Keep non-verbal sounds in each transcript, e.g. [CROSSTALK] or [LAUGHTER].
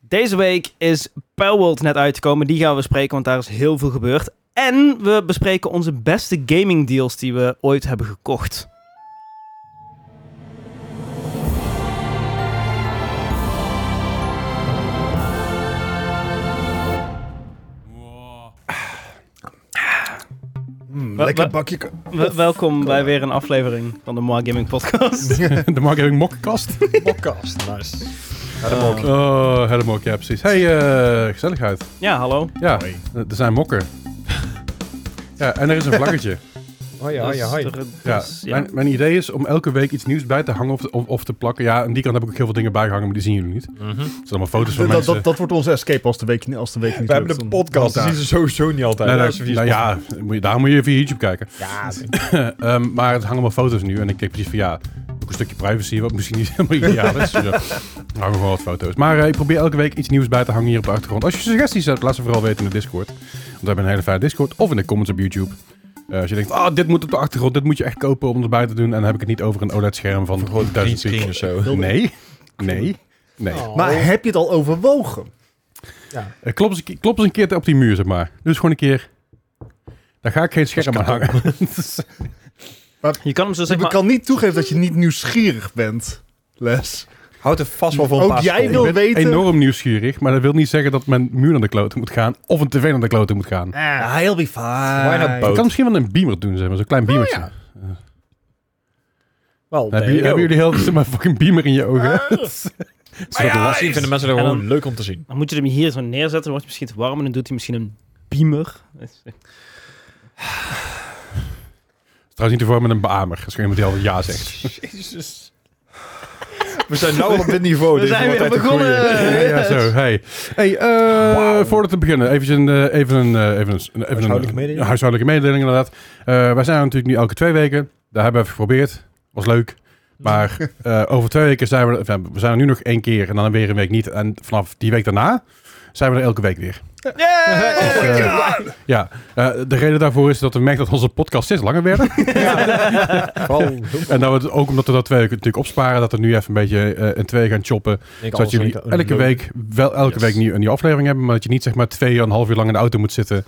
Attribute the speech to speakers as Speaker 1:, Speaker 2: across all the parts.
Speaker 1: Deze week is Palworld net uitgekomen. Die gaan we bespreken, want daar is heel veel gebeurd. En we bespreken onze beste gaming deals die we ooit hebben gekocht.
Speaker 2: Mm,
Speaker 1: Wa-
Speaker 2: lekker
Speaker 1: wa-
Speaker 2: bakje. ka-
Speaker 1: W- welkom bij weer een aflevering van de More Gaming Podcast.
Speaker 3: [LAUGHS] De Mark Gaming
Speaker 2: [LAUGHS]
Speaker 3: Mokkenkast.
Speaker 2: Podcast, nice.
Speaker 3: Oh, hele mok, ja precies. Hey, eh, gezelligheid.
Speaker 1: [LAUGHS] Ja, hallo.
Speaker 3: Ja, er zijn mokken. Ja, en er is een
Speaker 2: [LAUGHS]
Speaker 3: vlaggetje.
Speaker 2: Hoi,
Speaker 1: Dat
Speaker 2: hoi,
Speaker 1: is
Speaker 2: hoi.
Speaker 1: toch-
Speaker 3: Ja,
Speaker 1: dat Dus
Speaker 2: Dus,
Speaker 1: is- ja.
Speaker 3: mijn, mijn idee is om elke week iets nieuws bij te hangen of, of, of te plakken. Ja, aan die kant heb ik ook heel veel dingen bijgehangen, maar die zien jullie niet. Het zijn allemaal foto's
Speaker 2: Mhm.
Speaker 3: van
Speaker 2: Dat,
Speaker 3: mensen.
Speaker 2: dat, dat wordt onze escape als de week, ni- als de week niet
Speaker 4: We hebben
Speaker 2: lukt,
Speaker 4: een
Speaker 2: dan-
Speaker 4: podcast,
Speaker 3: Ja.
Speaker 4: die zien ze sowieso niet altijd.
Speaker 3: Nee,
Speaker 4: Ja,
Speaker 3: nee,
Speaker 4: ze zien
Speaker 3: nou
Speaker 4: ze
Speaker 3: ja, moet je- daar moet je via YouTube kijken.
Speaker 4: Ja,
Speaker 3: Ehm, maar het hangen allemaal foto's nu en ik kijk precies van ja, ook een stukje privacy, wat misschien niet [LAUGHS] helemaal ideaal is. Dus, ja, er hangen gewoon wat foto's. Maar eh, ik probeer elke week iets nieuws bij te hangen hier op de achtergrond. Als je suggesties hebt, laat ze vooral weten in de Discord. Want we hebben een hele fijne Discord. Of in de comments op YouTube. Eh, als je denkt, ah, dit moet op de achtergrond, dit moet je echt kopen om erbij te doen. En dan heb ik het niet over een OLED-scherm van
Speaker 4: gewoon een
Speaker 3: 1000
Speaker 4: green screen
Speaker 3: piek.
Speaker 4: of zo. [LAUGHS] Oh.
Speaker 3: Nee, nee, nee.
Speaker 2: Maar heb je het al overwogen?
Speaker 3: Eh, klop, eens, een keer- klop eens een keer op die muur, zeg maar. Dus gewoon een keer. Daar ga ik geen scherm aan hangen.
Speaker 1: Je kan hem zo
Speaker 2: Dus
Speaker 1: zeg
Speaker 2: ik
Speaker 1: maar...
Speaker 2: kan niet toegeven dat je niet nieuwsgierig bent, Les.
Speaker 4: Houd er vast wel van.
Speaker 2: Ook jij wil
Speaker 3: Ik ben
Speaker 4: eh,
Speaker 2: weten...
Speaker 3: enorm nieuwsgierig, maar dat wil niet zeggen dat mijn muur naar de kloten moet gaan of een tv naar de kloten moet gaan.
Speaker 2: Ah, he'll be fine.
Speaker 4: Why not
Speaker 3: Ik
Speaker 4: both?
Speaker 3: kan misschien wel een beamer doen, zeg maar, zo'n klein
Speaker 4: Oh,
Speaker 3: beamertje.
Speaker 4: Wel, oh.
Speaker 3: hebben, jullie, hebben jullie heel zeg maar, fucking beamer in je
Speaker 4: Eh.
Speaker 3: ogen?
Speaker 4: Maar ja, misschien vinden mensen dat
Speaker 1: En
Speaker 4: gewoon
Speaker 1: dan-
Speaker 4: leuk om te zien.
Speaker 1: Dan moet je hem hier zo neerzetten, dan wordt hij misschien te warm en dan doet hij misschien een beamer. Dus, eh,
Speaker 3: Trouwens niet te vormen met een beamer, als er iemand die al ja zegt.
Speaker 4: Jezus. [LAUGHS] We zijn nu al op dit [LAUGHS] niveau.
Speaker 1: We
Speaker 4: Dit
Speaker 1: zijn
Speaker 4: wordt
Speaker 1: weer
Speaker 4: echt een
Speaker 1: begonnen!
Speaker 4: goeie.
Speaker 3: Ja, Eh, ja, zo, hey. Hey, eh,
Speaker 4: Eh. Wauw.
Speaker 3: voordat we beginnen, even een, eh, even een, eh, even een, even een
Speaker 4: Huishoudelijke mededeling?
Speaker 3: een huishoudelijke mededeling, inderdaad. Eh, wij zijn er natuurlijk nu elke twee weken. Daar hebben we even geprobeerd. Was leuk. Maar
Speaker 4: [LAUGHS]
Speaker 3: eh, over twee weken zijn we, enfin, we zijn er nu nog één keer en dan weer een week niet. En vanaf die week daarna zijn we er elke week weer.
Speaker 4: Oh
Speaker 3: Dus, eh, ja, eh, de reden daarvoor is dat we merken dat onze podcast steeds langer werden.
Speaker 4: [LAUGHS] Vooral-
Speaker 3: en dat we, het- ook omdat we dat twee weken natuurlijk opsparen, dat we nu even een beetje eh in twee gaan choppen.
Speaker 4: Ik
Speaker 3: Zodat
Speaker 4: alles
Speaker 3: jullie
Speaker 4: een-
Speaker 3: elke
Speaker 4: een-
Speaker 3: week wel elke
Speaker 4: Yes.
Speaker 3: week nieuw, een nieuwe aflevering hebben, maar dat je niet zeg maar twee en een half uur lang in de auto moet zitten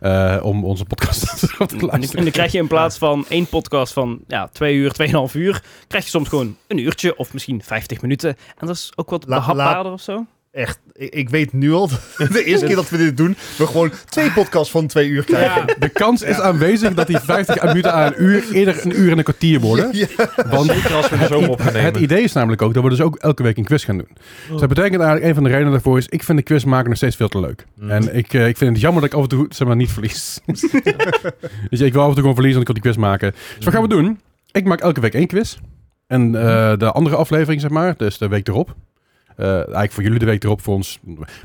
Speaker 3: eh, om onze podcast [LAUGHS] te
Speaker 1: En dan-
Speaker 3: luisteren.
Speaker 1: en dan krijg je in plaats van één podcast van ja, twee uur, tweeënhalf uur, krijg je soms gewoon een uurtje of misschien vijftig minuten. En dat is ook wat
Speaker 2: La-
Speaker 1: behapbaarder of zo.
Speaker 2: Echt, [LAUGHS] ik, ik weet nu al, [LAUGHS] de eerste keer dat we dit doen, we gewoon twee podcasts van twee uur krijgen.
Speaker 3: De kans is aanwezig dat die 50 minuten aan een uur eerder een uur en een kwartier
Speaker 4: [LAUGHS]
Speaker 3: worden.
Speaker 2: Ja.
Speaker 3: Want
Speaker 4: Zeker als we er zo op opnemen.
Speaker 3: het idee is namelijk ook dat we dus ook elke week een quiz gaan doen. Dus dat betekent eigenlijk, een van de redenen daarvoor is, ik vind de quiz maken nog steeds veel te leuk.
Speaker 4: Mm.
Speaker 3: En ik, eh, ik vind het jammer dat ik af en toe zeg maar, niet verlies. dus ik wil af en toe gewoon verliezen, want ik wil die quiz maken. Dus wat gaan we doen? Ik maak elke week één quiz. En eh, de andere aflevering, zeg maar, dus de week erop. Eh, eigenlijk voor jullie de week erop, voor ons.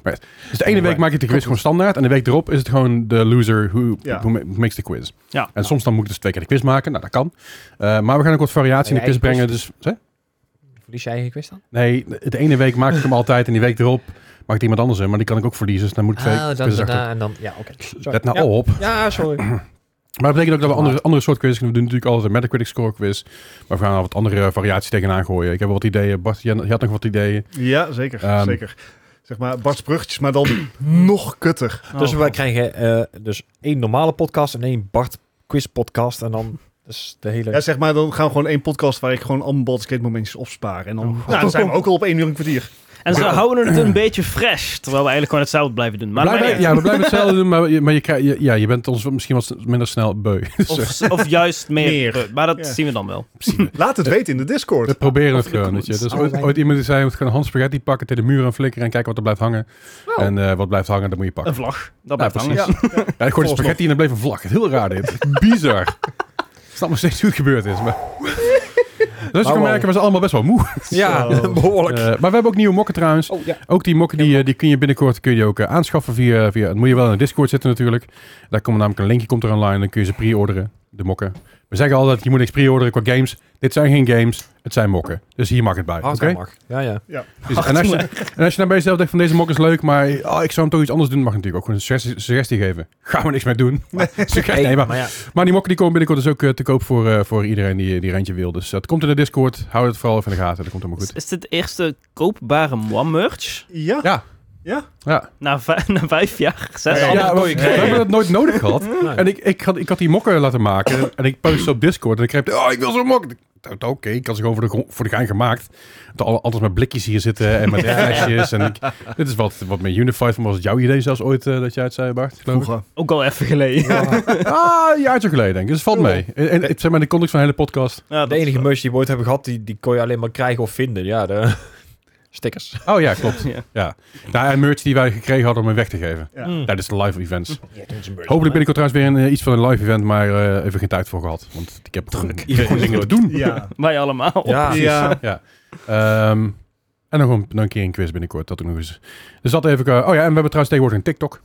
Speaker 3: Maar, dus de ene week maak ik de quiz gewoon standaard. En de week erop is het gewoon de loser who,
Speaker 2: Ja.
Speaker 3: who ma- makes the quiz.
Speaker 1: Ja.
Speaker 3: En soms dan moet ik dus twee keer de quiz maken. Nou, dat kan. Eh, maar we gaan ook wat variatie in de
Speaker 4: Nee,
Speaker 3: quiz
Speaker 4: eigen
Speaker 3: brengen. Dus, hè?
Speaker 4: Verlies jij je quiz dan?
Speaker 3: Nee, de ene week maak ik hem altijd en die week erop maakt iemand anders hem. Maar die kan ik ook verliezen, dus dan moet ik twee
Speaker 4: Ah, dan
Speaker 3: quizzes achter.
Speaker 4: daarna en dan... Ja, oké. Sorry.
Speaker 3: Let nou
Speaker 4: Ja.
Speaker 3: op.
Speaker 4: Ja, [LAUGHS] sorry.
Speaker 3: Maar dat betekent ook dat we andere, andere soort quizzes gaan doen. We doen natuurlijk altijd een Metacritic score quiz. Maar we gaan er wat andere eh, variaties tegenaan gooien. Ik heb wel wat ideeën. Bart, jij- je had nog wat ideeën.
Speaker 2: Ja, zeker,
Speaker 3: Ehm.
Speaker 2: zeker. Zeg maar Bart's Bruggetjes, maar dan [CLEARS THROAT] nog kutter.
Speaker 4: Dus
Speaker 1: Oh,
Speaker 4: wij
Speaker 1: God.
Speaker 4: krijgen eh, dus één normale podcast en één Bart quiz podcast. En dan dus de hele...
Speaker 2: Ja, zeg maar, dan gaan we gewoon één podcast waar ik gewoon allemaal Baldur's Gate momentjes opspaar. En dan,
Speaker 1: Oh, God.
Speaker 2: nou, dan zijn we ook al op één uur een kwartier.
Speaker 1: En ze houden het een beetje fresh, terwijl we eigenlijk gewoon hetzelfde blijven doen. Maar
Speaker 3: Blijven-
Speaker 1: maar-
Speaker 3: ja, we blijven hetzelfde doen, maar, je- maar je, krijgt- je- ja, je bent ons misschien wat minder snel beu. [LAUGHS] Dus
Speaker 1: Of, of juist meer. Eh,
Speaker 2: Meer.
Speaker 1: Maar dat
Speaker 2: Ja.
Speaker 1: zien we dan wel.
Speaker 2: Laat het weten in de
Speaker 3: We
Speaker 2: Discord.
Speaker 3: proberen het
Speaker 1: Of de
Speaker 3: gewoon. Weet je. Dus
Speaker 4: comments.
Speaker 3: ooit, ooit iemand die zei, we moeten gewoon een hand spaghetti pakken, tegen de muur en flikkeren en kijken wat er blijft hangen.
Speaker 2: Wow.
Speaker 3: En eh, wat blijft hangen, dat moet je pakken.
Speaker 1: Een vlag. Dat
Speaker 3: Ja,
Speaker 1: blijft
Speaker 3: precies.
Speaker 1: hangen.
Speaker 3: Ja. Ja, ik gooi de spaghetti en dan bleef een vlak. Heel raar dit. Bizar. Ik snap nog steeds hoe het gebeurd is. Maar... Dus je
Speaker 4: Nou,
Speaker 3: kan
Speaker 4: wel.
Speaker 3: merken, we zijn allemaal best wel moe.
Speaker 4: Ja,
Speaker 2: Zo.
Speaker 4: [LAUGHS] behoorlijk.
Speaker 3: Eh, maar we hebben ook nieuwe mokken trouwens.
Speaker 4: oh, ja.
Speaker 3: Ook die mokken die, eh, die kun je binnenkort kun je die ook eh, aanschaffen via, via... Dan moet je wel in de Discord zitten natuurlijk. Daar komt namelijk een linkje komt er online. Dan kun je ze pre-orderen, de mokken. We zeggen altijd, je moet niks pre-orderen qua games. Dit zijn geen games, het zijn mokken. Dus hier mag het bij.
Speaker 4: Hard
Speaker 3: oké?
Speaker 4: mag. Ja, ja.
Speaker 3: Dus- en, als je, en als je nou bij jezelf denkt van deze mok is leuk, maar ah, ik zou hem toch iets anders doen, mag natuurlijk ook gewoon een suggestie, suggestie geven. Gaan we niks mee
Speaker 2: [LAUGHS]
Speaker 3: doen. Maar, [LAUGHS] suggestie, nee, maar,
Speaker 4: [LAUGHS] ja.
Speaker 3: maar die mokken die komen binnenkort dus ook eh, te koop voor, eh, voor iedereen die, die er eentje wil. Dus dat komt in de Discord. Hou het vooral even in de gaten. Dat komt helemaal
Speaker 1: Is,
Speaker 3: goed.
Speaker 1: is dit de eerste koopbare Mwam merch?
Speaker 2: Ja,
Speaker 3: Ja,
Speaker 2: Ja?
Speaker 3: Ja.
Speaker 1: Na, vij- [LAUGHS] na vijf jaar, zes
Speaker 2: Ja,
Speaker 1: jaar.
Speaker 2: ja.
Speaker 3: we, we hebben dat nooit nodig gehad.
Speaker 4: nou,
Speaker 3: En ik, ik, had, ik had die mokken laten [COUGHS] maken en ik postte op Discord en ik kreeg, oh, ik wil zo'n mok. Ik dacht, Oké, ik had ze gewoon voor de, gro- voor de gein gemaakt. Want al- Altijd met blikjes hier zitten [LAUGHS] en met flesjes. En ik, dit is wat, wat mijn Unified van was. Het jouw idee zelfs ooit eh, dat jij het zei, Bart? geloof ik?
Speaker 2: Vroeger.
Speaker 1: Ook al even geleden. Ja,
Speaker 3: Ah, een jaartje geleden denk ik. Dus het valt mee. En, en, zeg maar in de context van de hele podcast.
Speaker 1: dat
Speaker 4: De
Speaker 1: is
Speaker 4: enige
Speaker 1: wel-
Speaker 4: merch die we ooit hebben gehad, die, die kon je alleen maar krijgen of vinden. Ja, de [LAUGHS] stickers.
Speaker 3: Oh ja, klopt.
Speaker 1: Ja.
Speaker 3: Nou, en merch die wij gekregen hadden om hem weg te geven.
Speaker 1: Mm.
Speaker 3: Tijdens de live events. Hopelijk ben ik er trouwens weer in eh, iets van een live event, maar eh, even geen tijd voor gehad. Want ik heb gewoon, ik heb gewoon dingen [LAUGHS] te doen.
Speaker 2: Ja.
Speaker 1: Wij allemaal.
Speaker 4: Ja.
Speaker 2: Mm. Ja.
Speaker 3: Ehm, en dan gewoon nog een keer een quiz binnenkort. Dat ook nog eens. Dus dat even. eh, oh ja, en we hebben trouwens tegenwoordig een TikTok.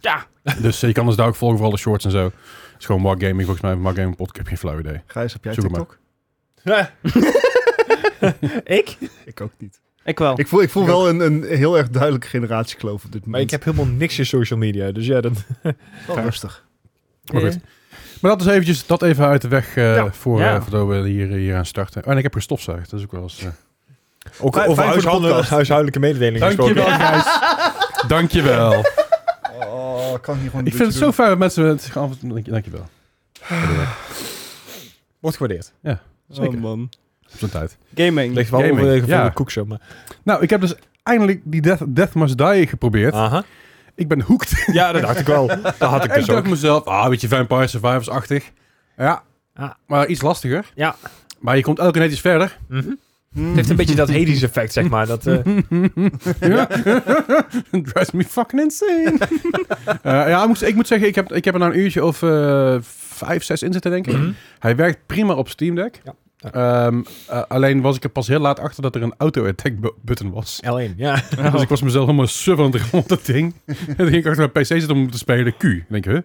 Speaker 1: Ja.
Speaker 3: Dus eh, je kan ons daar ook volgen voor alle shorts en zo. Het is gewoon Mark Gaming volgens mij. Mark Gaming podcast. Ik heb geen flauw idee.
Speaker 2: Gijs, heb jij
Speaker 3: Zoek hem
Speaker 2: TikTok?
Speaker 1: [LAUGHS] Ik?
Speaker 2: Ik ook niet.
Speaker 1: Ik wel.
Speaker 2: Ik voel, ik voel wel een, een heel erg duidelijke generatiekloof op dit
Speaker 4: Maar ik
Speaker 2: moment.
Speaker 4: heb helemaal niks in social media. Dus ja, dan...
Speaker 2: wel rustig.
Speaker 3: Maar goed.
Speaker 4: Eh.
Speaker 3: Maar dat is eventjes dat even uit de weg eh,
Speaker 2: Ja.
Speaker 3: voor,
Speaker 1: Ja.
Speaker 3: eh, voordat we hier, hier aan starten. Oh, en ik heb gestofzuigd. Dat is ook wel eens. eh,
Speaker 4: Ook
Speaker 2: Fijn-
Speaker 4: over
Speaker 2: fijn voor de
Speaker 4: huishoudelijke,
Speaker 2: podcast.
Speaker 4: huishoudelijke mededelingen
Speaker 3: Dankjewel,
Speaker 4: gesproken.
Speaker 3: Gijs. [LAUGHS] Dankjewel.
Speaker 2: Oh, kan hier gewoon
Speaker 3: Ik vind het zo fijn dat mensen het gaan. Dankjewel.
Speaker 4: Wordt gewaardeerd.
Speaker 3: zeker.
Speaker 2: Oh,
Speaker 1: man.
Speaker 3: Op zijn tijd.
Speaker 1: Gaming.
Speaker 4: Ligt wel eh,
Speaker 3: Gaming,
Speaker 4: overwegen voor
Speaker 3: ja.
Speaker 4: de koekzo, maar...
Speaker 3: Nou, ik heb dus eindelijk die Death, Death Must Die geprobeerd.
Speaker 4: Aha.
Speaker 3: Ik ben hooked.
Speaker 4: [LAUGHS] Ja, dat dacht ik wel. Dat had ik
Speaker 3: En ik
Speaker 4: dus ook.
Speaker 3: dacht mezelf, ah, een beetje Vampire Survivors-achtig. Ja,
Speaker 4: Ja.
Speaker 3: maar iets lastiger.
Speaker 4: Ja.
Speaker 3: Maar je komt elke net iets
Speaker 4: [LAUGHS]
Speaker 3: verder.
Speaker 4: Mhm. Het heeft een beetje dat Hades effect, zeg maar. Dat, eh,
Speaker 3: Ja. [LAUGHS] Drives me fucking insane. [LAUGHS] Eh, ja, ik moet, ik moet zeggen, ik heb, ik heb er nou een uurtje of eh, vijf, zes in zitten, denk ik. Hij werkt prima op Steam Deck.
Speaker 4: Mhm. Ja.
Speaker 3: Ehm, eh, alleen was ik er pas heel laat achter dat er een auto-attack bu- button was.
Speaker 4: L1, ja.
Speaker 3: Dus ik was mezelf helemaal suffer aan het rond dat ding. [LAUGHS] en toen ging ik achter mijn PC zitten om te spelen Q. Ik denk, huh?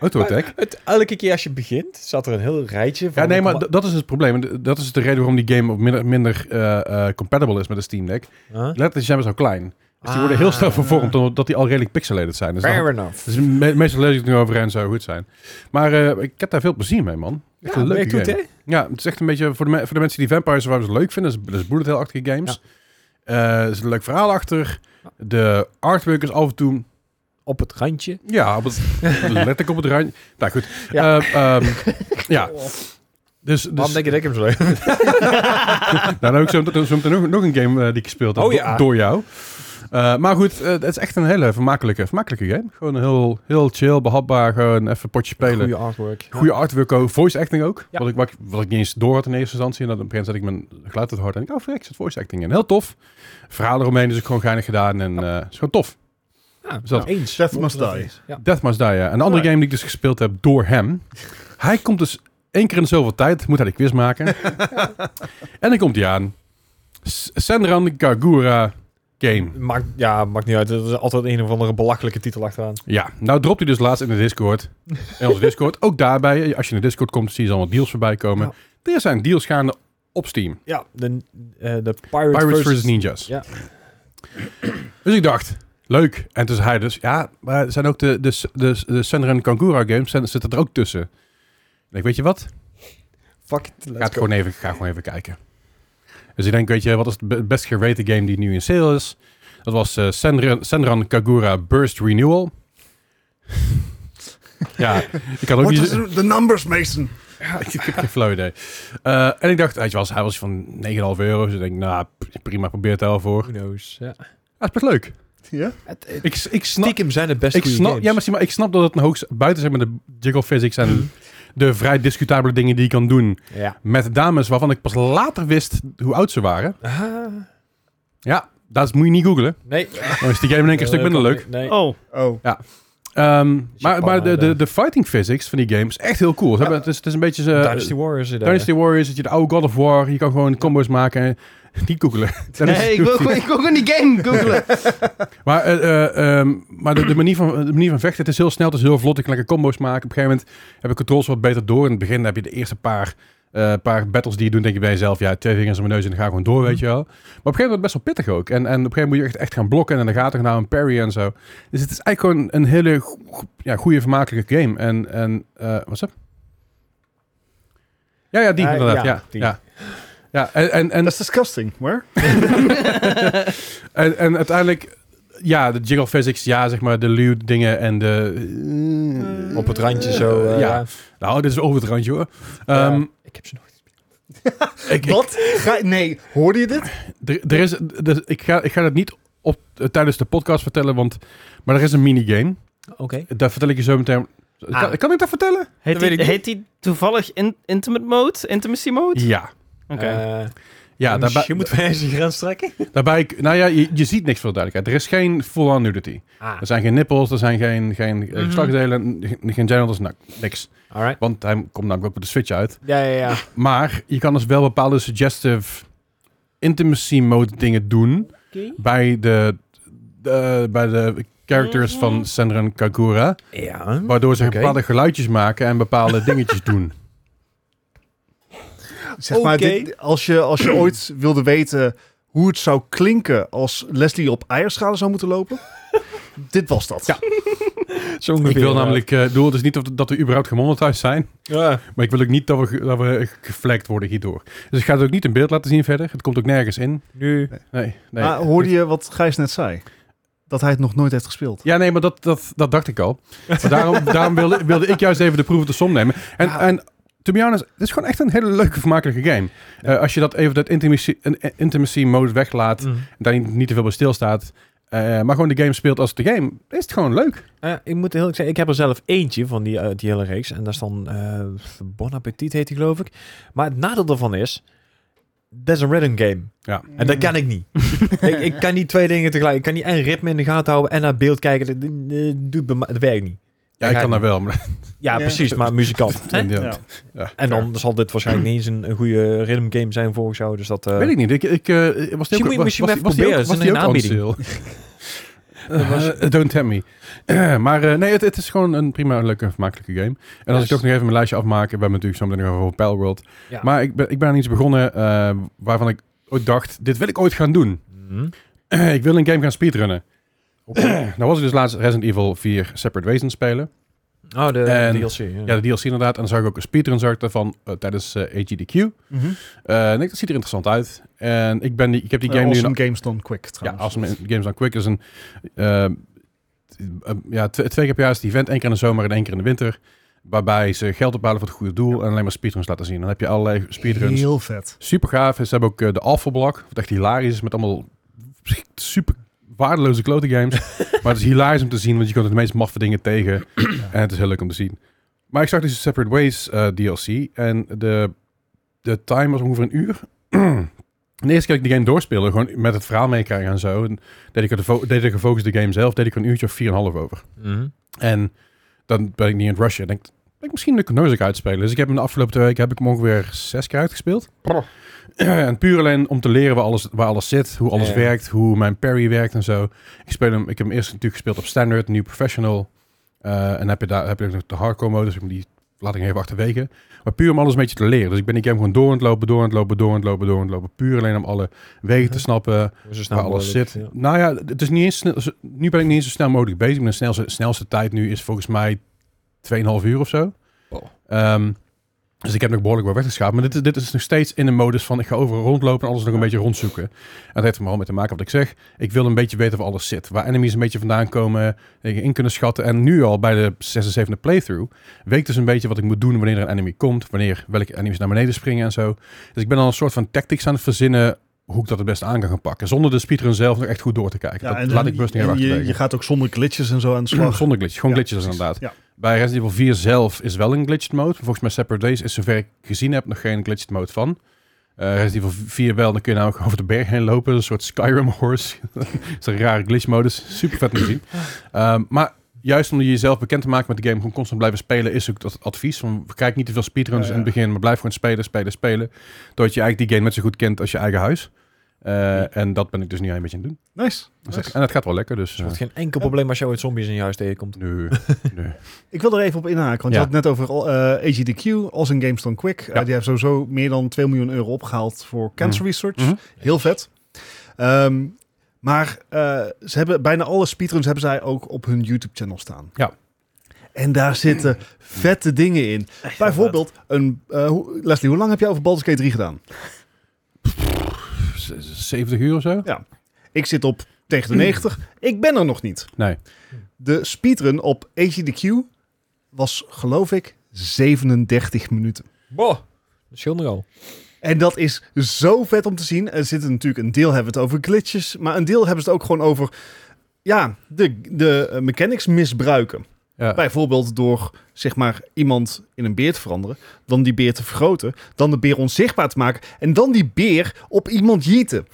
Speaker 3: Auto-attack?
Speaker 4: Het, elke keer als je begint, zat er een heel rijtje van...
Speaker 3: Ja, nee, maar d- dat is het probleem. D- Dat is de reden waarom die game op minder, minder eh, eh, compatible is met de Steam Deck.
Speaker 4: Huh?
Speaker 3: Letterlijk zijn we zo klein. Dus die worden heel snel vervormd, omdat die al redelijk pixelated zijn. Dus, dan,
Speaker 4: Ah. Fair enough.
Speaker 3: dus me meestal lees ik het nu over en zou goed zijn. Maar eh, ik heb daar veel plezier mee, man. Echt een leuke game. Ja, het is echt een beetje voor de, me- voor de mensen die Vampire Survivors leuk vinden. Dat is, dat is bullet hell-achtige games. Eh, er is een leuk verhaal achter. De artwork is af en toe...
Speaker 4: Op het randje.
Speaker 3: Ja, op het, letterlijk op het randje. Nou goed.
Speaker 4: Ja.
Speaker 3: Eh, ehm,
Speaker 4: [LAUGHS]
Speaker 3: ja. Dus, dus,
Speaker 4: Waarom denk je dat ik hem zo leuk vind?
Speaker 3: Nou, dan ook zo meteen zo meteen nog, nog een game eh, die ik gespeeld heb
Speaker 4: Oh
Speaker 3: do-
Speaker 4: ja.
Speaker 3: door jou. Eh, maar goed, eh, het is echt een hele vermakelijke, vermakelijke game. Gewoon heel, heel chill, behapbaar, gewoon even potje spelen.
Speaker 4: Goede
Speaker 3: Goede
Speaker 4: artwork.
Speaker 3: artwork ook, voice acting ook.
Speaker 4: Ja.
Speaker 3: Wat, ik, wat, ik- wat ik niet eens door had in eerste instantie. En dan op een gegeven moment zet ik mijn geluid wat hard en ik, oh verrek, zit voice acting in. Heel tof. Verhaal eromheen is ook gewoon geinig gedaan en eh, het is gewoon tof.
Speaker 4: Ja,
Speaker 3: Zo.
Speaker 4: nou, eens.
Speaker 2: Death must die.
Speaker 4: Ja.
Speaker 3: Death Must Die, ja. Een andere game die ik dus gespeeld heb door hem. Hij komt dus één keer in de zoveel tijd, moet hij de quiz maken.
Speaker 4: [LAUGHS]
Speaker 3: en dan komt hij aan. S- Senran Kagura Game.
Speaker 4: Maakt, ja, maakt niet uit. Er is altijd een of andere belachelijke titel achteraan.
Speaker 3: Ja, nou dropt hij dus laatst in de Discord. In onze Discord. Ook daarbij, als je in de Discord komt, zie je allemaal deals voorbij komen. Er zijn deals gaande op Steam.
Speaker 4: Ja, de, eh de Pirates,
Speaker 3: Pirates
Speaker 4: versus-
Speaker 3: vs. Ninjas.
Speaker 4: Ja.
Speaker 3: Dus ik dacht, leuk. En toen zei hij dus, ja, maar er zijn ook de, de, de, de Senran Kagura games zijn- zitten er ook tussen. En ik, weet je wat?
Speaker 4: Fuck it, let's
Speaker 3: Ga het
Speaker 4: go.
Speaker 3: gewoon even, ik ga gewoon even kijken. Dus ik denk, weet je, wat is de be- best gerated game die nu in sale is? Dat was eh, Senran, Senran Kagura Burst Renewal. [LAUGHS] ja, ik had ook
Speaker 2: What
Speaker 3: niet...
Speaker 2: is the numbers, Mason?
Speaker 3: [LAUGHS] ik heb geen flauw idee. Eh, en ik dacht, weet je, wel, hij was van 9,5 euro. Dus ik denk, nou, p- prima, probeer het wel voor.
Speaker 4: Who knows. Ja.
Speaker 3: Ja, het is best leuk.
Speaker 2: Ja?
Speaker 3: Ik, s- ik snap...
Speaker 4: Stiekem zijn het best
Speaker 3: Ik
Speaker 4: goede
Speaker 3: snap,
Speaker 4: games.
Speaker 3: ja, maar, zie maar ik snap dat het een hoogst buiten zeg maar, de jiggle physics en
Speaker 4: Mhm.
Speaker 3: de vrij discutabele dingen die je kan doen
Speaker 4: Ja.
Speaker 3: met dames waarvan ik pas later wist hoe oud ze waren.
Speaker 4: Ah,
Speaker 3: Ja, dat moet je niet googlen.
Speaker 4: nee. Eh,
Speaker 3: Dan is die game in één keer een stuk minder leuk.
Speaker 4: Nee.
Speaker 1: Oh,
Speaker 2: Oh.
Speaker 3: Ehm, maar
Speaker 4: Japan,
Speaker 3: maar de, de,
Speaker 4: hè,
Speaker 3: de fighting physics van die games echt heel cool. Ze hebben- het, is, het is een beetje... eh,
Speaker 4: Dynasty Warriors. eh,
Speaker 3: Dynasty Warriors, dat je de oude God of War, je kan gewoon combo's maken. [LAUGHS] Niet googelen. Dat is-
Speaker 1: nee, ik wil gewoon- ik wil gewoon die game googlen.
Speaker 3: Maar, eh, eh, ehm, maar de, de, manier van, de manier van vechten, het is heel snel, het is heel vlot. Ik kan lekker combo's maken. Op een gegeven moment heb ik controls wat beter door. In het begin heb je de eerste paar, eh, paar battles die je doet, denk je bij jezelf, ja, twee vingers aan mijn neus en dan ga ik gewoon door, weet je wel. Maar op een gegeven moment wordt het best wel pittig ook. En, en op een gegeven moment moet je echt, echt gaan blokken en dan gaat er gaan houden en parry en zo. Dus het is eigenlijk gewoon een hele go- go- ja, goede, vermakelijke game. En, en eh wat is dat? Ja, ja, die
Speaker 4: Ah,
Speaker 3: inderdaad.
Speaker 4: ja,
Speaker 3: Ja,
Speaker 4: die.
Speaker 3: ja. Ja, en, en, en
Speaker 2: That's disgusting. Where?
Speaker 3: en, en uiteindelijk, ja, de jiggle physics, ja, zeg maar, de lewd dingen en de...
Speaker 4: Op het randje zo. eh,
Speaker 3: ja. Nou, dit is over het randje, hoor.
Speaker 4: ja.
Speaker 3: Ehm,
Speaker 4: ik heb ze nog.
Speaker 3: ik, ik-
Speaker 2: Wat? Ga, nee, hoorde je dit?
Speaker 3: er, er is, er- ik, ga, ik ga dat niet op, eh, tijdens de podcast vertellen, want... Maar er is een minigame.
Speaker 4: Oké.
Speaker 3: Daar vertel ik je zo meteen...
Speaker 4: Ah.
Speaker 3: Kan, kan ik dat vertellen?
Speaker 1: Heet,
Speaker 3: weet
Speaker 1: die,
Speaker 3: ik niet.
Speaker 1: heet die toevallig in- intimate mode? Intimacy mode?
Speaker 3: Ja.
Speaker 1: Oké.
Speaker 3: Ja, daarbij,
Speaker 4: je moet wij eens je grens trekken.
Speaker 3: daarbij... Nou ja, je, je ziet niks voor de duidelijkheid. Er is geen full-on nudity.
Speaker 4: Ah,
Speaker 3: Er zijn geen nippels, er zijn geen, geen eh,
Speaker 1: Mhm.
Speaker 3: geslachtsdelen, geen, geen genitals, nou, niks.
Speaker 4: alright.
Speaker 3: Want hij komt namelijk ook op de Switch uit.
Speaker 4: Ja, ja, ja.
Speaker 3: Maar je kan dus wel bepaalde suggestive intimacy mode dingen doen bij de, de- bij de characters van Senran Kagura.
Speaker 4: Ja.
Speaker 3: Waardoor ze
Speaker 4: Oké.
Speaker 3: bepaalde geluidjes maken en bepaalde dingetjes doen.
Speaker 2: Zeg maar,
Speaker 4: Oké.
Speaker 2: dit, als, je, als je ooit wilde weten hoe het zou klinken als Leslie op eierschalen zou moeten lopen, dit was dat.
Speaker 3: Ja.
Speaker 4: Zo
Speaker 3: ik
Speaker 4: ongeveer,
Speaker 3: wil
Speaker 4: ja.
Speaker 3: namelijk, eh doel dus niet of, dat we überhaupt gemonetized zijn.
Speaker 4: Ja.
Speaker 3: Maar ik wil ook niet dat we, ge- dat we geflekt worden hierdoor. Dus ik ga het ook niet in beeld laten zien verder. Het komt ook nergens in.
Speaker 4: Nu.
Speaker 3: Nee, nee.
Speaker 4: Ah,
Speaker 2: Maar hoorde je wat Gijs net zei? Dat hij het nog nooit heeft gespeeld.
Speaker 3: Ja, nee, maar dat, dat, dat dacht ik al. Maar daarom daarom wilde, wilde ik juist even de proef op de som nemen. En, en to be honest, het is gewoon echt een hele leuke, vermakelijke game. Eh, als je dat even dat intimacy, in- in- intimacy mode weglaat,
Speaker 4: Hm. Mm.
Speaker 3: en daar niet, niet te veel bij stilstaat, eh, maar gewoon de game speelt als de game, is het gewoon leuk.
Speaker 4: Eh, ik moet heel eerlijk zeggen, ik heb er zelf eentje van die, eh, die hele reeks. En dat is dan eh, Bon Appetit heet die geloof ik. Maar het nadeel daarvan is, dat is een rhythm game.
Speaker 3: Ja.
Speaker 4: En dat kan ik
Speaker 3: [LAUGHS]
Speaker 4: niet. ik, ik kan niet twee dingen tegelijk. Ik kan niet en ritme in de gaten houden en naar beeld kijken. Dat, dat- dat doet bij mij- dat werkt niet.
Speaker 3: Ja, ik kan daar wel. Maar,
Speaker 4: Ja,
Speaker 2: Ja.
Speaker 4: precies, maar
Speaker 3: [LAUGHS]
Speaker 4: muzikant.
Speaker 3: ja.
Speaker 2: Ja.
Speaker 4: En dan zal dit waarschijnlijk niet eens een, een goede rhythm game zijn volgens jou. Dus dat, eh,
Speaker 3: Weet ik niet. Ik, ik, eh, was die ook,
Speaker 4: Je moet
Speaker 3: was,
Speaker 4: misschien
Speaker 3: was,
Speaker 4: even
Speaker 3: was die ook-
Speaker 4: proberen.
Speaker 3: was
Speaker 4: Ze
Speaker 3: die
Speaker 4: zijn
Speaker 3: ook on
Speaker 4: in
Speaker 3: sale?
Speaker 4: [LAUGHS]
Speaker 3: Eh, don't tempt me. Eh, maar eh, nee, het, het is gewoon een prima, leuke, vermakelijke game. En als ik
Speaker 4: Yes.
Speaker 3: toch nog even mijn lijstje afmaak, we hebben natuurlijk zo meteen nog over Palworld.
Speaker 4: Ja.
Speaker 3: Maar ik ben, ik ben aan iets begonnen eh, waarvan ik ooit dacht, dit wil ik ooit gaan doen. [CLEARS THROAT]
Speaker 4: Mhm.
Speaker 3: ik wil een game gaan speedrunnen. [CLEARS THROAT] nou was ik dus laatst Resident Evil 4 Separate Ways aan het spelen.
Speaker 4: Oh, de
Speaker 3: En-
Speaker 4: DLC. Ja.
Speaker 3: Ja, de DLC inderdaad. En dan zag ik ook een speedrun zag ik daarvan eh, tijdens eh AGDQ.
Speaker 4: Mhm.
Speaker 3: Eh, en ik, dat ziet er interessant uit. En ik, ben die, ik heb die game
Speaker 2: Eh,
Speaker 3: nu...
Speaker 2: awesome
Speaker 3: in-
Speaker 2: games done quick
Speaker 3: Ja,
Speaker 2: trouwens.
Speaker 3: als Games on Quick is een... eh, t- eh, ja, tw- twee keer per jaar is het event. één keer in de zomer en één keer in de winter. Waarbij ze geld ophalen voor het goede doel. En alleen maar speedruns laten zien. Dan heb je allerlei speedruns.
Speaker 2: Heel vet.
Speaker 3: Super gaaf. En Ze hebben ook eh, de Alpha Block. Wat echt hilarisch is. Met allemaal super waardeloze klote games. maar het is hilarisch om te zien. Want je komt het meest maffe dingen tegen. En het is heel leuk om te zien. Maar ik zag dus de Separate Ways eh, DLC. En de, de time was ongeveer een uur. [CLEARS THROAT] de eerste keer dat ik de game doorspeelde. Gewoon met het verhaal meekrijgen en zo. En deed ik er de fo- deed ik de gefocuste game zelf. Deed ik er een uurtje of 4,5 over.
Speaker 4: Mhm.
Speaker 3: En dan ben ik niet in het rushen. Ik denk, ben ik misschien de Knozik uitspelen. Dus ik heb hem de afgelopen twee weken heb ik hem ongeveer zes keer uitgespeeld. [CLEARS THROAT] en puur alleen om te leren waar alles, waar alles zit, hoe alles
Speaker 4: Ja.
Speaker 3: werkt, hoe mijn parry werkt en zo. Ik, speel hem, ik heb hem eerst natuurlijk gespeeld op standard, nu professional. Eh, en heb je daar heb je ook nog de hardcore modus, dus die laat ik even achterwege. Maar puur om alles een beetje te leren. Dus ik ben die game gewoon door aan het lopen, door aan het lopen, door aan het lopen, door aan het lopen. Puur alleen om alle wegen te
Speaker 4: Mhm.
Speaker 3: snappen,
Speaker 4: Zo snel
Speaker 3: waar alles
Speaker 4: mogelijk,
Speaker 3: zit. Nou ja, het is niet eens snel, nu ben ik niet eens zo snel mogelijk bezig. Mijn snelste, snelste tijd nu is volgens mij 2,5 uur of zo.
Speaker 4: Oh.
Speaker 3: Ehm, dus ik heb nog behoorlijk wat weggeschaafd. Maar dit, is- dit is nog steeds in de modus van ik ga overal rondlopen en alles nog een beetje rondzoeken. En dat heeft er maar al mee te maken wat ik zeg. Ik wil een beetje weten waar alles zit. Waar enemies een beetje vandaan komen, dingen in kunnen schatten. En nu al bij de 76e playthrough weet ik dus een beetje wat ik moet doen wanneer er een enemy komt. Wanneer welke enemies naar beneden springen en zo. Dus ik ben al een soort van tactics aan het verzinnen hoe ik dat het beste aan kan gaan pakken. Zonder de speedrun zelf nog echt goed door te kijken.
Speaker 2: Ja,
Speaker 3: dat
Speaker 2: en
Speaker 3: laat
Speaker 2: dan-
Speaker 3: ik bewust niet even
Speaker 2: je,
Speaker 3: achterwege.
Speaker 2: je gaat ook zonder glitches en zo aan de slag.
Speaker 3: [CLEARS THROAT] Zonder glitch, gewoon
Speaker 2: Ja,
Speaker 3: glitches
Speaker 2: precies.
Speaker 3: inderdaad.
Speaker 2: Ja.
Speaker 3: Bij Resident Evil 4 zelf is wel een glitched mode. Volgens mij Separate Days is zover ik gezien heb nog geen glitched mode van. Eh Resident Evil 4 wel, dan kun je nou ook over de berg heen lopen. Een soort Skyrim horse. [LAUGHS] dat is een rare glitch modus. Super vet om te zien. Ehm, maar juist om je jezelf bekend te maken met de game, gewoon constant blijven spelen, is ook dat advies. Van, kijk niet te veel
Speaker 2: Ja,
Speaker 3: speedruns
Speaker 2: ja.
Speaker 3: in het begin, maar blijf gewoon spelen, spelen, spelen. Doordat je eigenlijk die game net zo goed kent als je eigen huis. Eh, En dat ben ik dus nu een beetje aan het doen.
Speaker 2: Nice.
Speaker 3: Dus
Speaker 2: nice.
Speaker 3: dat- en dat gaat wel lekker, dus...
Speaker 4: Er
Speaker 3: eh,
Speaker 4: wordt geen enkel
Speaker 2: Ja.
Speaker 4: probleem als je ooit zombies in je huis tegenkomt.
Speaker 3: nee, nee.
Speaker 2: [LAUGHS] Ik wil er even op inhaken, want
Speaker 3: Ja.
Speaker 2: je had het net over eh AGDQ als in Games Done Quick. Eh,
Speaker 3: Ja.
Speaker 2: die hebben sowieso meer dan 2 miljoen euro opgehaald voor cancer
Speaker 3: Mhm.
Speaker 2: research.
Speaker 3: Mhm.
Speaker 2: Heel vet. Ehm, maar eh, ze hebben bijna alle speedruns hebben zij ook op hun YouTube-channel staan.
Speaker 3: Ja.
Speaker 2: En daar zitten vette dingen in. Bijvoorbeeld, een, eh, hoe- Leslie, hoe lang heb jij over Baldur's Gate 3 gedaan?
Speaker 3: Z- z- 70 uur of zo?
Speaker 2: Ik zit op tegen
Speaker 3: Hmm.
Speaker 2: de 90. Ik ben er nog niet.
Speaker 3: Nee.
Speaker 2: De speedrun op ACDQ was, geloof ik, 37 minuten.
Speaker 4: Boah, dat scheelt nogal.
Speaker 2: En dat is zo vet om te zien. Er zit natuurlijk een deel hebben we het over glitches, maar een deel hebben ze het ook gewoon over ja, de, de eh, mechanics misbruiken.
Speaker 3: Ja.
Speaker 2: Bijvoorbeeld door zeg maar iemand in een beer te veranderen, dan die beer te vergroten, dan de beer onzichtbaar te maken en dan die beer op iemand jieten.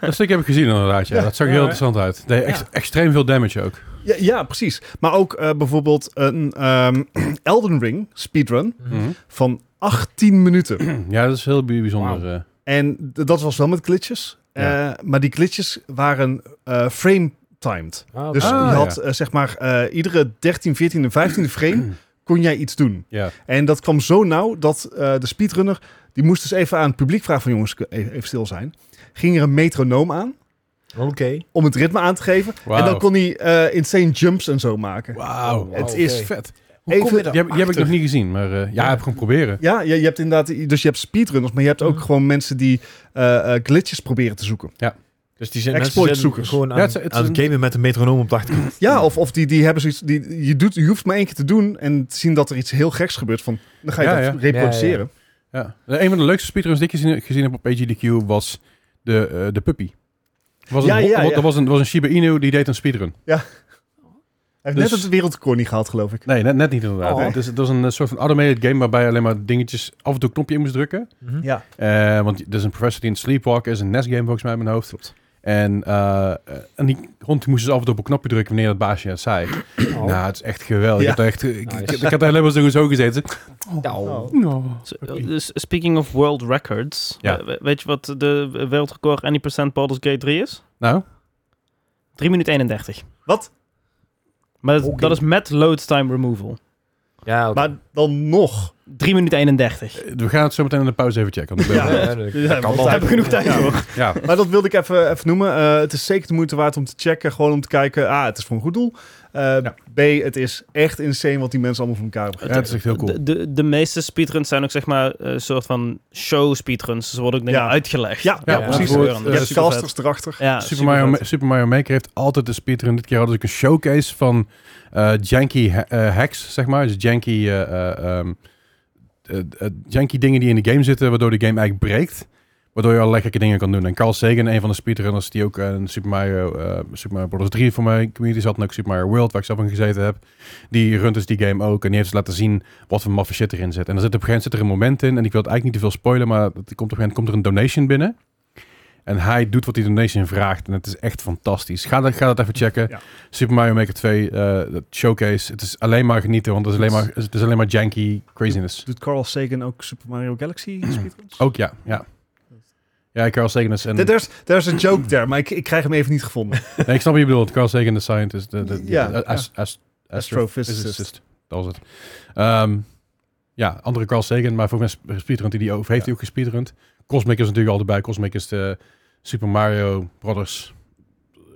Speaker 3: Dat stuk heb ik gezien inderdaad, ja.
Speaker 2: Ja.
Speaker 3: Dat zag er heel
Speaker 4: Ja, hè?
Speaker 3: interessant uit. Deed ex- extreem veel damage ook.
Speaker 2: Ja, ja precies. Maar ook eh, bijvoorbeeld een ehm, [CLEARS THROAT] Elden Ring speedrun
Speaker 3: Mhm.
Speaker 4: Mhm.
Speaker 2: van 18 minuten. [CLEARS THROAT]
Speaker 3: Ja, dat is heel bi- bijzonder. eh.
Speaker 2: En d- dat was wel met glitches.
Speaker 3: Ja.
Speaker 2: Eh, maar die glitches waren eh, frame-timed.
Speaker 4: Ah,
Speaker 2: Dus
Speaker 4: oké.
Speaker 3: Ah,
Speaker 2: je had eh, zeg maar eh, iedere 13, 14 en 15
Speaker 3: [CLEARS THROAT]
Speaker 2: frame kon jij iets doen.
Speaker 3: ja.
Speaker 2: En dat kwam zo nauw dat eh, de speedrunner, die moest dus even aan het publiek vragen van jongens, e- even stil zijn. Ging er een metronoom aan
Speaker 4: Oké.
Speaker 2: om het ritme aan te geven. En dan
Speaker 3: Wauw.
Speaker 2: kon hij eh, insane jumps en zo maken.
Speaker 3: Wauw.
Speaker 2: Het
Speaker 4: Oké.
Speaker 2: is
Speaker 3: Vet.
Speaker 4: Hoe
Speaker 2: Even-
Speaker 4: kom je daar
Speaker 3: Die heb, die heb ik nog
Speaker 4: achter?
Speaker 3: niet gezien, maar eh, ja, heb gewoon proberen.
Speaker 2: Ja, je, je hebt inderdaad, dus je hebt speedrunners, maar je hebt ook
Speaker 3: Mm.
Speaker 4: Mhm.
Speaker 2: gewoon mensen die eh, eh, glitches proberen te zoeken.
Speaker 4: Dus die zijn
Speaker 2: Exploitzoekers.
Speaker 4: mensen zijn gewoon aan,
Speaker 3: Ja, het is- het is
Speaker 4: aan het
Speaker 3: een-
Speaker 4: gamen met een metronoom op de achtergrond.
Speaker 3: Mm.
Speaker 2: Ja, of, of die, die hebben zoiets. Die, je, doet, je hoeft maar één keer te doen en te zien dat er iets heel geks gebeurt. Van, dan ga je
Speaker 3: Ja,
Speaker 2: dat
Speaker 3: ja.
Speaker 2: reproduceren.
Speaker 3: Ja. Een van de leukste speedruns die ik gezien, gezien heb op AGDQ was de, eh, de puppy. Er Was
Speaker 2: Ja,
Speaker 3: een, ho-
Speaker 2: ja, ja.
Speaker 3: Er was een, er was een Shiba Inu die deed een speedrun.
Speaker 2: Hij heeft
Speaker 3: Dus-
Speaker 2: net het wereldrecord niet gehaald, geloof ik.
Speaker 3: Nee, net, net niet inderdaad.
Speaker 4: Oh.
Speaker 3: Het, is, het was een eh, soort van automated game waarbij je alleen maar dingetjes af en toe een knopje in moest drukken.
Speaker 2: Ja.
Speaker 3: Eh, want er is een professor die in Sleepwalk is, een NES game volgens mij in mijn hoofd. En, eh, eh, en die hond die moest dus af en toe op een knopje drukken wanneer dat baasje het zei.
Speaker 4: Oh.
Speaker 3: Nou, het is echt geweldig.
Speaker 2: Ja.
Speaker 3: Ik, had echt, ik,
Speaker 4: Nice.
Speaker 3: ik, ik had helemaal zo, zo gezeten.
Speaker 2: Oh.
Speaker 4: Nou.
Speaker 1: S- Dus speaking of world records.
Speaker 3: Ja.
Speaker 1: eh, we- weet je wat de wereldrecord any percent Baldur's Gate 3 is?
Speaker 3: Nou,
Speaker 1: 3 minuten 31.
Speaker 2: Wat?
Speaker 1: Maar dat,
Speaker 4: Oké.
Speaker 1: dat is met load time removal.
Speaker 4: Ja, oké.
Speaker 2: Maar dan nog.
Speaker 1: 3 minuten 31.
Speaker 3: eh, we gaan het zo meteen in de pauze even checken. want ik ben-
Speaker 2: Ja.
Speaker 3: ja.
Speaker 4: Ja, dat-
Speaker 2: Ja,
Speaker 4: dat kan
Speaker 2: want
Speaker 4: wel.
Speaker 2: we
Speaker 1: Daar hebben we genoeg tijd
Speaker 2: Ja.
Speaker 1: voor.
Speaker 2: Maar dat wilde ik even, even noemen. Eh, het is zeker de moeite waard om te checken. Gewoon om te kijken. A, het is voor een goed doel. Eh,
Speaker 3: Ja.
Speaker 2: B, het is echt insane wat die mensen allemaal voor elkaar hebben.
Speaker 3: Ja, het is echt heel cool.
Speaker 1: De, de, de meeste speedruns zijn ook zeg maar een soort van show speedruns. Ze worden ook dingen
Speaker 2: Ja.
Speaker 1: uitgelegd.
Speaker 2: Ja,
Speaker 3: Ja,
Speaker 2: ja,
Speaker 4: ja.
Speaker 2: precies.
Speaker 1: Ja,
Speaker 2: je hebt
Speaker 1: supervet.
Speaker 2: casters erachter.
Speaker 1: Ja,
Speaker 3: Super, Mario, Ma- Super Mario Maker heeft altijd de speedrun. Dit keer hadden ze ook een showcase van eh, janky ha- eh, hacks, zeg maar. Dus janky, eh, eh, ehm, eh, eh, janky dingen die in de game zitten, waardoor de game eigenlijk breekt. Waardoor je al lekkere dingen kan doen. En Carl Sagan, een van de speedrunners die ook een Super Mario, eh Super Mario Bros. 3 voor mijn community zat. En ook Super Mario World, waar ik zelf in gezeten heb. Die runt dus die game ook. En die heeft dus laten zien wat voor maffe shit erin zit. En er zit op een gegeven moment zit er een moment in. En ik wil het eigenlijk niet te veel spoilen, maar het komt op een gegeven moment komt er een donation binnen. En hij doet wat die donation vraagt. En het is echt fantastisch. Ga dat, ga dat even checken.
Speaker 2: Ja.
Speaker 3: Super Mario Maker 2, eh, dat showcase. Het is alleen maar genieten, want het is alleen maar, het is alleen maar janky craziness.
Speaker 2: Doet Carl Sagan ook Super Mario Galaxy
Speaker 3: Hmm.
Speaker 2: speedruns?
Speaker 3: Ook ja, ja. Ja, Carl Sagan is... En,
Speaker 2: There- There's, there's a joke there, maar ik, ik krijg hem even niet gevonden.
Speaker 3: nee, ik snap wat je bedoelt. Carl Sagan de scientist. De, de, de-
Speaker 2: Ja,
Speaker 3: de- as- as-
Speaker 2: Astrophysicist.
Speaker 3: astrophysicist. Dat was het. Ehm, ja, andere Carl Sagan, maar volgens mij sp- speedrunt hij die over. Heeft hij ook gespeedrund. Cosmic is natuurlijk altijd bij. Cosmic is de Super Mario Brothers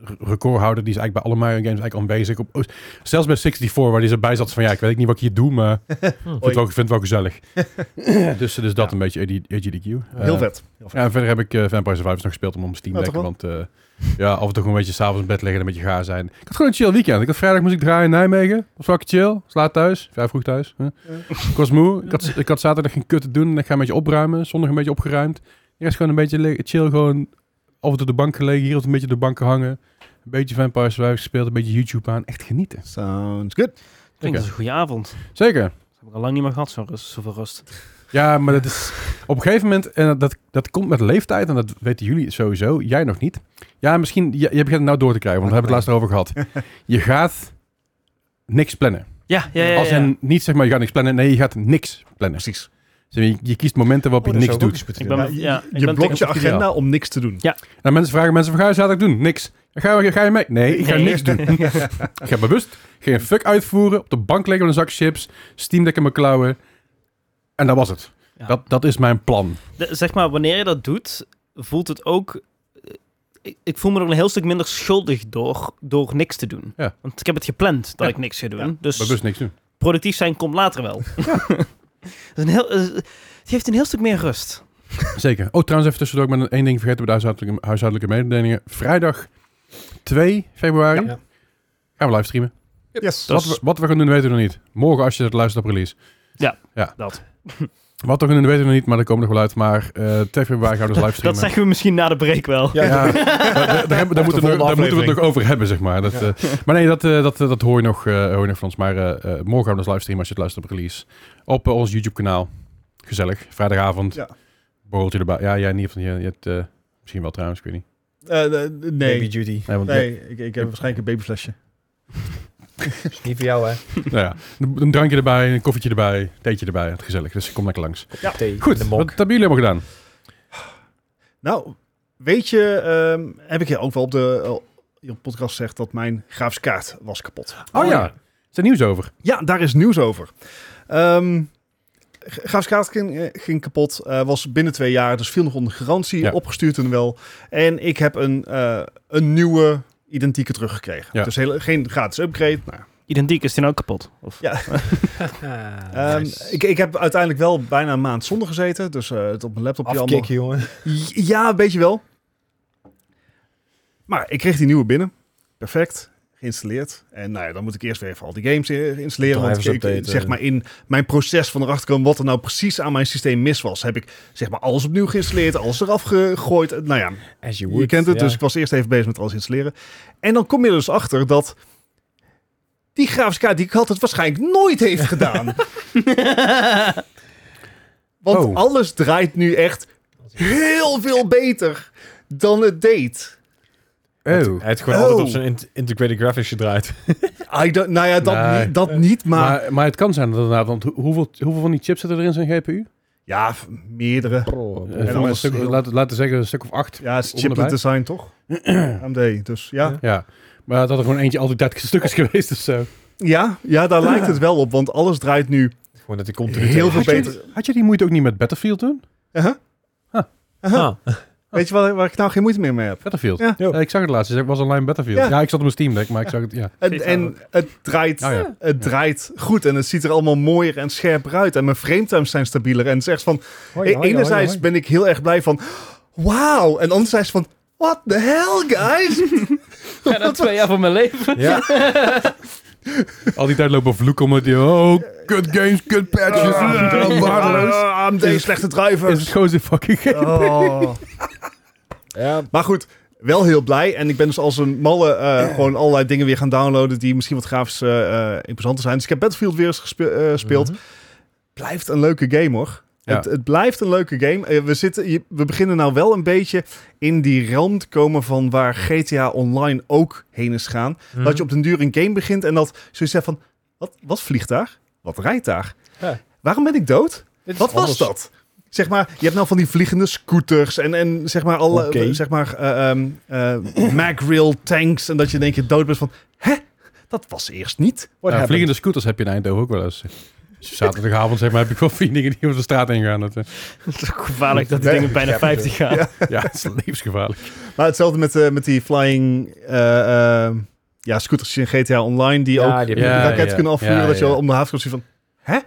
Speaker 3: r- recordhouder. Die is eigenlijk bij alle Mario games eigenlijk aanwezig. Op, oh, zelfs bij 64, waar hij erbij zat van... Ja, ik weet niet wat ik hier doe,
Speaker 2: [LAUGHS]
Speaker 3: maar ik vind het wel, vind het wel gezellig. dus, dus dat een beetje AD- AGDQ.
Speaker 2: Heel vet. Heel
Speaker 3: Eh,
Speaker 2: vet.
Speaker 3: ja, en verder heb ik eh Vampire Survivors nog gespeeld om op Steam
Speaker 2: Ja,
Speaker 3: Deck.
Speaker 2: toch wel?
Speaker 3: want eh, ja, af en toe gewoon een beetje s'avonds in bed liggen en een beetje gaar zijn. Ik had gewoon een chill weekend. Ik had vrijdag moest ik draaien in Nijmegen. Was fucking chill. Slaat thuis. Vrij vroeg thuis. Huh? Ik was moe. Ik had, ik had zaterdag geen kut te doen. En ik ga een beetje opruimen. Zondag een beetje opgeruimd. De rest gewoon een beetje le- chill. Gewoon af en toe op de bank gelegen. Hier of een beetje op de bank hangen. Een beetje Vampire Survivors gespeeld. Een beetje YouTube aan. Echt genieten.
Speaker 2: Sounds good.
Speaker 1: Klinkt als een goede avond. Dat
Speaker 3: Zeker.
Speaker 1: heb ik al lang niet meer gehad, zo'n rust, zoveel rust.
Speaker 3: Ja, maar dat is op een gegeven moment, en dat, dat komt met leeftijd, en dat weten jullie sowieso, jij nog niet. Ja, misschien, je, je begint het nou door te krijgen, want we hebben het laatst over gehad. Je gaat niks plannen.
Speaker 1: Ja, ja, ja. ja,
Speaker 3: Als in, niet zeg maar, je gaat niks plannen, nee, je gaat niks plannen.
Speaker 2: Precies.
Speaker 3: Dus je, je kiest momenten waarop je niks doet.
Speaker 1: Ik ben,
Speaker 2: Ja,
Speaker 1: ja,
Speaker 2: je-
Speaker 1: ik ben
Speaker 2: je blokt
Speaker 1: tegen-
Speaker 2: je agenda om niks te doen.
Speaker 3: En Nou, mensen vragen, mensen, wat ga je zaterdag doen? Niks. Ga, je- ga je mee? Nee, ik ga
Speaker 1: Nee.
Speaker 2: [LAUGHS]
Speaker 3: niks doen.
Speaker 2: Eh,
Speaker 3: ik ga bewust geen fuck uitvoeren, op de bank liggen met een zak chips, Steam Deck in mijn klauwen. En dat was het.
Speaker 1: Ja.
Speaker 3: Dat, dat is mijn plan.
Speaker 1: De- zeg maar, wanneer je dat doet, voelt het ook... eh, Ik, ik voel me er een heel stuk minder schuldig door, door niks te doen.
Speaker 3: Ja.
Speaker 1: Want ik heb het gepland dat
Speaker 3: Ja.
Speaker 1: ik niks ga doen.
Speaker 2: Ja.
Speaker 1: Dus
Speaker 3: Bewust niks doen.
Speaker 1: productief zijn komt later wel. [LAUGHS] Dat is een heel, eh, het geeft een heel stuk meer rust.
Speaker 3: Dus Zeker. Oh, trouwens, even tussendoor. Ik ben één ding vergeten bij de huishoudelijke, huishoudelijke mededelingen. Vrijdag 2 februari
Speaker 4: Ja.
Speaker 3: gaan we livestreamen.
Speaker 2: Yes.
Speaker 1: Dat
Speaker 3: Wat,
Speaker 1: is-
Speaker 3: we, wat we gaan doen weten we nog niet. Morgen als je het luistert op release.
Speaker 1: Dat.
Speaker 3: Wat we gaan doen weten we nog niet, maar er komen nog wel uit. Maar eh 2 februari gaan we dus livestreamen.
Speaker 1: [LAUGHS] dat zeggen we misschien na de break wel.
Speaker 2: Ja.
Speaker 3: Ja,
Speaker 4: [LAUGHS]
Speaker 3: daar- daar, daar hebben- daar moeten, we
Speaker 2: volgende
Speaker 3: nog- daar moeten we het
Speaker 2: aflevering.
Speaker 3: nog over hebben, zeg maar. Dat, eh, maar nee, dat, eh, dat, eh, dat hoor, je nog, eh, hoor je nog van ons. Maar eh, eh, morgen gaan we dus livestreamen als je het luistert op release. Op eh, ons YouTube-kanaal. Gezellig. Vrijdagavond.
Speaker 2: Ja.
Speaker 3: Borreltje erbij. Ja, jij niet. Van, je, je hebt, eh, misschien wel trouwens, ik weet niet.
Speaker 2: Eh, eh,
Speaker 4: Baby
Speaker 2: nee,
Speaker 4: Judy.
Speaker 3: Nee, want,
Speaker 2: nee ik, ik heb waarschijnlijk een babyflesje.
Speaker 4: Niet voor jou, hè?
Speaker 3: [LAUGHS] Nou ja, een een drankje erbij, een koffietje erbij, theetje erbij. Gezellig. Dus kom lekker langs.
Speaker 4: Ja. Thee in
Speaker 3: Goed,
Speaker 4: de
Speaker 3: wat
Speaker 4: mok.
Speaker 3: hebben jullie allemaal gedaan?
Speaker 2: Nou, weet je, ehm, heb ik je ook wel op de eh, op podcast gezegd dat mijn grafische kaart was kapot.
Speaker 3: Oh, ja. Is er nieuws over?
Speaker 2: Ja, daar is nieuws over. Ehm G- grafische kaart ging, eh, ging kapot, eh, was binnen twee jaar, dus viel nog onder garantie,
Speaker 3: Ja.
Speaker 2: opgestuurd en wel. En ik heb een, eh, een nieuwe identieke teruggekregen.
Speaker 3: Ja.
Speaker 2: Dus hele, geen gratis upgrade. Nou,
Speaker 1: Identiek is die nou ook kapot. Of?
Speaker 2: Ja.
Speaker 4: Ah,
Speaker 2: ehm, ik, ik heb uiteindelijk wel bijna een maand zonder gezeten, dus eh, het op mijn laptopje allemaal.
Speaker 4: Afkikken, jongen.
Speaker 2: J- Ja, een beetje wel. Maar ik kreeg die nieuwe binnen. Perfect. Geïnstalleerd. En nou ja, dan moet ik eerst weer even al die games eh, installeren. Want
Speaker 4: Drivers
Speaker 2: ik, ik-
Speaker 4: updaten.
Speaker 2: zeg maar in mijn proces van erachter komen wat er nou precies aan mijn systeem mis was. Heb ik zeg maar alles opnieuw geïnstalleerd, alles eraf gegooid. Nou ja,
Speaker 4: As you would.
Speaker 2: je kent het,
Speaker 4: ja.
Speaker 2: dus ik was eerst even bezig met alles installeren. En dan kom je er dus achter dat die grafische kaart die ik had, het waarschijnlijk nooit heeft
Speaker 3: [LAUGHS]
Speaker 2: gedaan. Want
Speaker 3: Oh.
Speaker 2: alles draait nu echt heel veel beter dan het deed.
Speaker 4: Hij heeft gewoon
Speaker 2: Oh.
Speaker 4: altijd op zijn int- integrated graphics gedraaid.
Speaker 2: I don't- nou ja, dat,
Speaker 3: Nee.
Speaker 2: niet, dat niet, maar,
Speaker 3: Maar, maar het kan zijn dat inderdaad, want hoe- hoeveel, hoeveel van die chips zitten er in zijn GPU?
Speaker 2: ja, f- meerdere. en
Speaker 3: Eh, van
Speaker 2: anders
Speaker 3: een stuk,
Speaker 2: heel-
Speaker 3: laten, laten we zeggen een stuk of acht.
Speaker 2: Ja, het is
Speaker 3: Onderbij.
Speaker 2: chiplet design toch?
Speaker 3: [CLEARS THROAT]
Speaker 2: AMD, dus ja.
Speaker 4: Ja.
Speaker 3: Ja, maar dat er gewoon eentje altijd 30 [LAUGHS] stuk is geweest of zo.
Speaker 2: Ja, ja, daar lijkt
Speaker 3: [CLEARS THROAT]
Speaker 2: het wel op, want alles draait nu
Speaker 4: Gewoon dat hij continu...
Speaker 2: heel veel
Speaker 3: Had je,
Speaker 2: beter.
Speaker 3: had je die moeite ook niet met Battlefield doen?
Speaker 2: Uh-huh.
Speaker 3: Huh.
Speaker 2: Uh-huh.
Speaker 4: Ah. E-
Speaker 2: Weet je waar, waar ik nou geen moeite meer mee heb?
Speaker 3: Battlefield?
Speaker 2: Ja.
Speaker 3: Eh, ik zag het laatst. Het was online Battlefield.
Speaker 2: Ja.
Speaker 3: Ja. ik zat op mijn Steam Deck, maar ik zag het, ja.
Speaker 2: En,
Speaker 1: Geeft
Speaker 2: en het draait,
Speaker 3: Nou ja.
Speaker 2: het draait goed en het ziet er allemaal mooier en scherper uit. En mijn frametimes zijn stabieler. En het is echt van, e- enerzijds ben ik heel erg blij van, wauw. En anderzijds van, what the hell
Speaker 3: [LAUGHS]
Speaker 2: guys.
Speaker 1: Ja, dat twee jaar van mijn leven.
Speaker 4: Ja.
Speaker 3: [LAUGHS] Al die tijd lopen vloeken omdat je, oh, kut games, kut patches, eh, waardeloos.
Speaker 2: Ah, AMD slechte
Speaker 3: Is het
Speaker 2: drivers.
Speaker 3: gewoon zo'n fucking game? [LAUGHS]
Speaker 2: Oh.
Speaker 4: ja.
Speaker 2: Maar goed, wel heel blij. En ik ben dus als een malle eh, gewoon allerlei dingen weer gaan downloaden die misschien wat grafisch eh, eh, interessanter zijn. Dus ik heb Battlefield weer eens gespe- eh, gespeeld.
Speaker 4: Mhm.
Speaker 2: Blijft een leuke game hoor.
Speaker 3: Ja.
Speaker 2: Het, het blijft een leuke game. Eh, We, zitten, je- we beginnen nou wel een beetje in die realm te komen van waar GTA Online ook heen is gaan.
Speaker 4: Mhm.
Speaker 2: Dat je op den duur een game begint en dat zoiets zegt van, wat, wat vliegt daar? Wat rijdt daar?
Speaker 4: Ja.
Speaker 2: Waarom ben ik dood?
Speaker 4: Dit is
Speaker 2: Wat was
Speaker 4: anders.
Speaker 2: dat? Zeg maar, je hebt nou van die vliegende scooters en, en zeg maar alle
Speaker 4: Oké.
Speaker 2: eh, zeg maar, eh, ehm, eh, [CLEARS THROAT] magrail tanks. En dat je in één keer dood bent van, hè? Dat was eerst niet.
Speaker 4: What
Speaker 3: Ja,
Speaker 4: happened?
Speaker 3: vliegende scooters heb je in Eindhoven ook wel eens. Dus zaterdagavond zeg maar, heb ik wel [LAUGHS] vier dingen die over de straat heen gaan. Dat, eh,
Speaker 1: [LAUGHS] Het is ook gevaarlijk dat die
Speaker 2: Nee.
Speaker 1: dingen bijna 50 gaan.
Speaker 3: ja, het is levensgevaarlijk.
Speaker 2: Maar hetzelfde met, eh, met die flying eh, eh, ja, scooters in GTA Online. Die ook
Speaker 4: die
Speaker 3: Ja,
Speaker 4: heb
Speaker 2: een
Speaker 4: ik-
Speaker 2: raket kunnen afvuren.
Speaker 3: ja,
Speaker 2: dat je
Speaker 3: ja.
Speaker 2: wel om de haven komt van, hè?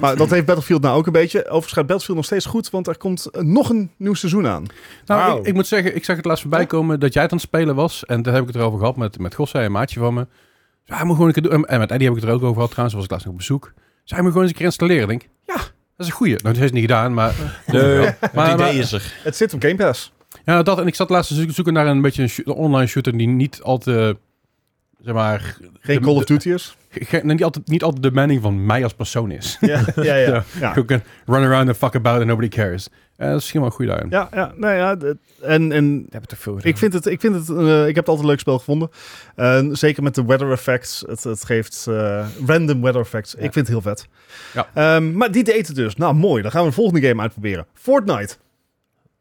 Speaker 2: Maar dat heeft Battlefield nou ook een beetje. Overigens gaat Battlefield nog steeds goed, want er komt eh, nog een nieuw seizoen aan.
Speaker 3: Nou,
Speaker 4: Wauw.
Speaker 3: ik, ik moet zeggen, ik zag het laatst voorbij komen dat jij het aan het spelen was. En daar heb ik het erover gehad met, met Gosse, een maatje van me. Zij moet gewoon een keer doen. En- En met Eddie heb ik het er ook over gehad trouwens, was ik laatst nog op bezoek. Zij moet gewoon eens een keer installeren. Ik Denk, ja, dat is een goeie. Nou, dat heeft niet gedaan, maar... [LAUGHS]
Speaker 4: Nee,
Speaker 3: Ja.
Speaker 4: het
Speaker 3: Maar-
Speaker 4: idee
Speaker 3: maar-
Speaker 4: is er.
Speaker 2: Het zit op Game Pass.
Speaker 3: Ja, nou, dat. En ik zat laatst te zoeken- zoeken naar een beetje een, shoot- een online shooter die niet al te... Zeg maar...
Speaker 2: Geen
Speaker 3: de-
Speaker 2: Call of
Speaker 3: de-
Speaker 2: Duty is.
Speaker 3: ge- ge- niet, altijd, niet altijd de mening van mij als persoon is.
Speaker 2: Ja, ja, ja.
Speaker 3: [LAUGHS] Ja.
Speaker 2: ja.
Speaker 3: You can run around and fuck about and nobody cares. Eh, dat is misschien wel een goede daarin.
Speaker 2: Ja, ja, nou ja, d- en, en
Speaker 4: heb ik toch veel
Speaker 2: ik vind het, ik vind het, eh, ik heb het altijd een leuk spel gevonden. En zeker met de weather effects, het, het geeft eh, random weather effects. Ik vind het heel vet.
Speaker 3: Ja.
Speaker 2: Ehm, maar die deed het dus. Nou, mooi. Dan gaan we de volgende game uitproberen. Fortnite.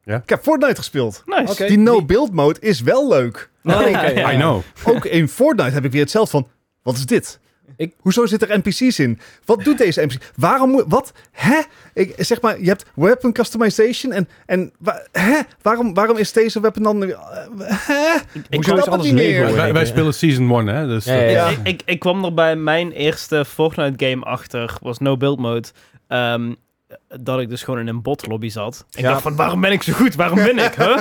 Speaker 3: Ja.
Speaker 2: Ik heb Fortnite gespeeld.
Speaker 1: Nice.
Speaker 4: Oké.
Speaker 2: Die no-build mode is wel leuk. [LAUGHS]
Speaker 3: I know.
Speaker 2: Ook in Fortnite heb ik weer hetzelfde van, wat is dit?
Speaker 4: Ik-
Speaker 2: Hoezo zit er NPC's in? Wat doet deze NPC? Waarom moet... Wat? Hè? Ik, zeg maar, je hebt weapon customization en... en wa- hè? Waarom, waarom is deze weapon dan... eh, Hè?
Speaker 1: Ik,
Speaker 4: Hoezo
Speaker 2: snap
Speaker 4: is
Speaker 2: het
Speaker 4: alles
Speaker 2: niet
Speaker 4: Lego?
Speaker 2: meer.
Speaker 4: in
Speaker 3: Wij,
Speaker 4: één
Speaker 3: wij
Speaker 4: keer?
Speaker 3: spelen season 1, hè? Dus
Speaker 4: Ja, ja,
Speaker 1: Ik-
Speaker 4: ja.
Speaker 1: Ik, ik, ik kwam er bij mijn eerste Fortnite game achter, was no build mode. Ehm, dat ik dus gewoon in een botlobby zat. Ik
Speaker 4: Ja.
Speaker 1: dacht van, waarom ben ik zo goed? Waarom win ik?
Speaker 4: [LAUGHS]
Speaker 1: Huh?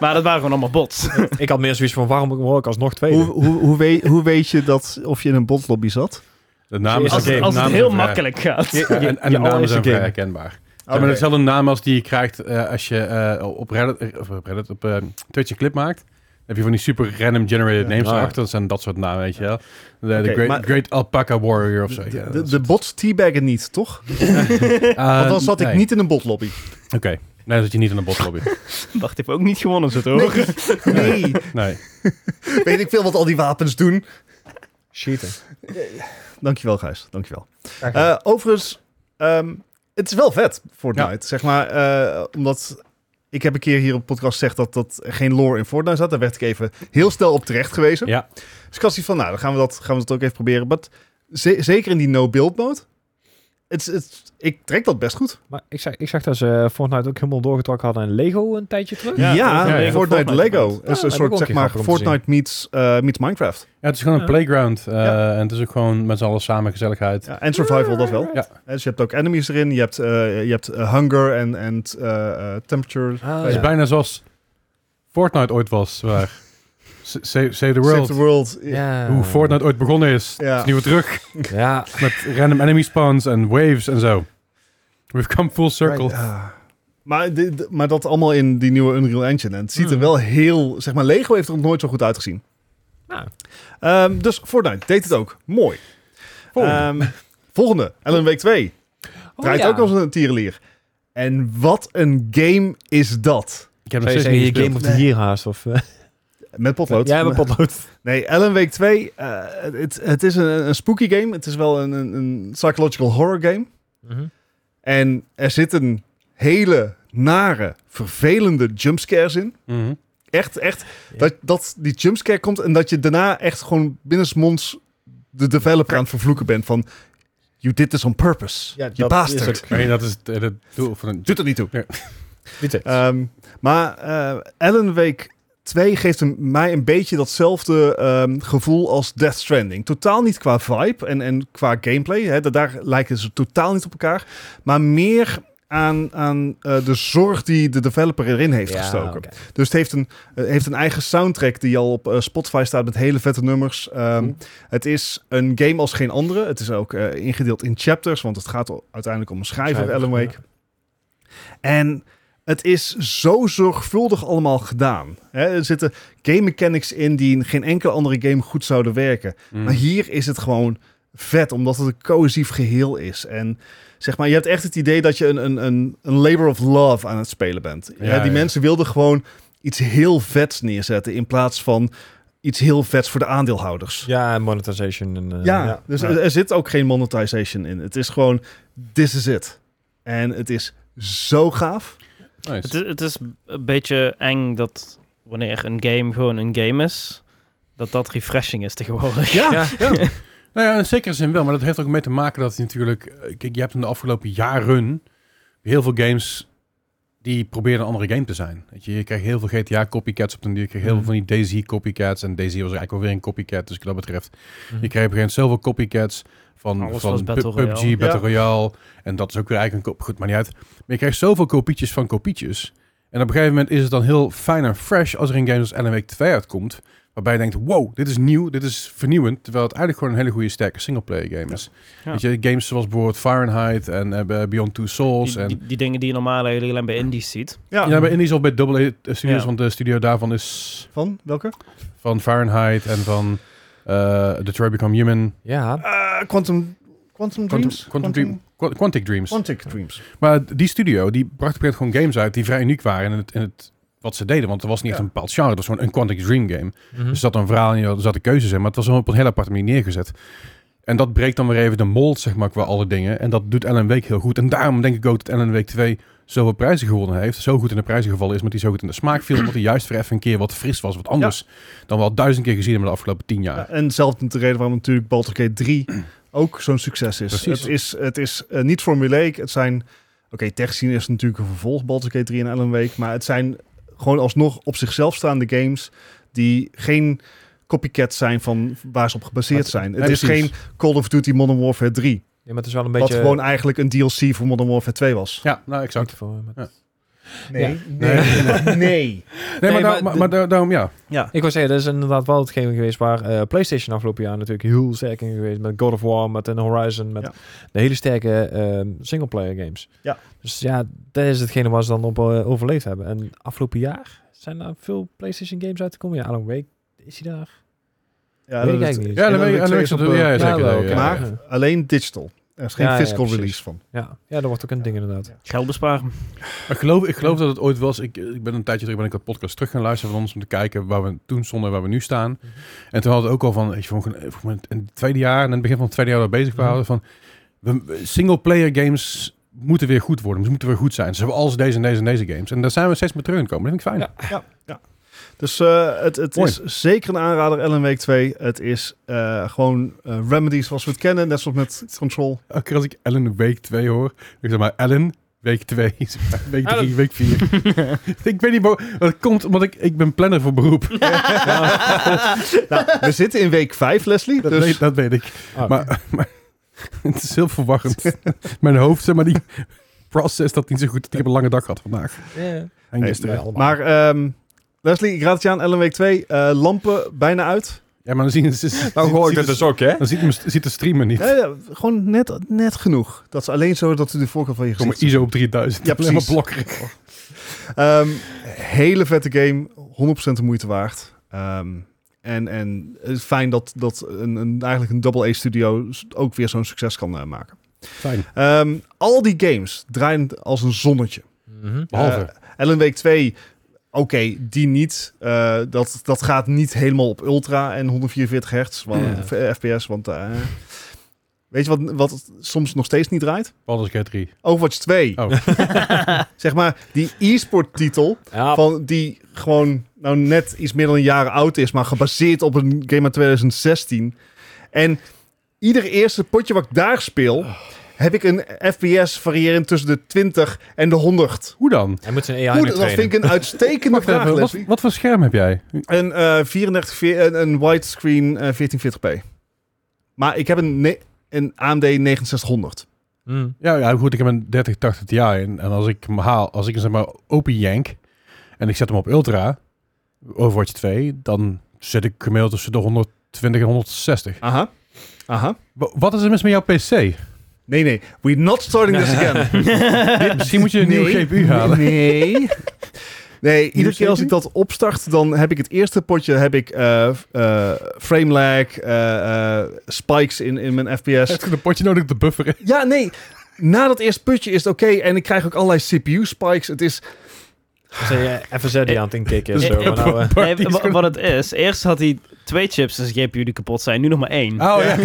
Speaker 1: maar dat waren gewoon allemaal bots.
Speaker 4: Ik had meer zoiets van, waarom word ik alsnog tweede?
Speaker 2: Hoe, hoe, hoe, weet, hoe weet je dat of je in een botlobby zat?
Speaker 3: De naam is
Speaker 4: Als-
Speaker 1: Als,
Speaker 4: game,
Speaker 1: als het
Speaker 3: namen
Speaker 1: heel
Speaker 3: zijn vrij-
Speaker 1: makkelijk gaat.
Speaker 2: [LAUGHS]
Speaker 1: [LAUGHS]
Speaker 3: Ja, en, en de namen
Speaker 4: allereerste
Speaker 3: zijn vrij
Speaker 4: game.
Speaker 3: herkenbaar.
Speaker 2: Oké.
Speaker 3: Ja, maar dezelfde naam als die je krijgt eh, als je eh, op Reddit, eh, of op, Reddit, op eh, Twitch een clip maakt. Dan heb je van die super random
Speaker 2: Ja.
Speaker 3: generated names
Speaker 4: Ah, ja.
Speaker 3: erachter. Dat zijn dat soort namen, weet je wel. De, de
Speaker 2: Oké,
Speaker 3: great,
Speaker 2: maar-
Speaker 3: great Alpaca Warrior of zo. ja,
Speaker 2: De, de,
Speaker 3: dat
Speaker 2: de bots teabaggen niet, toch?
Speaker 3: is- Eh,
Speaker 2: Want dan zat ik
Speaker 3: nee.
Speaker 2: niet in een botlobby.
Speaker 3: Oké, nee, dan zit je niet in een botlobby.
Speaker 1: Wacht, ik heb ook niet gewonnen, zo toch?
Speaker 2: [LAUGHS] Nee,
Speaker 3: [LAUGHS] nee.
Speaker 2: weet ik veel wat al die wapens doen.
Speaker 4: Cheaten.
Speaker 2: Dankjewel, Gijs. Dankjewel. Eh, overigens, ehm, het is wel vet, Fortnite. Zeg maar, eh, omdat ik heb een keer hier op podcast gezegd dat, dat er geen lore in Fortnite zat. Daar werd ik even heel snel op terecht gewezen.
Speaker 3: Ja.
Speaker 2: Dus ik had zoiets van, nou, dan gaan we dat, gaan we dat ook even proberen. Maar ze- zeker in die no-build mode, het, is- het, is- ik trek dat best goed.
Speaker 4: Maar ik zag, ik zag dat ze eh, Fortnite ook helemaal doorgetrokken hadden in Lego een tijdje terug.
Speaker 1: Ja,
Speaker 3: ja, ja.
Speaker 2: Fortnite, Lego.
Speaker 4: gemaakt.
Speaker 2: is een
Speaker 4: Ja, dat heb ik ook
Speaker 2: soort,
Speaker 4: een
Speaker 2: zeg
Speaker 4: keer
Speaker 2: maar,
Speaker 4: grappig om te
Speaker 2: Fortnite meets, eh, meets Minecraft.
Speaker 3: Ja, het is gewoon een
Speaker 4: Ja.
Speaker 3: playground. eh,
Speaker 2: Ja. Oh,
Speaker 3: En het is ook gewoon met z'n allen samen gezelligheid.
Speaker 2: Ja, en survival, dat wel.
Speaker 3: Ja.
Speaker 2: Eh, Dus je hebt ook enemies erin. Je hebt, eh, je hebt eh, hunger en en eh, eh, temperature.
Speaker 4: Ah,
Speaker 3: Het
Speaker 4: ja.
Speaker 3: is bijna zoals Fortnite ooit was. Waar
Speaker 2: [LAUGHS]
Speaker 3: Sa- Save, Save the World.
Speaker 2: Save the world.
Speaker 4: Ja.
Speaker 3: Hoe Fortnite ooit begonnen is.
Speaker 2: Ja.
Speaker 3: Het is nu weer terug.
Speaker 4: Ja.
Speaker 3: Met random enemy spawns en waves en zo. We've come full circle.
Speaker 2: Ja. Maar, di- di- maar dat allemaal in die nieuwe Unreal Engine. En het ziet er
Speaker 4: Mhm.
Speaker 2: wel heel... Zeg maar, Lego heeft er nog nooit zo goed uitgezien.
Speaker 4: Nou.
Speaker 2: Ehm, dus Fortnite deed het ook. Mooi.
Speaker 3: Volgende.
Speaker 2: Ehm, volgende. Ellen Week 2.
Speaker 4: Oh,
Speaker 2: Draait
Speaker 4: ja.
Speaker 2: ook als een tierenlier. En wat een game is dat.
Speaker 3: Ik heb nog
Speaker 4: Zou je
Speaker 3: steeds
Speaker 4: zeggen,
Speaker 3: niet
Speaker 4: je
Speaker 3: gespeeld.
Speaker 4: Game of the Year haast? Of, eh,
Speaker 2: Met [LAUGHS] potlood.
Speaker 4: Ja,
Speaker 2: [LAUGHS]
Speaker 4: met potlood.
Speaker 2: Nee, Ellen Week 2. eh, het, het is een, een spooky game. Het is wel een, een, een psychological horror game.
Speaker 4: Mhm.
Speaker 2: En er zitten hele nare, vervelende jumpscares in.
Speaker 3: Mhm.
Speaker 2: Echt, echt. Dat, dat die jumpscare komt en dat je daarna echt gewoon binnensmonds de developer aan het vervloeken bent van... You did this on purpose.
Speaker 4: Ja,
Speaker 2: je
Speaker 4: dat
Speaker 2: bastard.
Speaker 4: is ook-
Speaker 3: Nee, dat is het, eh, het doel van een...
Speaker 2: Doet er niet toe. [LAUGHS]
Speaker 4: Niet echt.
Speaker 2: Ehm, maar eh Ellen Week 2 geeft hem, mij een beetje datzelfde ehm, gevoel als Death Stranding. Totaal niet qua vibe en, en qua gameplay. Hè, da- daar lijken ze totaal niet op elkaar. Maar meer aan, aan eh, de zorg die de developer erin heeft
Speaker 4: Ja,
Speaker 2: gestoken.
Speaker 4: oké.
Speaker 2: Dus het heeft een, eh, heeft een eigen soundtrack die al op eh, Spotify staat met hele vette nummers. Ehm,
Speaker 3: Cool.
Speaker 2: Het is een game als geen andere. Het is ook eh, ingedeeld in chapters, want het gaat o- uiteindelijk om een schrijver,
Speaker 4: Schrijver,
Speaker 2: Ellen Wake. En het is zo zorgvuldig allemaal gedaan. Hè, er zitten game mechanics in die in geen enkele andere game goed zouden werken.
Speaker 3: Mhm.
Speaker 2: Maar hier is het gewoon vet, omdat het een cohesief geheel is. En zeg maar, je hebt echt het idee dat je een, een, een, een labor of love aan het spelen bent.
Speaker 3: Ja,
Speaker 2: Hè, die
Speaker 3: ja.
Speaker 2: mensen wilden gewoon iets heel vets neerzetten in plaats van iets heel vets voor de aandeelhouders.
Speaker 4: Ja, en monetization. En, eh,
Speaker 2: Ja, dus
Speaker 3: Ja.
Speaker 2: Er, er zit ook geen monetization in. Het is gewoon, this is it. En het is zo gaaf.
Speaker 3: Nice.
Speaker 1: Het is, het is een beetje eng dat wanneer een game gewoon een game is, dat dat refreshing is tegenwoordig.
Speaker 4: Ah. Ja.
Speaker 3: Nou ja, in zekere zin wel. Maar dat heeft ook mee te maken dat het natuurlijk... eh, Kijk, je hebt in de afgelopen jaren heel veel games die proberen een andere game te zijn. Weet je, je krijgt heel veel GTA-copycats op den duur. Je krijgt heel
Speaker 4: Mhm.
Speaker 3: veel van die DayZ-copycats. En DayZ was eigenlijk alweer een copycat, dus wat dat betreft...
Speaker 4: Mhm.
Speaker 3: Je kreeg op een gegeven moment zoveel copycats van,
Speaker 1: Alles
Speaker 3: van
Speaker 1: was Battle
Speaker 3: Pu- PUBG,
Speaker 1: Royale.
Speaker 3: Battle
Speaker 2: Ja.
Speaker 3: Royale. En dat is ook weer eigenlijk een... kop- Goed, maar niet uit. Maar je krijgt zoveel kopietjes van kopietjes. En op een gegeven moment is het dan heel fijn en fresh als er een game als Alan Wake 2 uitkomt. Waarbij je denkt, wow, dit is nieuw, dit is vernieuwend. Terwijl het eigenlijk gewoon een hele goede sterke singleplayer game is.
Speaker 1: Ja.
Speaker 3: Weet je, games zoals bijvoorbeeld Fahrenheit en eh, Beyond Two Souls.
Speaker 1: Die,
Speaker 3: en
Speaker 1: die, die dingen die je normaal eigenlijk alleen bij indies ziet.
Speaker 2: Ja,
Speaker 3: ja, bij Indies of bij Double A eh, Studios,
Speaker 1: Ja.
Speaker 3: want de studio daarvan is
Speaker 2: van welke?
Speaker 3: van Fahrenheit en van eh Detroit Become Human.
Speaker 4: Ja.
Speaker 2: Eh, Quantum, Quantum
Speaker 3: Quantum,
Speaker 2: Dreams?
Speaker 3: Quantum Dream- Qua- Quantic Dreams.
Speaker 2: Quantic Dreams.
Speaker 3: Maar die studio, die bracht op een gegeven moment gewoon games uit die vrij uniek waren in het, in het, wat ze deden. Want er was niet echt
Speaker 2: Ja.
Speaker 3: een bepaald genre, het was gewoon een Quantic Dream game.
Speaker 4: Mhm.
Speaker 3: Dus Er zat een verhaal in, er zaten keuzes in, maar het was allemaal op een hele aparte manier neergezet. En dat breekt dan weer even de mold, zeg maar, qua alle dingen. En dat doet Ellen Week heel goed. En daarom denk ik ook dat Ellen Week 2 zoveel prijzen gewonnen heeft. Zo goed in de prijzen gevallen is, maar die zo goed in de
Speaker 2: [CLEARS THROAT]
Speaker 3: smaak viel. Omdat hij juist weer even een keer wat fris was, wat anders dan we al duizend keer gezien hebben de afgelopen tien jaar.
Speaker 2: Ja, en zelf de reden waarom natuurlijk Baldur's Gate
Speaker 3: [CLEARS THROAT]
Speaker 2: 3 ook zo'n succes is.
Speaker 3: Precies.
Speaker 2: Het is, het is eh, niet formulaic. Het zijn, oké, tech scene is natuurlijk een vervolg, Baldur's Gate 3 en Alan Wake. Maar het zijn gewoon alsnog op zichzelf staande games die geen copycat zijn van waar ze op gebaseerd zijn. Het
Speaker 3: Nee,
Speaker 2: is
Speaker 3: precies.
Speaker 2: geen Call of Duty Modern Warfare 3.
Speaker 4: maar het is wel een
Speaker 2: Wat
Speaker 4: beetje...
Speaker 2: gewoon eigenlijk een DLC voor Modern Warfare 2 was.
Speaker 3: Ja, nou exact.
Speaker 4: voor, maar-
Speaker 3: Ja.
Speaker 4: [LAUGHS] Nee,
Speaker 3: nee,
Speaker 2: nee. Dus
Speaker 3: Nee, maar,
Speaker 1: maar
Speaker 3: daar- maar,
Speaker 1: de-
Speaker 3: maar daar- daarom ja.
Speaker 1: Ja.
Speaker 4: Ik wou zeggen, dat is inderdaad wel hetgeen geweest waar eh, PlayStation afgelopen jaar natuurlijk heel sterk in geweest. Met God of War, met een Horizon, met
Speaker 2: Ja.
Speaker 4: de hele sterke ehm, singleplayer games.
Speaker 2: Ja.
Speaker 4: Dus ja, dat is hetgene waar ze dan op eh, overleefd hebben. En afgelopen jaar zijn er veel PlayStation games uitgekomen. Ja, Alan Wake is hij daar.
Speaker 2: Ja,
Speaker 4: Weet
Speaker 2: dat
Speaker 4: ik
Speaker 2: is-
Speaker 4: eigenlijk niet.
Speaker 3: Ja, dan
Speaker 2: En dan
Speaker 3: weet
Speaker 2: de
Speaker 3: je- en dan
Speaker 2: twee
Speaker 3: weet je
Speaker 2: is
Speaker 3: dat-
Speaker 2: op,
Speaker 3: ja,
Speaker 2: eh,
Speaker 3: ja, zeker.
Speaker 4: wel,
Speaker 3: ja,
Speaker 4: oké.
Speaker 3: ja.
Speaker 2: maar
Speaker 4: ja.
Speaker 2: alleen digital. Er is geen
Speaker 4: Ja, ja,
Speaker 2: physical
Speaker 4: precies.
Speaker 2: release van.
Speaker 4: Ja, ja dat wordt ook een ding inderdaad.
Speaker 1: Geld besparen.
Speaker 3: Ik geloof, ik geloof dat het ooit was. Ik, ik ben een tijdje terug ben ik dat podcast terug gaan luisteren van ons om te kijken waar we toen stonden en waar we nu staan. En toen hadden we ook al van, weet je, van, van in het tweede jaar en in het begin van het tweede jaar daar bezig waren van we- we- single player games moeten weer goed worden. Ze moeten weer goed zijn. Ze hebben alles deze en deze en deze games. En daar zijn we steeds meer terug gekomen. Dat vind ik fijn.
Speaker 2: Dus eh, het, het
Speaker 3: Mooi.
Speaker 2: is zeker een aanrader, Ellen Week 2. Het is eh, gewoon eh, Remedy zoals we het kennen, net zoals met Control.
Speaker 3: Elke keer als ik Ellen week 2 hoor, ik zeg maar Ellen week [LAUGHS] 2, week 3,
Speaker 4: Ellen.
Speaker 3: week 4. ik weet niet, waar- dat komt omdat ik, ik ben planner voor beroep.
Speaker 2: nou, we zitten in week 5, Leslie.
Speaker 3: Dat,
Speaker 2: dus
Speaker 3: weet, dat weet ik.
Speaker 4: Ah,
Speaker 3: Maar, maar [LAUGHS] het is heel verwarrend. [LAUGHS] Mijn hoofd, zeg maar, die [LAUGHS] process dat niet zo goed. Ik heb een lange dag gehad vandaag.
Speaker 4: ja.
Speaker 3: En
Speaker 2: Nee,
Speaker 3: gisteren.
Speaker 4: nee. allemaal.
Speaker 2: maar ehm, Leslie, ik raad het je aan, Ellen Week 2. eh, lampen bijna uit.
Speaker 3: Ja, maar dan zien ze...
Speaker 4: [LAUGHS] Nou
Speaker 3: hoor
Speaker 4: gooi ik dat dus ook, hè?
Speaker 3: Dan ziet, hem- ziet de streamer niet.
Speaker 2: Ja,
Speaker 3: Er
Speaker 2: ja, gewoon net, net genoeg. Dat is alleen zo dat u de voorkeur van je
Speaker 3: Kom
Speaker 2: gezicht
Speaker 3: maar ISO op 3000.
Speaker 2: Ja,
Speaker 3: [LAUGHS] Alleen maar
Speaker 2: precies.
Speaker 3: blokkerig.
Speaker 2: Ehm, hele vette game, 100% de moeite waard. Ehm, en, en het is fijn dat, dat een, een, eigenlijk een double-A-studio ook weer zo'n succes kan eh, maken.
Speaker 3: Fijn.
Speaker 2: Ehm, al die games draaien als een zonnetje.
Speaker 4: Mhm.
Speaker 3: Behalve.
Speaker 2: Ellen Week 2, oké, die niet. Eh, dat, dat gaat niet helemaal op ultra en 144 hertz, wa-
Speaker 4: Ja.
Speaker 2: f- fps. Want eh, weet je wat, wat soms nog steeds niet draait?
Speaker 3: Baldur's Gate 3.
Speaker 2: Overwatch 2.
Speaker 3: Oh. [LAUGHS]
Speaker 2: zeg maar, die e-sport titel
Speaker 4: Ja,
Speaker 2: van die gewoon nou net iets meer dan een jaar oud is, maar gebaseerd op een game uit 2016. En ieder eerste potje wat ik daar speel, heb ik een FPS variërend tussen de 20 en de 100.
Speaker 3: Hoe dan?
Speaker 4: hij moet zijn AI
Speaker 2: Hoe,
Speaker 4: mee
Speaker 2: dat vind
Speaker 4: trainen.
Speaker 2: ik een uitstekende
Speaker 3: Wacht
Speaker 2: vraag,
Speaker 3: even, wat,
Speaker 2: Leslie.
Speaker 3: wat voor scherm heb jij?
Speaker 2: Een, eh 34, ve- een, een widescreen eh, 1440p. Maar ik heb een, ne- een AMD 6900.
Speaker 4: Mhm.
Speaker 3: Ja, ja, goed, ik heb een 3080 Ti en, en als ik hem haal, als ik hem zeg maar open jank en ik zet hem op Ultra, Overwatch 2, dan zit ik gemiddeld tussen de 120 en 160.
Speaker 2: Aha. Aha.
Speaker 3: Wa- Wat is er mis met jouw PC?
Speaker 2: Nee, nee. We're not starting this again.
Speaker 3: Dit- Misschien moet je een nieuwe GPU [LAUGHS] halen.
Speaker 2: Nee. Nee, iedere keer als
Speaker 3: CPU?
Speaker 2: ik dat opstart, dan heb ik het eerste potje heb ik eh f- eh, frame lag, eh, eh, spikes in, in mijn FPS.
Speaker 3: Heb je een potje nodig te bufferen?
Speaker 2: Ja, nee. Na dat eerste potje is het oké en ik krijg ook allerlei CPU spikes. Het is
Speaker 4: Dan zei je FSR die eh, aan het
Speaker 2: [LAUGHS]
Speaker 4: inkikken en
Speaker 1: Ik-
Speaker 4: zo.
Speaker 1: ik-
Speaker 4: maar nou, eh,
Speaker 1: Nee,
Speaker 3: Parties
Speaker 1: wa-
Speaker 3: kunnen-
Speaker 1: wat het is, eerst had hij twee chips als GPU die kapot zijn, nu nog maar één.
Speaker 3: [LAUGHS] Oh ja.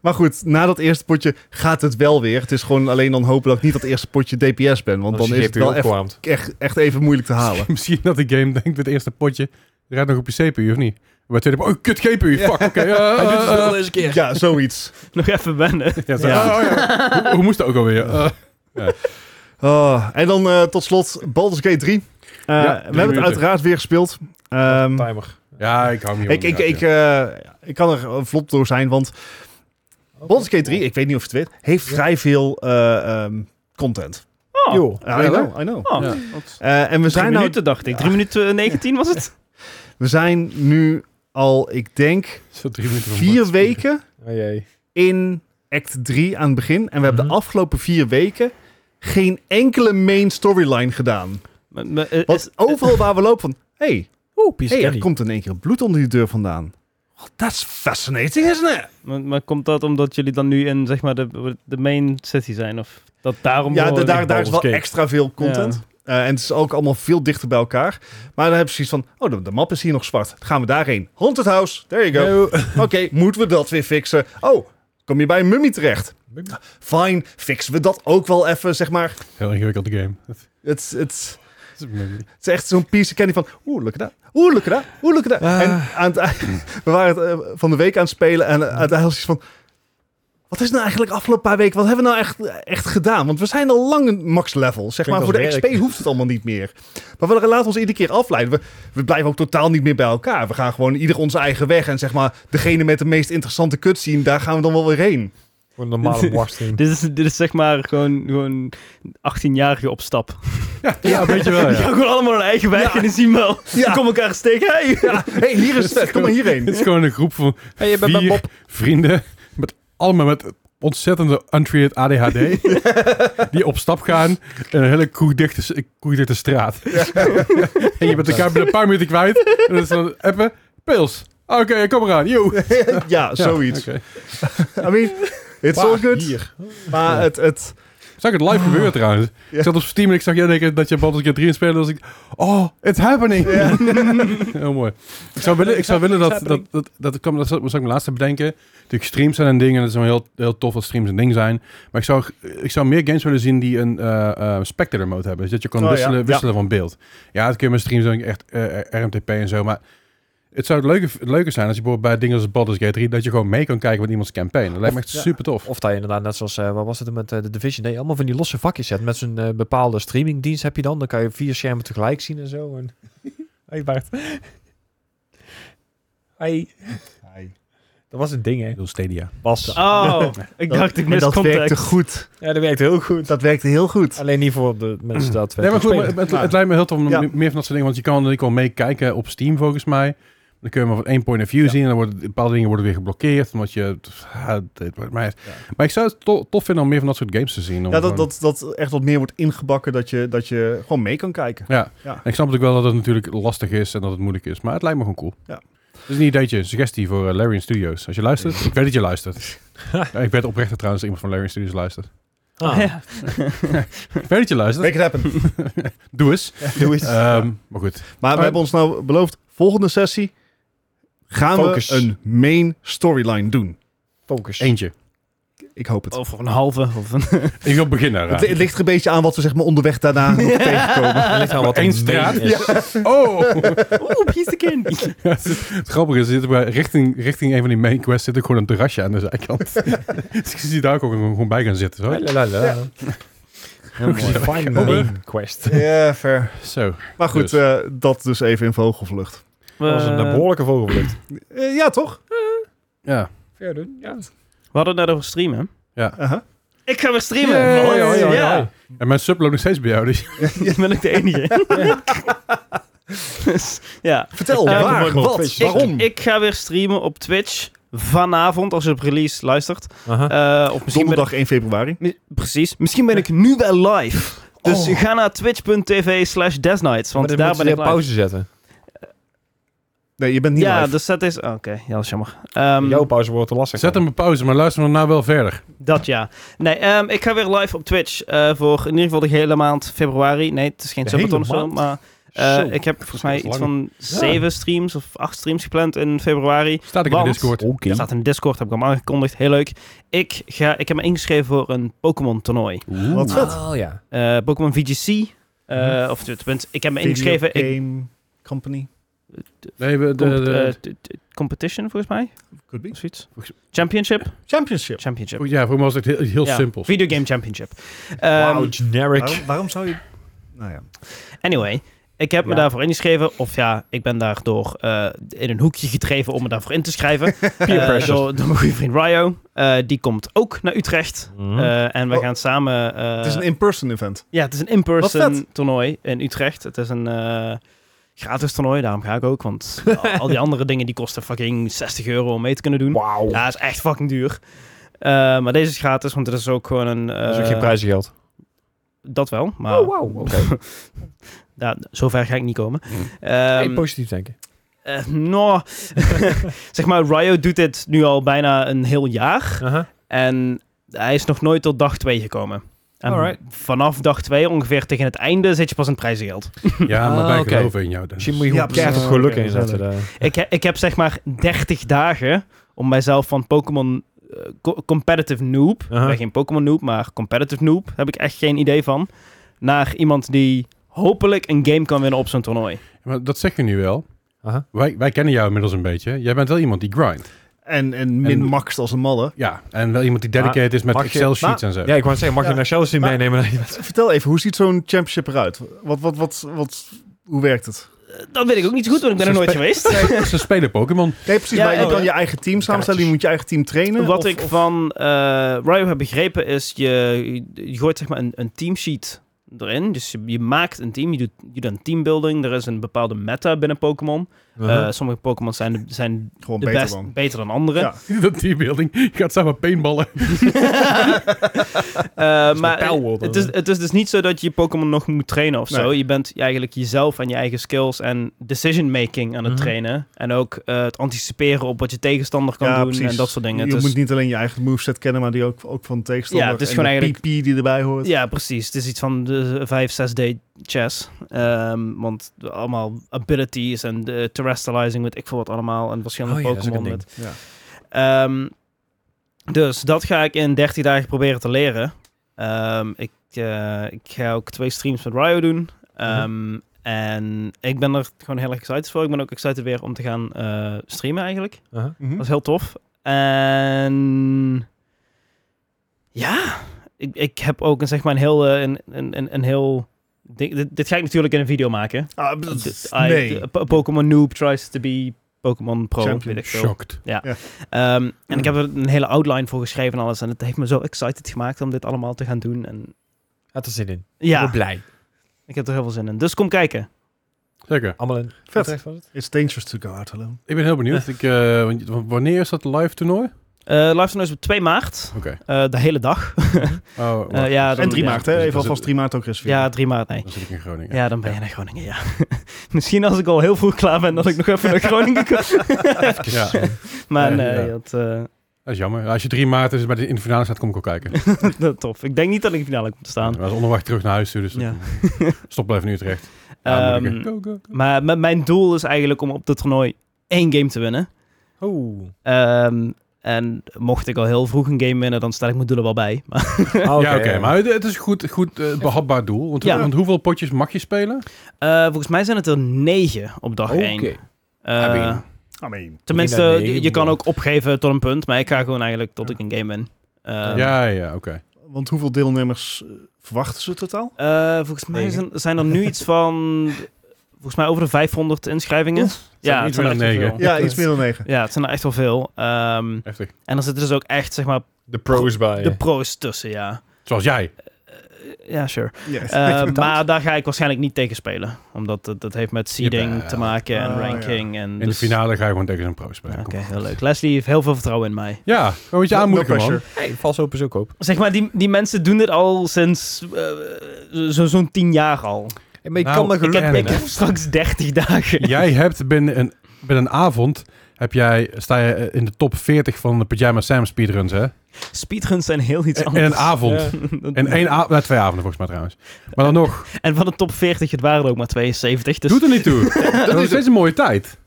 Speaker 2: Maar goed, na dat eerste potje gaat het wel weer. Het is gewoon alleen dan hopen dat ik niet dat eerste potje DPS ben. Want
Speaker 4: als
Speaker 2: dan
Speaker 4: je
Speaker 2: is het
Speaker 4: GPU
Speaker 2: wel echt,
Speaker 4: opwarmt.
Speaker 2: echt, echt even moeilijk te halen.
Speaker 3: [LAUGHS] Misschien dat de game denkt, het eerste potje, rijdt nog op je CPU of niet? Maar tweede, oh, kut GPU, fuck, oké. eh, eh, eh.
Speaker 4: deze keer.
Speaker 2: Ja, zoiets.
Speaker 1: Nog even
Speaker 2: [LAUGHS]
Speaker 1: wennen.
Speaker 3: Ja, zo-
Speaker 2: Ja.
Speaker 3: oh, ja. Hoe, hoe moest dat ook alweer? Eh,
Speaker 2: Ah, en dan eh, tot slot Baldur's Gate 3. Eh, we hebben
Speaker 3: minuten.
Speaker 2: het uiteraard weer gespeeld. Ehm,
Speaker 4: Timer.
Speaker 3: ja, ik hou hem hier
Speaker 2: ik,
Speaker 3: wel
Speaker 2: ik,
Speaker 3: in de
Speaker 2: ik,
Speaker 3: gaten,
Speaker 2: eh, ik kan er eh, vlot door zijn, want Baldur's Gate 3, ik weet niet of je het weet, heeft
Speaker 4: Ja.
Speaker 2: vrij veel eh, ehm, content.
Speaker 1: Oh,
Speaker 4: Joh.
Speaker 2: Ja, I
Speaker 3: Ja,
Speaker 2: know, I know.
Speaker 1: oh.
Speaker 3: Ja.
Speaker 2: Eh, en we
Speaker 1: Drie
Speaker 2: zijn, nou,
Speaker 1: minuten dacht ik. Drie minuten 19 was het?
Speaker 2: we zijn nu al, ik denk,
Speaker 3: ja. Zo drie minuten van
Speaker 2: vier
Speaker 3: Baldur's Gate.
Speaker 2: weken
Speaker 4: Oh jee.
Speaker 2: in act 3 aan het begin. En we hebben de
Speaker 4: Mhm.
Speaker 2: afgelopen vier weken geen enkele main storyline gedaan.
Speaker 1: Maar- maar, eh,
Speaker 2: Want
Speaker 1: is-
Speaker 2: overal waar we lopen van... hey,
Speaker 4: Oeh,
Speaker 2: hey, er
Speaker 4: Piscaddy.
Speaker 2: komt in één keer bloed onder die deur vandaan. Well, that's fascinating, isn't it?
Speaker 1: maar, maar komt dat omdat jullie dan nu in zeg maar, de, de main city zijn? Of dat daarom...
Speaker 2: Ja,
Speaker 1: gewoon-
Speaker 2: de- daar, daar is wel
Speaker 4: Baldur's Gate.
Speaker 2: extra veel content. Eh, en het is ook allemaal veel dichter bij elkaar. Maar dan heb je zoiets van... Oh, de, de map is hier nog zwart. Dan gaan we daarheen. Haunted House. There you go. Oké, moeten we dat weer fixen? Oh, kom je bij een mummy terecht? Fine, fixen we dat ook wel even, zeg maar.
Speaker 3: Heel ingewikkelde game. Dat
Speaker 2: Het, het,
Speaker 3: is een memory.
Speaker 2: Het is echt zo'n piece candy van... Oeh, look at that. Oeh, look at that. Oeh, look at that.
Speaker 4: Ah.
Speaker 2: [LAUGHS] En aan het eind... We waren het, eh, van de week aan het spelen en eh, aan het eind was het van... Wat is nou eigenlijk afgelopen paar weken? Wat hebben we nou echt, echt gedaan? Want we zijn al lang een max level. Zeg maar,
Speaker 4: Klinkt
Speaker 2: voor de
Speaker 4: als werk.
Speaker 2: XP hoeft het allemaal niet meer. Maar we laten ons iedere keer afleiden. We, we blijven ook totaal niet meer bij elkaar. We gaan gewoon ieder onze eigen weg. En zeg maar, degene met de meest interessante cutscene, daar gaan we dan wel weer heen.
Speaker 4: [LAUGHS] Voor een [LAUGHS] normale barsteling.
Speaker 1: Dit is, dit is zeg maar gewoon, gewoon 18-jarige op stap.
Speaker 3: Ja, weet je wel.
Speaker 1: [LAUGHS] Die
Speaker 3: Ja.
Speaker 1: gaan gewoon allemaal hun eigen weg
Speaker 2: Ja.
Speaker 1: en die zien wel.
Speaker 2: Ja.
Speaker 1: Die komen elkaar steken. Hey.
Speaker 2: Ja, hey, hier is het. Kom maar hierheen.
Speaker 3: [LAUGHS] Het is gewoon een groep van
Speaker 4: Hey, je bent bij
Speaker 3: vier
Speaker 4: [LAUGHS] Bob.
Speaker 3: vrienden. Met allemaal met ontzettende untreated [LAUGHS] ADHD. die op stap gaan. En een hele koedichte, koedichte straat. en je bent elkaar binnen een paar minuten kwijt. En dan is dan appen. Pils. Ah, Oké, kom eraan. Yo.
Speaker 2: Ja,
Speaker 3: Ja,
Speaker 2: zoiets.
Speaker 3: oké.
Speaker 2: I mean, it's all good. Maar het, het...
Speaker 3: Zag ik het live gebeuren trouwens.
Speaker 2: Ah. Ja.
Speaker 3: Ik zat op Steam en ik zag jij denken dat je Baldur's Gate 3 in spelen. was ik, oh, it's happening. [LAUGHS] Heel mooi. Ik zou willen, ik zou willen dat, dat, dat, dat, kwam, dat zou zou ik me laatst te bedenken. Natuurlijk streams zijn een ding en dat is wel heel, heel tof dat streams een ding zijn. Maar ik zou, ik zou meer games willen zien die een eh, eh, spectator mode hebben. Dus dat je kan
Speaker 2: Oh, ja.
Speaker 3: wisselen,
Speaker 2: Ja.
Speaker 3: wisselen van beeld. Ja, dat kun je met streams doen, echt eh, RMTP en zo. Maar het zou het leuke, het leuke zijn als je bijvoorbeeld bij dingen als Baldur's Gate 3... dat je gewoon mee kan kijken met iemands campaign. Dat lijkt me echt
Speaker 4: Ja.
Speaker 3: super tof.
Speaker 4: Of dat je inderdaad, net zoals, eh wat was het met eh, de Division, dat je allemaal van die losse vakjes hebt. Met zo'n eh, bepaalde streamingdienst heb je dan. Dan kan je vier schermen tegelijk zien en zo. En... [LAUGHS] Hey Bart. Hey. Dat was een ding, hè?
Speaker 3: Stadia.
Speaker 4: Bas.
Speaker 1: Oh, ik dacht ik mis
Speaker 2: dat
Speaker 1: contact.
Speaker 2: werkte goed.
Speaker 4: Ja, dat werkt heel goed.
Speaker 2: Dat werkte heel goed.
Speaker 4: Alleen niet voor de mensen dat
Speaker 3: Nee, maar goed, maar het, het lijkt me heel tof om
Speaker 2: Ja.
Speaker 3: meer van dat soort dingen, want je kan er wel meekijken op Steam volgens mij. Dan kun je maar van één point of view
Speaker 2: Ja.
Speaker 3: zien en dan worden bepaalde dingen worden weer geblokkeerd, omdat je... ah, dit wordt mij- Maar ik zou het to- tof vinden om meer van dat soort games te zien. om
Speaker 2: Ja,
Speaker 3: gewoon-
Speaker 2: dat, dat, dat echt wat meer wordt ingebakken, dat je, dat je gewoon mee kan kijken.
Speaker 3: Ja.
Speaker 2: Ja.
Speaker 3: En ik snap natuurlijk wel dat het natuurlijk lastig is en dat het moeilijk is, maar het lijkt me gewoon cool.
Speaker 2: Ja.
Speaker 3: Dus een ideetje, een suggestie voor eh, Larian Studios. Als je luistert, ik weet dat je
Speaker 2: [LAUGHS]
Speaker 3: luistert. Ja, ik ben oprecht dat trouwens iemand van Larian Studios luistert.
Speaker 1: Ah,
Speaker 4: Oh,
Speaker 1: ja.
Speaker 3: Ik weet dat je luistert.
Speaker 2: Make it happen.
Speaker 3: Doe eens.
Speaker 2: [LAUGHS] Doe eens.
Speaker 3: Ehm, maar goed.
Speaker 2: Maar we
Speaker 3: Eh,
Speaker 2: hebben ons nou beloofd, volgende sessie gaan
Speaker 4: Focus.
Speaker 2: we een main storyline doen.
Speaker 4: Focus. [LAUGHS]
Speaker 3: Eentje.
Speaker 2: Ik hoop het.
Speaker 1: Of een halve. Of
Speaker 2: [LAUGHS]
Speaker 1: een...
Speaker 3: Ik wil beginnen. eraan.
Speaker 2: het, het ligt er een beetje aan wat we zeg maar onderweg [LAUGHS] daarna nog tegenkomen.
Speaker 4: Het ligt aan wat
Speaker 3: Eén
Speaker 4: er
Speaker 3: straat.
Speaker 4: mee is.
Speaker 3: Oh!
Speaker 1: Oeh, hier is de kind.
Speaker 3: Ja, het, is- het grappige is, zitten we richting, richting een van die main quests zit ook gewoon een terrasje aan de
Speaker 4: [LAUGHS]
Speaker 3: zijkant. [LAUGHS] dus ik zie daar ook gewoon, gewoon bij gaan zitten. Zo.
Speaker 4: La, la, la. Heel mooi. Find the main quest.
Speaker 2: Ja, fair.
Speaker 3: zo.
Speaker 2: Maar goed,
Speaker 3: Dus.
Speaker 2: eh, dat dus even in vogelvlucht.
Speaker 1: We,
Speaker 4: Dat was
Speaker 1: Eh,
Speaker 4: een behoorlijke vogelvlucht.
Speaker 2: Eh, ja, toch?
Speaker 3: Ja.
Speaker 4: Ver doen, ja.
Speaker 1: we hadden het net over streamen.
Speaker 2: Aha.
Speaker 1: Ik ga weer streamen.
Speaker 3: Yay.
Speaker 1: Hoi, hoi, hoi,
Speaker 3: Ja.
Speaker 1: hoi.
Speaker 3: En mijn subload nog steeds bij jou. Dus
Speaker 1: Dan ben ik de enige. Dus, ja.
Speaker 2: Vertel,
Speaker 1: Eh,
Speaker 2: waar,
Speaker 4: morgen op
Speaker 2: wat,
Speaker 4: Twitch.
Speaker 2: waarom?
Speaker 1: Ik, ik ga weer streamen op Twitch vanavond, als je op release luistert.
Speaker 4: Aha.
Speaker 1: Eh, of misschien ben ik,
Speaker 2: Donderdag 1 februari.
Speaker 1: mi- precies. Misschien ben ik nu wel live. Dus ga naar twitch.tv slash desnights,
Speaker 4: Oh. Maar
Speaker 1: want
Speaker 4: dan
Speaker 1: daar
Speaker 4: moeten
Speaker 1: ben ik live.
Speaker 4: ze pauze zetten.
Speaker 2: Nee, je bent niet
Speaker 1: Ja,
Speaker 2: live.
Speaker 1: dus dat is... Oké, ja, dat is jammer. Ehm,
Speaker 4: Jouw pauze wordt te lastig.
Speaker 3: zet hem op pauze, maar luister daarna wel verder.
Speaker 1: Dat ja. Nee, ehm, ik ga weer live op Twitch eh, voor in ieder geval de hele maand februari. Nee, het is geen
Speaker 4: De
Speaker 1: Sabaton of
Speaker 4: hele
Speaker 1: zo,
Speaker 4: maand?
Speaker 1: maar eh,
Speaker 4: Zo.
Speaker 1: ik heb volgens mij
Speaker 3: Dat is
Speaker 1: iets van zeven streams of acht streams gepland in februari.
Speaker 3: Staat ik in de
Speaker 1: Want-
Speaker 3: Discord.
Speaker 4: Oké.
Speaker 1: Er staat in Discord, heb ik hem aangekondigd. Heel leuk. Ik, ga, ik heb me ingeschreven voor een Pokémon toernooi.
Speaker 2: Wat vet.
Speaker 4: Oh ja.
Speaker 1: Eh, Pokémon VGC. eh,
Speaker 3: Mhm.
Speaker 1: Of tenminste, ik heb me ingeschreven. Ik,
Speaker 2: Game company.
Speaker 3: Nee, we, de,
Speaker 1: comp-
Speaker 3: de,
Speaker 1: eh, t- t- competition volgens mij,
Speaker 2: Could be.
Speaker 1: of zoiets. Championship?
Speaker 2: Championship.
Speaker 1: Championship.
Speaker 3: ja, voor mij was het heel, heel
Speaker 1: Ja,
Speaker 3: simpel.
Speaker 1: Videogame Championship. Ehm,
Speaker 4: Wow, generic.
Speaker 2: Waarom, waarom zou je... Nou ja.
Speaker 1: Anyway, ik heb me
Speaker 4: Ja.
Speaker 1: daarvoor ingeschreven. Of ja, ik ben daardoor eh, in een hoekje gedreven om me daarvoor in te schrijven.
Speaker 4: [LAUGHS] Peer
Speaker 1: Eh,
Speaker 4: pressure.
Speaker 1: door, door mijn goede vriend Ryo. Eh, die komt ook naar Utrecht.
Speaker 4: Mhm.
Speaker 1: Eh, en we
Speaker 2: Oh.
Speaker 1: gaan samen... eh,
Speaker 2: het is een in-person event.
Speaker 1: ja, het is een
Speaker 2: Wat
Speaker 1: in-person
Speaker 2: vet.
Speaker 1: toernooi in Utrecht. Het is een eh, gratis toernooi, daarom ga ik ook. Want al- al die andere dingen die kosten fucking 60 euro om mee te kunnen doen.
Speaker 4: Wauw.
Speaker 1: Ja, dat is echt fucking duur. Eh, maar deze is gratis, want het is ook gewoon een...
Speaker 4: Dat is ook
Speaker 1: eh,
Speaker 4: geen Oh, prijzengeld. Ehm,
Speaker 1: Dat wel, maar
Speaker 4: wow. ah. Oké.
Speaker 1: ja, zover ga ik niet komen. Ehm,
Speaker 4: Hey, positief denken.
Speaker 1: Eh, nou, [LAUGHS] zeg maar, Ryo doet dit nu al bijna een heel jaar.
Speaker 4: Aha.
Speaker 1: En hij is nog nooit tot dag 2 gekomen. En
Speaker 4: Alright.
Speaker 1: vanaf dag 2 ongeveer tegen het einde zit je pas in het prijzengeld.
Speaker 3: Ja, maar
Speaker 4: Ah,
Speaker 3: wij
Speaker 4: oké.
Speaker 3: geloven in jou. Dennis.
Speaker 4: Misschien moet je gewoon
Speaker 2: Ja,
Speaker 4: keihard het
Speaker 2: precies.
Speaker 4: geluk
Speaker 2: Oké,
Speaker 4: inzetten. daar.
Speaker 1: ik, he- ik heb zeg maar 30 dagen om mijzelf van Pokémon eh, co- competitive noob,
Speaker 4: Aha.
Speaker 1: ik ben geen Pokémon noob, maar competitive noob, heb ik echt geen idee van, naar iemand die hopelijk een game kan winnen op zo'n toernooi.
Speaker 3: Maar dat zeg je nu wel.
Speaker 4: Aha.
Speaker 3: Wij, wij kennen jou inmiddels een beetje. Jij bent wel iemand die grindt.
Speaker 2: En, en min maxt als een malle.
Speaker 3: Ja, en wel iemand die dedicated is met
Speaker 4: mag je-
Speaker 3: Excel-sheets
Speaker 4: maar-
Speaker 3: en zo.
Speaker 4: Ja, ik wou het zeggen, mag je
Speaker 2: Ja.
Speaker 4: naar Chelsea
Speaker 2: Maar-
Speaker 3: [LAUGHS]
Speaker 4: meenemen?
Speaker 2: Vertel even, hoe ziet zo'n championship eruit? Wat, wat, wat, wat, hoe werkt het?
Speaker 1: Dat weet ik ook niet zo goed, want ik ben er nooit geweest.
Speaker 3: [LAUGHS] Ze spelen Pokémon.
Speaker 2: Nee, precies.
Speaker 1: Ja,
Speaker 2: maar je
Speaker 1: eh,
Speaker 2: kan je eigen team samenstellen, je moet je eigen team trainen.
Speaker 1: Wat
Speaker 2: of-
Speaker 1: ik
Speaker 2: of-
Speaker 1: van eh Ryo heb begrepen is, je, je gooit zeg maar een, een teamsheet erin. Dus je, je maakt een team, je doet, je doet een teambuilding. Er is een bepaalde meta binnen Pokémon.
Speaker 2: Uh-huh.
Speaker 1: Eh, sommige Pokémon zijn, de- zijn
Speaker 2: Gewoon
Speaker 1: de
Speaker 2: beter
Speaker 1: best,
Speaker 2: dan.
Speaker 1: beter dan andere.
Speaker 2: Ja.
Speaker 3: Dat teambuilding. Je gaat samen paintballen.
Speaker 1: Eh, maar
Speaker 4: Power World,
Speaker 1: het is,
Speaker 4: hè?
Speaker 1: het is dus niet zo dat je je Pokémon nog moet trainen of zo.
Speaker 2: Nee.
Speaker 1: Je bent eigenlijk jezelf en je eigen skills en decision making aan het
Speaker 4: Mhm.
Speaker 1: trainen. En ook eh, het anticiperen op wat je tegenstander kan
Speaker 2: Ja,
Speaker 1: doen en dat soort dingen.
Speaker 2: Je
Speaker 1: Het is-
Speaker 2: moet niet alleen je eigen moveset kennen, maar die ook, ook van de tegenstander.
Speaker 1: Ja, het is
Speaker 2: en
Speaker 1: gewoon
Speaker 2: de
Speaker 1: eigenlijk-
Speaker 2: PP die erbij hoort.
Speaker 1: Ja, precies. Het is iets van de 5, 6 day chess. Ehm, want de- allemaal abilities en de terrestrializing met ik voor wat allemaal. En verschillende
Speaker 4: Oh ja, dat is ook
Speaker 1: Pokémon.
Speaker 4: een
Speaker 1: met-
Speaker 2: Ja.
Speaker 1: Ehm, dus dat ga ik in 13 dagen proberen te leren. Ehm, ik, eh, ik ga ook twee streams met Ryo doen.
Speaker 4: Mhm.
Speaker 1: Ehm, En ik ben er gewoon heel erg excited voor. Ik ben ook excited weer om te gaan eh, streamen eigenlijk.
Speaker 4: Uh-huh.
Speaker 2: Mhm.
Speaker 1: Dat is heel tof. En ja, ik, ik heb ook een, zeg maar een heel, eh, een, een, een, een heel ding- dit, dit ga ik natuurlijk in een video maken.
Speaker 2: Ah,
Speaker 1: D-
Speaker 2: dat-
Speaker 1: I-
Speaker 2: nee.
Speaker 1: de- Po- Pokémon noob tries to be Pokémon pro.
Speaker 2: Champion. Hm.
Speaker 1: Weet ik veel.
Speaker 3: Shocked.
Speaker 1: Ehm, en ik heb er een hele outline voor geschreven en alles. En het heeft me zo excited gemaakt om dit allemaal te gaan doen. En
Speaker 4: Had er zin in. Ik ben
Speaker 1: ja,
Speaker 4: blij.
Speaker 1: ik heb er heel veel zin in. Dus kom kijken.
Speaker 3: Zeker.
Speaker 4: Allemaal in.
Speaker 2: Vet.
Speaker 4: Utrecht was het?
Speaker 2: It's dangerous to go out alone.
Speaker 3: Ik ben heel benieuwd. Ik, eh, want- want wanneer is dat live toernooi?
Speaker 1: Eh Luister is op 2 maart.
Speaker 3: Oké.
Speaker 1: Eh, de hele dag.
Speaker 3: Oh, wacht.
Speaker 1: Eh, ja, dan-
Speaker 2: en 3
Speaker 1: ja.
Speaker 2: maart, hè?
Speaker 3: Dus
Speaker 2: Even
Speaker 3: dat is
Speaker 2: alvast 3 maart ook reserveren.
Speaker 1: Ja, 3 maart, nee.
Speaker 3: Dan zit ik in Groningen.
Speaker 1: Ja, dan ben je naar Groningen, ja. [LAUGHS] Misschien als ik al heel vroeg klaar ben, dat ik nog even naar Groningen kom.
Speaker 3: Ja.
Speaker 2: [LAUGHS]
Speaker 1: maar
Speaker 3: Ja,
Speaker 1: nee,
Speaker 3: ja.
Speaker 1: dat, eh, [LAUGHS]
Speaker 3: Dat is jammer. Als je 3 maart is bij de, in de finale staat, kom ik ook kijken.
Speaker 1: dat tof. Ik denk niet dat ik in de finale kom te staan.
Speaker 3: We was onderweg terug naar huis, toe, dus
Speaker 1: Ja.
Speaker 2: [LAUGHS]
Speaker 3: stop blijven nu Utrecht. Ja,
Speaker 1: Ehm,
Speaker 3: moeilijker. Go, go, go.
Speaker 1: [LAUGHS] maar met mijn doel is eigenlijk om op dit toernooi één game te winnen.
Speaker 4: Oh.
Speaker 1: Ehm, en mocht ik al heel vroeg een game winnen, dan sta ik mijn doelen wel bij. [LAUGHS] Maar,
Speaker 4: Ah,
Speaker 3: ja, oké. maar het, het is een goed, goed eh, behapbaar doel. Want,
Speaker 1: Ja.
Speaker 3: want hoeveel potjes mag je spelen?
Speaker 1: eh, volgens mij zijn het er negen op dag
Speaker 4: Oké.
Speaker 1: één.
Speaker 4: I
Speaker 1: Eh,
Speaker 4: mean,
Speaker 2: Ameen.
Speaker 1: tenminste,
Speaker 4: ik denk dat
Speaker 1: je, je
Speaker 4: negen
Speaker 1: kan
Speaker 4: moet.
Speaker 1: ook opgeven tot een punt, maar ik ga gewoon eigenlijk tot ik een game win. Ehm,
Speaker 3: ja, ja, oké.
Speaker 2: Want hoeveel deelnemers eh, verwachten ze totaal?
Speaker 1: Eh, volgens mij
Speaker 4: Negen.
Speaker 1: zijn, zijn er nu iets van. Volgens mij over de 500 inschrijvingen. ja, het zijn
Speaker 3: iets meer
Speaker 1: er
Speaker 3: dan
Speaker 1: echt wel
Speaker 3: negen.
Speaker 1: veel.
Speaker 2: Ja, iets meer dan 9.
Speaker 1: Ja, het zijn er echt wel veel. Ehm,
Speaker 3: Heftig.
Speaker 1: en er zitten dus ook echt, zeg
Speaker 3: Oh,
Speaker 1: maar,
Speaker 4: De pros bij.
Speaker 1: de pro's tussen, ja.
Speaker 3: Zoals jij.
Speaker 1: [LAUGHS] Ja,
Speaker 3: [LAUGHS]
Speaker 1: sure.
Speaker 2: Yes.
Speaker 1: Eh, maar daar ga ik waarschijnlijk niet tegen spelen. Omdat dat, dat heeft met seeding
Speaker 3: Jawel. Oh,
Speaker 1: te maken en
Speaker 2: Ah,
Speaker 1: ranking. En
Speaker 3: In de
Speaker 1: dus-
Speaker 3: finale ga je gewoon tegen een pro spelen.
Speaker 1: Oké,
Speaker 3: Kom.
Speaker 1: heel leuk. Leslie heeft heel veel vertrouwen in mij.
Speaker 3: Ja, gewoon je aanmoedigen, man.
Speaker 4: Hey, vals open is ook op.
Speaker 1: Zeg maar, die, die mensen doen dit al sinds eh, zo- zo'n tien jaar al.
Speaker 4: maar je
Speaker 3: Nou,
Speaker 4: kan me
Speaker 3: ik heb-
Speaker 1: Ik heb,
Speaker 4: gelukkig
Speaker 1: ik heb straks 30 dagen.
Speaker 3: [LAUGHS] Jij hebt binnen een, binnen een avond... Heb jij, sta je eh, in de top 40 van de Pyjama Sam speedruns, hè?
Speaker 1: [LAUGHS] Speedruns zijn heel iets
Speaker 3: In
Speaker 1: anders.
Speaker 3: een avond.
Speaker 1: [LAUGHS] Dat-
Speaker 3: In één avond, nou, twee avonden volgens mij trouwens. Maar dan [LAUGHS] nog,
Speaker 1: En van de top 40, het waren er ook maar 72. Dus
Speaker 3: doet er niet [LAUGHS] toe. Dat is steeds een mooie tijd.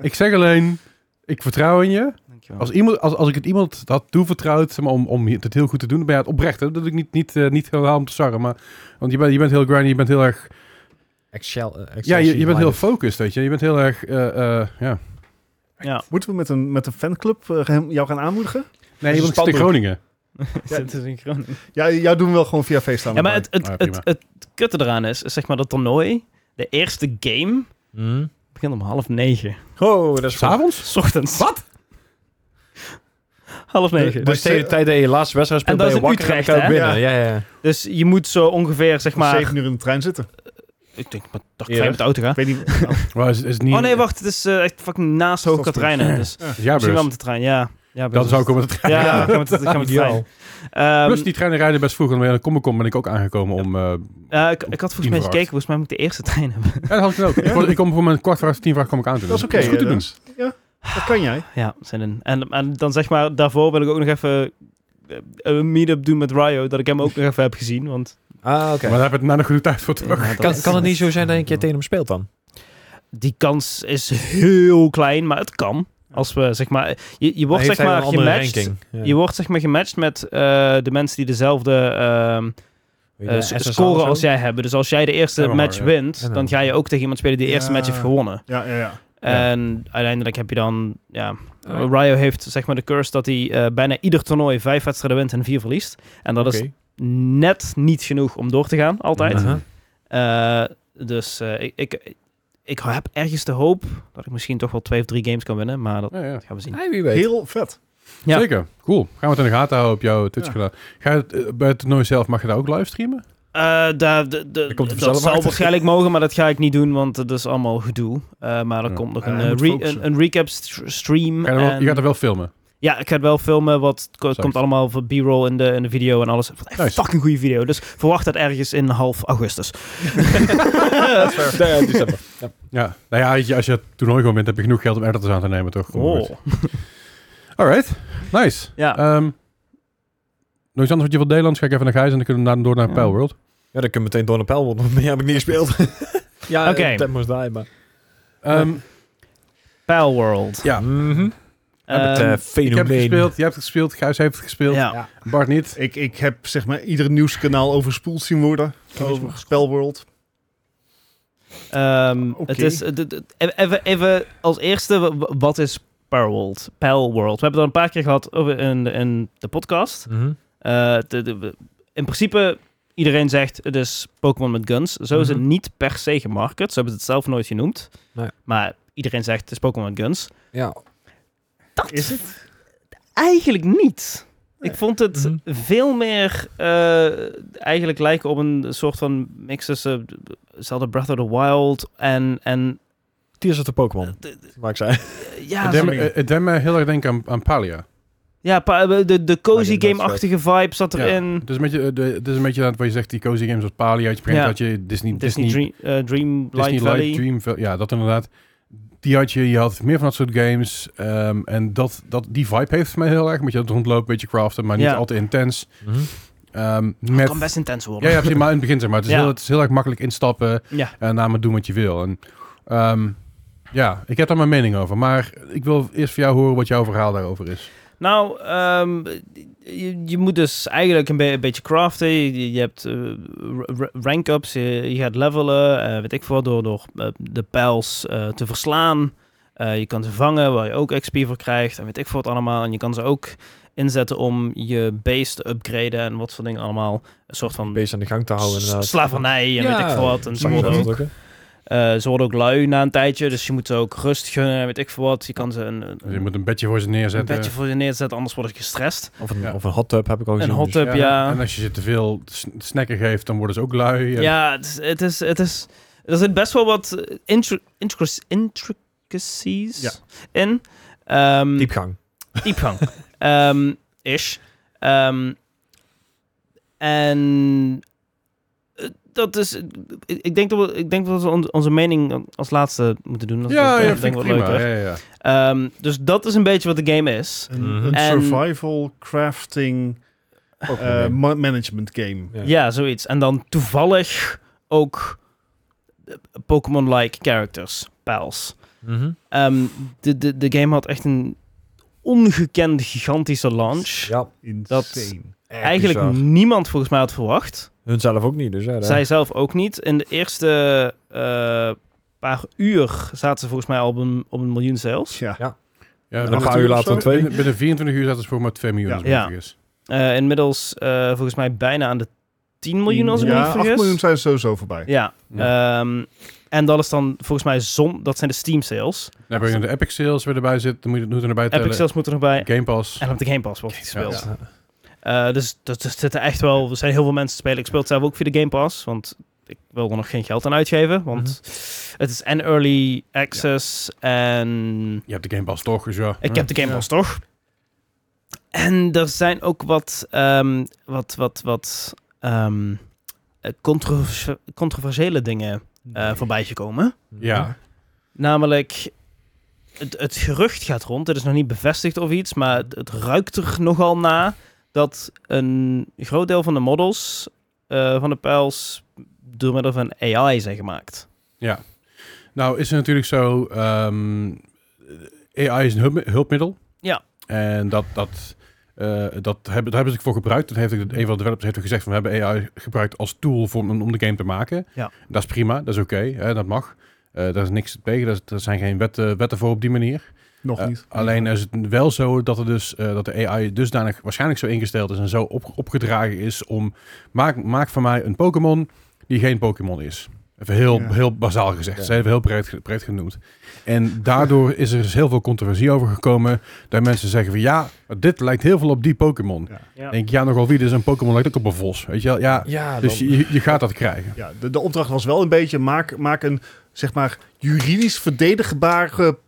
Speaker 3: Ik zeg alleen, ik vertrouw in je.
Speaker 1: Dankjewel.
Speaker 3: Als, iemand, als, als ik het iemand had toevertrouwd zeg maar, om, om het heel goed te doen, dan ben je het oprecht. Hè? Dat ik niet, niet, eh, niet helemaal om te sarren, maar want je bent, je bent heel grindy, je bent heel erg...
Speaker 4: Excel, eh,
Speaker 3: Ja,
Speaker 4: Excel
Speaker 3: je, je bent heel
Speaker 4: sheet
Speaker 3: focused, weet je. Je bent heel erg... eh, eh, ja.
Speaker 1: ja.
Speaker 2: Moeten we met een, met een fanclub eh, hem- jou gaan
Speaker 1: [LAUGHS]
Speaker 2: aanmoedigen?
Speaker 3: Nee,
Speaker 4: een
Speaker 3: je bent in
Speaker 4: spandoek.
Speaker 3: Groningen.
Speaker 1: Zit dus in Groningen.
Speaker 2: Ja, jou doen we wel gewoon via FaceTime.
Speaker 1: Ja, maar het, het,
Speaker 3: Ah,
Speaker 1: het,
Speaker 3: prima.
Speaker 1: het, kutte eraan is, is zeg maar dat toernooi, de eerste game,
Speaker 4: line. Hm?
Speaker 1: begint om half negen.
Speaker 4: Oh, dat is goed.
Speaker 3: S'avonds?
Speaker 1: S ochtends. Wat? Half negen.
Speaker 4: Dus
Speaker 1: Dus,
Speaker 4: tegen de tijd dat je je laatste wedstrijd
Speaker 1: En
Speaker 4: speelt, ben
Speaker 1: dat
Speaker 4: je
Speaker 1: is in
Speaker 4: wakker en
Speaker 1: Utrecht,
Speaker 4: kan je ook winnen. Ah, Ja, ja.
Speaker 1: dus je moet zo ongeveer, zeg
Speaker 2: maar...
Speaker 1: maar...
Speaker 2: 7 uur in de trein zitten.
Speaker 1: Ik denk, maar dacht
Speaker 4: Eerder.
Speaker 1: jij met de auto gaan?
Speaker 2: Ik weet
Speaker 1: [LAUGHS]
Speaker 2: niet. nou,
Speaker 3: Maar is, is het niet,
Speaker 1: Oh nee, wacht, het is eh, echt fucking naast Hoog Katrijnen. Dus
Speaker 2: ja.
Speaker 3: is jouw
Speaker 1: misschien wel
Speaker 3: beurs.
Speaker 1: met de trein, ja. ja
Speaker 3: Dan zou ik om het gaan.
Speaker 1: Ja, ik ga met, ik ga met de trein. Ehm,
Speaker 3: Plus, die treinen rijden best vroeg. En dan kom ik om, ben ik ook aangekomen om... eh,
Speaker 1: eh, ik, ik had volgens
Speaker 3: Tien
Speaker 1: mij
Speaker 3: voor
Speaker 1: gekeken, volgens mij moet ik de eerste trein hebben.
Speaker 3: ja, dat had ik dan ook. [LAUGHS] Ik, kon- ik kom voor mijn kwart voor acht, tien vraag kom ik aan te doen.
Speaker 2: Dat is oké.
Speaker 3: Dat is goed te
Speaker 2: eh,
Speaker 3: doen.
Speaker 2: dat is- Ja, dat kan jij.
Speaker 1: Ja, zin in. En, en dan zeg maar, daarvoor wil ik ook nog even eh, een meet-up doen met Ryo, dat ik hem ook nog even heb gezien, want...
Speaker 4: Ah, oké.
Speaker 3: Maar daar heb ik het na nog genoeg tijd voor terug.
Speaker 1: Ja, dat
Speaker 4: [LAUGHS] Kan,
Speaker 1: is-
Speaker 4: kan het niet zo zijn dat je een keer tegen hem speelt dan?
Speaker 1: Die kans is heel klein, maar het kan. Als we, zeg maar, je, je wordt
Speaker 4: Heeft
Speaker 1: zeg
Speaker 4: hij
Speaker 1: maar
Speaker 4: een andere
Speaker 1: gematcht...
Speaker 4: ranking? Ja.
Speaker 1: Je wordt zeg maar gematcht met eh, de mensen die dezelfde ehm,
Speaker 4: Weet
Speaker 1: eh,
Speaker 4: je,
Speaker 1: s-
Speaker 4: SSA of
Speaker 1: scoren
Speaker 4: zo?
Speaker 1: als jij hebben. Dus als jij de eerste
Speaker 3: Ja, maar
Speaker 1: match
Speaker 3: ja.
Speaker 1: wint,
Speaker 4: Ja, nou.
Speaker 1: dan ga je ook tegen iemand spelen die de eerste
Speaker 2: Ja.
Speaker 1: match heeft gewonnen.
Speaker 2: Ja, ja, ja.
Speaker 4: Ja.
Speaker 1: En uiteindelijk heb je dan, ja, Eh, Ryo heeft zeg maar de curse dat hij eh, bijna ieder toernooi vijf wedstrijden wint en vier verliest. En dat is
Speaker 4: Oké.
Speaker 1: net niet genoeg om door te gaan, altijd.
Speaker 4: Aha.
Speaker 1: Eh, dus eh, ik, ik, ik heb ergens de hoop dat ik misschien toch wel twee of drie games kan winnen, maar dat
Speaker 3: Ja, ja.
Speaker 1: gaan we zien.
Speaker 4: Hey, wie weet.
Speaker 2: Heel vet.
Speaker 1: Ja.
Speaker 3: Zeker, cool. Gaan we het in de gaten houden op jouw Twitch
Speaker 2: Ja.
Speaker 3: kanaal. Ga je het, eh, bij het toernooi zelf, mag je daar ook livestreamen?
Speaker 1: Eh, daar- de, de,
Speaker 4: Er komt er vanzelf
Speaker 1: dat zou
Speaker 4: achter.
Speaker 1: waarschijnlijk mogen, maar dat ga ik niet doen, want dat is allemaal gedoe. Eh, maar er
Speaker 3: Ja.
Speaker 1: komt nog
Speaker 2: Ja,
Speaker 1: een,
Speaker 2: je
Speaker 1: eh,
Speaker 2: moet
Speaker 1: re-
Speaker 2: focussen.
Speaker 1: een, een recap st- stream.
Speaker 3: Ga je, er wel-
Speaker 1: en-
Speaker 3: je gaat er wel filmen.
Speaker 1: Ja, ik ga het wel filmen. Wat het ko-
Speaker 3: Zo.
Speaker 1: komt allemaal voor B-roll in de, in de video en alles. Wat echt
Speaker 3: Nice.
Speaker 1: fucking goede video. Dus verwacht dat ergens in half augustus.
Speaker 4: Ja, december.
Speaker 3: Ja. Nou ja, weet je, als je het toernooi gewoon wint, heb je genoeg geld om editors aan te nemen, toch? Kom maar
Speaker 1: Oh.
Speaker 3: goed. Alright, nice.
Speaker 1: Ja.
Speaker 4: Eh,
Speaker 3: Ehm, nog iets anders wat je wilt delen, anders ga ik even naar Gijs en dan kunnen we daarna door naar
Speaker 1: Ja.
Speaker 3: Pijl World.
Speaker 4: Ja, dan kun je meteen door naar Pel, want nog meer heb ik niet
Speaker 1: [LAUGHS]
Speaker 4: gespeeld. ja,
Speaker 1: Oké.
Speaker 4: eh, That Must Die, maar...
Speaker 3: Ehm,
Speaker 1: Pal World.
Speaker 3: Ja.
Speaker 4: Mhm. Het
Speaker 1: Ehm,
Speaker 4: eh,
Speaker 3: ik
Speaker 4: fenomeen.
Speaker 3: heb het gespeeld, jij hebt het gespeeld, Gijs heeft het gespeeld,
Speaker 1: ja.
Speaker 4: Ja.
Speaker 3: Bart niet.
Speaker 2: Ik, ik heb zeg maar ieder nieuwskanaal overspoeld zien worden. Over Spelworld.
Speaker 1: Ehm,
Speaker 2: Oké.
Speaker 1: het is, eh, d- d- even, even als eerste, w- w- wat is Pal World? Pal World. We hebben het al een paar keer gehad over in, in de podcast.
Speaker 4: Mhm.
Speaker 1: Eh, de- de- in principe, iedereen zegt het is Pokémon met guns. Zo is het
Speaker 4: Mhm.
Speaker 1: niet per se gemarket. Ze hebben het zelf nooit genoemd.
Speaker 4: Nee.
Speaker 1: Maar iedereen zegt het is Pokémon met guns.
Speaker 4: Ja.
Speaker 1: Dat
Speaker 2: Is het?
Speaker 1: Eigenlijk niet. Ik vond het
Speaker 4: Mhm.
Speaker 1: veel meer eh, eigenlijk lijken op een soort van mix tussen Zelda Breath of the Wild en, en
Speaker 4: Tears of the Pokémon, waar ik zei.
Speaker 1: eh, ja,
Speaker 3: Het deed
Speaker 1: zo-
Speaker 3: me- Het deed me heel erg denken aan, aan Palia.
Speaker 1: Hm. ja, pa- eh, de, de cozy
Speaker 4: Oké, dat is
Speaker 1: game-achtige vibe zat
Speaker 3: Ja.
Speaker 1: erin.
Speaker 3: Het is een beetje, eh, de, het is een beetje dat wat je zegt, die cozy games als Palia. Je begint
Speaker 1: Ja.
Speaker 3: dat je Disney,
Speaker 1: Disney,
Speaker 3: Disney
Speaker 1: Dream, eh, Dreamlight
Speaker 3: Disney
Speaker 1: Valley.
Speaker 3: Light Dream, Val- ja, dat inderdaad. Die had je, je had meer van dat soort games. ehm, en dat, dat, die vibe heeft voor mij heel erg. Moet je aan het rondlopen, een beetje craften, maar niet
Speaker 1: Ja.
Speaker 3: al te intens.
Speaker 4: Mhm.
Speaker 3: Ehm, met,
Speaker 1: Kan best intens worden.
Speaker 3: ja, ja, precies, maar in het begin zeg maar. Het is,
Speaker 1: Ja.
Speaker 3: heel, het is heel erg makkelijk instappen
Speaker 1: Ja.
Speaker 3: en namelijk doen wat je wil. En, ehm, ja, ik heb daar mijn mening over. Maar ik wil eerst van jou horen wat jouw verhaal daarover is.
Speaker 1: Nou, ehm, je, je moet dus eigenlijk een, be- een beetje craften. Je, je hebt eh, ra- ra- rank-ups, je, je gaat levelen, eh, weet ik veel, wat, door, door eh, de pijls eh, te verslaan. Eh, je kan ze vangen, waar je ook XP voor krijgt en weet ik veel wat allemaal. En je kan ze ook inzetten om je base te upgraden en wat voor dingen allemaal. Een soort van
Speaker 4: Beest aan de gang te houden,
Speaker 1: s-
Speaker 4: inderdaad.
Speaker 1: slavernij en
Speaker 4: Ja,
Speaker 1: weet ik veel wat. En Mhm. ze
Speaker 4: Zag je
Speaker 1: worden ook
Speaker 4: dat ook, hè?
Speaker 1: eh, ze worden ook lui na een tijdje, dus je moet ze ook rust gunnen, weet ik veel wat. Je kan ze een, een,
Speaker 3: Dus je moet een bedje voor ze
Speaker 1: een
Speaker 3: neerzetten.
Speaker 1: bedje voor je neerzetten, anders worden ze gestrest.
Speaker 4: Of een,
Speaker 3: Ja.
Speaker 4: of een hot tub heb ik al gezien.
Speaker 1: hot
Speaker 4: dus-
Speaker 1: tub. heb je-
Speaker 3: En als je ze te veel sn- snacken geeft, dan worden ze ook lui. En-
Speaker 1: Ja, het is, het is, het is, er zit best wel wat eh, intri- intricacies- intricacies
Speaker 2: Ja.
Speaker 1: in. Ehm,
Speaker 4: Diepgang.
Speaker 1: diepgang. Ehm, ish. Ehm, en eh, dat is, ik ik denk dat we, ik denk dat we on- onze mening als laatste moeten doen. Dat is-
Speaker 3: ja,
Speaker 1: dat
Speaker 3: ja,
Speaker 1: denk
Speaker 3: vind ik
Speaker 1: wat
Speaker 3: prima.
Speaker 1: leuker.
Speaker 3: Ja, ja, ja.
Speaker 1: Ehm, dus dat is een beetje wat de game is.
Speaker 2: Een,
Speaker 4: Mhm.
Speaker 2: een
Speaker 1: En-
Speaker 2: survival crafting
Speaker 4: Pokémon
Speaker 2: eh,
Speaker 4: game.
Speaker 2: ma- management game.
Speaker 4: Ja.
Speaker 1: Ja, zoiets. En dan toevallig ook eh, Pokémon-like characters, pals.
Speaker 4: Mhm.
Speaker 1: Ehm, de, de, de game had echt een ongekend gigantische launch.
Speaker 4: Ja,
Speaker 2: Insane.
Speaker 4: echt
Speaker 1: Eigenlijk
Speaker 4: bizar.
Speaker 1: niemand volgens mij had verwacht.
Speaker 4: Hun zelf ook niet, dus ja. daar-
Speaker 1: Zij zelf ook niet. In de eerste eh, paar uur zaten ze volgens mij al op een, op een miljoen sales.
Speaker 2: Tja.
Speaker 3: Ja,
Speaker 4: En
Speaker 3: binnen
Speaker 4: dan gaan
Speaker 3: twee-
Speaker 4: we later twee.
Speaker 3: Binnen, binnen 24 uur zaten ze voor maar 2 miljoen.
Speaker 2: Ja.
Speaker 3: als ik me niet
Speaker 1: Ja.
Speaker 3: vergis.
Speaker 1: Eh, inmiddels eh, volgens mij bijna aan de 10 miljoen als ik me
Speaker 2: ja,
Speaker 1: niet
Speaker 2: 8
Speaker 1: vergis.
Speaker 2: miljoen zijn ze sowieso voorbij.
Speaker 1: Ja. Ehm, en dat is dan volgens mij zon. Dat zijn de Steam sales.
Speaker 3: Dan heb je de Epic Sales weer erbij zitten. Dan moet je het moeten erbij tellen.
Speaker 1: Epic sales moeten er nog bij.
Speaker 3: Game Pass.
Speaker 1: En dan heb de Game Pass wordt gespeeld.
Speaker 4: Ja.
Speaker 1: Eh, dus dat dus zitten echt wel. Er zijn heel veel mensen te spelen. Ik speel het zelf ook via de Game Pass. Want ik wil er nog geen geld aan uitgeven. Want het is en early access. En
Speaker 3: Je hebt de Game Pass toch, dus ja.
Speaker 1: ik heb de Game
Speaker 2: Ja.
Speaker 1: Pass toch. En er zijn ook wat. ehm, wat. Wat. Wat. ehm, eh, controvers- controversiële dingen eh voorbij gekomen.
Speaker 3: Ja.
Speaker 1: Namelijk, het, het gerucht gaat rond. Het is nog niet bevestigd of iets, maar het, het ruikt er nogal na dat een groot deel van de models eh, van de pijls door middel van AI zijn gemaakt.
Speaker 3: Nou, is het natuurlijk zo... ehm, AI is een hulp- hulpmiddel.
Speaker 1: Ja.
Speaker 3: En dat... dat eh, dat hebben, daar hebben ze voor gebruikt. Dat heeft ook- een van de developers heeft ook gezegd van we hebben AI gebruikt als tool voor, om, om de game te maken.
Speaker 1: Ja.
Speaker 3: Dat is prima, dat is oké, hè, dat mag. Eh, Eh, daar is niks tegen. Daar is- Er zijn geen wetten, wetten voor op die manier.
Speaker 2: Nog niet.
Speaker 3: Eh, alleen is het wel zo dat, er dus, eh, dat de AI dusdanig waarschijnlijk zo ingesteld is en zo op, opgedragen is om maak, maak van mij een Pokémon die geen Pokémon is. Even heel,
Speaker 2: Ja.
Speaker 3: heel bazaal gezegd.
Speaker 4: Ja.
Speaker 3: Ze hebben heel breed, ge- breed genoemd. En daardoor is er dus heel veel controversie over gekomen. Dat mensen zeggen van ja, dit lijkt heel veel op die Pokémon.
Speaker 2: Ja.
Speaker 1: Ja.
Speaker 3: Denk ik, ja, nogal wie. Dus een Pokémon lijkt ook op een vos. Weet je wel? Ja,
Speaker 4: Ja,
Speaker 3: dus
Speaker 4: dan-
Speaker 3: je, je gaat dat krijgen.
Speaker 2: Ja, de, de opdracht was wel een beetje maak, maak een zeg maar juridisch verdedigbare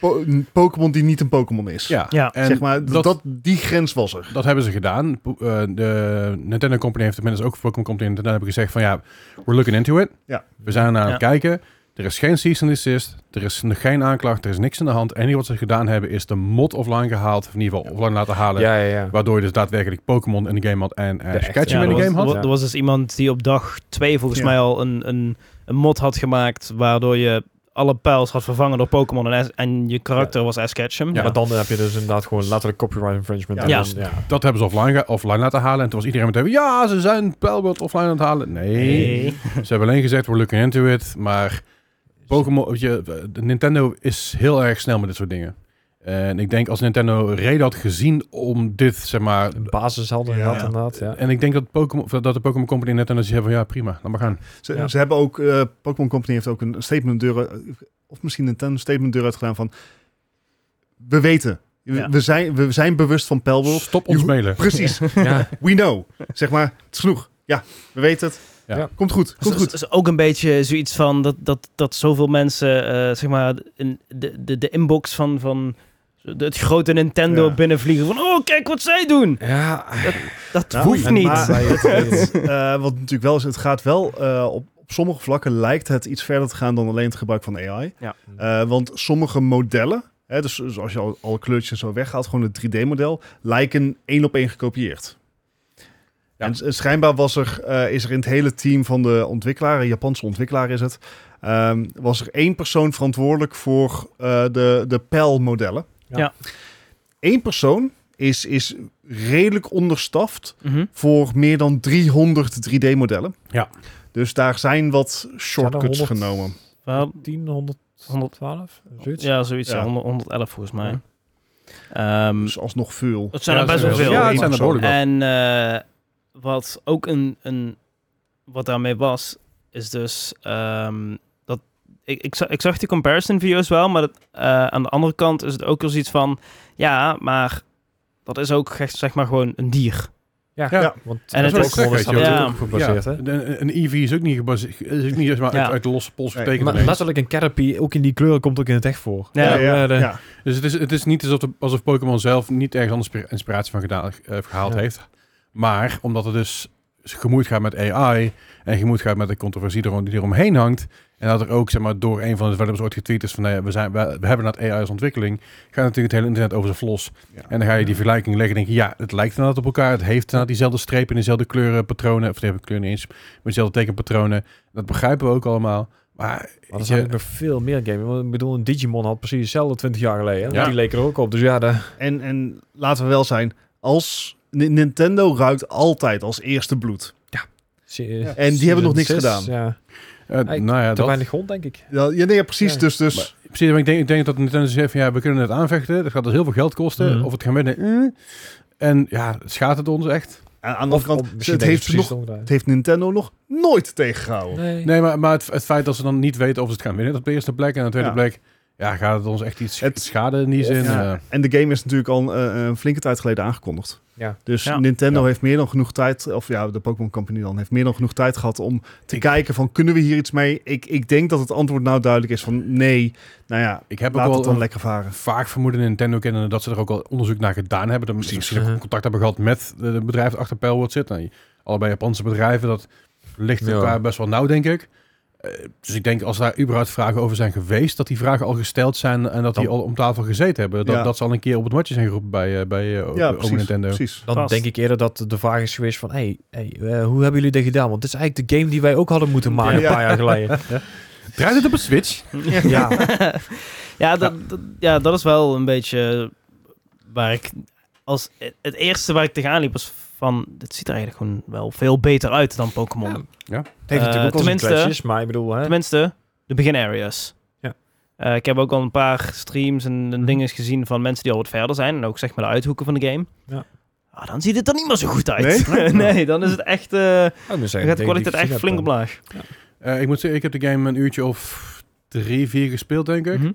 Speaker 2: po- een Pokémon die niet een Pokémon is.
Speaker 3: Ja,
Speaker 1: Ja,
Speaker 3: en
Speaker 2: zeg maar, d-
Speaker 3: dat-
Speaker 2: dat, die grens was er.
Speaker 3: Dat hebben ze gedaan. Po- eh, de Nintendo Company heeft inmiddels ook Pokémon Company. En daarna hebben gezegd van ja, we're looking into it.
Speaker 2: Ja.
Speaker 3: We zijn aan het
Speaker 1: Ja.
Speaker 3: kijken. Er is geen cease and desist. Er is nog geen aanklacht. Er is niks in de hand. En wat ze gedaan hebben is de mod offline gehaald. Of in ieder geval offline laten halen.
Speaker 4: ja, ja, ja.
Speaker 3: Waardoor je dus daadwerkelijk Pokémon in de game had en eh
Speaker 4: De echte,
Speaker 3: Pikachu
Speaker 1: Ja,
Speaker 3: in
Speaker 1: er,
Speaker 3: de
Speaker 1: was,
Speaker 3: game
Speaker 1: er,
Speaker 3: had.
Speaker 1: wa- er was dus iemand die op dag 2 volgens
Speaker 2: Ja.
Speaker 1: mij al een, een, een mod had gemaakt waardoor je alle pijls had vervangen door Pokémon en, Ash- en je karakter was Ash Ketchum.
Speaker 3: Ja.
Speaker 4: Maar dan heb je dus inderdaad gewoon letterlijk copyright infringement.
Speaker 2: Ja.
Speaker 4: en
Speaker 1: Ja.
Speaker 4: dan- ja.
Speaker 3: Dat hebben ze offline, ge- offline laten halen. En toen was iedereen meteen ja, ze zijn Pelbot offline aan het halen. nee.
Speaker 1: Nee.
Speaker 3: Ze hebben alleen gezegd, we're looking into it. Maar Pokémon, je, de Nintendo is heel erg snel met dit soort dingen. En ik denk als Nintendo reden had gezien om dit, zeg maar...
Speaker 4: Een basis hadden
Speaker 2: Ja.
Speaker 4: gehad inderdaad, ja.
Speaker 3: En ik denk dat, Pokémon, of dat de Pokémon Company net aan hebben van ja, prima, laat maar gaan.
Speaker 2: Ze,
Speaker 4: Ja.
Speaker 2: ze hebben ook, eh, Pokémon Company heeft ook een statement deur, eh, of misschien Nintendo statement deur uitgedaan van, we weten, We-
Speaker 1: Ja.
Speaker 2: we, zijn, we zijn bewust van Pelbel.
Speaker 4: [LAUGHS]
Speaker 3: Stop ons
Speaker 2: Je-
Speaker 3: mailen.
Speaker 2: Precies,
Speaker 4: ja.
Speaker 2: we know. Zeg maar, het is genoeg. Ja, we weten het.
Speaker 3: Ja.
Speaker 4: Ja.
Speaker 2: Komt goed, komt
Speaker 1: Het is,
Speaker 2: goed.
Speaker 1: is ook een beetje zoiets van dat, dat, dat zoveel mensen, eh, zeg maar, in de, de, de inbox van, van de- het grote Nintendo
Speaker 2: Ja.
Speaker 1: binnenvliegen. Van, oh, kijk wat zij doen.
Speaker 4: Ja,
Speaker 1: Dat
Speaker 2: Nou,
Speaker 1: hoeft
Speaker 2: en
Speaker 1: niet.
Speaker 2: maar-
Speaker 4: het, het-
Speaker 2: Eh, wat natuurlijk wel is, het gaat wel eh, op, op sommige vlakken lijkt het iets verder te gaan dan alleen het gebruik van AI.
Speaker 1: Ja.
Speaker 2: Eh, want sommige modellen, hè, dus zoals je al, alle kleurtjes en zo weghaalt, gewoon het 3D-model, lijken één op één gekopieerd.
Speaker 3: Ja.
Speaker 2: En s- schijnbaar was er, eh, is er in het hele team van de ontwikkelaar, een Japanse ontwikkelaar is het, ehm, was er één persoon verantwoordelijk voor eh, de, de PEL-modellen.
Speaker 4: Ja.
Speaker 1: Ja.
Speaker 2: Eén persoon is, is redelijk onderstaft
Speaker 1: Mhm.
Speaker 2: voor meer dan 300 3D-modellen.
Speaker 3: Ja.
Speaker 2: Dus daar zijn wat shortcuts
Speaker 4: Zijn er
Speaker 2: genomen.
Speaker 1: Wel,
Speaker 4: 10, 112, zoiets.
Speaker 1: ja, zoiets.
Speaker 2: Ja.
Speaker 1: 100 111 volgens mij.
Speaker 4: Ja.
Speaker 1: Ehm,
Speaker 2: Dus alsnog veel.
Speaker 1: het zijn
Speaker 3: Ja,
Speaker 1: er best
Speaker 3: dat
Speaker 1: wel
Speaker 3: is-
Speaker 1: veel.
Speaker 3: Ja,
Speaker 2: Eén
Speaker 3: het zijn er
Speaker 2: persoon.
Speaker 3: behoorlijk wat.
Speaker 1: En eh, wat ook een, een. Wat daarmee was, is dus. ehm, dat, ik, ik, za- ik zag die comparison video's wel, maar dat, eh, aan de andere kant is het ook wel zoiets van. Ja, maar dat is ook echt, zeg maar gewoon een dier.
Speaker 4: Ja,
Speaker 3: Ja.
Speaker 4: want
Speaker 1: En het
Speaker 4: Pokémon
Speaker 1: is-
Speaker 4: is daar
Speaker 3: weet
Speaker 1: je wel.
Speaker 4: natuurlijk op gebaseerd, hè.
Speaker 3: Een, een EV is ook niet, gebaseerd, is ook niet zeg maar,
Speaker 1: Ja.
Speaker 3: uit, uit de losse pols
Speaker 2: Nee,
Speaker 3: getekend.
Speaker 4: Maar
Speaker 3: ineens.
Speaker 4: letterlijk een Caterpie, ook in die kleuren komt ook in het echt voor.
Speaker 1: Ja,
Speaker 4: ja, de-
Speaker 2: ja.
Speaker 3: Dus het is, het is niet alsof, de- alsof Pokémon zelf niet ergens anders inspira- inspiratie van gedaan, eh, gehaald
Speaker 4: Ja.
Speaker 3: heeft. Maar omdat het dus gemoeid gaat met AI en gemoeid gaat met de controversie erom- die eromheen hangt. En dat er ook zeg maar, door een van de developers ooit getweet is van nee, we, zijn, we, we hebben dat AI als ontwikkeling. Gaat natuurlijk het hele internet over zijn vlos.
Speaker 2: Ja.
Speaker 3: En dan ga je die vergelijking leggen en denk je ja, het lijkt inderdaad op elkaar. Het heeft inderdaad diezelfde strepen en dezelfde kleuren, patronen. Of die hebben kleuren niet eens, maar dezelfde tekenpatronen. Dat begrijpen we ook allemaal. Maar,
Speaker 4: Maar er
Speaker 3: je-
Speaker 4: zijn ook nog veel meer games. Want Ik bedoel, een Digimon had precies hetzelfde 20 jaar geleden. hè.
Speaker 3: Ja.
Speaker 4: Die leek er ook op. Dus ja, de,
Speaker 2: En, en laten we wel zijn, als Ni- Nintendo ruikt altijd als eerste bloed.
Speaker 4: en
Speaker 2: En die hebben nog niks gedaan.
Speaker 4: eh, Ja.
Speaker 3: eh,
Speaker 4: Hey,
Speaker 3: nou ja,
Speaker 4: Te
Speaker 3: dat,
Speaker 4: weinig grond, denk ik.
Speaker 2: Ja, ja, nee, precies.
Speaker 4: Ja.
Speaker 2: Dus, dus
Speaker 3: Maar- Precies, maar ik denk, ik denk dat Nintendo zegt van ja, we kunnen het aanvechten. Dat gaat dus heel veel geld kosten.
Speaker 4: Mhm.
Speaker 3: Of het gaan winnen. eh. En ja, schaadt het ons echt?
Speaker 2: aan, aan de andere kant, het, heeft ze nog, het heeft Nintendo nog nooit tegengehouden.
Speaker 4: Nee.
Speaker 3: Nee, maar, maar het, het feit dat ze dan niet weten of ze het gaan winnen, dat op de eerste plek. En aan de tweede
Speaker 2: Ja.
Speaker 3: plek, ja, gaat het ons echt iets
Speaker 2: Het-
Speaker 3: schaden in die zin?
Speaker 2: Ja.
Speaker 3: Eh,
Speaker 2: En de game is natuurlijk al eh, een flinke tijd geleden aangekondigd.
Speaker 4: Ja.
Speaker 2: Dus
Speaker 1: Ja.
Speaker 2: Nintendo
Speaker 3: Ja.
Speaker 2: heeft meer dan genoeg tijd, of ja, de Pokémon Company dan, heeft meer dan genoeg tijd gehad om te kijken van, kunnen we hier iets mee? Ik, ik denk dat het antwoord nou duidelijk is van, nee, nou ja,
Speaker 3: ik heb
Speaker 2: laat
Speaker 3: ook
Speaker 2: het
Speaker 3: wel
Speaker 2: dan
Speaker 3: een-
Speaker 2: lekker varen.
Speaker 3: vaak vermoeden Nintendo kennen dat ze er ook al onderzoek naar gedaan hebben. Dat ze misschien
Speaker 4: Mhm.
Speaker 3: ook contact hebben gehad met de, de bedrijven achter Pearlwood zit. Nou, allebei Japanse bedrijven, dat ligt
Speaker 4: Ja.
Speaker 3: elkaar best wel nauw, denk ik. Eh, dus ik denk als daar überhaupt vragen over zijn geweest, dat die vragen al gesteld zijn en dat die
Speaker 4: Dan-
Speaker 3: al om tafel gezeten hebben. Dat,
Speaker 2: Ja.
Speaker 3: dat ze al een keer op het matje zijn geroepen bij, eh, bij eh,
Speaker 2: Ja,
Speaker 3: Ome
Speaker 2: precies.
Speaker 3: Nintendo.
Speaker 2: precies.
Speaker 4: Dan
Speaker 1: Vast.
Speaker 4: denk ik eerder dat de vraag is geweest van... Hey, hey, eh, hoe hebben jullie dit gedaan? Want dit is eigenlijk de game die wij ook hadden moeten maken
Speaker 2: Ja.
Speaker 4: een paar jaar geleden.
Speaker 3: Draait het op een Switch?
Speaker 1: [LAUGHS]
Speaker 4: ja.
Speaker 1: ja, dat, dat- ja, dat is wel een beetje waar ik als het eerste waar ik tegenaan liep was van dit ziet er eigenlijk gewoon wel veel beter uit dan Pokémon.
Speaker 4: Ja.
Speaker 3: Ja.
Speaker 4: Het heeft
Speaker 1: Eh,
Speaker 4: natuurlijk ook wel zijn
Speaker 1: tenminste-
Speaker 4: kwesties, maar ik bedoel... Hè,
Speaker 1: Tenminste, de begin areas. Eh, ik heb ook al een paar streams en,
Speaker 4: Mhm.
Speaker 1: en dingen gezien van mensen die al wat verder zijn. En ook zeg maar de uithoeken van de game.
Speaker 4: Ja.
Speaker 1: Ah, dan ziet het er niet meer zo goed uit. [LAUGHS] Nee, dan is het echt, eh dan gaat de kwaliteit echt flink omlaag.
Speaker 3: Eh, ik moet zeggen, ik heb de game een uurtje of drie, vier gespeeld, denk ik.
Speaker 1: Mhm.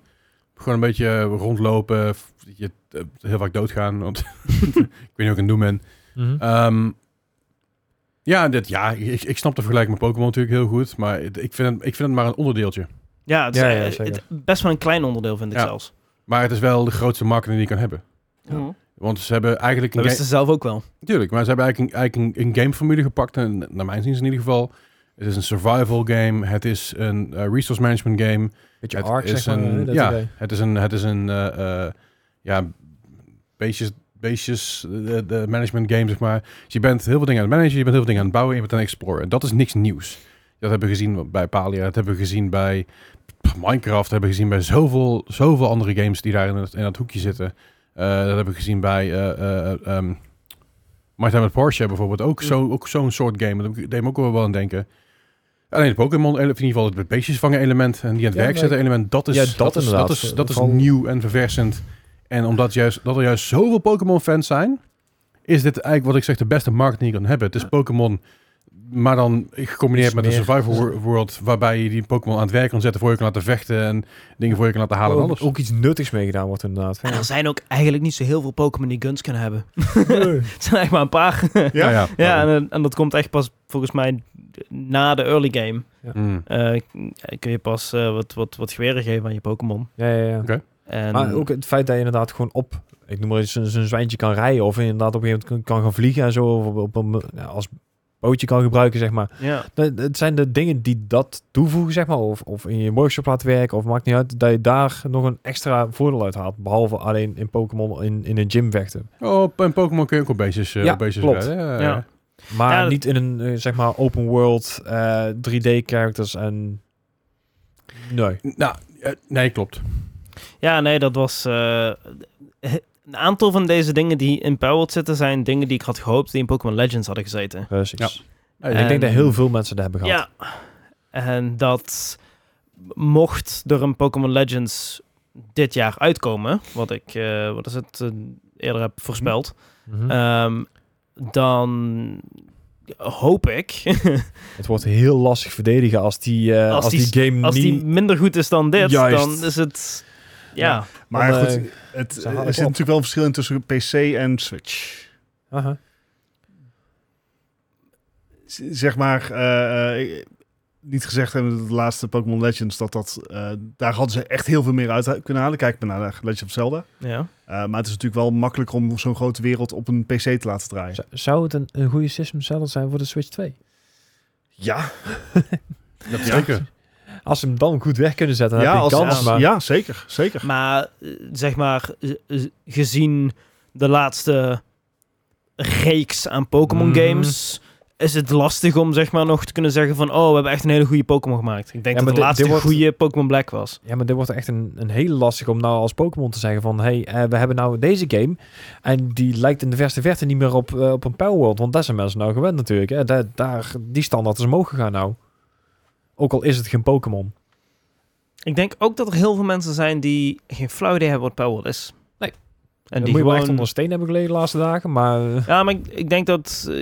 Speaker 3: Gewoon een beetje eh, rondlopen, f- je, eh, heel vaak doodgaan, want [LAUGHS] ik weet niet wat ik aan het doen ben.
Speaker 4: Mhm.
Speaker 3: Ehm, ja, dit, ja ik, ik snap de vergelijking met Pokémon natuurlijk heel goed, maar het- ik vind, het, ik vind het maar een onderdeeltje.
Speaker 1: Ja, het is
Speaker 4: Ja, ja,
Speaker 1: eh,
Speaker 4: zeker.
Speaker 1: het- best wel een klein onderdeel, vind ik
Speaker 3: Ja.
Speaker 1: zelfs.
Speaker 3: Maar het is wel de grootste marketing die je kan hebben.
Speaker 1: Ja.
Speaker 3: Want ze hebben eigenlijk...
Speaker 1: Dat
Speaker 3: een
Speaker 1: wisten ze zelf ook wel.
Speaker 4: dus-
Speaker 3: Tuurlijk, maar ze hebben eigenlijk een, eigenlijk een, een gameformule gepakt. En naar mijn zin in ieder geval. Het is een survival game. Het is een eh, resource management game.
Speaker 4: Beetje
Speaker 3: Het
Speaker 4: arc,
Speaker 3: is
Speaker 4: zeg maar.
Speaker 3: een-
Speaker 4: hè, dat
Speaker 3: ja.
Speaker 4: idee.
Speaker 3: Het is een, het is een eh, eh, ja, beestjes, beestjes eh, de, de management game, zeg maar. Dus je bent heel veel dingen aan het managen, je bent heel veel dingen aan het bouwen en je bent aan het exploren. En dat is niks nieuws. Dat hebben we gezien bij Palia, dat hebben we gezien bij Minecraft, dat hebben we gezien bij zoveel, zoveel andere games die daar in dat, in dat hoekje zitten. Eh, dat hebben we gezien bij eh eh ehm My Time at Porsche bijvoorbeeld, ook zo- ook zo'n soort game. Dat deed me ook wel aan denken. Alleen het Pokémon, of in ieder geval het beestjes vangen element en die aan het
Speaker 4: Ja,
Speaker 3: werk
Speaker 4: maar
Speaker 3: zetten element, dat is,
Speaker 4: Ja,
Speaker 3: dat,
Speaker 4: dat
Speaker 3: is, dat
Speaker 4: inderdaad.
Speaker 3: is, dat is
Speaker 4: Vooral-
Speaker 3: nieuw en verversend. En omdat juist, dat er juist zoveel Pokémon-fans zijn, is dit eigenlijk wat ik zeg de beste marketing die je kan hebben. Het is Pokémon, maar dan gecombineerd
Speaker 4: Iets
Speaker 3: met een
Speaker 4: meer.
Speaker 3: survival wor- world, waarbij je die Pokémon aan het werk kan zetten voor je kan laten vechten en dingen voor je kan laten halen en
Speaker 1: Oh,
Speaker 4: Ook-
Speaker 3: alles.
Speaker 4: Ook iets nuttigs mee gedaan wordt inderdaad.
Speaker 1: En
Speaker 4: Ja.
Speaker 1: er zijn ook eigenlijk niet zo heel veel Pokémon die guns kunnen
Speaker 4: [LAUGHS]
Speaker 1: hebben. [LAUGHS] het zijn echt maar een paar. [LAUGHS]
Speaker 2: Ja?
Speaker 3: Nou ja,
Speaker 1: ja, en, en dat komt echt pas volgens mij na de early game.
Speaker 3: Mm.
Speaker 1: Eh, k- kun je pas eh, wat, wat, wat geweren geven aan je Pokémon.
Speaker 4: Ja, ja, ja.
Speaker 1: En,
Speaker 4: Maar Ah, ook het feit dat je inderdaad gewoon op, ik noem maar eens, een, een zwijntje kan rijden. Of inderdaad op een gegeven moment kan, kan gaan vliegen en zo. Of op, op een, ja, als bootje kan gebruiken, zeg maar.
Speaker 1: ja.
Speaker 4: Dat- Het zijn de dingen die dat toevoegen, zeg maar. Of, of in je workshop laten werken, of maakt niet uit. Dat je daar nog een extra voordeel uit haalt. Behalve alleen in Pokémon in, in een gym vechten.
Speaker 3: Oh, op en Pokémon kun je ook op beestjes, eh,
Speaker 4: Ja,
Speaker 3: op beestjes
Speaker 4: klopt.
Speaker 3: rijden. Ja,
Speaker 1: Ja.
Speaker 4: Maar
Speaker 1: Ja, dat-
Speaker 4: niet in een, eh, zeg maar, open world, eh, 3D characters en... Nee.
Speaker 3: Nou, eh, nee, klopt.
Speaker 1: ja, nee, dat was... eh, he- een aantal van deze dingen die in Powered zitten... zijn dingen die ik had gehoopt die in Pokémon Legends hadden gezeten.
Speaker 4: Precies.
Speaker 3: Ja.
Speaker 4: En ik denk dat heel veel mensen dat hebben gehad.
Speaker 1: Ja. En dat mocht er een Pokémon Legends dit jaar uitkomen... wat ik, eh, wat is het, eh, eerder heb voorspeld...
Speaker 4: Mhm.
Speaker 1: Ehm, dan hoop ik, [LAUGHS]
Speaker 4: het wordt heel lastig verdedigen als die, eh,
Speaker 1: Als
Speaker 4: als
Speaker 1: die-
Speaker 4: die, game
Speaker 1: als
Speaker 4: niet...
Speaker 1: die minder goed is dan dit,
Speaker 4: Juist.
Speaker 1: dan is het... Ja,
Speaker 2: Maar
Speaker 4: Dan,
Speaker 2: goed,
Speaker 4: eh,
Speaker 2: het,
Speaker 4: ze
Speaker 2: er
Speaker 4: halen
Speaker 2: zit
Speaker 4: het op.
Speaker 2: natuurlijk wel een verschil in tussen PC en Switch.
Speaker 4: Aha.
Speaker 2: Z- Zeg maar, eh, eh, niet gezegd hebben dat de laatste Pokémon Legends, dat dat, eh, daar hadden ze echt heel veel meer uit kunnen halen. Kijk maar naar Legend of Zelda.
Speaker 1: ja.
Speaker 2: Eh, maar het is natuurlijk wel makkelijker om zo'n grote wereld op een PC te laten draaien.
Speaker 4: Z- Zou het een, een goede system seller zijn voor de Switch 2?
Speaker 2: Ja,
Speaker 3: Dat
Speaker 2: Ja.
Speaker 3: zeker.
Speaker 4: Als ze hem dan goed weg kunnen zetten, dan
Speaker 2: ja,
Speaker 4: heb je
Speaker 2: als,
Speaker 4: kans.
Speaker 2: als-
Speaker 4: maar
Speaker 2: ja zeker. zeker.
Speaker 1: Maar eh, zeg maar, eh, eh, gezien de laatste reeks aan Pokémon
Speaker 4: Mhm.
Speaker 1: games... Is het lastig om zeg maar nog te kunnen zeggen van... Oh, we hebben echt een hele goede Pokémon gemaakt. Ik denk
Speaker 4: Ja, maar
Speaker 1: dat de
Speaker 4: dit-
Speaker 1: laatste
Speaker 4: dit wordt-
Speaker 1: goede Pokémon Black was.
Speaker 4: Ja, maar dit wordt echt een, een heel lastig om nou als Pokémon te zeggen van... hey, eh, we hebben nou deze game en die lijkt in de verste verte niet meer op, eh, op een Power World. Want daar zijn mensen nou gewend natuurlijk. Hè. Daar, daar, die standaard is omhoog gegaan nou. Ook al is het geen Pokémon.
Speaker 1: Ik denk ook dat er heel veel mensen zijn die geen flauw idee hebben wat Power is.
Speaker 4: Nee.
Speaker 1: En
Speaker 4: moet
Speaker 1: die
Speaker 4: je wel echt
Speaker 1: gewoon...
Speaker 4: onder een steen hebben gelegen de laatste dagen, maar... eh,
Speaker 1: Ja, maar ik, ik denk dat eh,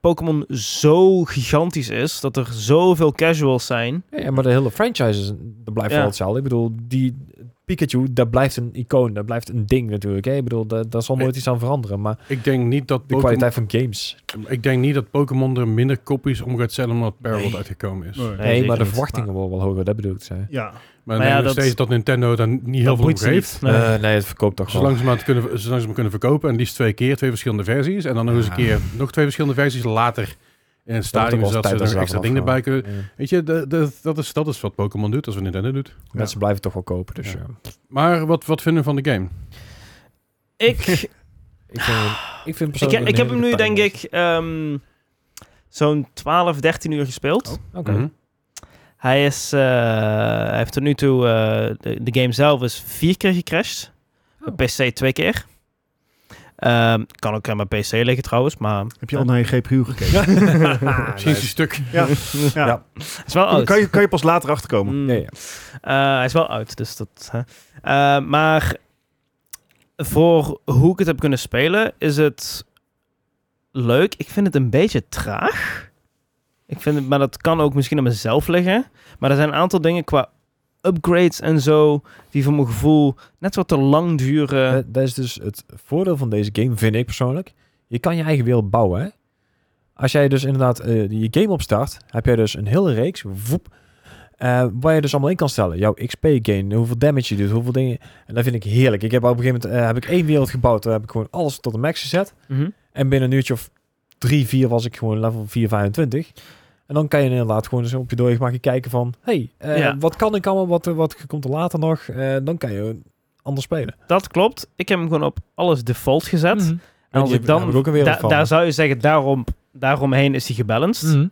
Speaker 1: Pokémon zo gigantisch is dat er zoveel casuals zijn.
Speaker 4: Ja, maar de hele franchise, is- dat blijft
Speaker 1: Ja.
Speaker 4: wel hetzelfde. Ik bedoel, die Pikachu, dat blijft een icoon. Dat blijft een ding natuurlijk. Hè? Ik bedoel, daar, daar zal nooit iets aan veranderen. Maar de
Speaker 3: Ik denk niet dat Pokémon
Speaker 4: kwaliteit van games...
Speaker 3: Ik denk niet dat Pokémon er minder kopies om gaat zellen omdat Parallel
Speaker 1: Nee.
Speaker 3: uitgekomen is.
Speaker 2: Nee.
Speaker 1: Nee,
Speaker 4: Nee,
Speaker 1: zeker
Speaker 4: maar de
Speaker 1: niet.
Speaker 4: verwachtingen worden wel hoger. Dat bedoel ik. Zei.
Speaker 2: Ja,
Speaker 3: Maar,
Speaker 1: Maar
Speaker 3: ik denk
Speaker 1: ja,
Speaker 3: nog
Speaker 1: dat-
Speaker 3: steeds dat Nintendo daar niet heel
Speaker 1: Dat
Speaker 3: veel om
Speaker 1: boeit ze
Speaker 3: geeft.
Speaker 1: niet. Nee.
Speaker 4: Eh, nee, het verkoopt toch wel.
Speaker 3: Zolang ze, maar het kunnen, zolang ze hem kunnen verkopen. En liefst twee keer, twee verschillende versies. En dan nog eens een
Speaker 4: Ja.
Speaker 3: keer, nog twee verschillende versies later in het stadium.
Speaker 4: wel
Speaker 3: Zodat
Speaker 4: tijd
Speaker 3: ze
Speaker 4: dat
Speaker 3: er
Speaker 4: ze
Speaker 3: nog extra
Speaker 4: daarvan
Speaker 3: dingen bij
Speaker 4: afgaan.
Speaker 3: kunnen.
Speaker 4: Ja.
Speaker 3: Weet je, de- de- dat, is, dat is wat Pokémon doet, als wat Nintendo doet.
Speaker 4: Mensen blijven toch wel kopen, dus
Speaker 3: Ja.
Speaker 4: ja.
Speaker 3: Maar wat, wat vinden we van de game?
Speaker 1: Ik, ik,
Speaker 4: [LAUGHS] Ik vind, ik vind
Speaker 1: Dus ik,
Speaker 4: persoonlijk een
Speaker 1: heb hem nu,
Speaker 4: heerlijke
Speaker 1: denk ik,
Speaker 4: timer.
Speaker 1: ehm, zo'n 12, 13 uur gespeeld.
Speaker 4: Oh, Oké.
Speaker 3: Mhm.
Speaker 1: Hij is, eh, hij heeft tot nu toe, eh, de, de game zelf is vier keer gecrashed.
Speaker 4: Oh.
Speaker 1: Op PC twee keer. Ehm, Ehm, kan ook aan mijn PC liggen trouwens, maar [LAUGHS]
Speaker 2: Heb je al naar je GPU gekeken? [LAUGHS]
Speaker 3: Misschien is die stuk.
Speaker 2: Ja. ja.
Speaker 4: Ja.
Speaker 1: het is wel oud.
Speaker 2: Kan, je, kan je pas later achterkomen.
Speaker 1: Mm.
Speaker 4: Ja, ja.
Speaker 1: Eh, hij is wel oud, dus dat... hè. Eh, maar voor hoe ik het heb kunnen spelen, is het leuk. Ik vind het een beetje traag. Ik vind het, maar dat kan ook misschien aan mezelf liggen. Maar er zijn een aantal dingen qua upgrades en zo, die voor mijn gevoel net wat te lang duren.
Speaker 4: Dat- dat is dus het voordeel van deze game, vind ik persoonlijk. Je kan je eigen wereld bouwen. Hè? Als jij dus inderdaad eh, je game opstart, heb jij dus een hele reeks, woep, eh, waar je dus allemaal in kan stellen. Jouw XP gain, hoeveel damage je doet, hoeveel dingen. En dat vind ik heerlijk. Ik heb op een gegeven moment eh, heb ik één wereld gebouwd, daar heb ik gewoon alles tot de max gezet.
Speaker 1: Mhm.
Speaker 4: En binnen een uurtje of drie, vier was ik gewoon level 4, 25. En dan kan je inderdaad gewoon eens op je doorgemaakje kijken van... hey, eh,
Speaker 1: Ja.
Speaker 4: wat kan ik allemaal, wat, eh, wat komt er later nog? Eh, dan kan je anders spelen.
Speaker 1: Dat klopt. Ik heb hem gewoon op alles default gezet.
Speaker 4: Mhm.
Speaker 1: En als
Speaker 4: Die
Speaker 1: ik dan...
Speaker 4: heb ik ook een wereld
Speaker 1: da-
Speaker 4: van.
Speaker 1: daar zou je zeggen, daarom, daaromheen is hij gebalanced.
Speaker 4: Mhm.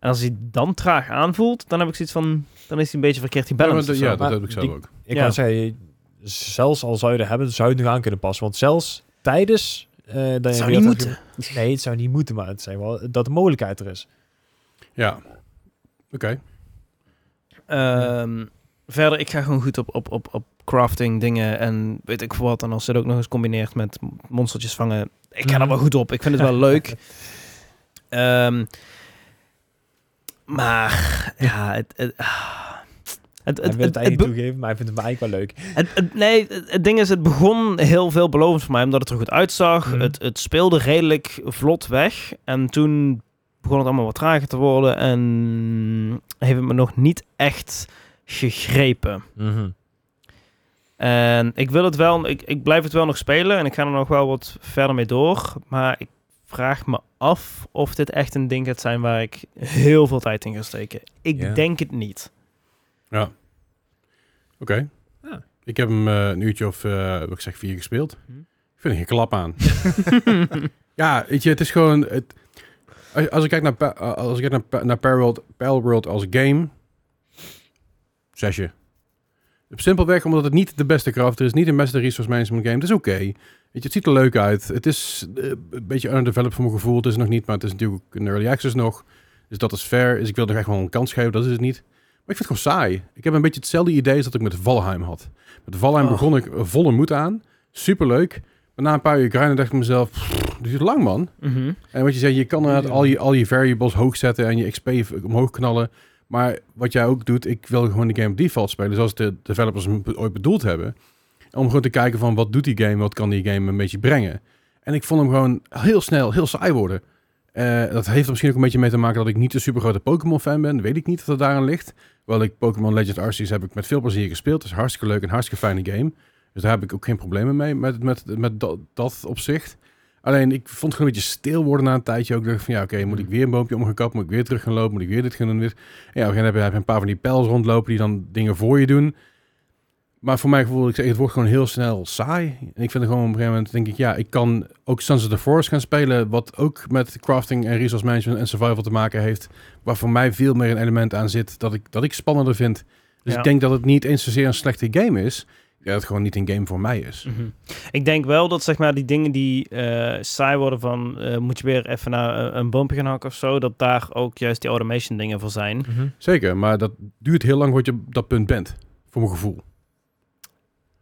Speaker 1: En als hij dan traag aanvoelt, dan heb ik zoiets van... Dan is hij een beetje verkeerd die
Speaker 3: Ja,
Speaker 1: balance.
Speaker 3: dat- ja, dat
Speaker 4: Maar
Speaker 3: heb ik zelf
Speaker 4: die-
Speaker 3: ook.
Speaker 4: Ik
Speaker 1: Ja.
Speaker 4: kan zeggen, zelfs al zou je er hebben, zou je het nog aan kunnen passen. Want zelfs tijdens... eh, dat je
Speaker 1: zou
Speaker 4: een
Speaker 1: niet
Speaker 4: wereld-
Speaker 1: moeten.
Speaker 4: Nee, het zou niet moeten, maar het zijn wel dat de mogelijkheid er is.
Speaker 3: Ja. Oké.
Speaker 1: Ehm, Verder, ik ga gewoon goed op, op, op, op crafting dingen en weet ik veel wat. En als je dat ook nog eens combineert met monstertjes vangen. Ik ga daar
Speaker 4: Mhm.
Speaker 1: wel goed op. Ik vind het wel
Speaker 4: [LAUGHS]
Speaker 1: [LAUGHS] leuk. Ehm, maar ja, het... het, ah, het,
Speaker 4: Hij
Speaker 1: het,
Speaker 4: wil het
Speaker 1: het,
Speaker 4: eigenlijk
Speaker 1: het,
Speaker 4: niet
Speaker 1: be-
Speaker 4: toegeven, maar hij vindt het eigenlijk wel leuk.
Speaker 1: Het, het- nee, het, het ding is, het begon heel veelbelovend voor mij, omdat het er goed uitzag.
Speaker 4: Mhm.
Speaker 1: Het, het speelde redelijk vlot weg. En toen begon het allemaal wat trager te worden en heeft het me nog niet echt gegrepen. En ik wil het wel, ik, ik blijf het wel nog spelen en ik ga er nog wel wat verder mee door. Maar ik vraag me af of dit echt een ding gaat zijn waar ik heel veel tijd in ga steken. Ik
Speaker 4: Ja.
Speaker 1: denk het niet.
Speaker 3: Oké.
Speaker 4: Ja.
Speaker 3: Ik heb hem eh, een uurtje of, eh wat ik zeg, vier gespeeld.
Speaker 1: Hm.
Speaker 3: Ik vind er geen klap aan. [LAUGHS] Ja, weet je, het is gewoon... Het, als, als ik kijk naar, Pa- als ik kijk naar, Pa- naar Palworld, Palworld als game... Zesje. Simpelweg omdat het niet de beste crafter is, niet de beste resource management game. Het is oké. Weet je, het ziet er leuk uit. Het is eh, een beetje underdeveloped voor mijn gevoel. Het is nog niet, maar het is natuurlijk ook een early access nog. Dus dat is fair. Dus ik wil er echt wel een kans geven. Dat is het niet. Maar ik vind het gewoon saai. Ik heb een beetje hetzelfde idee als dat ik met Valheim had. Met Valheim
Speaker 1: Oh.
Speaker 3: begon ik volle moed aan. Superleuk. Maar na een paar uur grinden dacht ik mezelf, "Pff, dit duurt lang man.
Speaker 1: Mhm.
Speaker 3: En wat je zei, je kan inderdaad al je, al je variables hoog zetten en je XP v- omhoog knallen. Maar wat jij ook doet, ik wil gewoon de game op default spelen, zoals de developers hem be- ooit bedoeld hebben. Om gewoon te kijken van wat doet die game, wat kan die game een beetje brengen. En ik vond hem gewoon heel snel heel saai worden. Eh, dat heeft er misschien ook een beetje mee te maken dat ik niet een super grote Pokémon-fan ben. Weet ik niet of dat daaraan ligt. Wel, ik Pokémon Legends Arceus heb ik met veel plezier gespeeld. Het is hartstikke leuk en hartstikke fijne game. Dus daar heb ik ook geen problemen mee met, met, met dat, dat opzicht. Alleen ik vond het gewoon een beetje stil worden na een tijdje. Ook Ik dacht van ja, oké, moet ik weer een boompje omgekapt? Moet ik weer terug gaan lopen? Moet ik weer dit gaan doen? Weer... En ja, op een gegeven moment heb je- heb je een paar van die pijls rondlopen die dan dingen voor je doen. Maar voor mijn gevoel, ik zeg, het wordt gewoon heel snel saai. En ik vind het gewoon op een gegeven moment, denk ik, ja, ik kan ook Sunset of the Forest gaan spelen. Wat ook met crafting en resource management en survival te maken heeft. Waar voor mij veel meer een element aan zit dat ik, dat ik spannender vind. Dus
Speaker 1: Ja.
Speaker 3: ik denk dat het niet eens zozeer een slechte game is. Ja, dat het gewoon niet een game voor mij is.
Speaker 1: Mhm. Ik denk wel dat zeg maar die dingen die eh, saai worden van eh, moet je weer even naar eh, een boompje gaan hakken of zo, dat daar ook juist die automation dingen voor zijn.
Speaker 3: Zeker, maar dat duurt heel lang voordat je op dat punt bent. Voor mijn gevoel.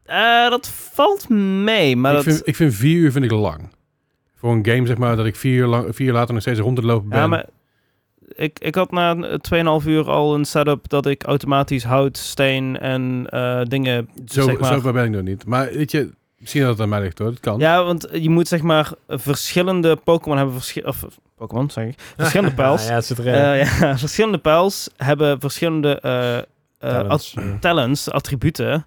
Speaker 1: Eh, dat valt mee, maar
Speaker 3: ik,
Speaker 1: dat...
Speaker 3: vind, ik vind vier uur vind ik lang. Voor een game, zeg maar, dat ik vier uur, lang, vier uur later nog steeds rond te lopen ben.
Speaker 1: ja, maar ik, ik had na een- 2,5 uur al een setup dat ik automatisch hout, steen en eh, dingen...
Speaker 3: zo,
Speaker 1: zeg maar-
Speaker 3: zo ver ben ik nog niet. Maar weet je, misschien dat het aan mij ligt hoor, dat kan.
Speaker 1: Ja, want je moet zeg maar verschillende Pokémon hebben... Verschi of Pokémon, zeg
Speaker 3: [LAUGHS]
Speaker 1: ik. Verschillende pijls.
Speaker 4: Ja, ja, het zit erin.
Speaker 1: Eh, ja, [LAUGHS] verschillende pijls hebben verschillende eh, eh, ad-
Speaker 4: Talents.
Speaker 1: talents, attributen.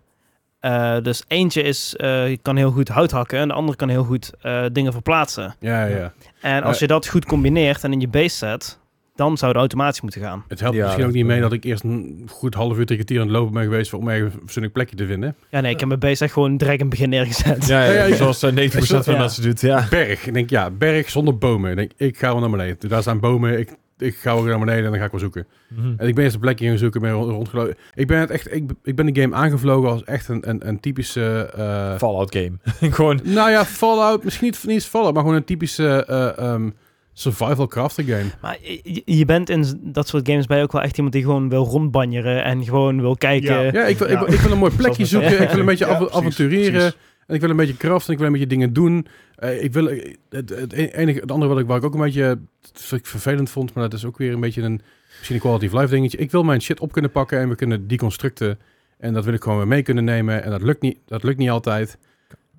Speaker 1: Eh, dus eentje is, eh, je kan heel goed hout hakken en de andere kan heel goed eh, dingen verplaatsen.
Speaker 3: ja. ja.
Speaker 1: En als
Speaker 3: Eh.
Speaker 1: je dat goed combineert en in je base zet, dan zou het automatisch moeten gaan.
Speaker 3: Het helpt
Speaker 4: Ja,
Speaker 3: misschien ook
Speaker 4: dat
Speaker 3: niet mee
Speaker 4: kan.
Speaker 3: dat ik eerst een goed half uur, drie kwartier aan het lopen ben geweest om ergens een zinnig plekje te vinden.
Speaker 1: Ja, nee, ik heb mijn base echt gewoon direct in het begin neergezet.
Speaker 4: Ja, ja,
Speaker 3: Ja,
Speaker 1: [LAUGHS]
Speaker 3: ja,
Speaker 4: zoals eh, 90% van
Speaker 1: Ja.
Speaker 4: mensen doet, ja.
Speaker 3: Berg. Ik denk, ja, berg zonder bomen. Ik denk, ik ga wel naar beneden. Daar staan bomen, ik ik ga ook naar beneden en dan ga ik wel zoeken.
Speaker 4: Mhm.
Speaker 3: En ik ben eerst een plekje gaan zoeken, ben rond- rondgelopen. Ik ben, het echt, ik, ik ben de game aangevlogen als echt een, een, een typische... eh,
Speaker 4: Fallout game. [LAUGHS] Gewoon,
Speaker 3: nou ja, Fallout. Misschien niet, niet eens Fallout, maar gewoon een typische eh, ehm, survival crafting
Speaker 2: [LAUGHS]
Speaker 3: game.
Speaker 1: Maar je, je bent in z- dat soort games bij ook wel echt iemand die gewoon wil rondbanjeren en gewoon wil kijken.
Speaker 2: Ja.
Speaker 3: Ja, ik wil, ik,
Speaker 2: Ja.
Speaker 3: wil- ik wil een mooi plekje
Speaker 1: Zoals met-
Speaker 3: zoeken. Ik wil
Speaker 2: [LAUGHS]
Speaker 3: een beetje
Speaker 2: Ja,
Speaker 3: av-
Speaker 2: precies,
Speaker 3: avontureren.
Speaker 2: precies.
Speaker 3: En ik wil een beetje craften. Ik wil een beetje dingen doen. Eh, ik wil, eh, het, het enige, het andere wat ik, waar ik ook een beetje ver- vervelend vond, maar dat is ook weer een beetje een, misschien een quality of life dingetje. Ik wil mijn shit op kunnen pakken en we kunnen deconstructen. En dat wil ik gewoon weer mee kunnen nemen. En dat lukt niet, dat lukt niet altijd.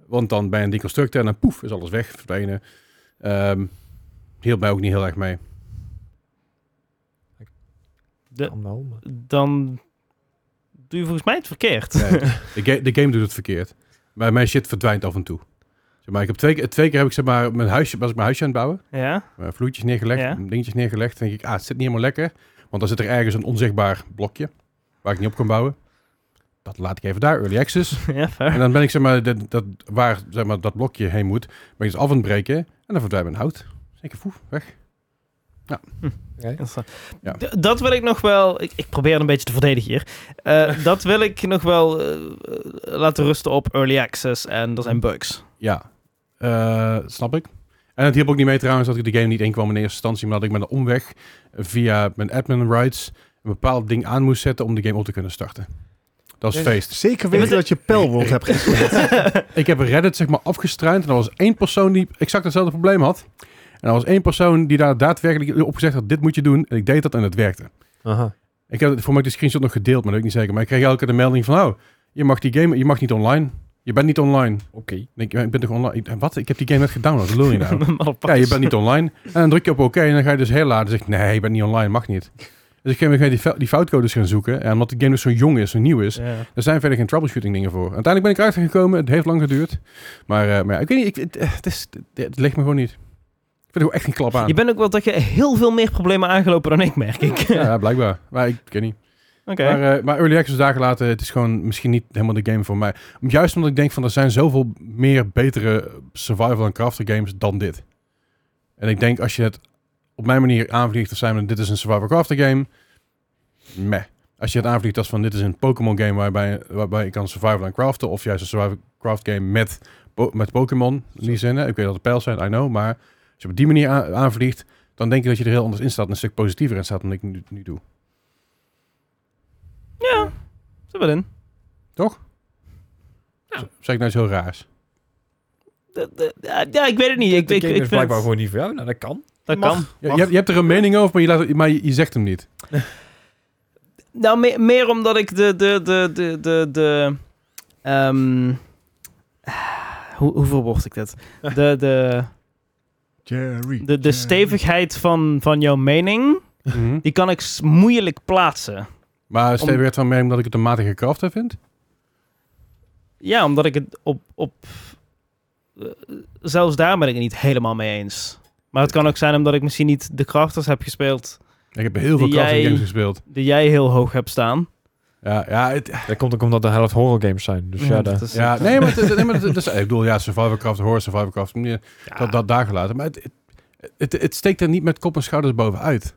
Speaker 3: Want dan ben je een deconstructor en dan poef, is alles weg, verdwenen. Ehm hielp mij ook niet heel erg mee.
Speaker 1: De-
Speaker 4: kan wel, maar-
Speaker 1: Dan doe je volgens mij het verkeerd.
Speaker 3: Nee, de, ga- de game doet het verkeerd. Maar mijn shit verdwijnt af en toe. Zeg maar, ik heb twee, keer- twee keer heb ik zeg maar, mijn huisje, was ik mijn huisje aan het bouwen.
Speaker 1: Ja? [LAUGHS]
Speaker 3: Mijn vloertjes Eh, neergelegd,
Speaker 1: Ja.
Speaker 3: mijn dingetjes neergelegd. Dan denk ik, ah, het zit niet helemaal lekker. Want dan zit er ergens een onzichtbaar blokje waar ik niet op kan bouwen. Dat laat ik even daar,
Speaker 1: [LAUGHS]
Speaker 3: early access.
Speaker 1: ja,
Speaker 3: En
Speaker 1: fair.
Speaker 3: dan ben ik zeg maar, dat, dat, waar zeg maar, dat blokje heen moet, ben ik dus af aan het breken. En dan verdwijnt mijn hout. Zeker voef, weg.
Speaker 1: Interessant.
Speaker 3: Ja.
Speaker 1: D- Dat wil ik nog wel. Ik, ik probeer het een beetje te verdedigen hier.
Speaker 3: [LAUGHS]
Speaker 1: Eh, dat wil ik nog wel eh, laten rusten op early access en er zijn bugs.
Speaker 3: Ja, eh, snap ik. En het hielp ook niet mee trouwens dat ik de game niet inkwam in eerste instantie, maar dat ik met een omweg via mijn admin rights een bepaald ding aan moest zetten om de game op te kunnen starten. Dat is
Speaker 4: Ja.
Speaker 3: feest.
Speaker 2: Zeker weten dat je Pelworld hebt gespeeld.
Speaker 3: Ik heb Reddit zeg maar afgestruind en er was één persoon die exact hetzelfde probleem had. En er was één persoon die daar daadwerkelijk op gezegd had, dit moet je doen. En ik deed dat en het werkte.
Speaker 4: Aha.
Speaker 3: Ik heb voor mij de screenshot nog gedeeld, maar dat weet ik niet zeker. Maar ik kreeg elke keer de melding van, oh, je mag die game, je mag niet online. Je bent niet online.
Speaker 4: Oké.
Speaker 3: Ik denk, ik ben toch online? Ik- Wat? Ik heb die game net gedownload. Wat wil
Speaker 1: [LAUGHS]
Speaker 3: je nou? Ja,
Speaker 1: Motherfuckers.
Speaker 3: je bent niet online. En dan druk je op oké en dan ga je dus heel laat. Dan zeg ik, nee, je bent niet online, mag niet. Dus ik ga die, fou- die foutcodes gaan zoeken. En omdat de game dus zo jong is, zo nieuw is,
Speaker 1: Ja.
Speaker 3: er zijn verder geen troubleshooting dingen voor. Uiteindelijk ben ik erachter gekomen. Het heeft lang geduurd. Maar, eh, maar ja, ik weet niet, ik, het, eh, het, is, het, het ligt me gewoon niet. Ik vind er gewoon echt geen klap aan.
Speaker 1: Je bent ook wel dat je heel veel meer problemen aangelopen dan ik, merk ik. Oké. [LAUGHS]
Speaker 3: Ja, blijkbaar. Maar ik ken niet. Maar, eh, maar Early Access dagen later, het is gewoon misschien niet helemaal de game voor mij. Juist omdat ik denk van, er zijn zoveel meer betere survival en crafter games dan dit. En ik denk, als je het op mijn manier aanvliegt als zijn van, dit is een survival crafter game, meh. Als je het aanvliegt als van, dit is een Pokémon game waarbij, waarbij je kan survival en craften, of juist een survival craft game met, po- met Pokémon, in die zin. hè. Ik weet dat het pijl zijn, I know, maar als je op die manier aan- aanvliegt, dan denk ik dat je er heel anders in staat en een stuk positiever in staat dan ik nu, nu doe.
Speaker 1: Ja, zit wel in.
Speaker 3: Zeg ik nou iets heel raars.
Speaker 1: Dat- dat- Ja, ik weet het niet. Ik,
Speaker 4: de
Speaker 1: ik,
Speaker 4: game
Speaker 1: ik
Speaker 4: is
Speaker 1: vind het-
Speaker 4: blijkbaar gewoon niet voor jou. Nou, dat kan.
Speaker 1: dat
Speaker 2: Mag.
Speaker 1: kan.
Speaker 3: Ja, je, hebt, je hebt er een mening over, maar je, laat, maar je, je zegt hem niet.
Speaker 1: Nou, me- meer omdat ik de... de, de, de, de, de ehm, ah, hoe, hoe verwoord ik
Speaker 3: [LAUGHS]
Speaker 1: dit? De, de,
Speaker 2: Jerry.
Speaker 1: de, de stevigheid van, van jouw mening, die kan ik s- moeilijk plaatsen.
Speaker 3: Maar Steve werd van mening dat ik het een matige kracht heb vind.
Speaker 1: Ja, omdat ik het op... op eh, zelfs daar ben ik het niet helemaal mee eens. Maar het kan ook zijn omdat ik misschien niet de krachters heb gespeeld
Speaker 3: Ik heb heel veel
Speaker 1: Die
Speaker 3: crafting
Speaker 1: jij-
Speaker 3: games gespeeld.
Speaker 1: die jij heel hoog hebt staan.
Speaker 3: Ja, ja, het,
Speaker 4: Dat komt ook omdat de helft horror games zijn. Dus ja,
Speaker 1: dat
Speaker 4: daar-
Speaker 1: is-
Speaker 3: ja nee, maar, het, nee, maar het- het is- ik bedoel, ja, survival craft, horror survival craft, nee, dat, dat daar gelaten. Maar het, het, het, het steekt er niet met kop en schouders bovenuit.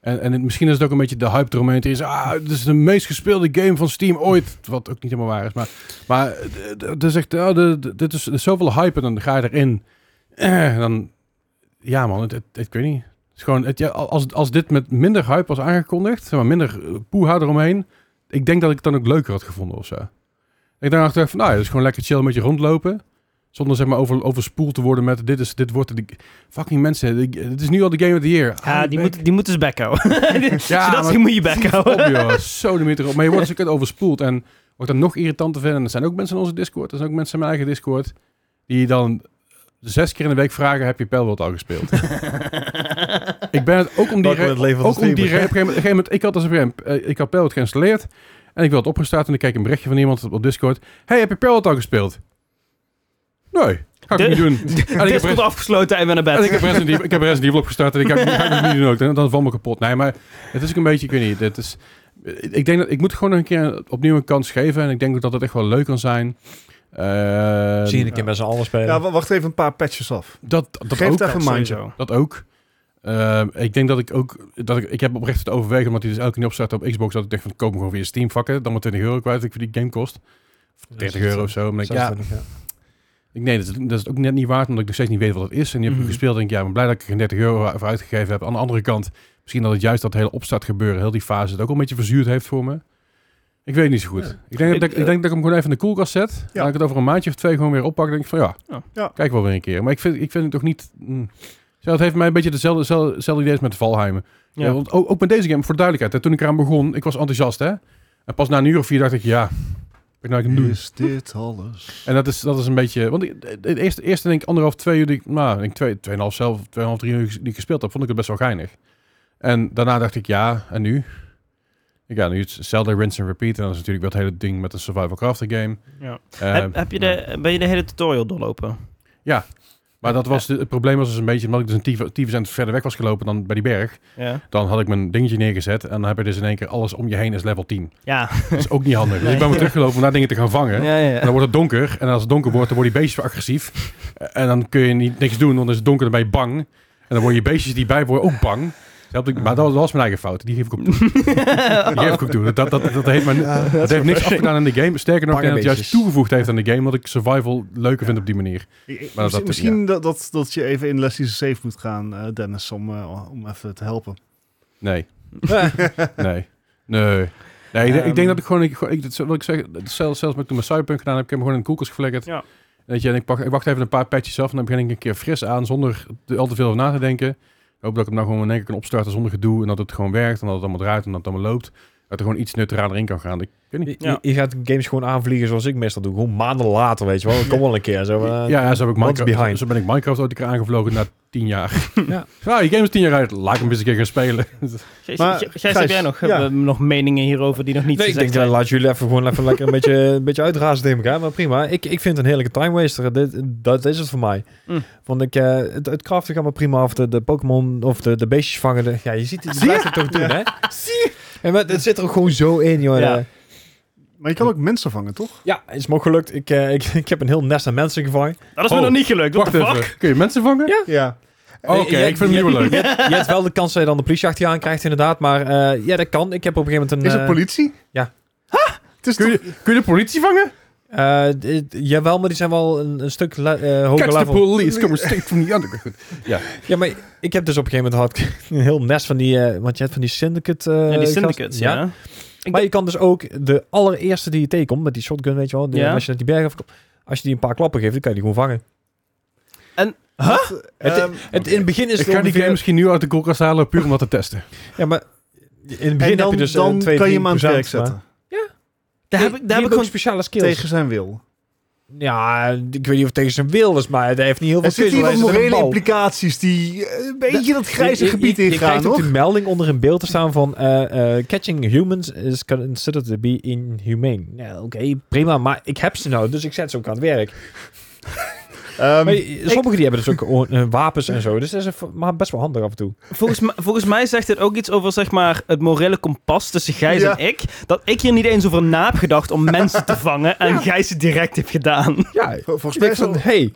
Speaker 3: En, en het- misschien is het ook een beetje de hype eromheen. Er is, ah, het is de meest gespeelde game van Steam ooit. Wat ook niet helemaal waar is. Maar, maar eh, d- d- er is echt, oh, de- de- dit is, er is zoveel hype en dan ga je erin. [CLEARS THROAT] Eh, en dan, ja man, het, het, het- ik weet niet. Het is gewoon, het, ja, als, als dit met minder hype was aangekondigd, zeg maar minder eh, poeha eromheen. Ik denk dat ik het dan ook leuker had gevonden of zo. Ik dacht achteraf van, nou ja, dat is gewoon lekker chill met je rondlopen. Zonder zeg maar over, overspoeld te worden met, dit, is, dit wordt de... Fucking mensen, ik- het is nu al de game of the year. Hou
Speaker 1: Ja,
Speaker 3: je
Speaker 1: die
Speaker 3: bek.
Speaker 1: moet, die moeten ze back houden. [LAUGHS]
Speaker 3: Ah, [LAUGHS] Ja,
Speaker 1: Zodat
Speaker 3: maar-
Speaker 1: ze moet je back
Speaker 3: op,
Speaker 1: [LAUGHS] houden.
Speaker 3: joh. Zo de meter op. Maar je wordt dus ook overspoeld. En wordt dan nog irritanter vinden. En er zijn ook mensen in onze Discord. Er zijn ook mensen in mijn eigen Discord. Die dan zes keer in de week vragen, heb je Pelworld al gespeeld? ik ben het ook om die
Speaker 2: Welkom in het leven
Speaker 3: reden...
Speaker 2: van
Speaker 3: Ook
Speaker 2: de
Speaker 3: om die
Speaker 2: streamer.
Speaker 3: reden... Op een gegeven moment- op een gegeven moment, ik had dus op een gegeven moment, eh, ik had Pelworld geïnstalleerd. En ik wilde opgestart. En ik kreeg een berichtje van iemand op- op Discord. Hey, heb je Pelworld al gespeeld? Nee. Ga ik
Speaker 1: De-
Speaker 3: niet doen. En ik heb
Speaker 1: Dit wordt afgesloten en we naar
Speaker 3: en
Speaker 1: bed.
Speaker 3: ik heb Resident Evil, ik heb Resident Evil opgestart en ik ga, ik ga het niet doen ook. Dan, dan val me kapot. Nee, maar het is ook een beetje, ik weet niet. Het is, ik denk dat ik moet gewoon een keer opnieuw een kans geven. En ik denk ook dat het echt wel leuk kan zijn. Eh,
Speaker 4: Zie je een keer met z'n allen spelen.
Speaker 2: Ja, wa- wacht even een paar patches af.
Speaker 3: dat, dat
Speaker 2: Geef
Speaker 3: ook.
Speaker 2: het even een
Speaker 1: Ja,
Speaker 2: mindje.
Speaker 1: sowieso.
Speaker 3: Dat ook. Eh, Eh, ik denk dat ik ook, dat ik, ik heb oprecht het overwegen, omdat hij dus elke keer niet opstart op Xbox, dat ik dacht van, koop me gewoon via Steam vakken, dan maar 20 euro kwijt, ik voor die game kost. 30 euro of zo. Maar ik, denk, ja,
Speaker 4: 26, ja.
Speaker 3: ik, nee, dat, is- dat is ook net niet waard, omdat ik nog steeds niet weet wat het is. En die heb ik
Speaker 1: Mhm.
Speaker 3: gespeeld, denk ik, ja, ik ben blij dat ik er geen 30 euro voor uitgegeven heb. Aan de andere kant, misschien dat het juist dat hele opstart gebeuren, heel die fase, het ook al een beetje verzuurd heeft voor me. Ik weet het niet zo goed.
Speaker 2: Ja.
Speaker 3: Ik, denk
Speaker 1: Ik,
Speaker 3: dat, ik,
Speaker 1: eh,
Speaker 3: ik denk dat ik hem gewoon even in de koelkast zet. En dat ik het over een maandje of twee gewoon weer oppak. denk ik van ja,
Speaker 1: Ja.
Speaker 2: Ja.
Speaker 3: kijk wel weer een keer. Maar ik vind, ik vind het toch niet... mm. Zo, het heeft mij een beetje dezelfde, dezelfde, dezelfde idee als met Valheim. Ja.
Speaker 1: Ja.
Speaker 3: want ook, ook met deze game, voor de duidelijkheid. Hè, toen ik eraan begon, ik was enthousiast. Hè? En pas na een uur of vier dacht ik, ja, wat nou ik nu?
Speaker 2: Is dit alles?
Speaker 3: En dat is, dat is een beetje... Want ik- de- de eerste, eerste denk ik anderhalf, twee uur... Die, ik- nou, ik denk twee, tweeënhalf zelf, tweeënhalf, drie uur die ik gespeeld heb, vond ik het best wel geinig. En daarna dacht ik, ja, en nu? Ik, Ja, nu is Zelda Rinse and Repeat. En dat is natuurlijk dat hele ding met een survival crafter game.
Speaker 1: Ja.
Speaker 3: Eh,
Speaker 1: heb, heb je de, ben je de hele tutorial doorlopen?
Speaker 3: Maar
Speaker 1: eh,
Speaker 3: dat was de- het probleem was dus een beetje, omdat ik dus een tyfus- tyfus cent verder weg was gelopen dan bij die berg,
Speaker 1: Ja.
Speaker 3: dan had ik mijn dingetje neergezet en dan heb je dus in één keer alles om je heen is level 10.
Speaker 1: Ja.
Speaker 3: Dat is ook niet handig. Dus ik ben weer teruggelopen om daar dingen te gaan vangen.
Speaker 1: ja, ja.
Speaker 3: En dan wordt het donker en als het donker wordt, dan worden die beestjes weer agressief. Eh, En dan kun je niet, niks doen, want dan is het donker, dan ben je bang. En dan worden je beestjes die bij worden ook bang. Dus dat heb ik- Maar dat was, dat was mijn eigen fout. Die geef ik op toe. Die geef ik op toe. Dat, dat, dat, dat heeft, mijn, dat heeft niks afgedaan aan de game. Sterker nog, ik denk dat het juist
Speaker 4: Bange
Speaker 3: toegevoegd heeft aan de game. Dat ik survival leuker vind op die manier.
Speaker 2: Maar
Speaker 3: dat-
Speaker 2: misschien
Speaker 3: dat-
Speaker 2: misschien dat, dat, dat je even in Leslie's safe moet gaan, eh, Dennis, om, eh, om even te helpen.
Speaker 1: [LAUGHS]
Speaker 3: Nee. nee. Nee. Nee, ik denk- ik
Speaker 1: Ehm.
Speaker 3: denk dat ik gewoon... Ik, gewoon- ik, dat is wat ik zeg, dat is zelfs, zelfs met toen mijn Cyberpunk gedaan heb, ik heb hem gewoon in de koelkast geflikkerd.
Speaker 1: Ja.
Speaker 3: Weet je, en ik, pak, ik wacht even een paar patches af en dan begin ik een keer fris aan zonder te- al te veel over na te denken. Ik hoop dat ik hem nou gewoon in één keer kan opstarten zonder gedoe en dat het gewoon werkt en dat het allemaal draait en dat het allemaal loopt. Dat er gewoon iets neutraler in kan gaan. Ik weet niet.
Speaker 4: Je,
Speaker 1: Ja.
Speaker 4: je gaat games gewoon aanvliegen zoals ik meestal doe. Gewoon maanden later, weet je wel. Kom wel een keer. Zo, eh,
Speaker 3: ja, ja, zo, heb ik
Speaker 4: what's
Speaker 3: Minecraft,
Speaker 4: behind?
Speaker 3: zo ben ik Minecraft ooit een keer aangevlogen na tien
Speaker 1: [LAUGHS]
Speaker 3: jaar.
Speaker 4: Ja.
Speaker 3: [LAUGHS] Nou, je game is tien jaar uit. Laat ik hem eens een keer gaan spelen.
Speaker 1: Gijs,
Speaker 2: Maar,
Speaker 1: Gijs,
Speaker 2: Gijs,
Speaker 1: heb jij nog,
Speaker 2: ja.
Speaker 1: eh, nog meningen hierover die nog niet
Speaker 4: Nee, ik
Speaker 1: gezegd
Speaker 4: denk,
Speaker 1: zijn?
Speaker 4: eh, laat jullie even gewoon even lekker een
Speaker 1: [LAUGHS]
Speaker 4: beetje, een beetje uitrazen tegen elkaar. Maar prima, ik, ik vind het een heerlijke time waster. Dit, dat is het voor mij.
Speaker 1: Mm.
Speaker 4: Want ik, eh, het, het craften gaat maar prima. Of de, de Pokémon, of de, de beestjes vangen. de- ja, je ziet het, je blijft het toch doen, hè? En maar het zit er ook gewoon zo in, joh.
Speaker 1: Ja.
Speaker 4: Eh,
Speaker 2: Maar je kan ook mensen vangen, toch?
Speaker 4: Ja, is me ook gelukt. Ik, eh, ik, [LAUGHS] ik heb een heel nest aan mensen gevangen.
Speaker 1: dat is me
Speaker 3: Oh,
Speaker 1: nog niet gelukt. What
Speaker 3: Wacht
Speaker 1: the fuck?
Speaker 3: even. Kun je mensen vangen?
Speaker 4: Ja.
Speaker 2: Ja.
Speaker 3: Oké,
Speaker 4: Eh, jij-
Speaker 3: ik vind hem
Speaker 4: jij-
Speaker 3: niet meer leuk.
Speaker 4: Je hebt wel de kans dat je dan de politiejacht hier aan krijgt, inderdaad. Maar eh, ja, dat kan. Ik heb op een gegeven moment een...
Speaker 2: Is het
Speaker 4: eh,
Speaker 2: politie?
Speaker 4: ja.
Speaker 2: Het is
Speaker 3: Kun je, kun je de politie vangen?
Speaker 4: eh, d- jawel, maar die zijn wel een, een stuk le- eh, hoger
Speaker 3: Catch the
Speaker 4: level.
Speaker 3: police, come straight from the underground.
Speaker 4: Ja, maar ik heb dus op een gegeven moment had ik [LAUGHS] een heel nest van die, eh, want je hebt van die syndicate. eh,
Speaker 1: ja, die
Speaker 4: gast-
Speaker 1: syndicates, ja. Ik
Speaker 4: Maar je kan dus ook de allereerste die je tegenkomt met die shotgun, weet je wel, die-
Speaker 1: Ja.
Speaker 4: als je naar die berg afkomt, als je die een paar klappen geeft, dan kan je die gewoon vangen.
Speaker 2: Huh?
Speaker 4: Het-
Speaker 1: eh,
Speaker 4: Het, in het begin is
Speaker 3: Ik
Speaker 4: het
Speaker 3: ga die
Speaker 4: ongeveer-
Speaker 3: game misschien nu uit de koelkast halen puur om dat te testen.
Speaker 4: Ja, maar in het begin
Speaker 2: en dan,
Speaker 4: heb je dus eh,
Speaker 2: dan
Speaker 4: twee,
Speaker 2: kan je
Speaker 4: drie
Speaker 2: hem aan het werk
Speaker 4: procent,
Speaker 2: zetten.
Speaker 4: maar-
Speaker 1: daar
Speaker 4: Nee,
Speaker 1: heb ik, daar
Speaker 4: die
Speaker 1: heb ik
Speaker 4: hebben ook
Speaker 1: gewoon...
Speaker 4: speciale skills.
Speaker 2: Tegen zijn wil.
Speaker 4: Ja, ik weet niet of het tegen zijn wil is, maar hij heeft niet heel veel
Speaker 2: Er zitten
Speaker 4: skills.
Speaker 2: hier wat
Speaker 4: want hij zit met
Speaker 2: morele
Speaker 4: een bal.
Speaker 2: implicaties die eh, een beetje dat
Speaker 4: Je-
Speaker 2: grijze
Speaker 4: je-
Speaker 2: gebied
Speaker 4: je- Je
Speaker 2: ingaan,
Speaker 4: krijgt ook
Speaker 2: hoor.
Speaker 4: de melding onder een beeld te staan van... eh, eh, catching humans is considered to be inhumane. Ja, Oké, prima, maar ik heb ze nou, dus ik zet ze ook aan het werk.
Speaker 2: Ehm,
Speaker 4: maar je- sommigen die hebben dus ook [LAUGHS] o- eh, wapens en zo, dus dat is een v- maar best wel handig af en toe.
Speaker 1: Volgens, mij- volgens mij zegt dit ook iets over zeg maar, het morele kompas tussen Gijs
Speaker 2: Ja.
Speaker 1: en ik. Dat ik hier niet eens over na heb gedacht om mensen te vangen. En Gijs het direct heeft gedaan.
Speaker 4: Ja, [LAUGHS]
Speaker 2: vol- volgens mij
Speaker 4: denk
Speaker 2: is er,
Speaker 4: van,
Speaker 2: er is
Speaker 4: hey,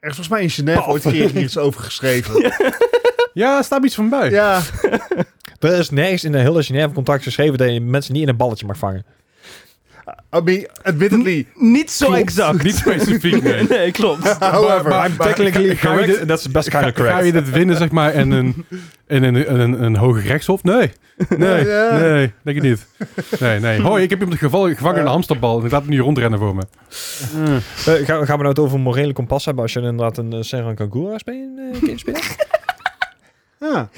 Speaker 2: volgens mij in Genève ooit een keer hier iets over geschreven.
Speaker 4: [LAUGHS]
Speaker 2: Ja.
Speaker 3: Ja, er staat iets van bij.
Speaker 4: er is nergens in de hele Genève contract geschreven dat je mensen niet in een balletje mag vangen.
Speaker 2: I mean,
Speaker 4: [LAUGHS]
Speaker 2: admittedly,
Speaker 1: Niet zo
Speaker 2: Klopt.
Speaker 1: exact.
Speaker 3: Niet specifiek, nee.
Speaker 1: [LAUGHS] Nee, klopt.
Speaker 2: however.
Speaker 3: Maar-
Speaker 4: I'm
Speaker 3: ga-
Speaker 4: technically
Speaker 3: ga je
Speaker 4: correct,
Speaker 3: dit-
Speaker 4: and that's best kind of
Speaker 3: [LAUGHS] Ga
Speaker 4: correct.
Speaker 3: je dit winnen, zeg maar, en een, en een, en een, een hoge rechtshof? Nee. Nee,
Speaker 2: Ja.
Speaker 3: nee, denk ik niet. Nee, [LAUGHS] nee. Hoi, ik heb iemand gevallen, gevangen in een hamsterbal en ik laat hem nu rondrennen voor me.
Speaker 4: Eh, gaan, we- gaan we nou het over een morele kompas hebben als je inderdaad een uh, Senran Kagura speel- eh, game speelt?
Speaker 2: Ja.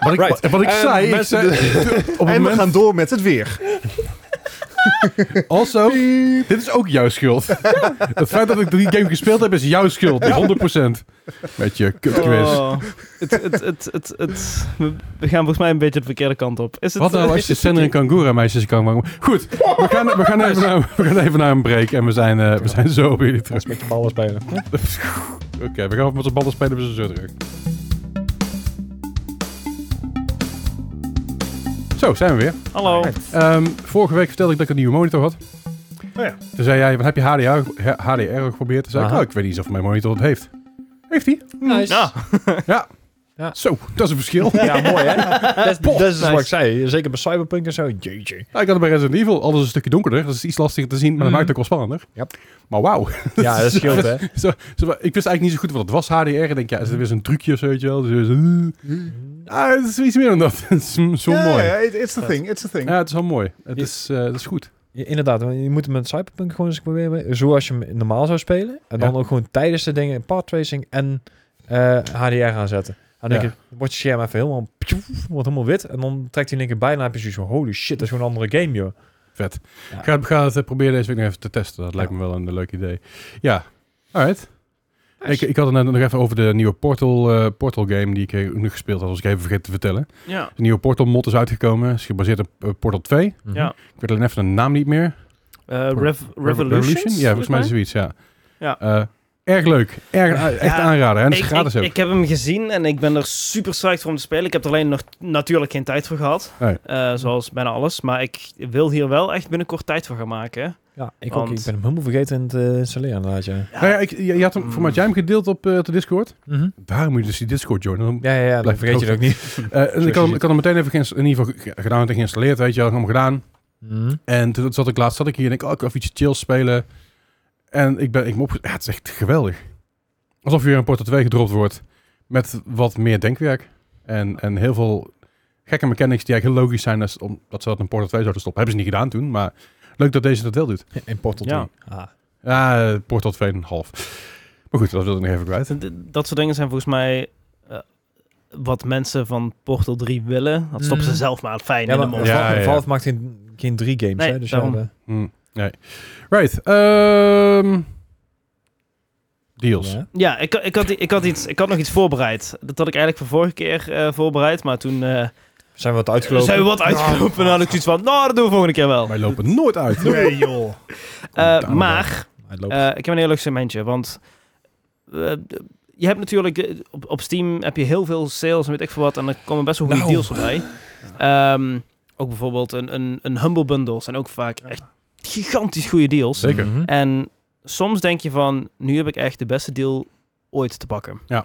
Speaker 3: Wat ik,
Speaker 4: Right.
Speaker 3: wat ik
Speaker 4: Eh,
Speaker 3: zei, ik
Speaker 4: mensen-
Speaker 3: zei [LAUGHS] op het
Speaker 2: En we
Speaker 3: moment,
Speaker 2: gaan door met het weer.
Speaker 3: [LAUGHS] also, dit is ook jouw schuld. [LAUGHS] het feit dat ik die game gespeeld heb, is jouw schuld, 100%. Met je kutquiz.
Speaker 1: Oh, het, het, het, het, het- we we gaan volgens mij een beetje de verkeerde kant op. Is het,
Speaker 3: Wat nou als je Sender en Kangura meisjes kan maken? Goed, we gaan, we, gaan even naar, we gaan even naar een break en we zijn, eh, we zijn zo bij jullie terug. [LAUGHS]
Speaker 4: Als met je ballen spelen.
Speaker 3: Oké, we gaan even met z'n ballen spelen, dus we zijn zo terug. Zo, zijn we weer.
Speaker 1: Hallo.
Speaker 3: Ehm, vorige week vertelde ik dat ik een nieuwe monitor had.
Speaker 2: Oh ja.
Speaker 3: Toen zei jij, wat heb je HDR, ge- HDR geprobeerd? Toen zei ik,
Speaker 4: Aha.
Speaker 3: oh, ik weet niet of mijn monitor het heeft. Heeft hij?
Speaker 1: Ja.
Speaker 3: Ja. Zo, dat is een
Speaker 4: [LAUGHS]
Speaker 3: verschil.
Speaker 4: Ja, mooi hè? Dat is, dat is
Speaker 1: Nice.
Speaker 4: wat ik zei. Zeker bij Cyberpunk en zo. Jeetje.
Speaker 3: Ja, ik had het bij Resident Evil, alles een stukje donkerder. Dat is iets lastiger te zien, maar dat
Speaker 4: Mhm.
Speaker 3: maakt het ook wel spannender.
Speaker 4: Ja.
Speaker 3: Maar wauw.
Speaker 4: Ja, dat scheelt [LAUGHS] hè.
Speaker 3: Zo, zo, ik wist eigenlijk niet zo goed wat het was, HDR. Ik denk, ja, is het weer zo'n trucje of zo, weet je wel? Dus, eh, ah, het is iets meer dan dat. [LAUGHS] Het is mm, zo
Speaker 2: Ja,
Speaker 3: mooi.
Speaker 2: Ja, it- it's the thing, it's the thing.
Speaker 3: Ja, het is wel mooi. Het
Speaker 4: Ja.
Speaker 3: is, eh, dat is goed.
Speaker 4: Ja, inderdaad, want je moet hem met Cyberpunk gewoon eens proberen. Zoals je hem normaal zou spelen. En dan
Speaker 3: Ja.
Speaker 4: ook gewoon tijdens de dingen path tracing en eh, HDR gaan zetten. En dan
Speaker 3: Ja.
Speaker 4: denk je, wordt je scherm even helemaal, pjoef, wordt helemaal wit. En dan trekt hij in één keer bijna en heb je zo holy shit, dat is gewoon een andere game, joh.
Speaker 3: Vet.
Speaker 4: Ja.
Speaker 3: Ga, ga het eh, proberen deze week nog even te testen. Dat lijkt me wel een eh, leuk idee. Ja, alright. Ik, ik had het net nog even over de nieuwe Portal, eh, Portal game die ik eh, ook nog gespeeld had, als ik even vergeten te vertellen.
Speaker 1: Ja.
Speaker 3: De nieuwe Portal mod is uitgekomen, is gebaseerd op eh, Portal 2.
Speaker 1: Ja.
Speaker 3: Ik weet alleen even de naam niet meer.
Speaker 1: Eh, Rev- Revolutions?
Speaker 3: Revolution? Ja, volgens mij is zoiets, ja.
Speaker 1: Ja.
Speaker 3: Eh, erg leuk. Erg, echt
Speaker 1: Ja,
Speaker 3: aanraden. En het
Speaker 1: Ik,
Speaker 3: is gratis
Speaker 1: ik,
Speaker 3: ook.
Speaker 1: ik heb hem gezien en ik ben er super psyched voor om te spelen. Ik heb er alleen nog natuurlijk geen tijd voor gehad.
Speaker 3: Nee.
Speaker 1: Eh, zoals bijna alles. Maar ik wil hier wel echt binnenkort tijd voor gaan maken.
Speaker 4: Ja, ik ook.
Speaker 1: Want-
Speaker 4: Ik ben hem helemaal vergeten te installeren inderdaad, ja.
Speaker 3: Nou ja, ik, je, je had hem, voor mij had jij hem gedeeld op eh, de Discord.
Speaker 4: Mhm.
Speaker 3: Daarom moet je dus die Discord joinen. Dan-
Speaker 4: Ja, ja, ja, dan
Speaker 3: Blijf
Speaker 4: vergeet je
Speaker 3: ook-
Speaker 4: dat ook
Speaker 1: [LAUGHS]
Speaker 4: niet.
Speaker 3: Eh, en ik, had, hem- ik had hem meteen even geïns- in ieder geval ge- gedaan en geïnstalleerd, weet je wel, hem gedaan.
Speaker 4: Mhm.
Speaker 3: En toen zat ik laatst zat ik hier en ik, oh, ik wil even iets chills spelen. En ik ben, ik me opge- ja, het is echt geweldig. Alsof je weer een Portal 2 gedropt wordt met wat meer denkwerk. En, en heel veel gekke mechanics die eigenlijk heel logisch zijn als, omdat ze dat in Portal 2 zouden stoppen. Hebben ze niet gedaan toen, maar leuk dat deze dat wel doet.
Speaker 4: In Portal
Speaker 1: Ja.
Speaker 4: 3. Ah.
Speaker 3: Ja, eh, Portal 2,5. Maar goed, dat wilde ik nog even kwijt.
Speaker 1: D- Dat soort dingen zijn volgens mij eh, wat mensen van Portal 3 willen. Dat stoppen
Speaker 4: Mm.
Speaker 1: ze zelf maar fijn
Speaker 4: Ja,
Speaker 1: in de
Speaker 4: maar
Speaker 1: mond.
Speaker 3: Ja,
Speaker 4: Valve-
Speaker 3: ja.
Speaker 4: Valve maakt geen, geen drie games,
Speaker 1: Nee,
Speaker 4: hè. Dus
Speaker 1: daarom.
Speaker 4: ja, de-
Speaker 3: Hm, nee. Right. ehm, deals.
Speaker 4: Ja.
Speaker 1: Ja, ik, ik, had, ik, had iets, ik had nog iets voorbereid. Dat had ik eigenlijk voor vorige keer eh, voorbereid. Maar toen eh,
Speaker 4: Zijn we wat uitgelopen? Ah.
Speaker 1: zijn we wat uitgelopen. En dan had ik zoiets van, nou, dat doen we volgende keer wel.
Speaker 3: Wij lopen nooit uit.
Speaker 2: Nee, joh.
Speaker 1: Eh,
Speaker 3: Daarom
Speaker 1: maar
Speaker 4: Uitlopen.
Speaker 1: Eh, ik heb een heel leuk segmentje, want eh, d- je hebt natuurlijk eh, op, op Steam heb je heel veel sales en weet ik veel wat, en er komen best wel goede
Speaker 4: Nou.
Speaker 1: deals voorbij. Ehm, ook bijvoorbeeld een, een, een Humble Bundle zijn ook vaak echt gigantisch goede deals.
Speaker 3: Zeker.
Speaker 4: Mhm.
Speaker 1: En soms denk je van, nu heb ik echt de beste deal ooit te pakken.
Speaker 3: Ja.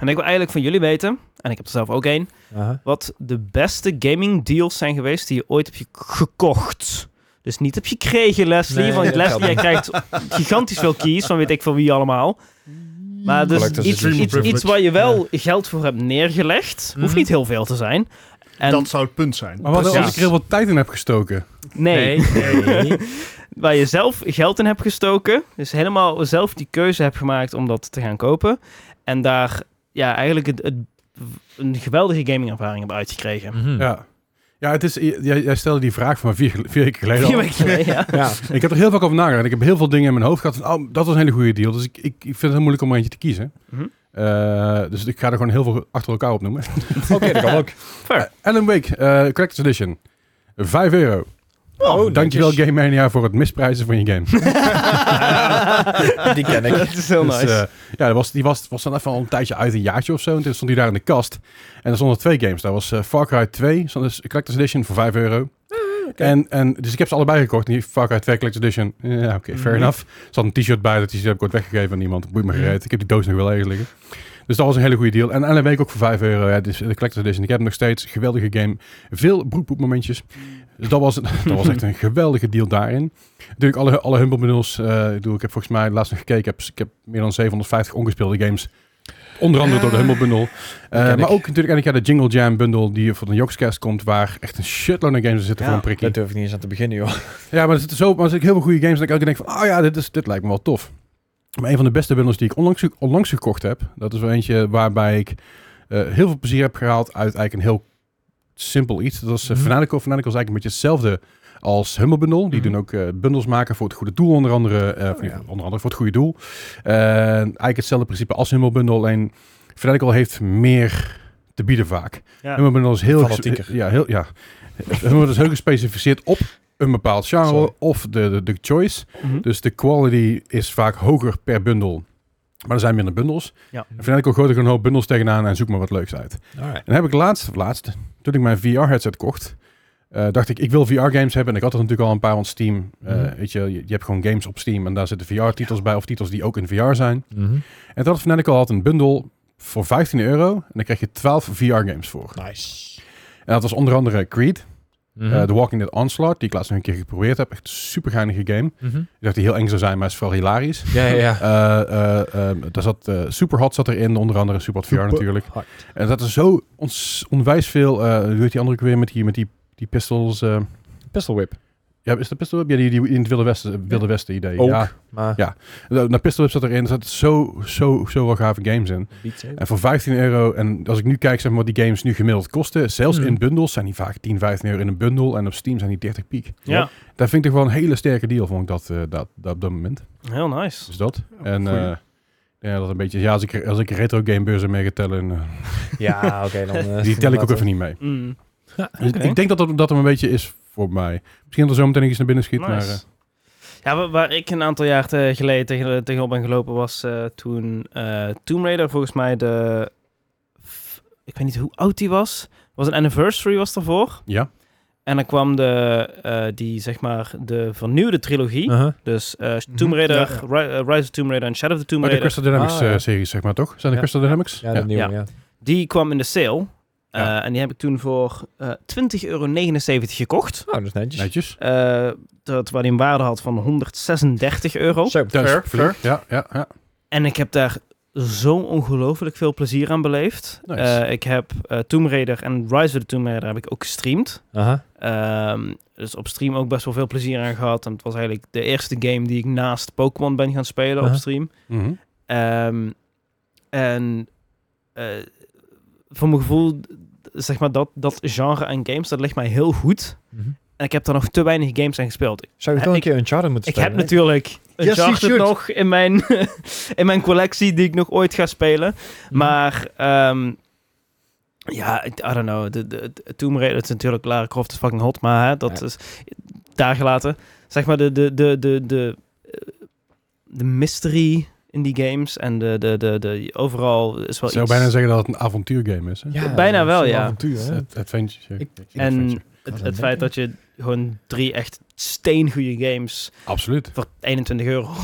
Speaker 1: En ik wil eigenlijk van jullie weten, en ik heb er zelf ook één,
Speaker 4: Aha.
Speaker 1: wat de beste gaming deals zijn geweest die je ooit hebt ge- gekocht. Dus niet heb je gekregen, Leslie.
Speaker 4: Nee,
Speaker 1: want
Speaker 4: dat
Speaker 1: Leslie, jij
Speaker 4: geldt
Speaker 1: krijgt gigantisch veel keys van weet ik van wie allemaal. Maar dus
Speaker 4: Collector's
Speaker 1: iets,
Speaker 4: edition
Speaker 1: iets, iets
Speaker 2: privilege.
Speaker 1: waar je wel geld voor hebt neergelegd. Hoeft
Speaker 4: Mhm.
Speaker 1: niet heel veel te zijn. En
Speaker 2: dat zou het punt zijn.
Speaker 3: Maar wat
Speaker 1: Precies.
Speaker 3: als ik er heel wat tijd in heb gestoken?
Speaker 1: nee,
Speaker 4: Nee.
Speaker 1: [LAUGHS] waar je zelf geld in hebt gestoken. Dus helemaal zelf die keuze hebt gemaakt om dat te gaan kopen. En daar ja, eigenlijk het, het- een geweldige gamingervaring hebt uitgekregen.
Speaker 4: [LAUGHS] Mhm.
Speaker 3: Ja. Ja, het is, jij, jij stelde die vraag van vier, vier weken
Speaker 1: [LAUGHS]
Speaker 3: geleden al.
Speaker 1: Vier weken geleden, ja.
Speaker 4: Ja.
Speaker 3: Ik heb er heel vaak over nagedacht. Ik heb heel veel dingen in mijn hoofd gehad. Van, oh, dat was een hele goede deal. Dus ik, ik, ik vind het heel moeilijk om er eentje te kiezen.
Speaker 1: Mhm.
Speaker 3: Eh, dus ik ga er gewoon heel veel achter elkaar opnoemen.
Speaker 4: Oké, dat kan ook.
Speaker 1: Fair.
Speaker 3: Eh, Alan Wake, eh Collector's Edition. 5 euro.
Speaker 4: [LAUGHS] Oh, netjes.
Speaker 3: Dankjewel Game Mania voor het misprijzen van je game. [LAUGHS]
Speaker 4: Die ken ik.
Speaker 1: Dat is heel
Speaker 3: Dus,
Speaker 1: nice.
Speaker 3: eh, ja, dat was, die was, was dan even al een tijdje uit, een jaartje of zo. En toen stond hij daar in de kast. En er stonden twee games. Daar was eh, Far Cry 2, stond dus Collector's Edition voor 5 euro.
Speaker 1: Ah,
Speaker 3: En, en, dus ik heb ze allebei gekocht. En die Far Cry 2 Collector's Edition. Ja, oké, fair
Speaker 1: Mhm.
Speaker 3: enough. Er zat een t-shirt bij. Dat t-shirt heb ik ooit weggegeven aan iemand. Boeit me gereed. Ik heb die doos nog wel ergens liggen. Dus dat was een hele goede deal. En Alan Wake ook voor 5 euro. Ja, dus de Collector's Edition. Ik heb hem nog steeds. Geweldige game. Veel broekpoep momentjes.
Speaker 1: Mhm.
Speaker 3: Dus dat was, [LAUGHS] dat was echt een geweldige deal daarin. Natuurlijk alle, alle humble bundles. eh, ik, bedoel, ik heb volgens mij laatst nog gekeken. Ik heb, ik heb meer dan 750 ongespeelde games. Onder andere door de humble bundle. Eh,
Speaker 4: Ah. ken
Speaker 3: maar
Speaker 4: ik.
Speaker 3: ook natuurlijk en ik, ja, de Jingle Jam bundle die van de Joxcast komt. Waar echt een shitload aan games in zitten
Speaker 1: Ja,
Speaker 3: voor een prikkie.
Speaker 4: Daar durf ik niet eens aan te beginnen, joh.
Speaker 3: Ja, maar er zitten zo maar er zitten heel veel goede games. Dat ik elke keer denk van, oh ja, dit, is, dit lijkt me wel tof. Maar een van de beste bundles die ik onlangs, onlangs gekocht heb, dat is wel eentje waarbij ik eh, heel veel plezier heb gehaald uit eigenlijk een heel simpel iets. Dat was eh,
Speaker 4: Mhm.
Speaker 3: Fanatical. Fanatical is eigenlijk een beetje hetzelfde als Humble Bundle. Die
Speaker 4: Mhm.
Speaker 3: doen ook eh, bundles maken voor het goede doel, onder andere. eh, of
Speaker 4: Oh,
Speaker 3: niet,
Speaker 4: ja.
Speaker 3: Onder andere voor het goede doel. Eh, eigenlijk hetzelfde principe als Humble Bundle, alleen Fanatical heeft meer te bieden vaak.
Speaker 1: Ja.
Speaker 3: Humble Bundle is heel...
Speaker 4: Fanatieker.
Speaker 3: Ja, heel, ja. Humble Bundle is heel gespecificeerd op een bepaald genre
Speaker 4: Sorry.
Speaker 3: of de, de, de choice.
Speaker 1: Mhm.
Speaker 3: Dus de quality is vaak hoger per bundel. Maar er zijn minder bundels.
Speaker 1: Ja.
Speaker 3: En Fanatical gooit er een hoop bundels tegenaan en zoek maar wat leuks uit.
Speaker 4: Alright.
Speaker 3: En dan heb ik laatst, of laatst, toen ik mijn VR-headset kocht, eh, dacht ik, ik wil VR-games hebben. En ik had er natuurlijk al een paar, want Steam, eh,
Speaker 4: Mhm.
Speaker 3: weet je, je, je hebt gewoon
Speaker 4: Mhm.
Speaker 3: games op Steam en daar zitten VR-titels bij of titels die ook in VR zijn. En dat had Fanatical had een bundel voor 15 euro. En dan krijg je 12 VR-games voor.
Speaker 4: Nice.
Speaker 3: En dat was onder andere Creed,
Speaker 4: Mhm.
Speaker 3: eh, The Walking Dead Onslaught, die ik laatst nog een keer geprobeerd heb. Echt een supergeinige game. Ik dacht die heel eng zou zijn, maar is vooral hilarisch.
Speaker 4: Mhm. Ja, ja, [LAUGHS] ja.
Speaker 3: Eh, eh, eh, daar zat, eh, Superhot zat erin, onder andere Superhot VR
Speaker 2: Super-
Speaker 3: natuurlijk.
Speaker 4: Hard.
Speaker 3: En dat is zo ons, onwijs veel. eh hoe heet die andere ook weer met die, met die, die pistols? eh,
Speaker 4: Pistol Whip.
Speaker 3: ja, is dat pistol? Whip? Ja, die, die in het Wilde Westen, Wilde Westen idee.
Speaker 4: Ook.
Speaker 3: Ja,
Speaker 4: Maar
Speaker 3: Ja. nou, nou, Pistol Whip zat erin. Er zaten zo, zo, zo wel gave games in.
Speaker 4: Beat Saber.
Speaker 3: En voor 15 euro, en als ik nu kijk zeg maar, wat die games nu gemiddeld kosten, zelfs
Speaker 4: Hmm.
Speaker 3: in bundels zijn die vaak 10, 15 euro in een bundel. En op Steam zijn die 30 piek.
Speaker 1: Ja,
Speaker 3: Daar vind ik toch wel een hele sterke deal, vond ik dat, eh, dat, dat op dat moment.
Speaker 1: heel nice.
Speaker 3: Dus dat. en
Speaker 2: Oh, goeie.
Speaker 3: eh, ja, dat een beetje, ja, als ik, als ik retro gamebeurzen mee ga tellen, eh,
Speaker 4: Ja, oké. dan, eh,
Speaker 3: die tel ik ook
Speaker 4: inderdaad,
Speaker 3: even niet mee.
Speaker 1: Mm,
Speaker 3: Dus
Speaker 1: Oké.
Speaker 3: Ik denk dat dat, dat hem een beetje is voor mij. Misschien dat er zo meteen nog iets naar binnen schiet, maar... eh,
Speaker 1: nice. Ja, wa- waar ik een aantal jaar te- geleden tegen, tegenop ben gelopen was eh, toen eh Tomb Raider volgens mij de... f- Ik weet niet hoe oud die was. was een anniversary was ervoor.
Speaker 3: ja,
Speaker 1: En dan kwam de, eh, die, zeg maar, de vernieuwde trilogie.
Speaker 4: Uh-huh.
Speaker 1: Dus eh Tomb
Speaker 2: Mhm.
Speaker 1: Raider,
Speaker 2: Ja, ja.
Speaker 1: Ri- eh, Rise of Tomb Raider en Shadow of the Tomb
Speaker 3: maar de
Speaker 1: Raider.
Speaker 3: Crystal Dynamics
Speaker 4: Ah, ja.
Speaker 3: eh, series, zeg maar, toch? Zijn de
Speaker 4: Ja.
Speaker 3: Crystal Dynamics?
Speaker 4: Ja, de nieuwe,
Speaker 1: Ja.
Speaker 4: ja.
Speaker 1: Die kwam in de sale. Eh,
Speaker 3: Ja.
Speaker 1: en die heb ik toen voor eh 20,79 euro gekocht.
Speaker 4: Nou, dat is netjes.
Speaker 3: Netjes.
Speaker 1: Eh, dat waar die een waarde had van 136 euro.
Speaker 4: Zo,
Speaker 3: Dat is
Speaker 4: fair,
Speaker 3: flink. Ja, ja, ja.
Speaker 1: En ik heb daar zo ongelooflijk veel plezier aan beleefd.
Speaker 3: Nice.
Speaker 1: Eh, ik heb eh Tomb Raider en Rise of the Tomb Raider heb ik ook gestreamd.
Speaker 4: Aha.
Speaker 1: Ehm, dus op stream ook best wel veel plezier aan gehad. En het was eigenlijk de eerste game die ik naast Pokémon ben gaan spelen
Speaker 4: Aha.
Speaker 1: op stream.
Speaker 3: Mhm.
Speaker 1: Ehm, en eh, voor mijn gevoel, d- zeg maar, dat, dat genre aan games, dat ligt mij heel goed.
Speaker 4: Mhm.
Speaker 1: En ik heb daar nog te weinig games aan gespeeld.
Speaker 4: Zou ik
Speaker 1: Eh,
Speaker 4: dan een
Speaker 1: ik-
Speaker 4: keer Uncharted moeten
Speaker 1: Ik
Speaker 4: spelen?
Speaker 1: heb natuurlijk een
Speaker 2: Yes, you should.
Speaker 1: nog in mijn, [LAUGHS] in mijn collectie die ik nog ooit ga spelen.
Speaker 4: Mhm.
Speaker 1: Maar ehm, ja, ik- I don't know. De, de, de Tomb Raider het is natuurlijk Lara Croft is fucking hot, maar hè, dat
Speaker 4: Ja.
Speaker 1: is daar gelaten. Zeg maar de, de, de, de, de, eh, de mystery in die games en de, de, de, de overal is wel
Speaker 3: Ik zou
Speaker 1: iets.
Speaker 3: bijna zeggen dat het een avontuurgame is. Hè?
Speaker 4: [LAUGHS] Ja,
Speaker 1: bijna
Speaker 4: dat is
Speaker 1: wel,
Speaker 4: een
Speaker 1: ja.
Speaker 4: avontuur, hè?
Speaker 3: Het Adventure.
Speaker 4: Ik-
Speaker 1: en het,
Speaker 4: dat
Speaker 1: het
Speaker 4: denk
Speaker 1: feit
Speaker 4: ik.
Speaker 1: dat je gewoon drie echt steengoede games
Speaker 3: Absoluut.
Speaker 1: voor 21 euro. [LAUGHS]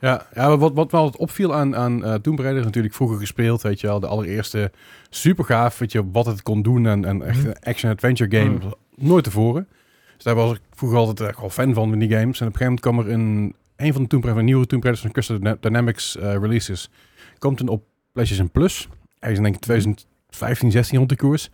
Speaker 3: Ja, ja maar wat, wat me altijd opviel aan, aan eh Tomb Raider is natuurlijk vroeger gespeeld, weet je wel. De allereerste super gaaf, weet je, wat het kon doen en, en echt
Speaker 4: Mhm.
Speaker 3: een action-adventure game.
Speaker 1: Mhm.
Speaker 3: Nooit tevoren. Dus daar was ik vroeger altijd echt wel fan van, van die games. En op een gegeven moment kwam er in een van de Tomb Raider, nieuwe Tomb Raiders van Crystal Dyna- Dynamics eh, releases, komt een op PlayStation Plus. Ergens in denk ik 2015, 16 rond de koers.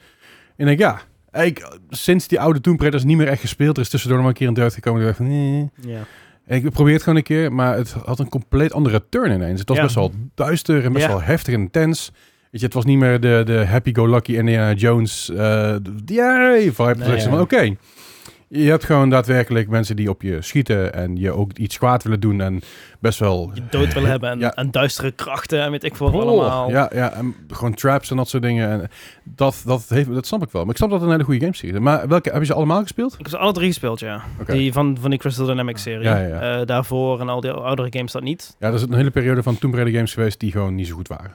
Speaker 3: En ik denk, ja, ik, sinds die oude Tomb Raiders niet meer echt gespeeld, er is tussendoor nog maar een keer een deur gekomen. Ik dacht van, eh.
Speaker 1: Ja.
Speaker 3: Ik probeer het gewoon een keer, maar het had een compleet andere turn ineens. Het was
Speaker 1: Ja.
Speaker 3: best wel duister en best
Speaker 1: Ja.
Speaker 3: wel heftig en intens. Weet je, het was niet meer de, de happy-go-lucky Indiana Jones eh, de yay vibe.
Speaker 4: Nee,
Speaker 3: Nee,
Speaker 4: ja.
Speaker 3: van, oké, je hebt gewoon daadwerkelijk mensen die op je schieten en je ook iets kwaad willen doen en best wel...
Speaker 1: Je dood wil hebben en,
Speaker 3: Ja.
Speaker 1: en duistere krachten en weet ik veel wat allemaal.
Speaker 3: Ja, ja, en gewoon traps en dat soort dingen. En dat, dat, heeft, dat snap ik wel. Maar ik snap dat het een hele goede game serie is. Maar welke, hebben ze allemaal gespeeld?
Speaker 1: Ik heb ze alle drie gespeeld, ja.
Speaker 3: Oké.
Speaker 1: Die van, van die Crystal Dynamics serie.
Speaker 3: Ja, ja, ja.
Speaker 1: Eh, daarvoor en al die oudere games dat niet.
Speaker 3: Ja, er is een hele periode van Tomb Raider games geweest die gewoon niet zo goed waren.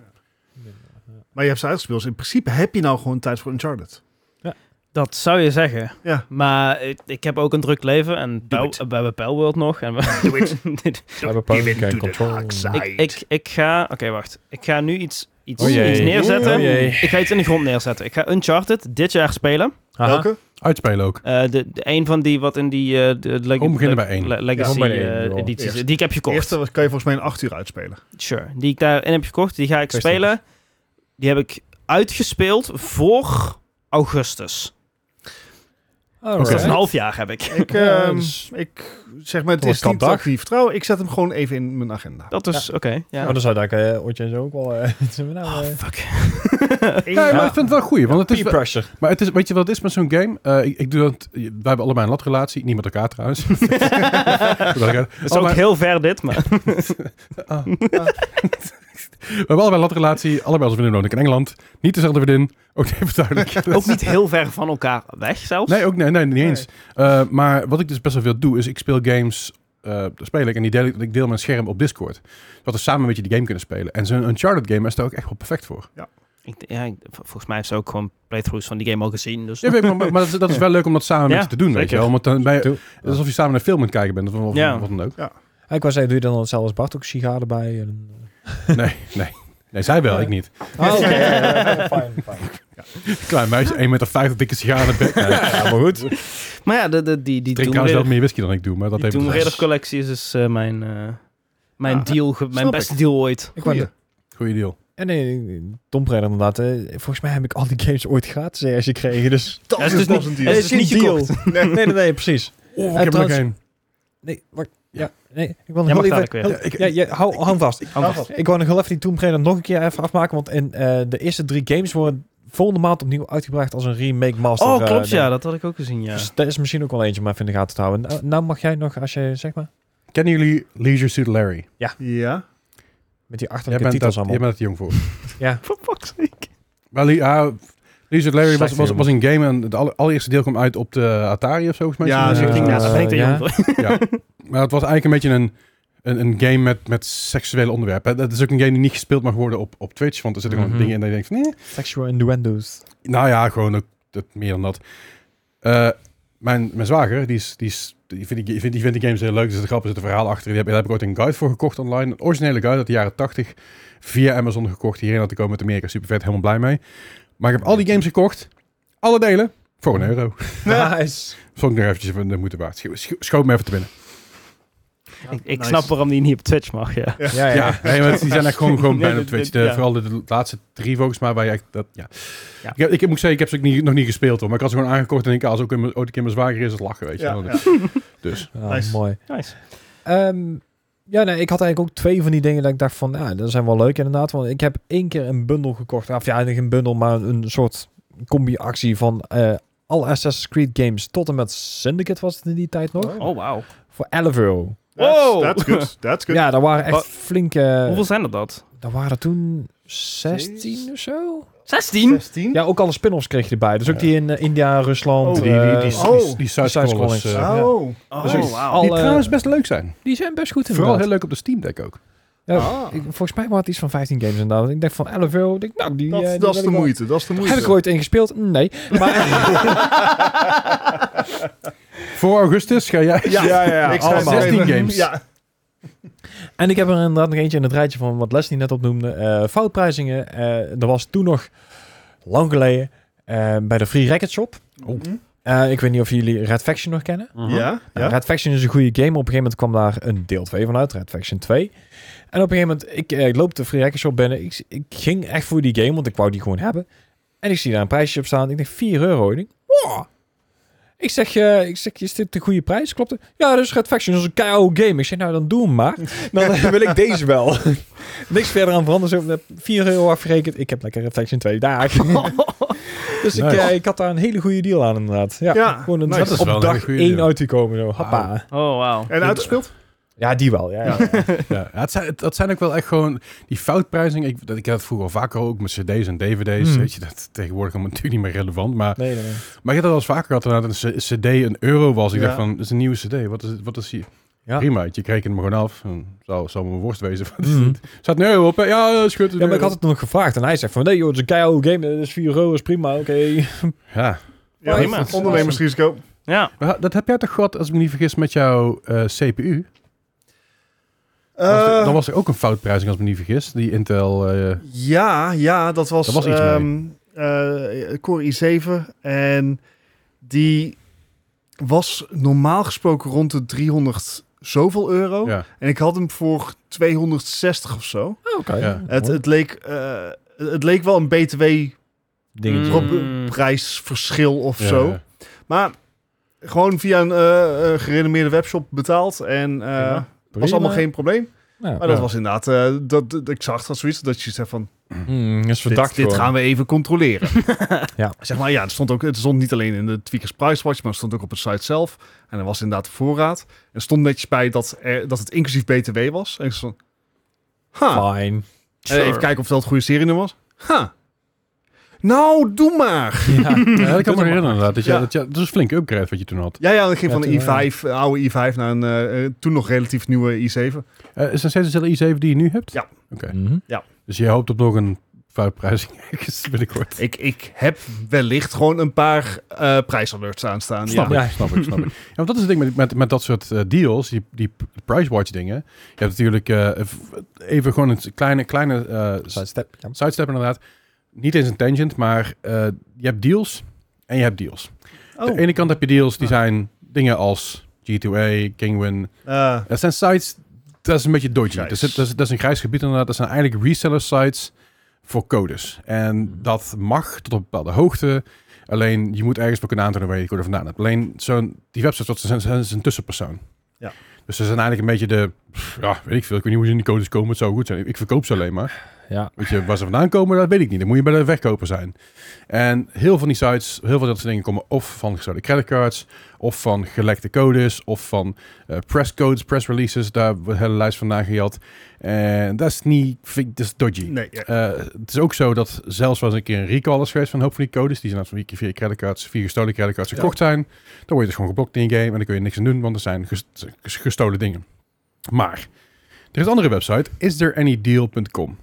Speaker 2: Maar je hebt ze uitgespeeld. Dus in principe heb je nou gewoon tijd voor
Speaker 4: [LAUGHS]
Speaker 2: Uncharted.
Speaker 1: Dat zou je zeggen.
Speaker 2: Ja.
Speaker 1: Maar ik, ik heb ook een druk leven en Pel-
Speaker 2: it.
Speaker 1: we hebben Palworld nog. En we, [LAUGHS]
Speaker 2: Doe ik.
Speaker 1: Dit-
Speaker 4: Cyberpunk en Control.
Speaker 1: ik, ik, ik ga... Oké, wacht. Ik ga nu iets, iets,
Speaker 4: Oh jee.
Speaker 1: iets neerzetten.
Speaker 4: Oh jee.
Speaker 1: ik ga iets in de grond neerzetten. Ik ga Uncharted dit jaar spelen.
Speaker 4: Aha.
Speaker 2: Welke?
Speaker 3: Uitspelen ook.
Speaker 1: Eh, de, de, een van die wat in die... eh, de, de leg-
Speaker 3: Kom, we beginnen bij één.
Speaker 1: le- Legacy
Speaker 4: Ja, gewoon bij
Speaker 1: eh,
Speaker 4: één, joh.
Speaker 1: edities.
Speaker 2: Eerst.
Speaker 1: Die ik heb
Speaker 2: De
Speaker 1: gekocht.
Speaker 2: eerste kan je volgens mij in acht uur uitspelen.
Speaker 1: Sure. Die ik daarin heb gekocht, die ga ik
Speaker 4: Kwestie.
Speaker 1: spelen. Die heb ik uitgespeeld voor augustus.
Speaker 4: Alright.
Speaker 1: Dus een half jaar heb ik.
Speaker 2: Ik,
Speaker 4: Ja,
Speaker 2: ehm,
Speaker 4: dus-
Speaker 2: ik zeg maar, het
Speaker 4: Dat
Speaker 2: is
Speaker 4: kan
Speaker 2: niet
Speaker 4: dag.
Speaker 2: actief. Trouw, ik zet hem gewoon even in mijn agenda.
Speaker 1: Dat is oké. ja.
Speaker 4: Maar dan zou ik eh Otje en zo ook wel... eh, [LAUGHS] iets hebben, nou,
Speaker 1: Oh,
Speaker 4: eh,
Speaker 1: fuck.
Speaker 3: Ja, maar ik vind het wel goed, want het is,
Speaker 4: Peer
Speaker 3: wel-
Speaker 4: pressure.
Speaker 3: Maar het is, weet je wat het is met zo'n game? Eh, ik, ik doe dat, wij hebben allebei een latrelatie, niet met elkaar trouwens. [LAUGHS]
Speaker 1: [LAUGHS] Het is ook heel ver dit, maar...
Speaker 3: We hebben allebei een latrelatie, allebei als vriendin woon ik in Engeland. Niet dezelfde vriendin, ook even [LAUGHS] duidelijk.
Speaker 1: ook niet heel ver van elkaar weg zelfs.
Speaker 3: Nee, ook nee, nee, niet eens. Eh, maar wat ik dus best wel veel doe, is ik speel games, eh daar speel ik en die deel, ik- ik deel mijn scherm op Discord. Zodat we samen een beetje die game kunnen spelen. En zo'n Uncharted game is daar ook echt wel perfect voor.
Speaker 1: Ik, ja, ik- vol- volgens mij heeft ze ook gewoon playthroughs van die game al gezien. Dus...
Speaker 3: Ja, weet [LAUGHS] ik, maar maar dat, is- dat is wel leuk om dat samen
Speaker 1: Ja,
Speaker 3: met je te doen, weet je
Speaker 1: zeker.
Speaker 3: wel. Want dan ben je-
Speaker 4: Doe.
Speaker 3: het is alsof je samen een film aan het kijken bent, of, of
Speaker 1: Ja.
Speaker 3: wat dan ook.
Speaker 4: Ik wou zeggen, doe je dan hetzelfde als Bart ook sigaren bij? En,
Speaker 3: Nee, nee. Nee, zij wel, ik niet.
Speaker 4: Oh, oké. Fijn, [LAUGHS] fijn.
Speaker 3: Klein meisje, 1,50 meter, dikke sigaar aan de
Speaker 4: [LAUGHS]
Speaker 3: bek. Nee,
Speaker 4: Ah. Ja, maar goed.
Speaker 1: Maar ja, de, de, die, die
Speaker 3: ik drink
Speaker 1: Tomb
Speaker 3: trouwens wel
Speaker 1: Raider,
Speaker 3: meer whisky dan ik doe, maar dat
Speaker 1: die
Speaker 3: heeft...
Speaker 1: Tomb
Speaker 3: het-
Speaker 1: Raider collectie is dus eh, mijn, eh, mijn
Speaker 2: Ah,
Speaker 1: deal, ge- mijn
Speaker 2: snap
Speaker 1: beste deal ooit.
Speaker 4: Ik wou-
Speaker 2: Goeie.
Speaker 3: Goeie deal.
Speaker 4: en nee, Tom Raider inderdaad. eh, Volgens mij heb ik al die games ooit gratis ergens gekregen. Dus
Speaker 2: Dat
Speaker 1: Ja,
Speaker 2: is
Speaker 1: het is
Speaker 2: pas
Speaker 1: niet-
Speaker 2: een
Speaker 1: het
Speaker 2: deal.
Speaker 1: is niet gekocht.
Speaker 4: Nee. nee, nee, nee, precies.
Speaker 3: Oh, ik
Speaker 4: En
Speaker 3: heb er nog
Speaker 4: trouwens-
Speaker 3: één.
Speaker 4: Nee, wacht. Ja, nee, ik wil nog
Speaker 1: Jij mag
Speaker 4: heel even...
Speaker 1: dadelijk weer.
Speaker 4: heel- ja, ja, hou, hou hem vast.
Speaker 1: Hou vast.
Speaker 4: Ik wou nog heel even die Tomb Raider nog een keer even afmaken. Want in, eh, de eerste drie games worden volgende maand opnieuw uitgebracht als een remake master.
Speaker 1: Oh,
Speaker 4: eh,
Speaker 1: klopt,
Speaker 4: ding.
Speaker 1: ja. Dat had ik ook gezien, ja.
Speaker 4: Dus daar is misschien ook wel eentje om even in de gaten te houden. Nou, nou mag jij nog, als je, zeg maar,
Speaker 3: Kennen jullie Leisure Suit Larry?
Speaker 2: Ja.
Speaker 4: met die
Speaker 3: Jij
Speaker 4: achterlijke
Speaker 3: bent,
Speaker 4: titels
Speaker 3: dat, jij
Speaker 4: allemaal.
Speaker 3: bent het jong voor.
Speaker 1: Voor fuck's sake.
Speaker 3: Maar Lee- ah, Leisure Suit Larry was,
Speaker 4: Slechte
Speaker 3: was,
Speaker 4: humor.
Speaker 3: was een game en het alle- allereerste deel kwam uit op de Atari of zo. volgens mij.
Speaker 2: Ja,
Speaker 3: Zo'n
Speaker 2: zo
Speaker 1: ik
Speaker 3: ding.
Speaker 1: denk, nou,
Speaker 4: eh,
Speaker 1: dat ben ik er
Speaker 4: ja.
Speaker 1: jong voor.
Speaker 3: Maar het was eigenlijk een beetje een, een, een game met, met seksuele onderwerpen. Dat is ook een game die niet gespeeld mag worden op, op Twitch. Want er zitten
Speaker 4: Mhm.
Speaker 3: gewoon dingen in dat je denkt van... Nee,
Speaker 4: Sexual innuendos.
Speaker 3: Nou ja, gewoon ook dat, meer dan dat. Eh, mijn, mijn zwager, die, is, die, is, die, vindt, die, vindt, die vindt die games heel leuk. Er zit een grap, er zit een verhaal achter. Die heb, daar heb ik ooit een guide voor gekocht online. Een originele guide uit de jaren 80. Via Amazon gekocht. Hierheen had ik komen uit Amerika. Super vet, helemaal blij mee. Maar ik heb al die games gekocht. Alle delen. Voor een euro.
Speaker 4: Nice.
Speaker 3: Vond ik nog eventjes even de moeite waard. Scho- scho- Schoot me even te binnen.
Speaker 1: Ik, [LAUGHS] ik
Speaker 2: Nice.
Speaker 1: snap waarom die niet op Twitch mag, ja.
Speaker 4: Ja,
Speaker 3: Ja,
Speaker 4: ja.
Speaker 3: Nee, maar die zijn echt gewoon, gewoon
Speaker 1: Nee,
Speaker 3: bijna op
Speaker 1: dit-
Speaker 3: Twitch.
Speaker 1: dit-
Speaker 3: De-
Speaker 1: ja.
Speaker 3: Vooral de, de laatste drie volgens mij. Waar je echt, dat, ja.
Speaker 1: Ja.
Speaker 3: Ik, heb- ik moet zeggen, ik heb ze ook niet, nog niet gespeeld hoor. Maar ik had ze gewoon aangekocht. En ik als ook in mijn- ooit een keer mijn zwager is, het lachen weet je.
Speaker 2: Ja,
Speaker 3: wel. [LAUGHS]
Speaker 2: ja.
Speaker 3: Dus.
Speaker 4: Ah,
Speaker 2: Nice.
Speaker 4: Mooi.
Speaker 1: Nice.
Speaker 4: Ehm, ja, nee, ik had eigenlijk ook twee van die dingen dat ik dacht van, ja, dat zijn wel leuk inderdaad. Want ik heb één keer een bundel gekocht. Of ja, niet een bundel, maar een, een soort combi-actie van eh alle Assassin's Creed games tot en met Syndicate was het in die tijd nog.
Speaker 1: Oh, wauw.
Speaker 4: Voor 11 euro.
Speaker 1: Wow.
Speaker 2: That's, that's good. That's good.
Speaker 4: Ja, daar waren echt
Speaker 1: Wat?
Speaker 4: flinke...
Speaker 1: Hoeveel zijn er dat?
Speaker 4: Daar waren er toen 16 of zo?
Speaker 1: 16?
Speaker 2: 16?
Speaker 4: Ja, ook alle spin-offs kreeg je erbij. Dus ook
Speaker 3: Ja.
Speaker 4: die in eh, India, Rusland.
Speaker 2: Oh,
Speaker 3: die, die, die,
Speaker 4: eh,
Speaker 3: die,
Speaker 2: oh,
Speaker 3: die, die side-scrollers,
Speaker 4: side-scrollers.
Speaker 3: eh,
Speaker 2: Oh.
Speaker 1: Oh,
Speaker 3: Precies.
Speaker 1: wauw.
Speaker 4: Al-
Speaker 3: die
Speaker 4: Alle-
Speaker 3: trouwens best leuk zijn.
Speaker 4: die zijn best goed inderdaad.
Speaker 3: Vooral heel leuk op de Steam Deck ook.
Speaker 4: Ja,
Speaker 2: Ah.
Speaker 4: ik- volgens mij waren het iets van 15 games inderdaad. Want Ik dacht van 11 euro. Ik Denk, nou, die,
Speaker 2: Dat,
Speaker 4: eh, die
Speaker 2: dat is
Speaker 4: wil
Speaker 2: de
Speaker 4: ik wel.
Speaker 2: moeite. Dat is de moeite.
Speaker 4: Heb ik er ooit in gespeeld? Nee. Maar [LAUGHS]
Speaker 3: Voor augustus ga [LAUGHS] jij...
Speaker 2: Ja, ja, ja.
Speaker 4: Ik zei
Speaker 2: Allemaal.
Speaker 3: 16 games.
Speaker 2: Ja.
Speaker 4: En ik heb er inderdaad nog eentje in het rijtje van wat Leslie net opnoemde. eh, foutprijzingen. Eh er was toen nog, lang geleden, eh, bij de Free Racket Shop.
Speaker 3: Oh.
Speaker 4: Eh, ik weet niet of jullie Red Faction nog kennen.
Speaker 2: Ja,
Speaker 4: Nou,
Speaker 2: ja.
Speaker 4: Red Faction is een goede game. Op een gegeven moment kwam daar een deel 2 van uit, Red Faction 2. En op een gegeven moment, ik eh, loop de Free Hacker Shop binnen. Ik, ik ging echt voor die game, want ik wou die gewoon hebben. En ik zie daar een prijsje op staan. Ik denk 4 euro. Ik denk, wow. Ik zeg, eh, ik zeg, is dit de goede prijs? Klopt het? Ja, dus Red Faction is een keiharde game. Ik zeg, nou dan doe hem maar. Dan eh, wil ik deze wel. [LAUGHS] Niks verder aan veranderen. Zo, eh, 4 euro afgerekend. Ik heb lekker Red Faction 2 daar. dus
Speaker 3: Nice.
Speaker 4: ik, eh, ik had daar een hele goede deal aan inderdaad. Ja,
Speaker 2: Ja,
Speaker 4: gewoon een,
Speaker 2: nice. Dat
Speaker 3: is wel een
Speaker 4: op
Speaker 3: hele
Speaker 4: dag
Speaker 3: goede
Speaker 4: 1
Speaker 3: deal.
Speaker 4: uit te komen. Zo. Hoppa.
Speaker 1: Oh, wauw.
Speaker 2: En uitgespeeld?
Speaker 4: Ja, die wel. Ja, ja.
Speaker 3: Ja, het zijn, het- dat zijn ook wel echt gewoon die foutprijzing. Ik, dat- ik had het vroeger al vaker ook met cd's en dvd's.
Speaker 4: Hmm.
Speaker 3: Weet je, dat tegenwoordig allemaal natuurlijk niet meer relevant. Maar,
Speaker 4: [LAUGHS] Nee, nee, nee.
Speaker 3: maar ik had dat wel eens vaker gehad dat een c- cd een euro was. Ik
Speaker 2: Ja.
Speaker 3: dacht van, dat is een nieuwe cd. Wat is, het- wat is hier?
Speaker 4: Ja.
Speaker 3: Prima, je kreeg hem gewoon af. En Zou, zou mijn worst wezen. [LAUGHS]
Speaker 4: Mhm.
Speaker 3: Staat een euro op? hè? Ja, is goed. een
Speaker 4: Ja, maar ik
Speaker 3: euro.
Speaker 4: had het nog gevraagd en hij zegt van nee joh, het is een keiharde game, dat is 4 euro, is prima, oké.
Speaker 3: Ja.
Speaker 2: Ja,
Speaker 1: Prima.
Speaker 2: Ondernemersrisico.
Speaker 1: Ja.
Speaker 3: Maar dat heb jij toch gehad, als ik me niet vergis, met jouw eh, CPU?
Speaker 4: Eh.
Speaker 3: was er-
Speaker 2: Eh,
Speaker 3: dan was er ook een foutprijzing, als ik me niet vergis. Die Intel... eh,
Speaker 2: Ja, ja, dat was,
Speaker 3: Daar was iets
Speaker 2: ehm, eh, Core i7 en die was normaal gesproken rond de 300 zoveel euro.
Speaker 4: Oh.
Speaker 3: ja.
Speaker 2: En ik had hem voor 260 of zo.
Speaker 4: Oké.
Speaker 3: Ja.
Speaker 2: Het, het, leek, eh, het leek wel een btw-prijsverschil
Speaker 4: Dingetje.
Speaker 1: Mm.
Speaker 2: of
Speaker 3: Ja,
Speaker 2: zo.
Speaker 3: ja.
Speaker 2: Maar gewoon via een eh, eh, gerenommeerde webshop betaald en eh,
Speaker 1: Ja,
Speaker 2: was allemaal geen probleem.
Speaker 4: Ja.
Speaker 2: Maar dat
Speaker 3: Ja.
Speaker 2: was inderdaad, eh, dat, dat- ik zag dat zoiets, dat je zegt van,
Speaker 4: Hmm, is
Speaker 2: dit,
Speaker 4: verdacht
Speaker 2: dit
Speaker 4: gewoon.
Speaker 2: gaan we even controleren.
Speaker 4: Ja.
Speaker 2: Zeg maar, ja, het stond ook, het stond niet alleen in de Tweakers Price Watch, maar het stond ook op het site zelf. En er was inderdaad de voorraad. Er stond netjes bij dat, er, dat het inclusief BTW was. En ik stond, ha.
Speaker 4: Fine.
Speaker 2: En even kijken of dat het goede serienummer was. Ha. Nou, doe maar.
Speaker 4: Ja.
Speaker 3: Ja, dat kan ik me herinneren inderdaad. Dat, je,
Speaker 2: Ja.
Speaker 3: dat, je, dat is een flinke upgrade wat je toen had.
Speaker 2: Ja, ja, eh, dat ging
Speaker 4: Ja,
Speaker 2: van
Speaker 4: toen,
Speaker 2: een i5, een oude i5 naar een eh, eh, toen nog relatief nieuwe i7.
Speaker 3: Eh, is dat steeds dezelfde i7 die je nu hebt?
Speaker 2: Ja.
Speaker 3: Dus je hoopt op nog een foutprijzing ergens binnenkort.
Speaker 2: Ik, ik heb wellicht gewoon een paar eh prijsalerts aanstaan.
Speaker 3: Snap
Speaker 2: Ja.
Speaker 4: Ja.
Speaker 3: ik, snap ik, snap ik. Ja, want dat is het ding met, met, met dat soort eh, deals, die, die pricewatch dingen. Je hebt natuurlijk eh, v- even gewoon een kleine, kleine eh
Speaker 4: Sidestep, ja.
Speaker 3: sidestep inderdaad. Niet eens een tangent, maar eh, je hebt deals en je hebt deals.
Speaker 2: Oh.
Speaker 3: Aan de ene kant heb je deals die
Speaker 2: Ah.
Speaker 3: zijn dingen als G2A, Kingwin.
Speaker 2: Eh,
Speaker 3: Dat zijn sites, dat is een beetje dodgy.
Speaker 2: Grijs.
Speaker 3: Dat is, dat, is, dat is een grijs gebied inderdaad. Dat zijn eigenlijk reseller sites voor codes. En dat mag tot op een bepaalde hoogte. Alleen je moet ergens voor kunnen aantonen waar je die code vandaan hebt. Alleen zo'n, die websites dat zijn, zijn, zijn een tussenpersoon.
Speaker 2: Ja.
Speaker 3: Dus ze zijn eigenlijk een beetje de, pff, ja, weet ik veel. Ik weet niet hoe ze in die codes komen. Het zou goed zijn. Ik, ik verkoop ze alleen maar.
Speaker 4: Ja.
Speaker 3: Weet je, waar ze vandaan komen, dat weet ik niet. Dan moet je bij de wegkoper zijn. En heel van die sites, heel veel dat soort dingen komen of van gestolen creditcards, of van gelekte codes, of van eh, presscodes, press releases. Daar wordt een hele lijst vandaan gejat. En dat is niet, vind ik, dat is dodgy.
Speaker 2: nee, ja.
Speaker 3: Eh, het is ook zo dat zelfs was een keer een recall is geweest van een hoop van die codes. Die zijn via, via creditcards, via gestolen creditcards gekocht zijn. Dan word je dus gewoon geblokt in je game en dan kun je niks aan doen, want er zijn ges- ges- gestolen dingen. Maar er is een andere website, istthereanydeal.com.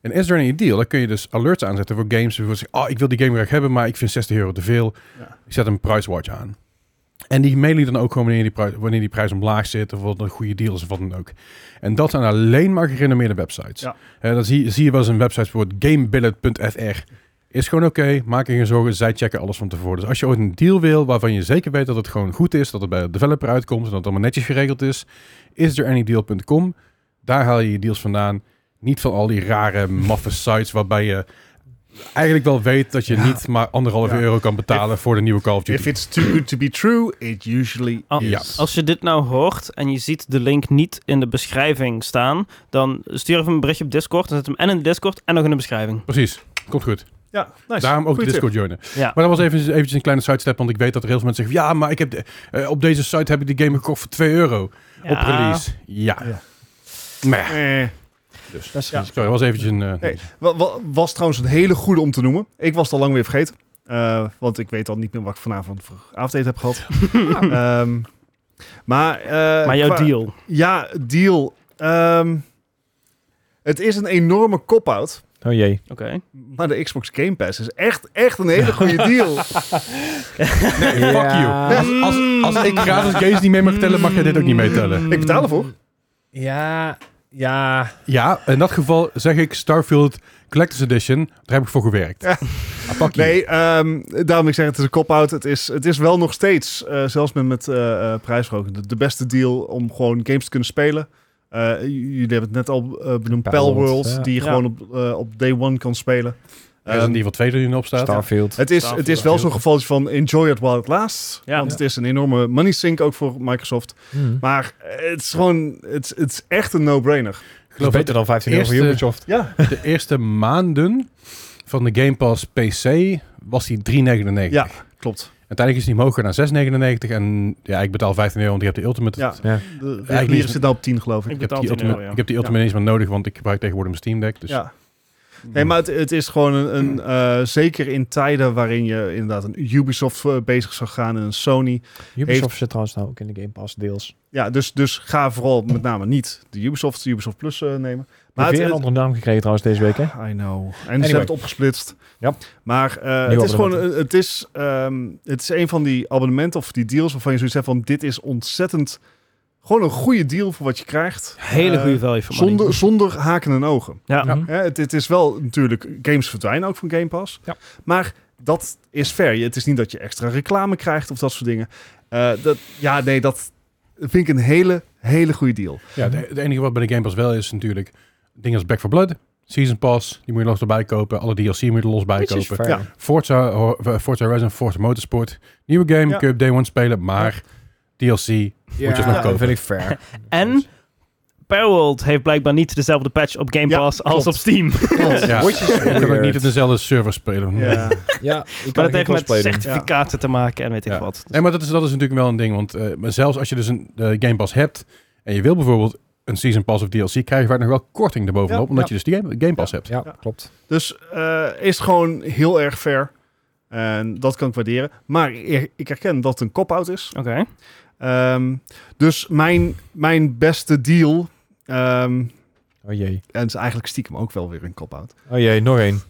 Speaker 3: En is there any deal? Daar kun je dus alerts aanzetten voor games. Bijvoorbeeld, zeg, oh, ik wil die game graag hebben, maar ik vind 60 euro te veel.
Speaker 2: Ja.
Speaker 3: Ik zet een price watch aan. En die mailen je dan ook gewoon wanneer die, pri- wanneer die prijs omlaag zit of wat een goede deal is of wat dan ook. En dat zijn alleen maar gerenommeerde websites.
Speaker 2: Ja.
Speaker 3: Hè, dan zie, zie je wel eens een website voor gamebillet.fr. Is gewoon oké, maak je geen zorgen, zij checken alles van tevoren. Dus als je ooit een deal wil waarvan je zeker weet dat het gewoon goed is, dat het bij de developer uitkomt en dat het allemaal netjes geregeld is, is er anydeal.com. Daar haal je je deals vandaan. Niet van al die rare, maffe sites waarbij je eigenlijk wel weet dat je
Speaker 2: Ja.
Speaker 3: niet maar anderhalf
Speaker 2: Ja.
Speaker 3: euro kan betalen voor de nieuwe Call of Duty.
Speaker 2: If it's too good to be true, it usually
Speaker 1: Al-
Speaker 2: is.
Speaker 3: Ja.
Speaker 1: Oh, Als je dit nou hoort en je ziet de link niet in de beschrijving staan, dan stuur even een berichtje op Discord. Dan zet hem en in de Discord en nog in de beschrijving.
Speaker 3: Precies, komt goed.
Speaker 2: ja, nice.
Speaker 3: Daarom ook de
Speaker 2: Goeie tip.
Speaker 3: Discord joinen.
Speaker 1: Ja.
Speaker 3: Maar dat was even, eventjes een kleine sidestep, want ik weet dat er heel veel mensen zeggen... Ja, maar ik heb de- eh, op deze site heb ik die game gekocht voor 2 euro op
Speaker 1: Ja.
Speaker 3: release. Ja.
Speaker 2: Ja.
Speaker 3: Maar ja,
Speaker 2: Eh.
Speaker 3: dus.
Speaker 4: Dat is
Speaker 2: Ja.
Speaker 3: Sorry, was eventjes een... eh,
Speaker 2: Hey, wa- wa- was trouwens een hele goede om te noemen. Ik was het al lang weer vergeten. Eh, want ik weet al niet meer wat ik vanavond voor avondeten heb
Speaker 1: [LAUGHS]
Speaker 2: gehad. Ehm, maar, eh,
Speaker 1: Maar jouw
Speaker 2: qua-
Speaker 1: deal.
Speaker 2: Ja, deal. Ehm, het is een enorme cop-out.
Speaker 4: Oh jee.
Speaker 1: Oké.
Speaker 2: Maar de Xbox Game Pass is echt, echt een
Speaker 1: [LAUGHS]
Speaker 2: hele goede deal.
Speaker 3: Nee, fuck you.
Speaker 4: Ja.
Speaker 3: Als, als, als ik gratis games niet mee mag tellen, mag jij dit ook niet meetellen.
Speaker 2: Ik betaal ervoor.
Speaker 4: Ja, ja.
Speaker 3: Ja, in dat geval zeg ik Starfield Collector's Edition. Daar heb ik voor gewerkt.
Speaker 2: Ja.
Speaker 3: Ah, fuck you.
Speaker 2: Nee, ehm, daarom ik zeg het is een cop-out. Het is, het is wel nog steeds, eh, zelfs met, met eh, eh, prijsverhoging, de, de beste deal om gewoon games te kunnen spelen. Eh, j- jullie hebben het net al eh, benoemd, Pal
Speaker 4: Palworld,
Speaker 2: World,
Speaker 4: ja.
Speaker 2: die je
Speaker 1: Ja.
Speaker 2: gewoon op, eh, op day one kan spelen.
Speaker 3: Er is
Speaker 2: Ehm,
Speaker 3: een Evil 2 er nu op staat.
Speaker 4: Starfield.
Speaker 2: het, is, het is wel zo'n geval van enjoy it while it lasts.
Speaker 1: Ja.
Speaker 2: Want het is een enorme money sink ook voor Microsoft.
Speaker 4: Hmm.
Speaker 2: Maar het is gewoon, het, is- het is echt een no-brainer.
Speaker 3: Ik
Speaker 4: Dat is
Speaker 3: geloof
Speaker 4: beter dan 15 euro voor
Speaker 3: eerste-
Speaker 4: Ubisoft.
Speaker 2: Ja,
Speaker 3: dat de eerste maanden van de Game Pass PC was die 3,99.
Speaker 2: ja klopt.
Speaker 3: Uiteindelijk is die hoger naar 6,99. En ja, ik betaal 15 euro, want ik heb de Ultimate.
Speaker 2: Ja.
Speaker 4: Ja.
Speaker 2: De
Speaker 3: niet
Speaker 2: reguliere
Speaker 3: eens-
Speaker 2: zit nou op 10 geloof ik.
Speaker 1: Ik
Speaker 3: Ik heb,
Speaker 1: betaal
Speaker 3: die
Speaker 1: 10 euro,
Speaker 3: ultimate,
Speaker 1: ja.
Speaker 3: ik heb die Ultimate niet eens meer nodig, want ik gebruik tegenwoordig mijn Steam Deck. Dus
Speaker 2: Ja. Nee, maar het, het is gewoon een, een eh, zeker in tijden waarin je inderdaad een Ubisoft eh, bezig zou gaan en een Sony.
Speaker 4: Ubisoft
Speaker 2: Heeft-
Speaker 4: zit trouwens nou ook in de Game Pass deels.
Speaker 2: Ja, dus, dus ga vooral met name niet de Ubisoft, de Ubisoft Plus eh, nemen.
Speaker 4: Maar
Speaker 2: Maar het,
Speaker 4: weer een
Speaker 2: het-
Speaker 4: andere naam gekregen trouwens deze week, hè?
Speaker 2: I know. En ze hebben het opgesplitst.
Speaker 4: Ja.
Speaker 2: Maar eh, het is gewoon,
Speaker 4: abonnementen.
Speaker 2: een- het is, ehm, het is een van die abonnementen of die deals waarvan je zoiets hebt van dit is ontzettend, gewoon een goede deal voor wat je krijgt.
Speaker 1: Hele
Speaker 2: Eh,
Speaker 1: goede value voor money.
Speaker 2: Zonder, zonder haken en ogen.
Speaker 1: Ja.
Speaker 4: Mhm.
Speaker 2: Hè, het, het is wel natuurlijk, games verdwijnen ook van Game Pass.
Speaker 4: Ja.
Speaker 2: Maar dat is fair. Je- Het is niet dat je extra reclame krijgt of dat soort dingen. Eh, dat, ja, nee, dat vind ik een hele, hele goede deal.
Speaker 3: Ja, de- het enige wat bij de Game Pass wel is natuurlijk dingen als Back for Blood, Season Pass, die moet je los erbij kopen. Alle DLC moet je er los bij
Speaker 4: Which is
Speaker 3: kopen.
Speaker 4: fair.
Speaker 2: Ja.
Speaker 3: Forza, ho- eh, Forza Horizon, Forza Motorsport. Nieuwe game,
Speaker 2: Ja.
Speaker 3: kun je op day one spelen, maar DLC.
Speaker 4: Ja,
Speaker 3: je nog kopen.
Speaker 4: dat vind ik
Speaker 3: [LAUGHS]
Speaker 4: fair.
Speaker 1: En Palworld heeft blijkbaar niet dezelfde patch op Game
Speaker 2: Ja,
Speaker 1: Pass als
Speaker 2: klopt.
Speaker 1: op Steam.
Speaker 3: Ja.
Speaker 4: Which is
Speaker 3: Je kan ook
Speaker 4: weird.
Speaker 3: niet op dezelfde server spelen.
Speaker 2: Ja.
Speaker 4: Ja,
Speaker 1: Maar dat heeft met
Speaker 4: zegt.
Speaker 1: certificaten te maken en weet ik
Speaker 3: Ja.
Speaker 1: wat. Dus-
Speaker 3: Nee, maar dat is, dat is natuurlijk wel een ding. Want eh, maar zelfs als je dus een eh, Game Pass hebt en je wil bijvoorbeeld een Season Pass of DLC, krijg je vaak nog wel korting erbovenop,
Speaker 2: Ja,
Speaker 3: omdat
Speaker 4: ja.
Speaker 3: je dus die Game, game Pass hebt.
Speaker 4: Ja,
Speaker 2: Ja.
Speaker 4: klopt.
Speaker 2: Dus eh, is gewoon heel erg fair. En dat kan ik waarderen. Maar ik, ik herken dat het een cop-out is.
Speaker 1: Oké.
Speaker 2: Ehm, dus mijn, mijn beste deal ehm,
Speaker 4: Oh Oh jee.
Speaker 2: En het is eigenlijk stiekem ook wel weer een cop-out.
Speaker 4: Oh jee, nog één.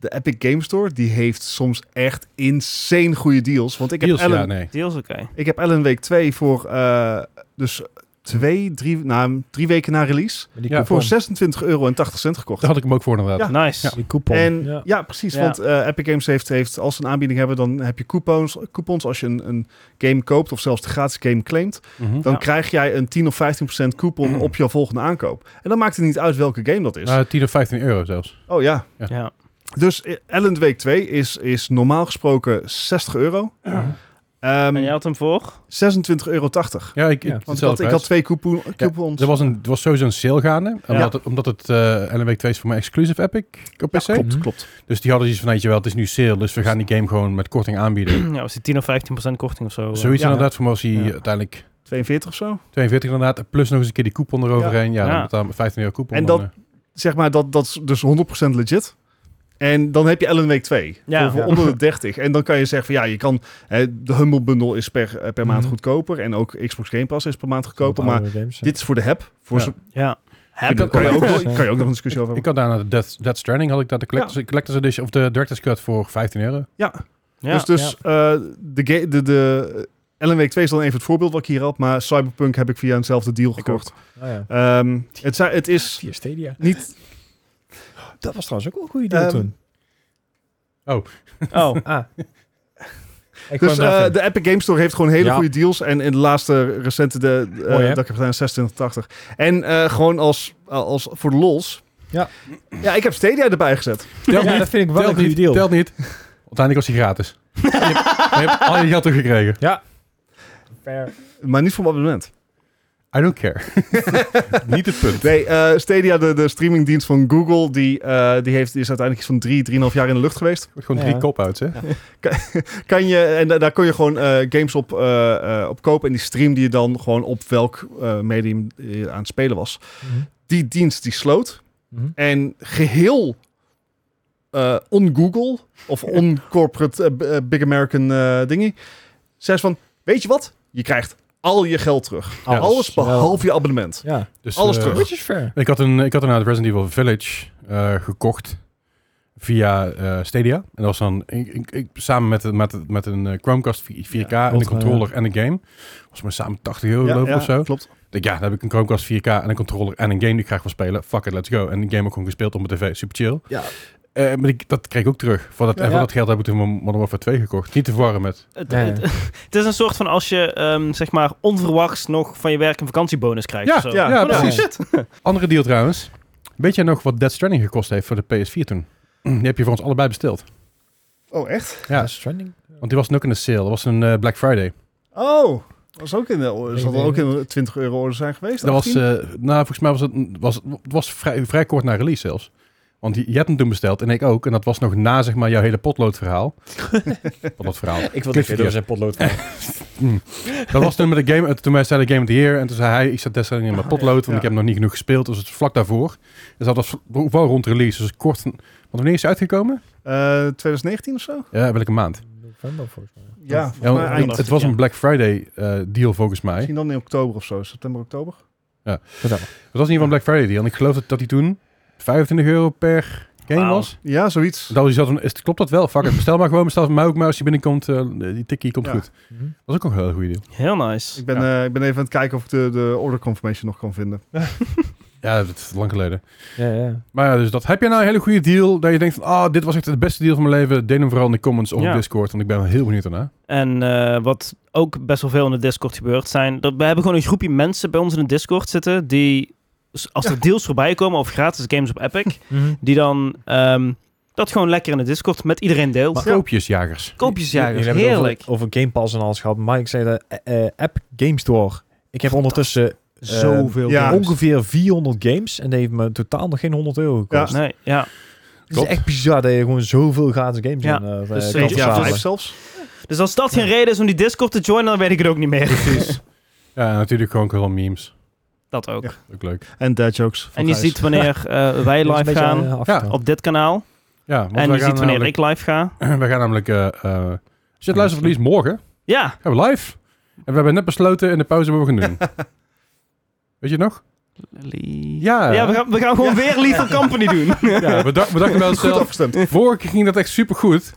Speaker 2: De Epic Game Store, die heeft soms echt insane goede deals. Want ik heb
Speaker 3: Deals,
Speaker 2: Ellen,
Speaker 3: ja, nee.
Speaker 1: Deals oké.
Speaker 2: ik heb Ellen Week 2 voor eh, dus twee, drie, nou, drie weken na release.
Speaker 4: Die
Speaker 3: Ja,
Speaker 4: coupon.
Speaker 2: voor 26 euro en 80 cent gekocht.
Speaker 3: Daar had ik hem ook voor inderdaad.
Speaker 1: Nice.
Speaker 4: Die coupon.
Speaker 2: En ja,
Speaker 4: [CLEARS THROAT] Ja.
Speaker 2: precies.
Speaker 1: Ja.
Speaker 2: Want eh, Epic Games heeft, heeft, als ze een aanbieding hebben, dan heb je coupons. coupons als je een, een game koopt of zelfs de gratis game claimt,
Speaker 3: Mhm.
Speaker 2: dan
Speaker 1: Ja.
Speaker 2: krijg jij een 10 of 15 coupon op jouw volgende aankoop. En dan maakt het niet uit welke game dat is.
Speaker 3: Nou, 10 of 15 euro zelfs.
Speaker 2: oh ja.
Speaker 1: Ja. Ja.
Speaker 2: Dus eh, Ellen Week 2 is, is normaal gesproken 60 euro. Ehm
Speaker 1: En jij had hem voor?
Speaker 2: 26,80 euro.
Speaker 3: Ja, ik,
Speaker 4: Ja,
Speaker 2: Want
Speaker 3: ik-
Speaker 4: want
Speaker 2: ik had,
Speaker 3: hetzelfde
Speaker 2: ik had
Speaker 3: prijs.
Speaker 2: twee coupon, coupons.
Speaker 3: Er was, een, er was sowieso een sale gaande. Omdat het, omdat het eh, LNW 2 is voor mij exclusive Epic op PC.
Speaker 2: Ja, klopt,
Speaker 4: Mhm.
Speaker 2: klopt.
Speaker 3: dus die hadden iets van, weet je wel, het is nu sale. Dus we gaan die game gewoon met korting aanbieden.
Speaker 1: [CLEARS THROAT] ja, was die 10 of 15 korting of zo? eh?
Speaker 3: Zoiets
Speaker 2: Ja.
Speaker 3: inderdaad. Voor mij was hij
Speaker 4: Ja.
Speaker 3: uiteindelijk
Speaker 2: 42 of zo.
Speaker 3: 42 inderdaad. Plus nog eens een keer die coupon eroverheen. Ja,
Speaker 1: Ja.
Speaker 3: dan betaal je 15 euro coupon.
Speaker 2: En
Speaker 3: dan,
Speaker 2: dat-
Speaker 3: eh,
Speaker 2: Zeg maar, dat, dat is dus 100% legit. En dan heb je Ellen Week 2
Speaker 1: Ja.
Speaker 2: voor, voor
Speaker 1: Ja.
Speaker 2: onder de 30. En dan kan je zeggen van ja, je kan... Hè, de Humble Bundle is per, eh, per maand
Speaker 4: Mhm. Oh,
Speaker 2: goedkoper. En ook Xbox Game Pass is per maand
Speaker 4: Wat
Speaker 2: goedkoper. Maar
Speaker 4: oudere games, hè.
Speaker 2: dit is voor de heb. Voor
Speaker 3: Ja.
Speaker 2: zo-
Speaker 1: Ja. Heb
Speaker 3: kan-
Speaker 1: ik
Speaker 2: kan, je
Speaker 1: ook.
Speaker 2: ook,
Speaker 4: Ja.
Speaker 2: kan je ook nog een discussie over
Speaker 3: eh, ik
Speaker 2: hebben.
Speaker 3: had daarna de Death, Death Stranding, had ik daar de collector's, collector's edition of de director's cut voor 15 euro.
Speaker 2: Ja,
Speaker 1: Ja.
Speaker 2: dus, dus eh, de, ga- de, de Ellen Week 2 is dan even het voorbeeld wat ik hier had. Maar Cyberpunk heb ik via eenzelfde deal gekocht.
Speaker 4: Oh, ja.
Speaker 2: Ehm, het, zijn- het is...
Speaker 4: Via Stadia.
Speaker 2: Niet-
Speaker 4: Dat was trouwens ook wel een goede deal
Speaker 2: Ehm,
Speaker 4: toen.
Speaker 1: Oh,
Speaker 4: [LAUGHS] Ah. Ik
Speaker 2: Dus
Speaker 4: kwam er
Speaker 2: eh,
Speaker 4: even-
Speaker 2: de Epic Game Store heeft gewoon hele
Speaker 4: Ja.
Speaker 2: goede deals. En in de laatste recente, de, eh,
Speaker 4: Mooi, hè?
Speaker 2: dat ik heb gedaan, 2680. En eh, gewoon als, als voor de lols.
Speaker 4: Ja.
Speaker 2: ja, ik heb Stadia erbij gezet.
Speaker 3: Telt
Speaker 4: ja,
Speaker 3: niet,
Speaker 4: dat vind ik wel een
Speaker 3: telt
Speaker 4: goede
Speaker 3: niet,
Speaker 4: deal.
Speaker 3: telt niet. Uiteindelijk was hij gratis. je, hebt, je hebt al je geld teruggekregen.
Speaker 4: Fair.
Speaker 2: Maar niet voor mijn abonnement.
Speaker 3: I don't care. niet het punt.
Speaker 2: Nee, eh, Stadia, de, de streamingdienst van Google, die, eh, die, heeft, die is uiteindelijk iets van drie, drieënhalf jaar in de lucht geweest.
Speaker 3: Gewoon
Speaker 4: Ja.
Speaker 3: drie kop-outs, hè?
Speaker 2: Kan je, en da- daar kun je gewoon eh, games op, eh, eh, op kopen. En die streamde je dan gewoon op welk eh, medium je aan het spelen was.
Speaker 4: Mhm.
Speaker 2: Die dienst die sloot.
Speaker 4: Mhm.
Speaker 2: En geheel eh, on-Google of
Speaker 3: [LAUGHS]
Speaker 2: on-corporate eh, b- eh, big American eh dingie. Zei ze van, weet je wat? Je krijgt al je geld terug.
Speaker 3: Ja,
Speaker 2: Alles,
Speaker 4: Ja.
Speaker 2: behalve je abonnement.
Speaker 4: Ja,
Speaker 3: Dus,
Speaker 2: Alles
Speaker 3: eh,
Speaker 2: terug.
Speaker 4: which is fair.
Speaker 3: Ik had een, ik had een Resident Evil Village eh, gekocht via eh, Stadia. En dat was dan ik, ik, ik- samen met, een- met, een- met een eh, Chromecast 4K en een
Speaker 4: ultra,
Speaker 3: controller en een game. Was maar samen 80 euro
Speaker 2: Ja,
Speaker 3: geloof ik
Speaker 2: ja,
Speaker 3: of zo. Ik
Speaker 2: klopt.
Speaker 3: Denk, ja, dan heb ik een Chromecast 4K en een controller en een game die ik graag wil spelen. Fuck it, let's go. En die game ook gewoon gespeeld op mijn tv. Super chill.
Speaker 2: Ja.
Speaker 3: Eh, maar ik, dat kreeg ik ook terug. Voor dat, en
Speaker 4: Ja.
Speaker 3: voor dat geld heb ik toen Modern Warfare 2 gekocht. Niet te verwarren met...
Speaker 1: het,
Speaker 4: Ja, ja. [LAUGHS]
Speaker 1: het, het is een soort van als je ehm, zeg maar onverwachts nog van je werk een vakantiebonus krijgt.
Speaker 3: Ja,
Speaker 1: of zo.
Speaker 2: ja,
Speaker 1: Oh,
Speaker 3: precies.
Speaker 1: shit.
Speaker 3: Andere deal trouwens. Weet jij nog wat Dead Stranding gekost heeft voor de PS4 toen? Die heb je voor ons allebei besteld.
Speaker 2: Oh, echt?
Speaker 3: Ja.
Speaker 4: Death Stranding.
Speaker 3: Want die was toen ook in de sale. Dat was een eh, Black Friday.
Speaker 2: Oh, was ook in de,
Speaker 4: Ik
Speaker 2: zal
Speaker 4: weet
Speaker 2: er ook in de 20 euro orde zijn geweest?
Speaker 3: Dat was,
Speaker 2: 18?
Speaker 3: eh, nou, volgens mij was het, was, het was vrij, vrij kort na release zelfs. Want je, je hebt hem toen besteld en ik ook. En dat was nog na, zeg maar, jouw hele potloodverhaal. potloodverhaal.
Speaker 4: Ik wil
Speaker 3: Cliff
Speaker 4: niet
Speaker 3: Gear.
Speaker 4: door zijn [LAUGHS] potlood.
Speaker 3: Dat was toen met de game, toen wij zeiden Game of the Year. En toen zei hij, ik zat destijds in mijn potlood, want
Speaker 2: Ja.
Speaker 3: ik heb nog niet genoeg gespeeld. Dus het was vlak daarvoor. Dus dat was wel rond release. Dus kort, want wanneer is hij uitgekomen?
Speaker 2: Eh, 2019 of zo?
Speaker 3: Ja, welke maand?
Speaker 4: November volgens mij.
Speaker 2: Ja,
Speaker 3: Ja,
Speaker 2: volgens mij
Speaker 3: want
Speaker 2: eind.
Speaker 3: het was
Speaker 1: ja.
Speaker 3: een Black Friday eh, deal volgens mij.
Speaker 2: Misschien dan in oktober of zo, september, oktober.
Speaker 3: Het was in ieder geval een Black Friday deal. En ik geloof dat, dat hij toen 25 euro per game
Speaker 1: Wauw.
Speaker 3: was.
Speaker 2: Ja, zoiets.
Speaker 3: Dat was iets van, is, klopt dat wel? Fuck it, bestel maar gewoon, bestel van mij ook maar als je binnenkomt. eh, die tikkie komt
Speaker 2: Ja.
Speaker 3: goed.
Speaker 4: Mhm.
Speaker 3: Dat is ook een heel goede deal.
Speaker 1: Heel nice.
Speaker 2: Ik ben, eh, ik ben even aan het kijken of ik de, de order confirmation nog kan vinden.
Speaker 3: Ja, dat is lang geleden.
Speaker 4: Ja, ja.
Speaker 3: Maar ja, dus dat. Heb je nou een hele goede deal dat je denkt van, ah, dit was echt de beste deal van mijn leven. Deel hem vooral in de comments of
Speaker 1: Ja.
Speaker 3: op Discord, want ik ben heel benieuwd daarna.
Speaker 1: En eh, wat ook best wel veel in de Discord gebeurt, zijn dat we hebben gewoon een groepje mensen bij ons in de Discord zitten die, s- als er deals voorbij komen of gratis games op Epic,
Speaker 4: Mhm.
Speaker 1: die dan ehm, dat gewoon lekker in de Discord met iedereen deelt.
Speaker 3: Maar koopjesjagers.
Speaker 1: Koopjesjagers,
Speaker 4: Jullie hebben het
Speaker 1: heerlijk.
Speaker 4: Over, over Game Pass en alles gehad. Maar ik zei de eh, eh, app Game Store. Ik heb ondertussen eh, Zoveel
Speaker 2: ja. games.
Speaker 4: ongeveer 400 games. En die heeft me totaal nog geen 100 euro gekost.
Speaker 1: Nee, ja.
Speaker 4: Het is echt bizar dat je gewoon zoveel gratis games
Speaker 1: Ja,
Speaker 4: in, eh, eh,
Speaker 1: dus, eh,
Speaker 2: Ja,
Speaker 4: kan
Speaker 1: Ja,
Speaker 4: verzamelen.
Speaker 2: vijf
Speaker 1: dus-
Speaker 2: zelfs.
Speaker 1: Dus als dat geen reden is om die Discord te joinen, dan weet ik het ook niet meer.
Speaker 3: Precies. [LAUGHS] ja, en natuurlijk gewoon heel veel
Speaker 1: [LAUGHS]
Speaker 3: memes.
Speaker 1: Dat ook.
Speaker 2: Ja,
Speaker 3: Ook leuk.
Speaker 2: En dad jokes. van
Speaker 1: en je
Speaker 2: Gijs.
Speaker 1: ziet [LAUGHS] wanneer eh, wij
Speaker 4: Dat is een
Speaker 1: live
Speaker 4: beetje,
Speaker 1: gaan
Speaker 4: eh, afgedaan.
Speaker 1: op dit kanaal.
Speaker 3: Ja, want
Speaker 1: En
Speaker 3: wij
Speaker 1: je
Speaker 3: gaan
Speaker 1: ziet wanneer
Speaker 3: namelijk-
Speaker 1: ik live ga.
Speaker 3: [CLEARS THROAT] Wij gaan namelijk... eh eh, als je het luistert verlies morgen,
Speaker 1: Ja,
Speaker 3: gaan we live. En we hebben net besloten in de pauze wat we gaan doen. Weet je het nog?
Speaker 1: Lily.
Speaker 3: Ja,
Speaker 1: Ja, we gaan, we gaan gewoon weer [LAUGHS] Lethal Company doen.
Speaker 3: ja we, dacht- we dachten wel
Speaker 2: Goed
Speaker 3: zelf.
Speaker 4: [LAUGHS]
Speaker 2: afgestemd.
Speaker 3: Vorige keer ging dat echt supergoed.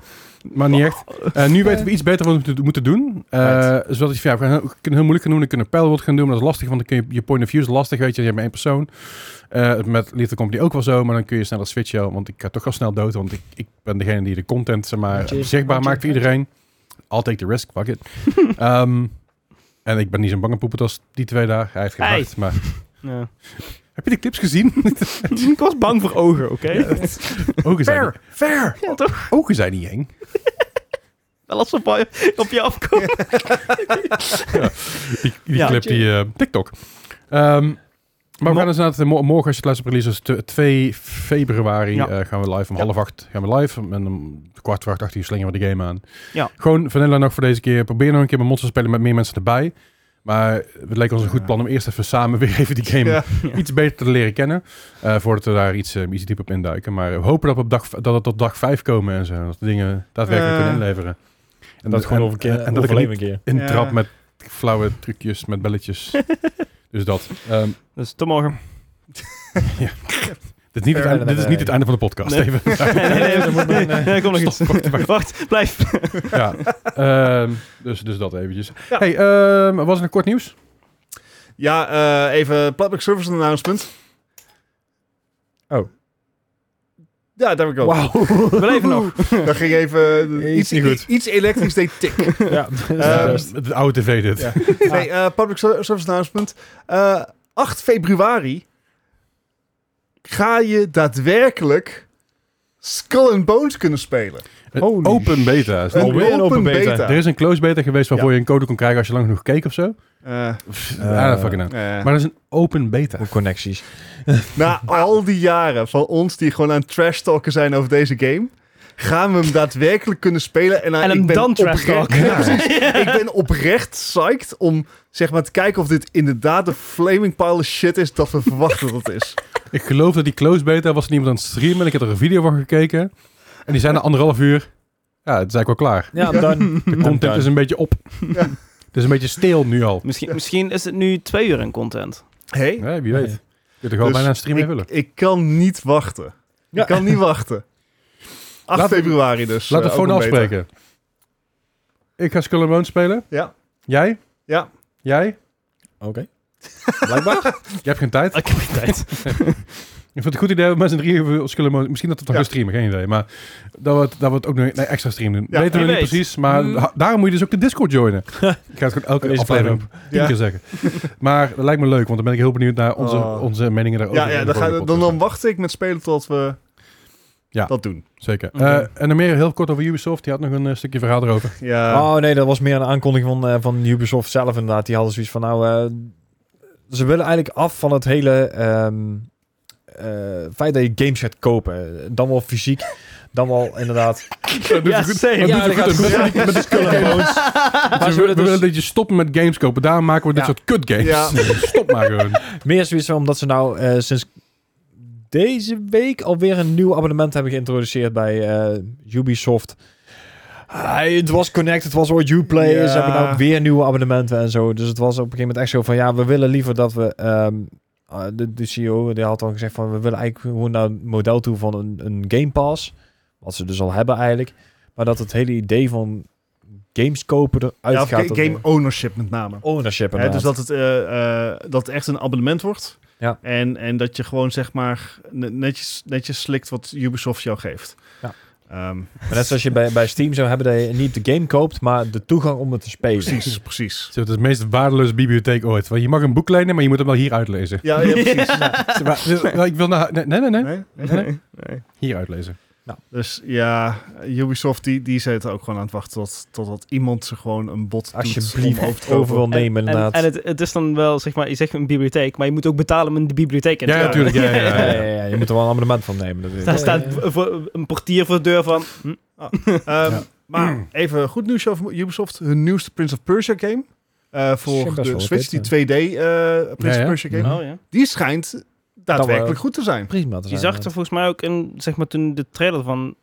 Speaker 3: Maar niet echt. Eh, nu weten we iets beter wat we moeten- moeten doen. Eh, zodat je van, ja, we gaan heel- we kunnen heel moeilijk gaan doen. We kunnen pijlwoord gaan doen. Maar dat is lastig, want dan kun je je point of view is lastig. Weet je, je hebt maar één persoon. Eh, met Little Company ook wel zo. Maar dan kun je sneller switchen. Want ik ga toch al snel dood. Want ik, ik ben degene die de content zeg maar,
Speaker 4: Cheers.
Speaker 3: zichtbaar maakt voor iedereen. I'll take the risk, fuck it. Ehm, en ik ben niet zo'n bange poepert als die twee daar. Hij heeft
Speaker 1: Hey.
Speaker 3: gebracht. Maar
Speaker 1: Ja.
Speaker 3: heb je de clips
Speaker 1: [LAUGHS]
Speaker 3: gezien?
Speaker 1: Ik was bang voor ogen, oké? [LAUGHS]
Speaker 3: Ogen zijn,
Speaker 4: Fair, fair.
Speaker 1: Ja, toch?
Speaker 3: ogen zijn niet eng.
Speaker 1: Wel als ze op je- op je afkomen.
Speaker 3: Die, die
Speaker 1: Ja.
Speaker 3: clip, die eh, TikTok. Ehm, maar we
Speaker 1: Mo-
Speaker 3: gaan dus inderdaad, eh, mo- morgen als je het luistert op release, is het, eh, 2 februari
Speaker 1: Ja.
Speaker 3: eh, gaan we live. Om
Speaker 1: Ja.
Speaker 3: half acht gaan we live. En om kwart voor acht, acht uur slingen we de game aan.
Speaker 1: Ja.
Speaker 3: Gewoon vanilla nog voor deze keer. Probeer nog een keer met monsters te spelen met meer mensen erbij. Maar het leek ons een goed plan om eerst even samen weer
Speaker 1: [LAUGHS]
Speaker 3: even die game
Speaker 2: Ja.
Speaker 3: iets beter te leren kennen. eh, voordat we daar iets, eh, iets dieper op induiken. Maar we hopen dat we, op dag, dat we tot dag vijf komen en zo. Dat we dingen daadwerkelijk
Speaker 2: Eh.
Speaker 3: kunnen inleveren. En
Speaker 4: Dat gewoon
Speaker 3: en-
Speaker 4: over een keer.
Speaker 3: En, en dat ik er niet
Speaker 4: een keer.
Speaker 3: in
Speaker 2: Ja.
Speaker 3: trap met flauwe trucjes,
Speaker 1: [LAUGHS]
Speaker 3: met belletjes. dus dat. Ehm,
Speaker 1: Dus tot morgen.
Speaker 3: dit, is niet het
Speaker 4: Fair
Speaker 3: einde, dit is niet het einde van de podcast.
Speaker 1: Nee.
Speaker 3: Even.
Speaker 1: [LAUGHS] Nee, nee, nee.
Speaker 4: Er moet nog een, eh,
Speaker 1: Nee, kom nog iets.
Speaker 3: Stop, wacht, wacht.
Speaker 1: Wacht, blijf.
Speaker 3: ja. Ehm, dus, dus dat eventjes. Hey, ehm, was er een kort nieuws?
Speaker 2: Ja, eh, even public service announcement.
Speaker 4: Oh.
Speaker 2: Ja, daar heb ik ook.
Speaker 1: [LAUGHS] We leven nog.
Speaker 2: Daar ging even eh, iets,
Speaker 4: Iets niet goed.
Speaker 2: iets elektrisch deed
Speaker 4: [LAUGHS]
Speaker 2: tik.
Speaker 4: Ja,
Speaker 2: Ehm,
Speaker 4: best.
Speaker 3: Het oude tv dit.
Speaker 4: Ja.
Speaker 2: Nee, eh, public ser- service announcement. Eh, 8 februari ga je daadwerkelijk Skull and Bones kunnen spelen.
Speaker 3: Een
Speaker 4: Holy
Speaker 3: Open beta. Is het
Speaker 2: Een
Speaker 3: alweer?
Speaker 4: open beta.
Speaker 3: er is een close beta geweest waarvoor
Speaker 2: Ja.
Speaker 3: je een code kon krijgen als je lang genoeg keek of zo.
Speaker 2: Eh,
Speaker 3: I don't fucking know.
Speaker 2: eh.
Speaker 3: Maar dat is een open beta.
Speaker 4: Hoe connecties.
Speaker 2: Na al die jaren van ons die gewoon aan trash talken zijn over deze game, gaan we hem daadwerkelijk kunnen spelen. En, nou,
Speaker 1: En hem
Speaker 2: ik ben
Speaker 1: dan trash
Speaker 2: oprecht-
Speaker 1: [LAUGHS] talken.
Speaker 2: Ja, precies. Ik ben oprecht psyched om zeg maar te kijken of dit inderdaad de flaming pile of shit is dat we verwachten dat het is.
Speaker 3: Ik geloof dat die close beta was er iemand aan het streamen. En ik heb er een video van gekeken. En die zijn na anderhalf uur. Ja, het is eigenlijk wel klaar.
Speaker 4: Ja, dan.
Speaker 3: De content is dus een beetje op.
Speaker 2: Ja.
Speaker 3: [LAUGHS] Het is een beetje stil nu al.
Speaker 1: Misschien, misschien is het nu twee uur in content.
Speaker 2: Hey,
Speaker 3: Ja, wie weet.
Speaker 4: Nee.
Speaker 3: Je kunt er gewoon
Speaker 2: Dus
Speaker 3: bijna een stream mee
Speaker 2: ik,
Speaker 3: vullen.
Speaker 2: ik kan niet wachten.
Speaker 4: Ja.
Speaker 2: Ik kan niet wachten. 8
Speaker 3: Laat-
Speaker 2: februari dus.
Speaker 3: Laat de
Speaker 2: eh,
Speaker 3: phone
Speaker 2: open beta.
Speaker 3: afspreken. Ik ga Skull and Bones spelen.
Speaker 2: Ja.
Speaker 3: Jij?
Speaker 2: Ja.
Speaker 3: Jij? Jij
Speaker 4: Oké.
Speaker 3: [LAUGHS]
Speaker 4: Blijkbaar.
Speaker 3: hebt geen tijd.
Speaker 1: Ah, [LAUGHS] Ik heb geen tijd.
Speaker 3: Ik vind het een goed idee om met z'n drieën voor Skull and Bones... Misschien dat we het nog
Speaker 2: Ja.
Speaker 3: gaan streamen, geen idee. Maar dat we het, dat we het ook nog een extra stream doen.
Speaker 2: Ja.
Speaker 3: Weten we
Speaker 1: Wie
Speaker 3: niet
Speaker 1: weet.
Speaker 3: precies, maar
Speaker 4: Hmm.
Speaker 3: ha- daarom moet je dus ook de Discord joinen. Ik ga het gewoon elke
Speaker 4: Deze
Speaker 3: aflevering tien
Speaker 2: Ja.
Speaker 3: keer zeggen. Maar dat lijkt me leuk, want dan ben ik heel benieuwd naar onze,
Speaker 2: Oh.
Speaker 3: onze meningen daarover.
Speaker 2: Ja, ja
Speaker 3: in de
Speaker 2: dan, ga,
Speaker 3: volgende
Speaker 2: dan, dan
Speaker 3: podcast.
Speaker 2: wacht ik met spelen tot we
Speaker 3: Ja.
Speaker 2: dat doen.
Speaker 3: Zeker.
Speaker 1: Oké.
Speaker 3: Eh, en dan meer heel kort over Ubisoft. Die had nog een eh, stukje verhaal erover.
Speaker 2: Ja.
Speaker 4: Oh nee, dat was meer een aankondiging van, eh, van Ubisoft zelf inderdaad. Die hadden zoiets van, nou, eh, ze willen eigenlijk af van het hele ehm, eh, feit dat je games gaat kopen. Dan wel fysiek, dan wel inderdaad...
Speaker 1: Ja, same.
Speaker 4: Ja,
Speaker 3: Ja,
Speaker 4: dat gaat goed.
Speaker 3: [LAUGHS] met, met de Skull and Bones. we
Speaker 4: Maar ze willen
Speaker 3: willen, we willen
Speaker 4: dus
Speaker 3: dat je stopt met games kopen. Daarom maken we
Speaker 4: Ja.
Speaker 3: dit soort kut games.
Speaker 2: Ja.
Speaker 3: [LAUGHS] Stop maar gewoon.
Speaker 4: meer zoiets van, omdat ze nou eh, sinds deze week alweer een nieuw abonnement hebben geïntroduceerd bij eh, Ubisoft. Ah, het was Connect, het was ooit Uplay,
Speaker 2: Ja.
Speaker 4: ze hebben nou weer nieuwe abonnementen en zo. Dus het was op een gegeven moment echt zo van, ja, we willen liever dat we... ehm, ah, de, de CEO die had al gezegd van, we willen eigenlijk gewoon naar het model toe van een, een Game Pass. Wat ze dus al hebben eigenlijk. Maar dat het hele idee van games kopen eruit
Speaker 2: Ja, of ga-
Speaker 4: gaat. dat-
Speaker 2: game ownership met name.
Speaker 4: ownership
Speaker 2: Hè,
Speaker 4: inderdaad.
Speaker 2: dus dat het, eh, eh, dat het echt een abonnement wordt.
Speaker 4: Ja.
Speaker 2: En, en dat je gewoon zeg maar ne- netjes, netjes slikt wat Ubisoft jou geeft.
Speaker 4: Ja.
Speaker 2: Ehm,
Speaker 4: Maar net zoals je bij, bij Steam zou hebben dat je niet de game koopt, maar de toegang om het te spelen.
Speaker 2: precies, dus
Speaker 3: [LAUGHS]
Speaker 2: precies.
Speaker 3: Het is de meest waardeloze bibliotheek ooit. Want je mag een boek lenen, maar je moet hem wel hier uitlezen.
Speaker 2: Ja, ja precies.
Speaker 3: Zeg maar, dus, nou, Ik wil naar... hu- Nee, nee, nee. nee.
Speaker 2: Nee?
Speaker 1: Nee, nee.
Speaker 3: Hier uitlezen.
Speaker 2: Dus ja, Ubisoft die, die zitten ook gewoon aan het wachten tot, totdat iemand ze gewoon een bot
Speaker 4: Alsjeblieft,
Speaker 2: doet om
Speaker 4: over
Speaker 2: over te
Speaker 4: overal
Speaker 2: kopen.
Speaker 4: nemen
Speaker 1: En,
Speaker 4: inderdaad.
Speaker 1: en het, het is dan wel, zeg maar, je zegt een bibliotheek, maar je moet ook betalen om in de bibliotheek in te
Speaker 3: Ja,
Speaker 1: gaan.
Speaker 3: natuurlijk. Ja, ja,
Speaker 4: ja,
Speaker 3: ja,
Speaker 4: ja,
Speaker 3: ja.
Speaker 4: ja, je moet er wel een abonnement van nemen. natuurlijk.
Speaker 1: Daar staat voor- een portier voor de deur van... hm,
Speaker 2: Ehm, Maar even goed nieuws over Ubisoft. Hun nieuwste Prince of Persia game. eh,
Speaker 4: Schijnt
Speaker 2: voor
Speaker 4: best wel
Speaker 2: de
Speaker 4: oké
Speaker 2: Switch,
Speaker 4: te
Speaker 2: die 2D eh, Prince
Speaker 3: Ja, ja.
Speaker 2: of Persia game.
Speaker 4: Mhm.
Speaker 1: Oh ja.
Speaker 2: Die schijnt daadwerkelijk goed te zijn.
Speaker 4: Prima te
Speaker 1: Je
Speaker 4: zijn. eh,
Speaker 1: zag er volgens mij ook in, zeg maar, toen de trailer van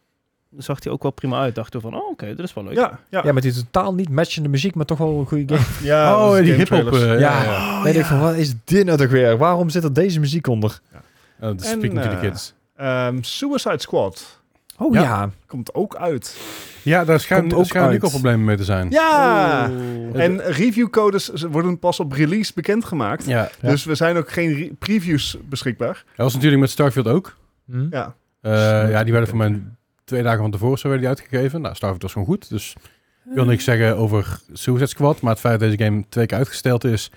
Speaker 1: zag die ook wel prima uit. Dachten we van, oh oké, dit is wel leuk.
Speaker 2: Ja, ja.
Speaker 4: Ja, met die totaal niet matchende muziek, maar toch wel een goede game.
Speaker 2: Ja, dat
Speaker 3: [LAUGHS] oh,
Speaker 2: is
Speaker 3: die
Speaker 2: game
Speaker 3: hip-hop.
Speaker 2: trailers.
Speaker 3: eh, ja,
Speaker 4: Oh, Ja.
Speaker 3: ja.
Speaker 4: Dan denk ik van, wat is dit nou toch weer? Waarom zit er deze muziek onder?
Speaker 3: Eh, dat is
Speaker 2: En,
Speaker 3: speaking to the
Speaker 2: eh,
Speaker 3: kids.
Speaker 2: Ehm, Suicide Squad
Speaker 4: Oh
Speaker 3: Ja.
Speaker 4: ja.
Speaker 2: komt ook uit.
Speaker 3: Ja, daar schijnen
Speaker 4: komt ook
Speaker 3: schijnen nu
Speaker 4: uit.
Speaker 3: al problemen mee te zijn.
Speaker 4: Ah.
Speaker 2: Ja!
Speaker 4: Oh.
Speaker 1: Oeh.
Speaker 2: Oh. En reviewcodes z- worden pas op release bekendgemaakt.
Speaker 3: Ja.
Speaker 4: Ja.
Speaker 2: Dus we zijn ook geen re- previews beschikbaar.
Speaker 3: Dat was natuurlijk met Starfield ook.
Speaker 4: Hm?
Speaker 2: Ja.
Speaker 3: Eh, ja, die werden voor mijn twee dagen van tevoren zo werden die uitgegeven. Nou, Starfield was gewoon goed. Dus ik wil niks zeggen over Suicide Squad. Maar het feit dat deze game twee keer uitgesteld is.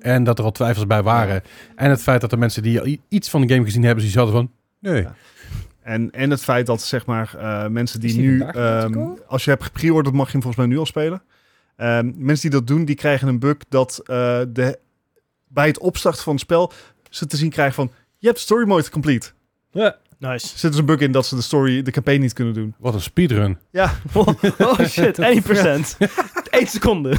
Speaker 3: En dat er al twijfels bij waren. En het feit dat de mensen die al i- iets van de game gezien hebben, die zaten van... Nee.
Speaker 2: Ja. En, en het feit dat zeg maar eh, mensen die,
Speaker 4: Is die
Speaker 2: nu,
Speaker 4: vandaag nog
Speaker 2: ehm,
Speaker 4: te koop?
Speaker 2: als je hebt gepreorderd, mag je hem volgens mij nu al spelen. Ehm, mensen die dat doen, die krijgen een bug dat eh, de, bij het opstarten van het spel ze te zien krijgen van je hebt story mode complete.
Speaker 1: Nice. [LAUGHS]
Speaker 2: Er zit dus een bug in dat ze de story, de campaign niet kunnen doen.
Speaker 3: Wat een speedrun.
Speaker 2: Ja,
Speaker 1: oh shit, 1%. 1 seconde.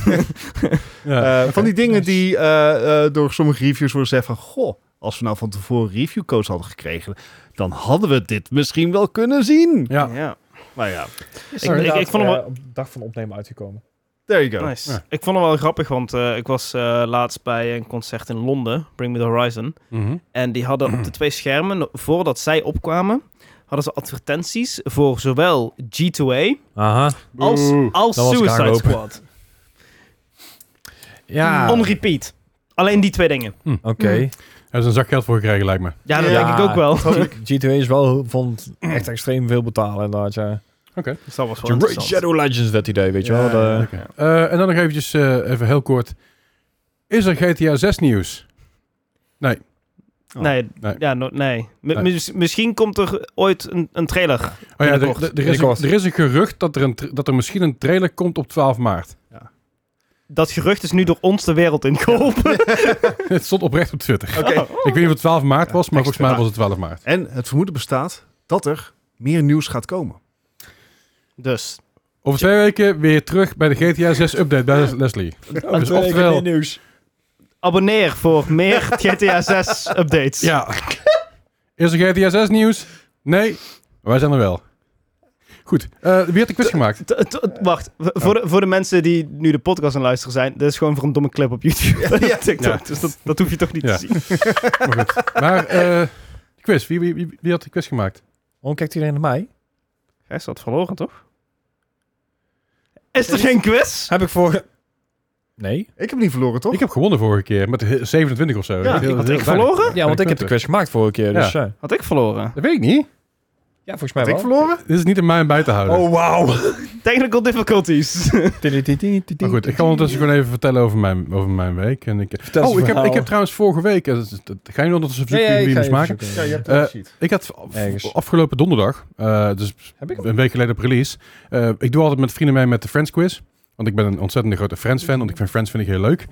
Speaker 3: Ja.
Speaker 2: Eh,
Speaker 3: [LAUGHS]
Speaker 2: Van die dingen die eh, eh, door sommige reviews worden gezegd van... Goh, als we nou van tevoren reviewcodes hadden gekregen... dan hadden we dit misschien wel kunnen zien.
Speaker 3: ja.
Speaker 1: ja.
Speaker 2: Maar ja,
Speaker 4: Is
Speaker 1: Ik- ik-
Speaker 4: inderdaad,
Speaker 1: ik vond hem
Speaker 4: eh,
Speaker 1: wel-
Speaker 4: op de dag van opnemen uitgekomen.
Speaker 2: there you go.
Speaker 1: Nice.
Speaker 3: Ja.
Speaker 1: Ik vond hem wel grappig, want eh, ik was eh, laatst bij een concert in Londen, Bring Me The Horizon.
Speaker 3: Mhm.
Speaker 1: En die hadden op de twee schermen, voordat zij opkwamen, hadden ze advertenties voor zowel G2A
Speaker 4: Aha.
Speaker 1: als,
Speaker 3: Oeh.
Speaker 1: als
Speaker 4: Dan was ik
Speaker 1: Suicide
Speaker 4: aangelopen.
Speaker 1: Squad.
Speaker 4: Ja.
Speaker 1: On
Speaker 4: Oké.
Speaker 1: repeat. Alleen die twee dingen.
Speaker 3: Daar is een zak geld voor gekregen, lijkt me.
Speaker 1: Ja, dat
Speaker 2: Ja.
Speaker 1: denk ik ook wel.
Speaker 4: G2 is wel van echt extreem veel betalen inderdaad, ja.
Speaker 1: Dus dat was wel
Speaker 4: Ra-
Speaker 1: interessant.
Speaker 4: Shadow Legends, dat idee, weet je
Speaker 2: Ja,
Speaker 4: wel. de-
Speaker 3: Oké. Eh, en dan nog eventjes, eh, even heel kort. Is er GTA 6 nieuws?
Speaker 1: Nee,
Speaker 3: Oh, Nee.
Speaker 1: Ja, no- nee. Mi-
Speaker 3: Nee.
Speaker 1: mis- misschien komt er ooit een, een trailer.
Speaker 3: Oh ja, er,
Speaker 1: Binnenkort.
Speaker 3: er- er is, een,
Speaker 4: Binnenkort.
Speaker 3: er is een gerucht dat er, een, tra- dat er misschien een trailer komt op 12 maart.
Speaker 1: Dat gerucht is nu door ons de wereld ingeholpen.
Speaker 3: [LAUGHS] Het stond oprecht op Twitter.
Speaker 2: Oké.
Speaker 3: Ik weet niet of het 12 maart was,
Speaker 2: Ja,
Speaker 3: maar volgens
Speaker 2: extra.
Speaker 3: mij was het 12 maart.
Speaker 2: En het vermoeden bestaat dat er meer nieuws gaat komen.
Speaker 1: [LAUGHS] Dus,
Speaker 3: Over twee weken weer terug bij de GTA 6 update bij Les- Leslie.
Speaker 4: Aan
Speaker 3: Dus
Speaker 4: twee weken
Speaker 3: oftewel-
Speaker 4: meer nieuws.
Speaker 1: abonneer voor
Speaker 3: [LAUGHS]
Speaker 1: meer GTA 6 updates.
Speaker 3: Ja. Is er GTA 6 nieuws? Nee. Wij zijn er wel. Goed. Eh, wie had de quiz gemaakt?
Speaker 1: T- t- wacht, v- voor, de, voor de mensen die nu de podcast aan het luisteren zijn, dit is gewoon voor een domme clip op YouTube en [LAUGHS] op TikTok.
Speaker 3: Ja.
Speaker 1: Dus dat, dat hoef je toch niet
Speaker 3: Ja. [LAUGHS]
Speaker 1: te zien.
Speaker 3: Maar goed. Maar eh, de quiz. Wie, wie, wie, wie had de quiz gemaakt?
Speaker 4: Waarom kijkt iedereen naar mij?
Speaker 1: Hij staat verloren, toch? Is er geen quiz?
Speaker 4: Heb ik voor... Nee.
Speaker 2: Ik heb niet verloren, toch?
Speaker 3: Ik heb gewonnen vorige keer met 27 of zo.
Speaker 2: Ja,
Speaker 3: Heel-
Speaker 1: Had
Speaker 3: heel
Speaker 1: ik
Speaker 3: weinig.
Speaker 1: verloren?
Speaker 4: Ja, want ik heb
Speaker 3: punten.
Speaker 4: de quiz gemaakt vorige keer, dus ja.
Speaker 1: Had ik verloren.
Speaker 3: Dat weet ik niet.
Speaker 4: Ja, volgens
Speaker 2: Had
Speaker 4: mij
Speaker 2: ik
Speaker 4: wel.
Speaker 2: verloren?
Speaker 3: Dit is niet in mij om bij te houden.
Speaker 2: Oh,
Speaker 3: [LAUGHS]
Speaker 4: wauw.
Speaker 1: Technical difficulties. [LAUGHS]
Speaker 3: Maar Oh, goed, ik ga ondertussen gewoon even vertellen over mijn, over mijn week. En ik,
Speaker 4: Vertel eens
Speaker 3: oh, ik heb,
Speaker 4: verhaal.
Speaker 3: ik heb trouwens vorige week... eh, Dat, dat- ga je ondertussen
Speaker 4: Ja,
Speaker 3: verzoeken
Speaker 4: ja,
Speaker 3: wie
Speaker 4: ik
Speaker 3: wie
Speaker 4: ga
Speaker 3: moest
Speaker 4: even
Speaker 3: maken?
Speaker 4: zoeken.
Speaker 2: Ja, je hebt
Speaker 3: Eh,
Speaker 2: een sheet.
Speaker 3: Ik had af-
Speaker 4: Ergens.
Speaker 3: afgelopen donderdag, eh, dus
Speaker 4: Heb ik hem?
Speaker 3: een week geleden op release. eh, ik doe altijd met vrienden mee met de Friends quiz. Want ik ben een ontzettende grote Friends fan. Want ik vind Friends vind ik heel leuk. We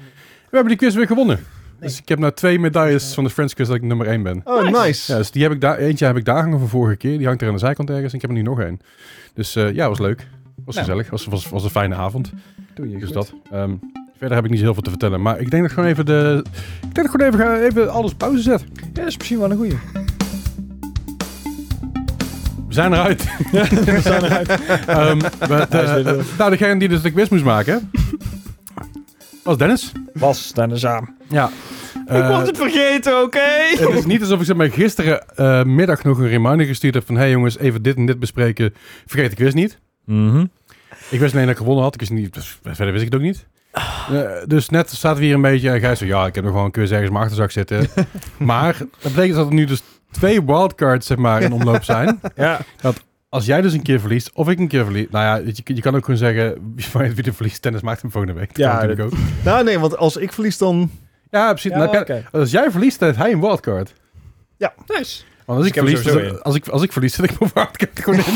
Speaker 3: hebben die quiz weer gewonnen. Dus ik heb nou twee medailles van de Friends quiz dat ik nummer één ben.
Speaker 2: Oh, nice.
Speaker 3: Ja, dus die heb ik daar, eentje heb ik daar hangen van vorige keer. Die hangt er aan de zijkant ergens. En ik heb er nu nog één. Dus eh, ja, was leuk. Was
Speaker 4: Nou.
Speaker 3: gezellig. Was, was, was een fijne avond.
Speaker 4: Doe je
Speaker 3: Dus
Speaker 4: goed.
Speaker 3: dat. Ehm, verder heb ik niet zo heel veel te vertellen. Maar ik denk dat ik gewoon even de. Ik denk dat ik gewoon even, ga- even alles op pauze zet.
Speaker 4: Ja, dat is misschien wel een goeie.
Speaker 3: We zijn
Speaker 4: [LAUGHS]
Speaker 3: eruit.
Speaker 4: We zijn eruit.
Speaker 3: Ehm, maar,
Speaker 4: Hij is
Speaker 3: eh,
Speaker 4: weer door.
Speaker 3: eh, nou, degene die dus de quiz moest maken. was Dennis.
Speaker 4: Bas, daar is aan.
Speaker 3: Ja.
Speaker 1: ik
Speaker 3: Eh,
Speaker 1: was het vergeten, oké?
Speaker 3: het is niet alsof ik ze mij gisterenmiddag eh, middag nog een reminder gestuurd heb van... hey jongens, even dit en dit bespreken. Vergeet de quiz niet.
Speaker 4: Mhm.
Speaker 3: Ik wist alleen dat ik gewonnen had. Ik wist niet, dus verder wist ik het ook niet. Eh, dus net zaten we hier een beetje en Gijs zo... Ja, ik heb nog gewoon een quiz ergens in mijn achterzak
Speaker 1: [LAUGHS]
Speaker 3: zitten. maar dat betekent dat er nu dus twee wildcards zeg maar, in omloop zijn.
Speaker 4: [LAUGHS] Ja.
Speaker 3: Als jij dus een keer verliest, of ik een keer verlies... Nou ja, weet je, je kan ook gewoon zeggen... [LAUGHS] wie van Wie de verliest, tennis maakt hem volgende week. Dat
Speaker 4: Ja,
Speaker 3: kan natuurlijk ook.
Speaker 2: Nou, nee, want als ik verlies dan...
Speaker 3: Ja, precies. Nou, kijk, Als jij verliest, dan heeft hij een wildcard.
Speaker 4: Nice.
Speaker 3: Want als ik,
Speaker 4: Ik heb er
Speaker 3: verlies,
Speaker 4: sowieso
Speaker 3: dan-
Speaker 4: in.
Speaker 3: als, ik, als ik verlies, zit ik mijn wildcard gewoon
Speaker 4: [LAUGHS]
Speaker 3: in.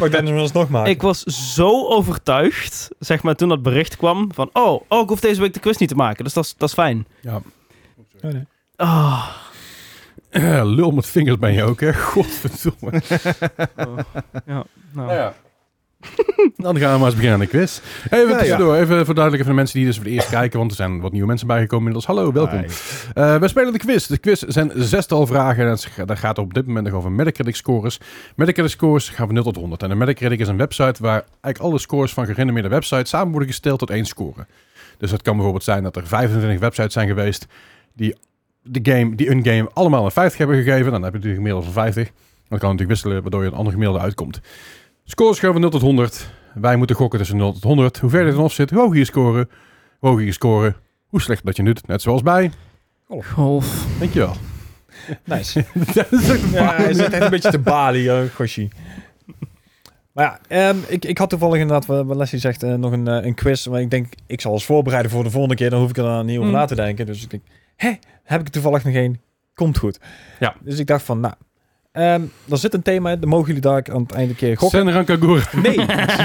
Speaker 4: Mag Dennis ons nog maken?
Speaker 1: Ik was zo overtuigd, zeg maar, toen dat bericht kwam van... Oh, oh ik hoef deze week de quiz niet te maken, dus dat is- dat is fijn.
Speaker 3: Ja.
Speaker 4: Oh, nee.
Speaker 1: Ah,
Speaker 3: Eh, [CLEARS THROAT] Lul [LAUGHS] met vingers ben je ook, hè? Godverdomme.
Speaker 1: ja, nou.
Speaker 3: Ja. Dan gaan we maar eens beginnen aan de quiz. Even
Speaker 2: Ja,
Speaker 3: tussendoor, even verduidelijken voor de mensen die dus voor het eerst kijken, want er zijn wat nieuwe mensen bijgekomen inmiddels. Hallo, welkom.
Speaker 2: Hi.
Speaker 3: Eh, we spelen de quiz. De quiz zijn zestal vragen en het gaat- dat gaat op dit moment nog over Metacritic scores. Metacritic scores gaan van 0 tot 100. En de Metacritic is een website waar eigenlijk alle scores van gerenommeerde websites samen worden gesteld tot één score. Dus dat kan bijvoorbeeld zijn dat er 25 websites zijn geweest die, de game, die een game allemaal een 50 hebben gegeven. Dan heb je natuurlijk een gemiddelde van 50. Dan kan het natuurlijk wisselen waardoor je een ander gemiddelde uitkomt. Scores gaan van 0 tot 100. Wij moeten gokken tussen 0 tot 100. Hoe verder je erop zit, hoe hoger je scoren, hoe hoger je scoren, hoe slecht dat je doet. Net zoals bij.
Speaker 1: Golf.
Speaker 3: Dankjewel.
Speaker 4: Nice.
Speaker 3: [LAUGHS] dat is echt een
Speaker 4: ja,
Speaker 3: baan.
Speaker 4: hij zit echt een beetje te balie, uh, Goshi. Maar ja, ehm, ik, ik had toevallig inderdaad, wat wat Leslie zegt, eh, nog een, eh, een quiz. Maar ik denk, ik zal eens voorbereiden voor de volgende keer. Dan hoef ik er dan niet over
Speaker 3: Mm.
Speaker 4: na te denken. Dus ik denk, hé, heb ik er toevallig nog één? Komt goed.
Speaker 3: Ja.
Speaker 4: Dus ik dacht van, nou, ehm er zit een thema in. Dan mogen jullie daar aan het einde een keer gokken.
Speaker 3: Senran Kagura.
Speaker 4: Nee,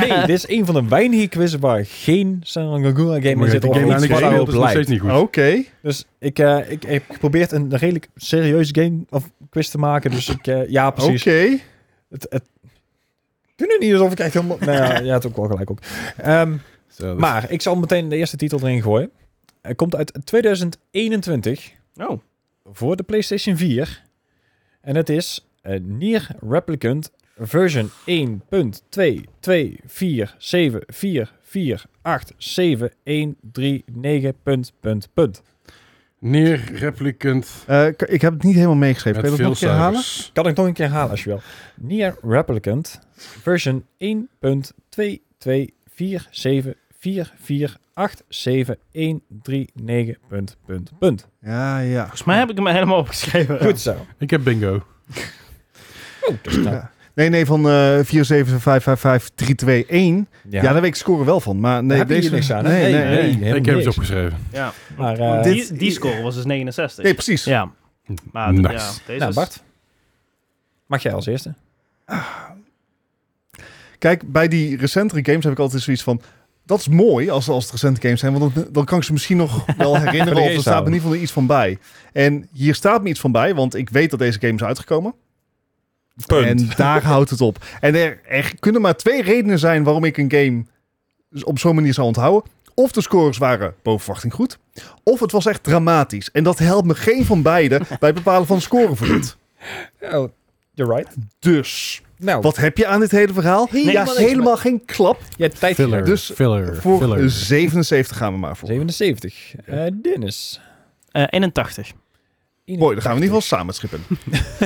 Speaker 4: nee, dit is een van de weinige quizzen waar geen Sanrangagura
Speaker 3: Maar
Speaker 4: game in
Speaker 3: je hebt
Speaker 4: zit.
Speaker 3: die
Speaker 4: Of
Speaker 3: game
Speaker 4: iets
Speaker 3: eigenlijk
Speaker 4: wat
Speaker 3: gespeeld,
Speaker 4: daarop
Speaker 3: dat is nog
Speaker 4: lijkt.
Speaker 3: steeds niet goed.
Speaker 2: Oké.
Speaker 4: Dus ik, eh, ik heb geprobeerd een redelijk serieuze game of quiz te maken. Dus ik, eh, ja,
Speaker 2: Oké.
Speaker 4: precies. Het, het... Doe nu niet alsof ik echt helemaal... nou ja, je had ook wel gelijk op. Ehm,
Speaker 3: Zo, dat-
Speaker 4: maar ik zal meteen de eerste titel erin gooien. Hij komt uit 2021
Speaker 1: Oh.
Speaker 4: voor de PlayStation 4. En het is eh, Nier Replicant version 1.22474487139. Punt, punt, punt.
Speaker 3: Neer replicant
Speaker 2: Eh, k- ik heb het niet helemaal meegeschreven. Kun
Speaker 3: met
Speaker 2: je dat
Speaker 3: veel
Speaker 2: nog een keer halen?
Speaker 3: cijfers.
Speaker 4: Kan ik nog een keer halen als je wil. Nier Replicant version 1.22474487139. Punt, punt, punt.
Speaker 2: Ja, ja.
Speaker 1: Volgens mij heb ik hem helemaal opgeschreven.
Speaker 4: Goed zo.
Speaker 3: Ik heb bingo.
Speaker 4: Oh, dus nou,
Speaker 2: Ja. Nee, nee, van eh 4755531. Ja.
Speaker 4: ja.
Speaker 2: daar weet ik scoren wel van. Maar nee,
Speaker 4: Daar heb je
Speaker 2: deze
Speaker 4: hier niks aan, hè?
Speaker 2: Nee, nee,
Speaker 4: Nee,
Speaker 2: nee.
Speaker 4: nee.
Speaker 2: nee.
Speaker 4: helemaal
Speaker 3: ik heb
Speaker 4: niks.
Speaker 3: ze opgeschreven.
Speaker 1: Ja.
Speaker 4: Maar, eh,
Speaker 1: die,
Speaker 2: dit-
Speaker 1: die score was dus 69.
Speaker 2: precies.
Speaker 1: Ja. Maar
Speaker 3: Nice.
Speaker 1: ja, deze
Speaker 4: nou,
Speaker 1: is-
Speaker 4: Bart. Mag jij als eerste?
Speaker 2: Kijk, bij die recentere games heb ik altijd zoiets van... Dat is mooi als, als het recente games zijn, want dan, dan kan ik ze misschien nog wel
Speaker 4: Voor
Speaker 2: herinneren.
Speaker 4: de
Speaker 2: of er
Speaker 4: geest
Speaker 2: staat me in
Speaker 4: houden.
Speaker 2: ieder geval iets van bij. En hier staat me iets van bij, want ik weet dat deze game is uitgekomen. En daar houdt het op. En er, er kunnen maar twee redenen zijn waarom ik een game op zo'n manier zou onthouden. Of de scores waren boven verwachting goed, of het was echt dramatisch. En dat helpt me geen van beide bij het bepalen van de score voor dit.
Speaker 4: Oh, you're right.
Speaker 2: Dus,
Speaker 4: Nou,
Speaker 2: wat heb je aan dit hele verhaal?
Speaker 4: Helemaal
Speaker 2: ja,
Speaker 4: niks,
Speaker 2: helemaal geen klap.
Speaker 4: je hebt tijd
Speaker 3: Filler.
Speaker 4: gehad.
Speaker 2: Dus
Speaker 3: filler.
Speaker 2: Voor [LAUGHS] dus-
Speaker 3: filler.
Speaker 2: 77 gaan we maar voor.
Speaker 4: 77. Eh Dennis.
Speaker 1: eh, 81.
Speaker 2: Mooi, dan gaan we in ieder geval samen het schip in.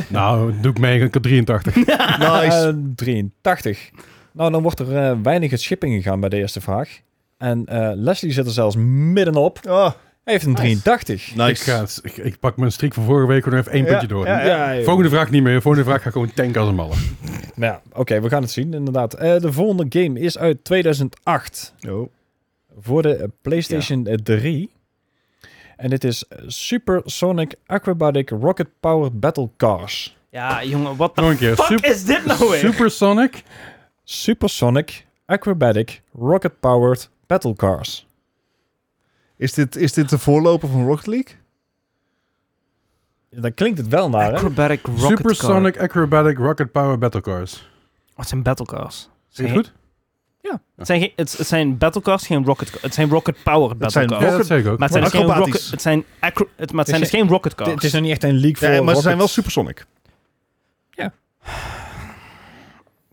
Speaker 3: nou, doe ik mee. Ik heb 83.
Speaker 2: Nice.
Speaker 4: Eh, 83. Nou, dan wordt er eh, weinig het schip ingegaan bij de eerste vraag. En eh, Leslie zit er zelfs middenop.
Speaker 2: Oh,
Speaker 4: Hij heeft een 83.
Speaker 3: ik, ga,
Speaker 2: nice.
Speaker 3: het- ik, ik pak mijn streak van vorige week er nog even één
Speaker 2: Ja,
Speaker 3: puntje door.
Speaker 2: ja, ja.
Speaker 4: joh.
Speaker 3: Volgende vraag niet meer. Volgende vraag ga ik gewoon tanken als een malle.
Speaker 4: Nou ja, oké, we gaan het zien, inderdaad. Eh, de volgende game is uit 2008
Speaker 2: Oh.
Speaker 4: voor de eh, PlayStation eh, 3. En dit is eh, Supersonic Acrobatic Rocket Powered Battle Cars.
Speaker 1: Ja, jongen, wat
Speaker 3: Nog
Speaker 1: de
Speaker 3: een keer.
Speaker 1: fuck
Speaker 3: Super-
Speaker 1: is dit nou weer?
Speaker 3: Supersonic.
Speaker 4: Supersonic Acrobatic Rocket Powered Battle Cars.
Speaker 2: Is, dit, is dit de voorloper van Rocket League?
Speaker 4: Dan klinkt het wel naar, hè?
Speaker 1: Acrobatic Rocket
Speaker 3: Supersonic Acrobatic Rocket Power Battle Cars.
Speaker 1: Wat zijn battlecars?
Speaker 3: Zeg je het
Speaker 1: Oh.
Speaker 3: goed?
Speaker 1: Het zijn, geen- het, het zijn battlecars, geen rocket ca- Het zijn rocket powered
Speaker 2: Het zijn
Speaker 1: battlecars.
Speaker 3: Ja,
Speaker 2: Rocket-
Speaker 3: dat zeg ik ook.
Speaker 1: Maar het zijn, dus geen
Speaker 2: Acrobatisch.
Speaker 1: rocket, het zijn, acro, het, maar het zijn
Speaker 4: Het
Speaker 1: dus geen rocketcars.
Speaker 4: Het is nog niet echt een league voor
Speaker 2: Ja, maar ze
Speaker 4: Rocket-
Speaker 2: zijn wel Supersonic.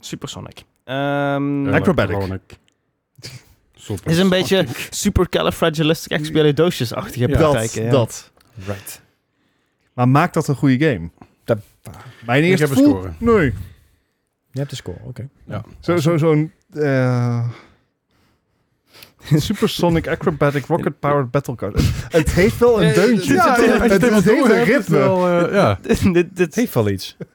Speaker 1: Supersonic. Ehm,
Speaker 3: Eh,
Speaker 1: het
Speaker 2: Acrobatic.
Speaker 1: [LAUGHS]
Speaker 3: Acrobonic.
Speaker 1: is een beetje
Speaker 3: Supersonic.
Speaker 1: supercalifragilisticexpialidocious-achtige
Speaker 3: Ja.
Speaker 2: dat,
Speaker 1: praktijken. ja.
Speaker 2: dat.
Speaker 4: Right.
Speaker 2: Maar maakt dat een goede game?
Speaker 4: Dat-
Speaker 2: Mijn
Speaker 3: Ik
Speaker 2: eerste
Speaker 3: heb een
Speaker 2: voel-
Speaker 3: score.
Speaker 2: Nee.
Speaker 4: Je hebt de score, oké.
Speaker 2: Zo, zo, zo'n... eh, [LAUGHS] Supersonic Acrobatic Rocket Powered Battle Card. Het heeft wel een deuntje.
Speaker 1: ja,
Speaker 2: het,
Speaker 1: ja,
Speaker 2: het, het, heeft een ritme.
Speaker 1: eh,
Speaker 3: Ja.
Speaker 1: [LAUGHS] dit, dit,
Speaker 4: Het heeft wel [LAUGHS] iets.
Speaker 1: dit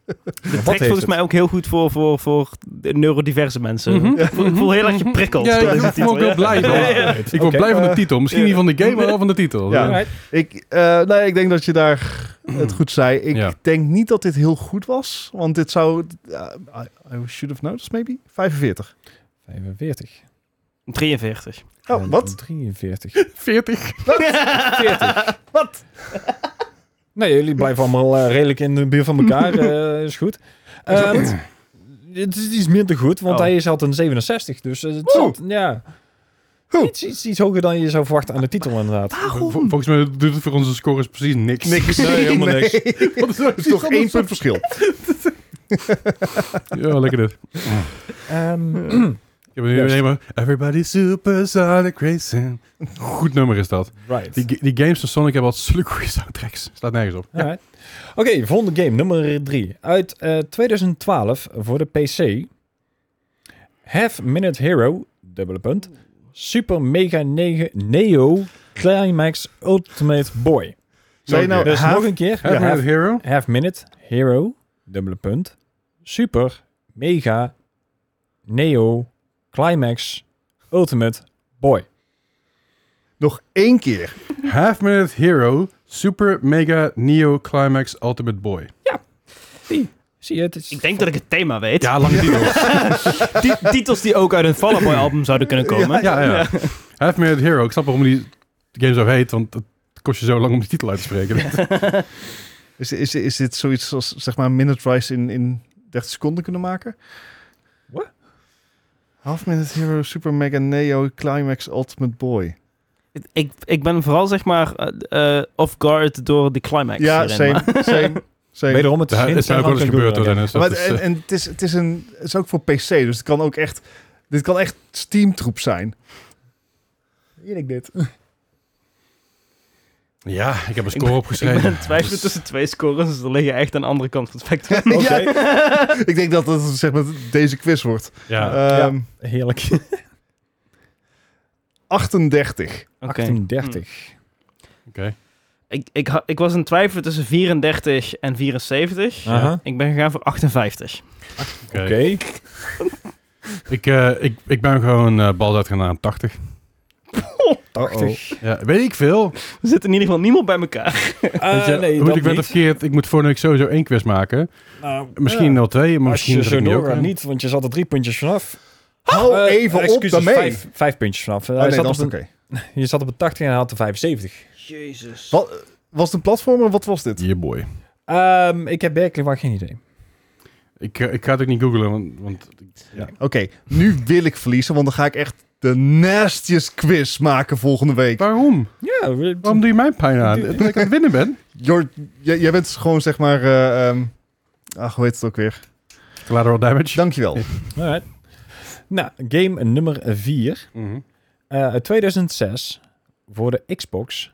Speaker 4: heeft
Speaker 1: trekt volgens
Speaker 4: het?
Speaker 1: mij ook heel goed voor, voor, voor de neurodiverse mensen.
Speaker 3: Mhm.
Speaker 1: ik, voel, ik voel heel erg geprikkeld.
Speaker 3: Ja,
Speaker 1: door
Speaker 3: ik
Speaker 1: deze
Speaker 3: ben ook
Speaker 1: titel,
Speaker 3: heel
Speaker 1: ja.
Speaker 3: blij van.
Speaker 1: Ja, [LAUGHS] ja.
Speaker 3: Ik word blij van de titel. Misschien niet van de game, maar wel van de titel.
Speaker 2: Ja.
Speaker 3: [LAUGHS]
Speaker 4: Alright.
Speaker 2: Ik, eh, nee, ik denk dat je daar het goed zei. Ik
Speaker 3: Ja.
Speaker 2: denk niet dat dit heel goed was. Want dit zou... eh, I, I should have noticed maybe. 45.
Speaker 4: 45.
Speaker 1: 43.
Speaker 2: Oh,
Speaker 4: En
Speaker 2: wat?
Speaker 4: 43. [LAUGHS]
Speaker 3: 40.
Speaker 1: [LAUGHS]
Speaker 4: 40. Wat? [LAUGHS] Nee, jullie blijven allemaal eh, redelijk in de buurt van elkaar. eh, is goed. Ehm, het is iets minder goed, want
Speaker 1: Oh.
Speaker 4: hij is altijd een 67. Dus eh, het zat, ja,
Speaker 2: Oeh.
Speaker 4: iets, iets, iets hoger dan je zou verwachten aan de titel [LAUGHS] inderdaad.
Speaker 3: Vol- volgens mij doet het voor onze scores precies niks.
Speaker 2: Niks.
Speaker 3: Nee, helemaal
Speaker 2: Nee.
Speaker 3: niks. Wat
Speaker 2: [LAUGHS]
Speaker 3: is dat?
Speaker 2: Het is toch één punt verschil.
Speaker 3: Ja, lekker dit.
Speaker 4: [CLEARS THROAT] Ehm,
Speaker 3: Ik heb nu
Speaker 4: Juist.
Speaker 3: alleen maar Everybody Super Sonic Racing. Goed nummer is dat.
Speaker 4: right.
Speaker 3: Die, die games van Sonic hebben altijd zulke goede soundtracks. Staat nergens op.
Speaker 4: Alright. Oké, volgende game, nummer 3. Uit eh, 2012 voor de PC. Half Minute Hero, dubbele punt. Super Mega 9 Neo Climax Ultimate Boy.
Speaker 2: Zei je nou
Speaker 4: Dus
Speaker 2: half-
Speaker 4: nog een keer.
Speaker 3: Half Minute
Speaker 4: half,
Speaker 3: Hero?
Speaker 4: half Minute Hero, dubbele punt. Super Mega Neo Climax Ultimate Boy.
Speaker 2: nog één keer?
Speaker 3: Half Minute Hero Super Mega Neo Climax Ultimate Boy.
Speaker 4: Zie je, het is...
Speaker 1: Ik denk dat ik het thema weet.
Speaker 3: Ja, lange titel.
Speaker 1: [LAUGHS] Ti- titels die ook uit een Fall Out Boy album zouden kunnen komen.
Speaker 3: [LAUGHS] ja, ja. Half Minute Hero. Ik snap waarom die game zo heet, want het kost je zo lang om die titel uit te spreken.
Speaker 2: Is, is, is dit zoiets als zeg maar een minute rise in, in 30 seconden kunnen maken?
Speaker 4: What?
Speaker 2: Half Minute Hero Super Mega Neo Climax Ultimate Boy.
Speaker 1: Ik, ik ben vooral zeg maar eh, eh, off guard door de climax.
Speaker 2: ja,
Speaker 1: hierin, maar-
Speaker 2: same,
Speaker 3: [LAUGHS]
Speaker 2: same, same.
Speaker 4: Wederom, het is
Speaker 3: Het is
Speaker 4: geen
Speaker 3: nou ook wel eens
Speaker 4: Silent
Speaker 3: gebeurd, hoor,
Speaker 4: Hill, ja.
Speaker 3: Dennis. Dat
Speaker 2: Maar,
Speaker 3: is,
Speaker 2: en
Speaker 3: eh,
Speaker 2: en het, is, het, is een, het is ook voor PC, dus het kan ook echt... Dit kan echt Steam-troep zijn.
Speaker 4: Eerlijk dit. eh,
Speaker 3: ja, ik heb een
Speaker 4: [LAUGHS]
Speaker 1: Ik
Speaker 3: score opgeschreven.
Speaker 1: Ik ben [LAUGHS] in twijfel tussen twee scores, dus er liggen echt aan de andere kant van het
Speaker 2: [LAUGHS]
Speaker 1: spectrum.
Speaker 4: Oké.
Speaker 2: Ik denk dat dat zeg maar, deze quiz wordt.
Speaker 3: Ja.
Speaker 4: Ah,
Speaker 2: Ehm,
Speaker 4: Heerlijk.
Speaker 2: 38.
Speaker 1: Oké.
Speaker 4: 38.
Speaker 1: Ik, ik, ha- ik was in twijfel tussen 34 en 74.
Speaker 4: Aha.
Speaker 1: Ik ben gegaan voor 58.
Speaker 3: Oké.
Speaker 4: Oké.
Speaker 3: Ik, eh, ik, ik ben gewoon eh bal uitgegaan aan 80.
Speaker 2: 80.
Speaker 3: Ja, weet ik veel.
Speaker 1: Er zit in ieder geval niemand bij elkaar.
Speaker 3: Weet je,
Speaker 4: Eh, nee,
Speaker 3: goed,
Speaker 4: dat
Speaker 3: ik ben
Speaker 4: niet.
Speaker 3: er verkeerd. Ik moet voor nu sowieso één quiz maken.
Speaker 4: Nou,
Speaker 3: Misschien
Speaker 4: ja.
Speaker 3: 0-2, maar
Speaker 4: Als je
Speaker 3: misschien
Speaker 4: zo
Speaker 3: er
Speaker 4: doorgaat
Speaker 3: in.
Speaker 4: niet, want je zat er drie puntjes vanaf.
Speaker 2: Oh. Hou
Speaker 4: Eh,
Speaker 2: even op
Speaker 4: excuses,
Speaker 2: daarmee.
Speaker 4: Vijf, vijf puntjes vanaf. Eh,
Speaker 2: Oh,
Speaker 4: hij
Speaker 2: nee,
Speaker 4: zat
Speaker 2: dat is
Speaker 4: op een-
Speaker 2: oké.
Speaker 4: Je zat op een 80 en hij had de 75.
Speaker 1: Jezus.
Speaker 2: Wat- Was het een platformer? Wat was dit?
Speaker 3: Yeah, boy.
Speaker 4: Ehm, ik heb werkelijk waar geen idee.
Speaker 3: Ik, eh, ik ga het ook niet googlen, want, want
Speaker 2: Oké, nu wil ik verliezen, want dan ga ik echt de nastiest quiz maken volgende week.
Speaker 3: waarom?
Speaker 4: Ja, we-
Speaker 3: Waarom doe je mijn pijn
Speaker 4: [LAUGHS]
Speaker 3: aan? Dat ik aan het winnen ben?
Speaker 2: Jor- j- jij bent gewoon zeg maar... eh, ehm, ach, hoe heet het ook weer?
Speaker 3: Collateral damage.
Speaker 2: Dankjewel.
Speaker 4: alright. Nou, game nummer 4.
Speaker 3: Mhm.
Speaker 4: Eh, uit 2006 voor de Xbox.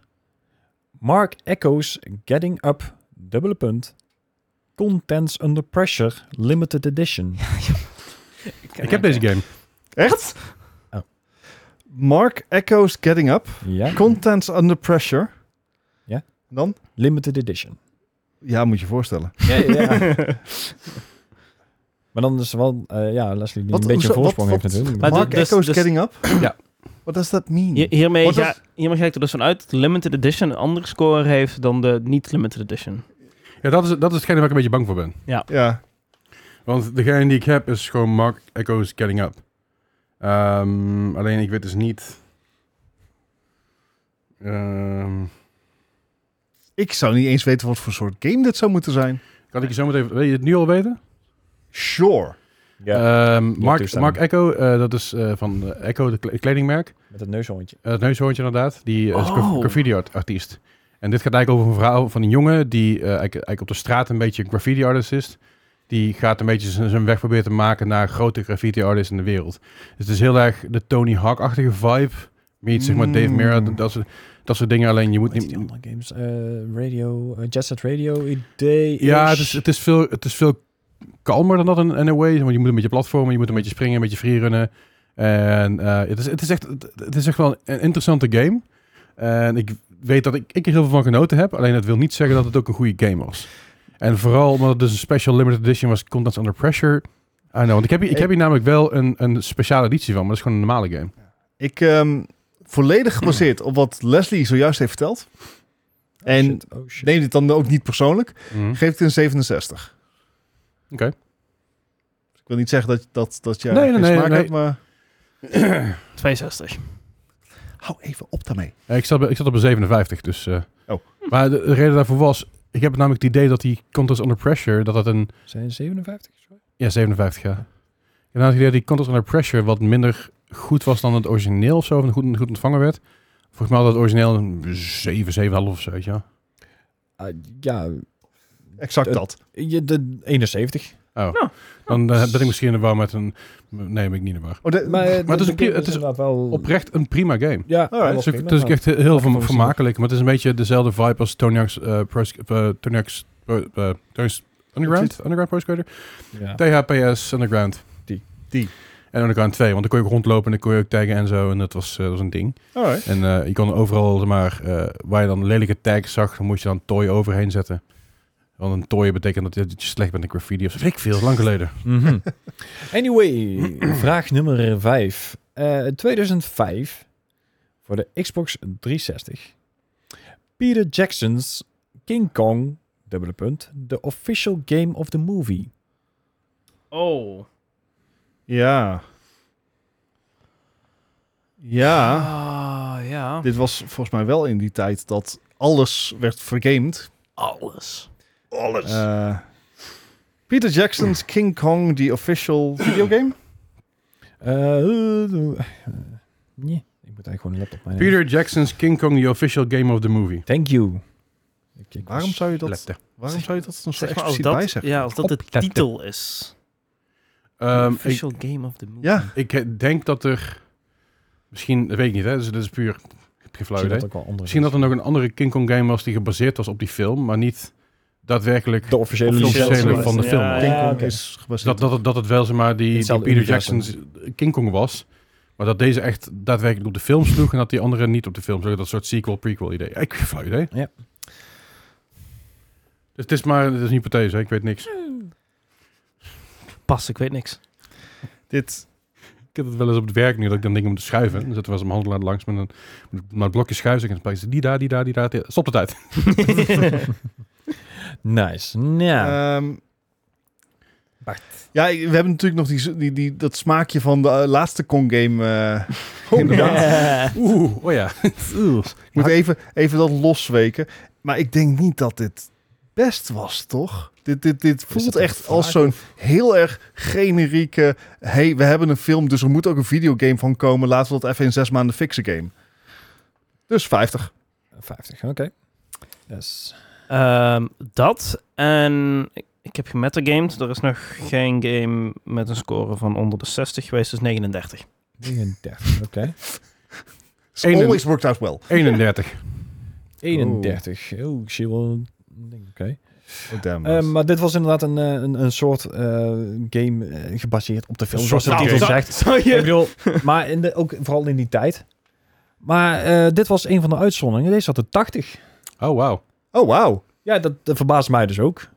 Speaker 4: Mark Echoes Getting Up, dubbele punt. Contents Under Pressure, limited edition.
Speaker 3: Ik heb deze game.
Speaker 2: Echt?
Speaker 4: Oh.
Speaker 2: Mark Echoes Getting Up.
Speaker 4: Ja,
Speaker 2: Contents under pressure.
Speaker 4: Ja.
Speaker 2: Dan?
Speaker 4: limited edition.
Speaker 2: Ja, moet je voorstellen.
Speaker 4: Ja, ja. [LAUGHS] maar dan is wel, eh, ja, Leslie die
Speaker 2: Wat-
Speaker 4: een beetje een
Speaker 2: hoezo-
Speaker 4: voorsprong
Speaker 2: wat- wat-
Speaker 4: heeft natuurlijk.
Speaker 1: Maar dit-
Speaker 4: Maar
Speaker 2: Mark
Speaker 1: dus-
Speaker 2: Echoes
Speaker 1: dus-
Speaker 2: Getting Up?
Speaker 3: Ja.
Speaker 2: What does that mean?
Speaker 1: Hier- hiermee,
Speaker 2: Wat
Speaker 1: ga,
Speaker 2: is-
Speaker 1: hiermee ga ik er dus vanuit dat de limited edition een andere score heeft dan de niet-limited edition.
Speaker 3: Ja, dat is, dat is hetgene waar ik een beetje bang voor ben.
Speaker 2: Ja.
Speaker 3: Want degene die ik heb is gewoon Mark Echo's Getting Up. Ehm, alleen ik weet dus niet... Ehm,
Speaker 2: Ik zou niet eens weten wat voor soort game dit zou moeten zijn.
Speaker 3: kan ik je zo meteen... Wil je het nu al weten?
Speaker 2: Sure.
Speaker 4: ja,
Speaker 3: Ehm, Mark,
Speaker 4: toestemming.
Speaker 3: Mark Echo, eh, dat is eh, van eh, Echo, de kle- kledingmerk.
Speaker 4: met het neushondje.
Speaker 3: Eh, het neushoorntje inderdaad. Die eh, is
Speaker 1: Oh.
Speaker 3: graffiti-artiest. En dit gaat eigenlijk over een verhaal van een jongen die eh, eigenlijk, eigenlijk op de straat een beetje een graffiti-artist is. Die gaat een beetje zijn zijn weg proberen te maken naar grote graffiti-artists in de wereld. Dus het is heel erg de Tony Hawk-achtige vibe. Meet zeg maar Dave
Speaker 2: Mm.
Speaker 3: Mirra, dat- dat soort, dat soort dingen. Alleen je moet
Speaker 4: Weet je die
Speaker 3: niet...
Speaker 4: andere games? Eh, radio, eh, Jet Set Radio, idee. Oh,
Speaker 3: Ja, het is, het, is veel, het is veel kalmer dan dat in, in a way. Want je moet een beetje platformen, je moet een beetje springen, een beetje freerunnen. En eh, het, is, het, is echt, het- het is echt wel een interessante game. En ik weet dat ik, ik er heel veel van genoten heb. Alleen dat wil niet zeggen dat het ook een goede game was. En vooral omdat het dus een special limited edition was, Contents Under Pressure. Ah, nou, want ik heb, hier- ik heb hier namelijk wel een, een speciale editie van, maar dat is gewoon een normale game.
Speaker 2: Ik ehm volledig gebaseerd op wat Leslie zojuist heeft verteld. En
Speaker 4: shit, oh shit.
Speaker 2: neem dit dan ook niet persoonlijk.
Speaker 3: Mhm.
Speaker 2: Geef het een 67.
Speaker 3: Oké.
Speaker 2: Dus Ik wil niet zeggen dat, dat, dat jij
Speaker 3: Nee, nee,
Speaker 2: geen
Speaker 3: nee,
Speaker 2: smaak
Speaker 3: nee.
Speaker 2: hebt, maar...
Speaker 1: 62.
Speaker 2: Hou even op daarmee.
Speaker 3: Ja, Eh, ik, zat bij- ik zat op een 57, dus... eh.
Speaker 2: Oh.
Speaker 3: Maar de, de reden daarvoor was, ik heb namelijk het idee dat die Contents Under Pressure, dat dat een
Speaker 4: Zijn het 57? Sorry.
Speaker 3: Ja, 57 jaar. En dan had ik het idee dat die Contest Under Pressure wat minder goed was dan het origineel of zo, of goed, goed ontvangen werd. Volgens mij had het origineel een 7, 7,5 of zo, weet je wel.
Speaker 4: Eh, ja,
Speaker 2: Exact
Speaker 4: Eh,
Speaker 2: dat.
Speaker 4: je, de 71.
Speaker 3: Oh, dan eh, ben ik misschien in de war met een... Nee, ben ik niet in de war.
Speaker 2: Oh, de-
Speaker 4: Maar eh,
Speaker 3: het is
Speaker 4: de
Speaker 3: een pri-
Speaker 4: game
Speaker 3: het is
Speaker 4: inderdaad wel...
Speaker 3: Oprecht Dus een prima game.
Speaker 4: ja,
Speaker 2: Alright,
Speaker 4: wel
Speaker 3: Het is, ook-
Speaker 4: prima,
Speaker 3: het is ook
Speaker 4: maar-
Speaker 3: echt heel verma-
Speaker 4: Lekker
Speaker 3: vermakelijk, maar het is een beetje dezelfde vibe als Tony Hawk's, eh, Pro Sk- eh, Tony Hawk's, eh, eh, Tony Hawk's Underground? Underground Pro Skater?
Speaker 4: ja.
Speaker 3: THPS Underground.
Speaker 4: Die.
Speaker 2: Die.
Speaker 3: En Underground 2, want dan kon je ook rondlopen en dan kon je ook taggen en zo. En dat was, eh, dat was een ding.
Speaker 2: alright.
Speaker 3: En eh, je kon overal, zeg maar, eh, waar je dan lelijke tags zag, dan moest je dan tooi overheen zetten. Want een tooi betekent dat je- dat je slecht bent in graffiti of zo. Weet Ik veel, lang geleden.
Speaker 4: Mhm. [LAUGHS] Anyway, vraag nummer 5. In 2005, voor de Xbox 360, Peter Jackson's King Kong, dubbele punt, the official game of the movie.
Speaker 1: Oh.
Speaker 2: Ja. Ja.
Speaker 1: Ah, ja.
Speaker 2: Dit was volgens mij wel in die tijd dat alles werd vergamed.
Speaker 1: Alles.
Speaker 2: Alles. Peter Jackson's King Kong, the official videogame.
Speaker 4: Eh, eh, eh, nee, ik moet eigenlijk gewoon een laptop meenemen.
Speaker 3: Peter Jackson's King Kong, the official game of the movie.
Speaker 4: Thank you. Ik- ik
Speaker 2: Waarom
Speaker 4: was-
Speaker 2: zou je dat,
Speaker 3: Lepte.
Speaker 2: waarom zou je dat dan zo
Speaker 1: Zeg maar als
Speaker 2: expliciet bij
Speaker 1: dat,
Speaker 2: zeggen?
Speaker 1: ja, als dat de
Speaker 4: Opletten.
Speaker 1: titel is.
Speaker 3: Ehm, ik,
Speaker 1: official game of the movie.
Speaker 2: Ja,
Speaker 3: ik denk dat er misschien, dat weet ik niet, hè, dus dat is puur, ik heb geen flauw
Speaker 4: Misschien
Speaker 3: idee.
Speaker 4: dat ook wel andere
Speaker 3: Misschien dat
Speaker 4: is.
Speaker 3: er nog een andere King Kong game was die gebaseerd was op die film, maar niet daadwerkelijk
Speaker 4: de officiële
Speaker 3: officiële
Speaker 4: licentie
Speaker 3: van
Speaker 4: was.
Speaker 3: de film.
Speaker 1: Ja,
Speaker 2: King
Speaker 1: ja,
Speaker 2: Kong
Speaker 4: oké.
Speaker 2: is gebaseerd.
Speaker 3: dat, dat, het- dat het wel, zeg maar, die, die
Speaker 4: Hetzelfde
Speaker 3: Peter
Speaker 4: universum.
Speaker 3: Jackson's King Kong was. Maar dat deze echt daadwerkelijk op de film sloeg en dat die andere niet op de film sloeg. Dat soort sequel-prequel idee. Ik heb geen idee.
Speaker 4: Ja.
Speaker 3: Dus het is maar het is een hypothese, hè? ik weet niks.
Speaker 1: Pas, ik weet niks.
Speaker 2: Dit,
Speaker 3: Ik heb het wel eens op het werk nu dat ik dan dingen moet schuiven. Dan zetten we als een handelaar langs met een, met een blokje schuiven. En dan pak je ze die daar, die daar, die daar. die- Stop het uit.
Speaker 4: Nice. Nou,
Speaker 2: ehm,
Speaker 4: Bart.
Speaker 2: ja, we hebben natuurlijk nog die, zo- die, die, dat smaakje van de eh, laatste Kong-game. eh, inderdaad.
Speaker 4: [LAUGHS]
Speaker 1: Ja.
Speaker 3: [LAUGHS] Oeh, oh ja.
Speaker 2: Ik moet even, even dat losweken. Maar ik denk niet dat dit best was, toch? Dit, dit, dit voelt
Speaker 4: dat een
Speaker 2: echt
Speaker 4: vraag
Speaker 2: als zo'n heel erg generieke... hey, we hebben een film, dus er moet ook een videogame van komen. Laten we dat even in zes maanden fixen game. Dus 50.
Speaker 4: 50, oké. Yes.
Speaker 1: Ehm, dat en ik, ik heb gemetagamed. Er is nog geen game met een score van onder de 60 geweest, dus 39.
Speaker 4: 39, oké.
Speaker 2: It's
Speaker 3: Eén-
Speaker 2: always worked out well.
Speaker 3: 31.
Speaker 4: 31. Oh, ik zie wel een ding, Oké.
Speaker 2: Oh, damn.
Speaker 4: Eh, maar dit was inderdaad een, eh, een, een soort eh, game eh, gebaseerd op de film.
Speaker 3: Een
Speaker 4: Zoals de
Speaker 3: soort
Speaker 4: titel
Speaker 1: game. [LAUGHS]
Speaker 4: zegt.
Speaker 1: Zou
Speaker 4: Ik bedoel, maar in de, ook vooral in die tijd. Maar eh, dit was een van de uitzonderingen. Deze had de 80.
Speaker 3: Oh, wauw.
Speaker 2: oh wauw.
Speaker 4: Ja, dat, dat verbaast mij dus ook. [LAUGHS]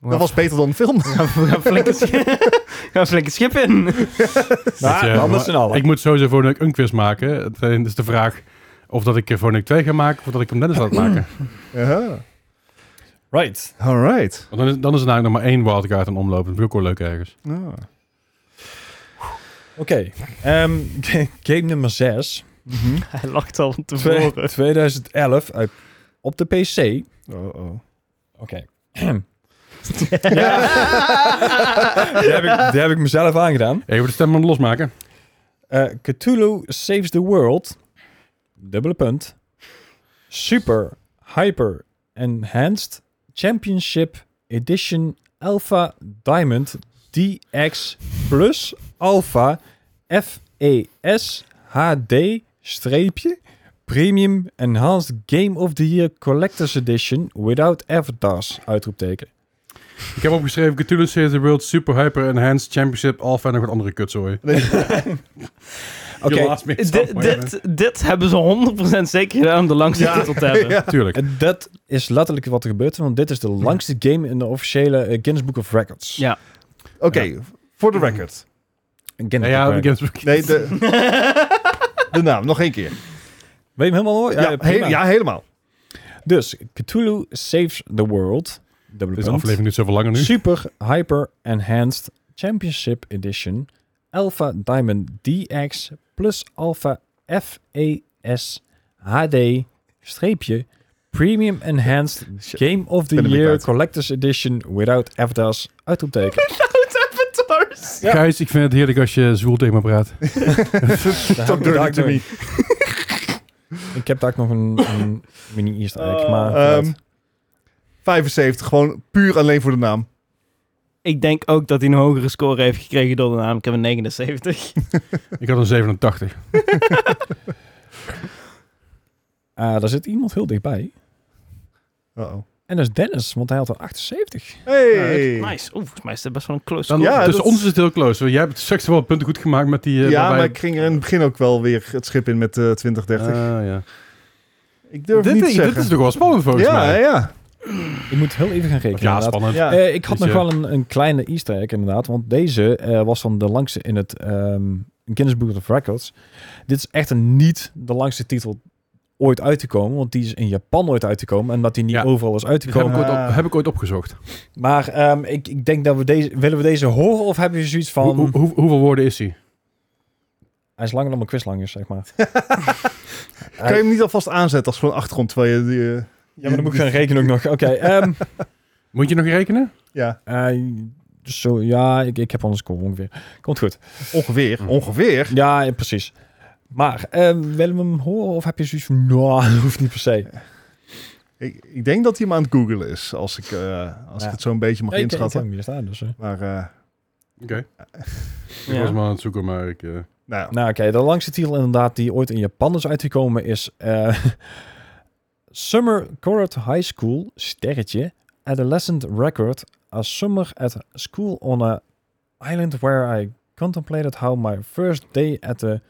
Speaker 2: Dat was beter dan een film.
Speaker 1: Ga flink het schip- ga flink het schip in.
Speaker 3: Dat, eh,
Speaker 4: anders
Speaker 3: maar
Speaker 4: dan alle.
Speaker 3: Ik moet sowieso voor een- een quiz maken. Het eh, is de vraag of dat ik er voor een 2 ga maken of dat ik hem Dennis [CLEARS THROAT] laat maken.
Speaker 2: Aha.
Speaker 4: Right.
Speaker 2: All right.
Speaker 3: Want dan is, dan is er namelijk nog maar één wildcard aan omlopen. Dat vind ik ook wel leuk ergens.
Speaker 2: Ah.
Speaker 4: Oké. Ehm, [LAUGHS] game nummer 6.
Speaker 2: Mhm.
Speaker 1: [LAUGHS] Hij lacht al te
Speaker 4: Twee-
Speaker 1: voren.
Speaker 4: 2011. uit- op de PC. Oké.
Speaker 2: Oh, oh.
Speaker 4: [LAUGHS] die, heb ik, die heb ik mezelf aangedaan.
Speaker 3: Even de stem aan het losmaken.
Speaker 4: Eh, Cthulhu Saves the World. Dubbele punt. Super Hyper Enhanced Championship Edition Alpha Diamond DX Plus Alpha FES HD streepje Premium Enhanced Game of the Year Collector's Edition without avatars uitroepteken.
Speaker 3: Ik heb opgeschreven Cthulhu Saves the World Super Hyper Enhanced Championship Alpha en nog wat andere kutzooi. [LAUGHS]
Speaker 4: Oké,
Speaker 3: Je laatst meer
Speaker 1: Dit,
Speaker 3: staan, maar-
Speaker 1: dit, dit hebben ze 100% zeker gedaan om de langste
Speaker 2: Ja.
Speaker 1: titel te hebben.
Speaker 2: [LAUGHS] Ja.
Speaker 3: Tuurlijk.
Speaker 4: En Dat is letterlijk wat er gebeurt, want dit is de langste game in de officiële eh, Guinness Book of Records.
Speaker 1: Ja.
Speaker 2: Oké, voor de record.
Speaker 3: Ja,
Speaker 4: Guinness
Speaker 3: ja,
Speaker 4: Book of
Speaker 3: ik
Speaker 4: Records.
Speaker 3: heb
Speaker 2: Nee,
Speaker 3: het
Speaker 2: de, de naam. Nog één keer.
Speaker 4: Weet je hem helemaal hoor?
Speaker 2: Oh, Ja, he-
Speaker 4: prima.
Speaker 2: ja helemaal.
Speaker 4: Dus, Cthulhu Saves the World. Dubbele
Speaker 3: Deze
Speaker 4: punt.
Speaker 3: aflevering duurt zoveel langer nu.
Speaker 4: Super Hyper Enhanced Championship Edition. Alpha Diamond DX plus Alpha FES HD streepje Premium Enhanced Game of the
Speaker 2: ben er weer
Speaker 4: Year
Speaker 2: kwijt.
Speaker 4: Collector's Edition without avatars uitroepteken.
Speaker 1: Without dollars.
Speaker 3: Gijs, ik vind het heerlijk als je zwoel tegen me praat.
Speaker 2: Talk dirty to me.
Speaker 4: Ik heb daar ook nog een, een mini easter egg,
Speaker 1: Oh.
Speaker 4: maar...
Speaker 2: Ehm, 75, gewoon puur alleen voor de naam.
Speaker 1: Ik denk ook dat hij een hogere score heeft gekregen door de naam. Ik heb een 79.
Speaker 3: Ik had een 87.
Speaker 4: Ah, daar zit iemand heel dichtbij.
Speaker 2: Uh-oh.
Speaker 4: En dat is Dennis, want hij had er 78.
Speaker 2: Hey!
Speaker 1: Nice. Oeh, volgens mij is dit best wel een close
Speaker 3: Dan,
Speaker 1: call.
Speaker 2: Ja,
Speaker 3: tussen
Speaker 2: dat-
Speaker 3: ons is het heel close. want Jij hebt straks wel punten goed gemaakt met die... eh,
Speaker 2: ja,
Speaker 3: daarbij-
Speaker 2: maar ik ging er in het begin ook wel weer het schip in met eh 20, 30.
Speaker 3: Ah, ja.
Speaker 2: ik durf
Speaker 3: dit,
Speaker 2: niet te
Speaker 3: dit
Speaker 2: zeggen.
Speaker 3: is toch wel spannend volgens
Speaker 2: ja,
Speaker 3: mij.
Speaker 2: ja,
Speaker 4: Ik moet heel even gaan
Speaker 3: Of
Speaker 4: rekenen.
Speaker 3: ja,
Speaker 4: inderdaad.
Speaker 3: spannend.
Speaker 2: ja.
Speaker 4: Eh, ik had
Speaker 3: Dus,
Speaker 4: nog
Speaker 3: eh,
Speaker 4: wel een, een kleine easter egg inderdaad, want deze eh, was dan de langste in het ehm, Guinness Book of Records. Dit is echt een niet de langste titel ooit uit te komen, want die is in Japan ooit uit te komen en dat die niet
Speaker 3: Ja.
Speaker 4: overal is uit te
Speaker 3: Dit heb,
Speaker 4: komen.
Speaker 3: ik ooit op-
Speaker 2: Ah.
Speaker 3: heb ik ooit opgezocht.
Speaker 4: Maar ehm, ik, ik denk dat we deze, willen we deze horen of hebben we zoiets van,
Speaker 3: Hoe- hoe- hoe- hoeveel woorden is hij?
Speaker 4: hij is langer dan mijn quiz lang is, zeg
Speaker 3: [LAUGHS]
Speaker 4: maar.
Speaker 2: Kan je hem niet alvast aanzetten als gewoon achtergrond, terwijl je die... eh,
Speaker 4: Ja, maar dan moet ik gaan rekenen ook nog. Oké, ehm, [LAUGHS]
Speaker 3: Moet je nog rekenen?
Speaker 2: ja,
Speaker 4: eh, zo, ja, ik, ik heb al een score ongeveer. Komt goed.
Speaker 2: ongeveer.
Speaker 3: Mm.
Speaker 2: Ongeveer?
Speaker 4: Ja, ja, precies. Maar ehm, willen we hem horen of heb je zoiets van, nou, [LAUGHS] dat hoeft niet per se.
Speaker 2: Ik, ik denk dat hij hem aan het googlen is, als ik, eh, als
Speaker 4: Ja.
Speaker 2: ik het zo'n beetje mag
Speaker 4: Ja, ik- ik
Speaker 2: inschatten.
Speaker 4: heb hem hier staan, dus, eh.
Speaker 2: Maar, eh,
Speaker 3: Oké. Ik
Speaker 1: Ja.
Speaker 3: was maar aan het zoeken, maar [LAUGHS] ik... eh,
Speaker 2: nou ja.
Speaker 4: Nou, oké, de langste titel inderdaad die ooit in Japan is uitgekomen is eh, [LAUGHS] Summer Court High School sterretje Adolescent Record A Summer at School on a Island where I contemplated how my first day at the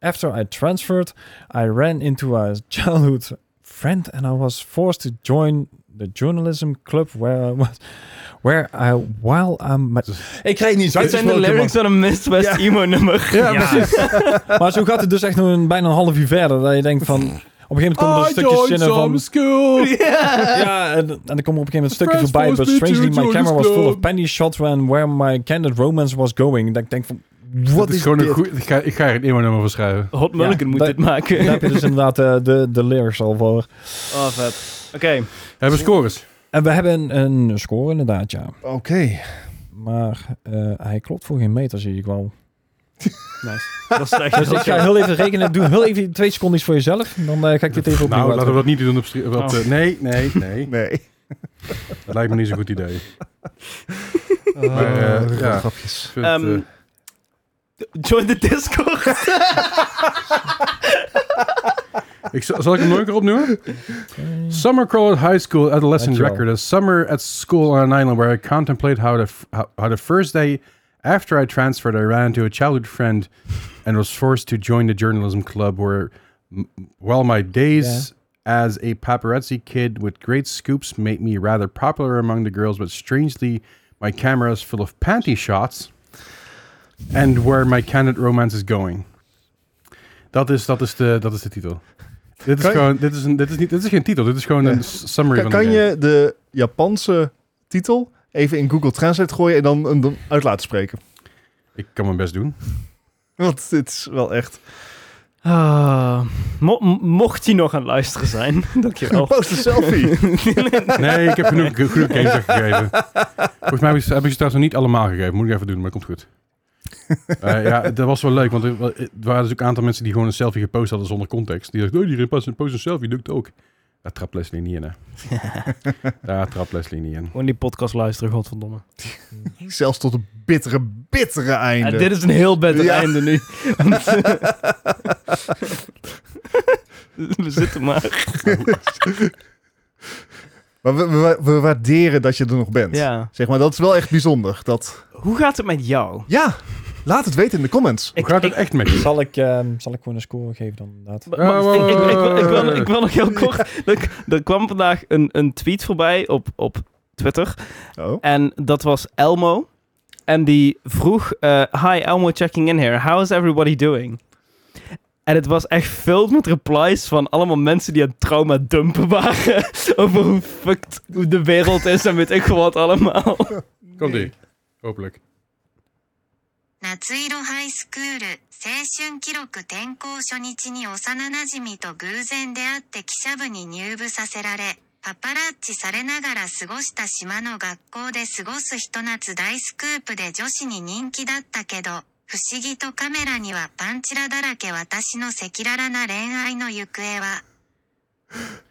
Speaker 4: after I transferred I ran into a childhood friend and I was forced to join the journalism club where I was where I while I'm ik krijg niet
Speaker 1: Dit zijn de lyrics van een Midwest
Speaker 2: Ja.
Speaker 1: emo-nummer.
Speaker 4: ja, precies. maar zo gaat het dus echt nog een, bijna een half uur verder. Dat je denkt van... Op een gegeven moment
Speaker 3: I
Speaker 4: komen er
Speaker 3: joined
Speaker 4: stukjes in
Speaker 3: some
Speaker 4: van...
Speaker 3: school.
Speaker 4: Ja, en, en dan komen op een gegeven moment stukjes
Speaker 3: Friends
Speaker 4: voorbij.
Speaker 3: forced
Speaker 4: But
Speaker 3: me to
Speaker 4: strangely my
Speaker 3: join
Speaker 4: camera
Speaker 3: this
Speaker 4: was full
Speaker 3: club.
Speaker 4: of penny shots when where my candid romance was going. Dat ik denk van...
Speaker 3: Dat
Speaker 4: Wat
Speaker 3: is
Speaker 4: is
Speaker 3: gewoon
Speaker 4: dit?
Speaker 3: een goed... Ik ga, ik ga er een nummer voor schrijven.
Speaker 1: Hot Mulligan
Speaker 4: Ja,
Speaker 1: moet
Speaker 4: dat-
Speaker 1: dit maken.
Speaker 4: Daar heb je dus inderdaad eh, de, de lyrics al voor.
Speaker 1: Oh, vet. Oké.
Speaker 3: Hebben we scores?
Speaker 4: En we hebben een, een score inderdaad, ja.
Speaker 2: Oké.
Speaker 3: Nou.
Speaker 4: Maar eh, hij klopt voor geen meter, zie ik wel.
Speaker 1: Nice. Dat is echt
Speaker 4: Dus ik ga heel even rekenen. Doe heel even twee seconden iets voor jezelf. Dan eh, ga ik dit even opnieuw
Speaker 3: Nou, laten we
Speaker 4: uitrekenen.
Speaker 3: dat niet doen op... stre- op,
Speaker 1: Oh.
Speaker 3: eh, nee, nee, nee.
Speaker 2: Nee.
Speaker 3: Dat lijkt me niet zo'n goed idee.
Speaker 2: Maar, [LAUGHS]
Speaker 3: eh, ja.
Speaker 2: Grapjes.
Speaker 3: Ik vind,
Speaker 1: Ehm,
Speaker 3: eh,
Speaker 1: Join the Discord.
Speaker 3: Ik, zal zal ik hem nog een keer opnoemen? Summer Crawled High School Adolescent
Speaker 4: Dankjewel.
Speaker 3: Record. A summer at school on an island where I contemplate how the, f- how, how the first day after I transferred, I ran into a childhood friend and was forced to join the journalism club where, m- while my days as a paparazzi kid with great scoops made me rather popular among the girls, but strangely, my camera is full of panty shots and where my candid romance is going. Dat is, dat is, de, dat is de titel. Dit is,
Speaker 2: Kan-
Speaker 3: gewoon, dit, is een, dit, is niet, dit is geen titel, dit is gewoon een s- summary
Speaker 2: Kan,
Speaker 3: van de
Speaker 2: kan
Speaker 3: game.
Speaker 2: je de Japanse titel even in Google Translate gooien en dan, dan uit laten spreken?
Speaker 3: Ik kan mijn best doen.
Speaker 2: Want dit is wel echt...
Speaker 1: Ah, mo- m- mocht hij nog aan het luisteren zijn, dankjewel.
Speaker 2: Post [LAUGHS] een selfie.
Speaker 3: Nee, ik heb genoeg, genoeg games gegeven. Volgens mij heb ik, ze- heb ik ze trouwens nog niet allemaal gegeven. Moet ik even doen, maar komt goed. Eh, ja, dat was wel leuk, want er, wa- er waren dus ook een aantal mensen die gewoon een selfie gepost hadden zonder context. Die dachten, oh, die post, post een selfie, lukt ook. Daar trapt Leslie niet in, hè. Daar trapt Leslie niet in.
Speaker 1: Gewoon die podcast luisteren, godverdomme.
Speaker 2: [LAUGHS] Zelfs tot een bittere, bittere
Speaker 1: Ja,
Speaker 2: einde.
Speaker 1: dit is een heel beter
Speaker 2: Ja.
Speaker 1: einde nu. Want- We zitten maar.
Speaker 2: Maar we, we, we waarderen dat je er nog bent.
Speaker 1: Ja.
Speaker 2: Zeg maar, dat is wel echt bijzonder. Dat...
Speaker 1: Hoe gaat het met jou?
Speaker 2: Ja, laat het weten in de comments.
Speaker 3: Hoe gaat het echt met je?
Speaker 4: Zal ik, ehm, zal ik gewoon een score geven dan inderdaad?
Speaker 1: Maar- maar ik, ik, ik, wil- ik wil, ik
Speaker 3: Eh.
Speaker 1: wil nog heel kort. Er, er kwam vandaag een, een tweet voorbij op, op Twitter.
Speaker 2: Oh.
Speaker 1: En dat was Elmo. En die vroeg: eh, Hi Elmo, checking in here. How is everybody doing? En het was echt filled met replies van allemaal mensen die aan trauma dumpen waren. [LAUGHS] over hoe fucked de wereld is en weet ik veel wat allemaal.
Speaker 3: Komt ie. Hopelijk.
Speaker 5: 夏色ハイスクール青春記録転校初日に幼なじみと偶然出会って記者部に入部させられパパラッチされながら過ごした島の学校で過ごすひと夏大スクープで女子に人気だったけど、不思議とカメラにはパンチラだらけ私の赤裸々な恋愛の行方は、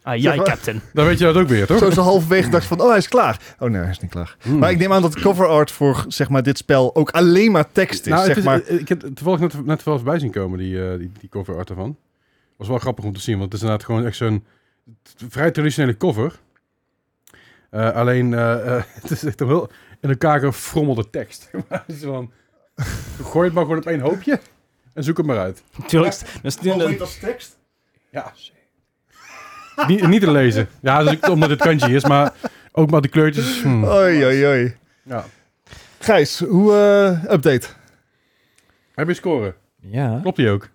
Speaker 1: Ah,
Speaker 2: Zeg
Speaker 1: jij,
Speaker 2: maar.
Speaker 1: Captain.
Speaker 3: Dan weet je dat ook weer, toch? Nou,
Speaker 2: Zo is ze halverwege dacht van, oh, hij is klaar. Oh nee, hij is niet klaar.
Speaker 3: Mm.
Speaker 2: Maar ik neem aan dat de cover art voor zeg maar, dit spel ook alleen maar tekst is.
Speaker 3: Nou, het
Speaker 2: zeg
Speaker 3: is-
Speaker 2: maar.
Speaker 3: eh, ik heb toevallig net, net wel voorbij zien komen, die, eh, die, die cover art ervan. Was wel grappig om te zien, want het is inderdaad gewoon echt zo'n t- vrij traditionele cover. Eh, alleen, eh, [LAUGHS] eh, het is echt een heel in elkaar gefrommelde tekst. [LAUGHS] Maar het is van, gooi het maar gewoon op één hoopje en zoek het maar uit.
Speaker 1: Tuurlijk. Dus
Speaker 3: Oh,
Speaker 1: nu-
Speaker 2: als tekst?
Speaker 3: Ja. niet, niet te lezen. Ja, dus ik- omdat het kantje is, maar ook maar de kleurtjes. hm.
Speaker 2: Oei, oei, oei.
Speaker 3: Ja.
Speaker 2: Gijs, hoe eh, update?
Speaker 3: Heb je scoren?
Speaker 4: Ja,
Speaker 3: Klopt die ook?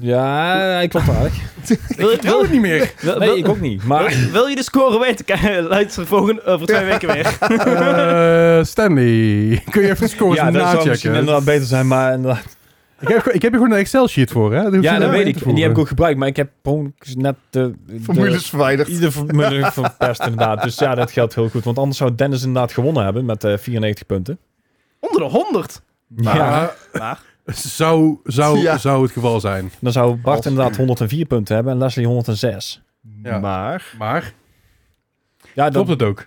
Speaker 4: ja hij klopt aardig.
Speaker 1: wil,
Speaker 3: Ik wil
Speaker 1: wil,
Speaker 3: het niet meer.
Speaker 1: wil-
Speaker 4: Nee,
Speaker 1: wil-
Speaker 4: ik ook niet. [LAUGHS] Maar
Speaker 1: wil- wil je de score weten? Kijk, Luister volgende, over twee weken weer.
Speaker 3: Eh, Stanley, kun je even de scores
Speaker 4: [LAUGHS] ja, dat zou misschien
Speaker 3: nachecken?
Speaker 4: inderdaad beter zijn. Maar inderdaad-
Speaker 3: Ik heb, ik heb hier gewoon een Excel-sheet voor, hè?
Speaker 4: ja, dat weet ik. En die heb ik ook gebruikt. Maar ik heb gewoon net de... de-
Speaker 2: Formules verwijderd.
Speaker 4: Ieder
Speaker 2: [LAUGHS]
Speaker 4: vermoeden verpest inderdaad. Dus ja, dat geldt heel goed. Want anders zou Dennis inderdaad gewonnen hebben met eh, 94 punten.
Speaker 1: Onder de 100.
Speaker 3: Maar,
Speaker 4: Ja,
Speaker 3: Zou, zou,
Speaker 2: Ja.
Speaker 3: zou het geval zijn.
Speaker 4: dan zou Bart inderdaad 104 punten hebben en Leslie 106.
Speaker 3: Ja.
Speaker 2: Maar
Speaker 3: Maar,
Speaker 4: Ja,
Speaker 3: klopt
Speaker 4: dat,
Speaker 3: het ook?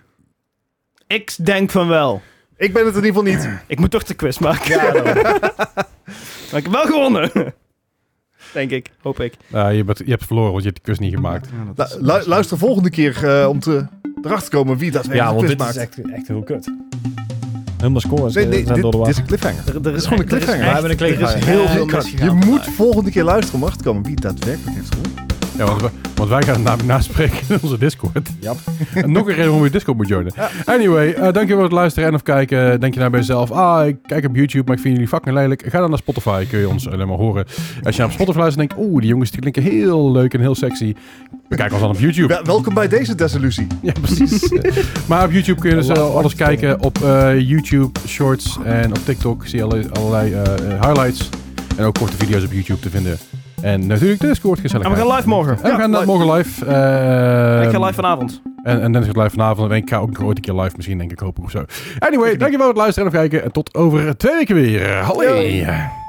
Speaker 1: Ik denk van wel.
Speaker 2: ik ben het in ieder geval niet.
Speaker 1: Ik moet toch de quiz maken. [LAUGHS] maar ik heb wel gewonnen. Denk ik. Hoop ik.
Speaker 3: Ja, je, bent, je hebt verloren, want je hebt die kus niet gemaakt.
Speaker 2: Lu- lu- luister volgende keer eh, om te, erachter te komen wie dat
Speaker 4: ja want dit
Speaker 2: maakt.
Speaker 4: is echt, echt heel kut. Helemaal scores
Speaker 2: Nee, nee,
Speaker 4: eh, zijn
Speaker 2: dit,
Speaker 4: door de war.
Speaker 2: dit is een cliffhanger.
Speaker 1: Er, er is
Speaker 2: gewoon een
Speaker 1: echt- er is
Speaker 2: cliffhanger.
Speaker 1: echt-
Speaker 4: We hebben een cliffhanger.
Speaker 1: Er is heel
Speaker 2: Ja,
Speaker 1: veel
Speaker 2: je kan-
Speaker 1: misgegaan
Speaker 2: Je moet
Speaker 1: vandaag.
Speaker 2: volgende keer luisteren om erachter te komen wie daadwerkelijk heeft gewonnen.
Speaker 3: Ja, want, we- want wij gaan het namelijk naspreken in onze Discord.
Speaker 4: Ja.
Speaker 3: En nog een reden waarom je Discord moet joinen. Anyway, eh dankjewel voor het luisteren en of kijken. Denk je nou bij jezelf, ah, ik kijk op YouTube, maar ik vind jullie fucking lelijk. Ga dan naar Spotify, kun je ons alleen maar horen. Als je naar Spotify luistert en denkt, oeh, die jongens die klinken heel leuk en heel sexy. Bekijk ons dan op YouTube.
Speaker 2: Wel- welkom bij deze desillusie.
Speaker 3: Ja,
Speaker 1: [LAUGHS]
Speaker 3: precies. maar op YouTube kun je dus eh, alles kijken. Op eh, YouTube, Shorts en op TikTok zie je alle- allerlei eh, eh, highlights. En ook korte video's op YouTube te vinden. En natuurlijk de Discord gezellig.
Speaker 1: En we gaan live morgen.
Speaker 3: En we gaan eh, morgen live. eh,
Speaker 1: ik ga live vanavond.
Speaker 3: En, en Dennis gaat live vanavond. En ik ga ook nog ooit een keer live misschien, denk ik, hoop ik of zo. Anyway, dankjewel voor het luisteren en het kijken. En tot over twee weken weer. Hallo.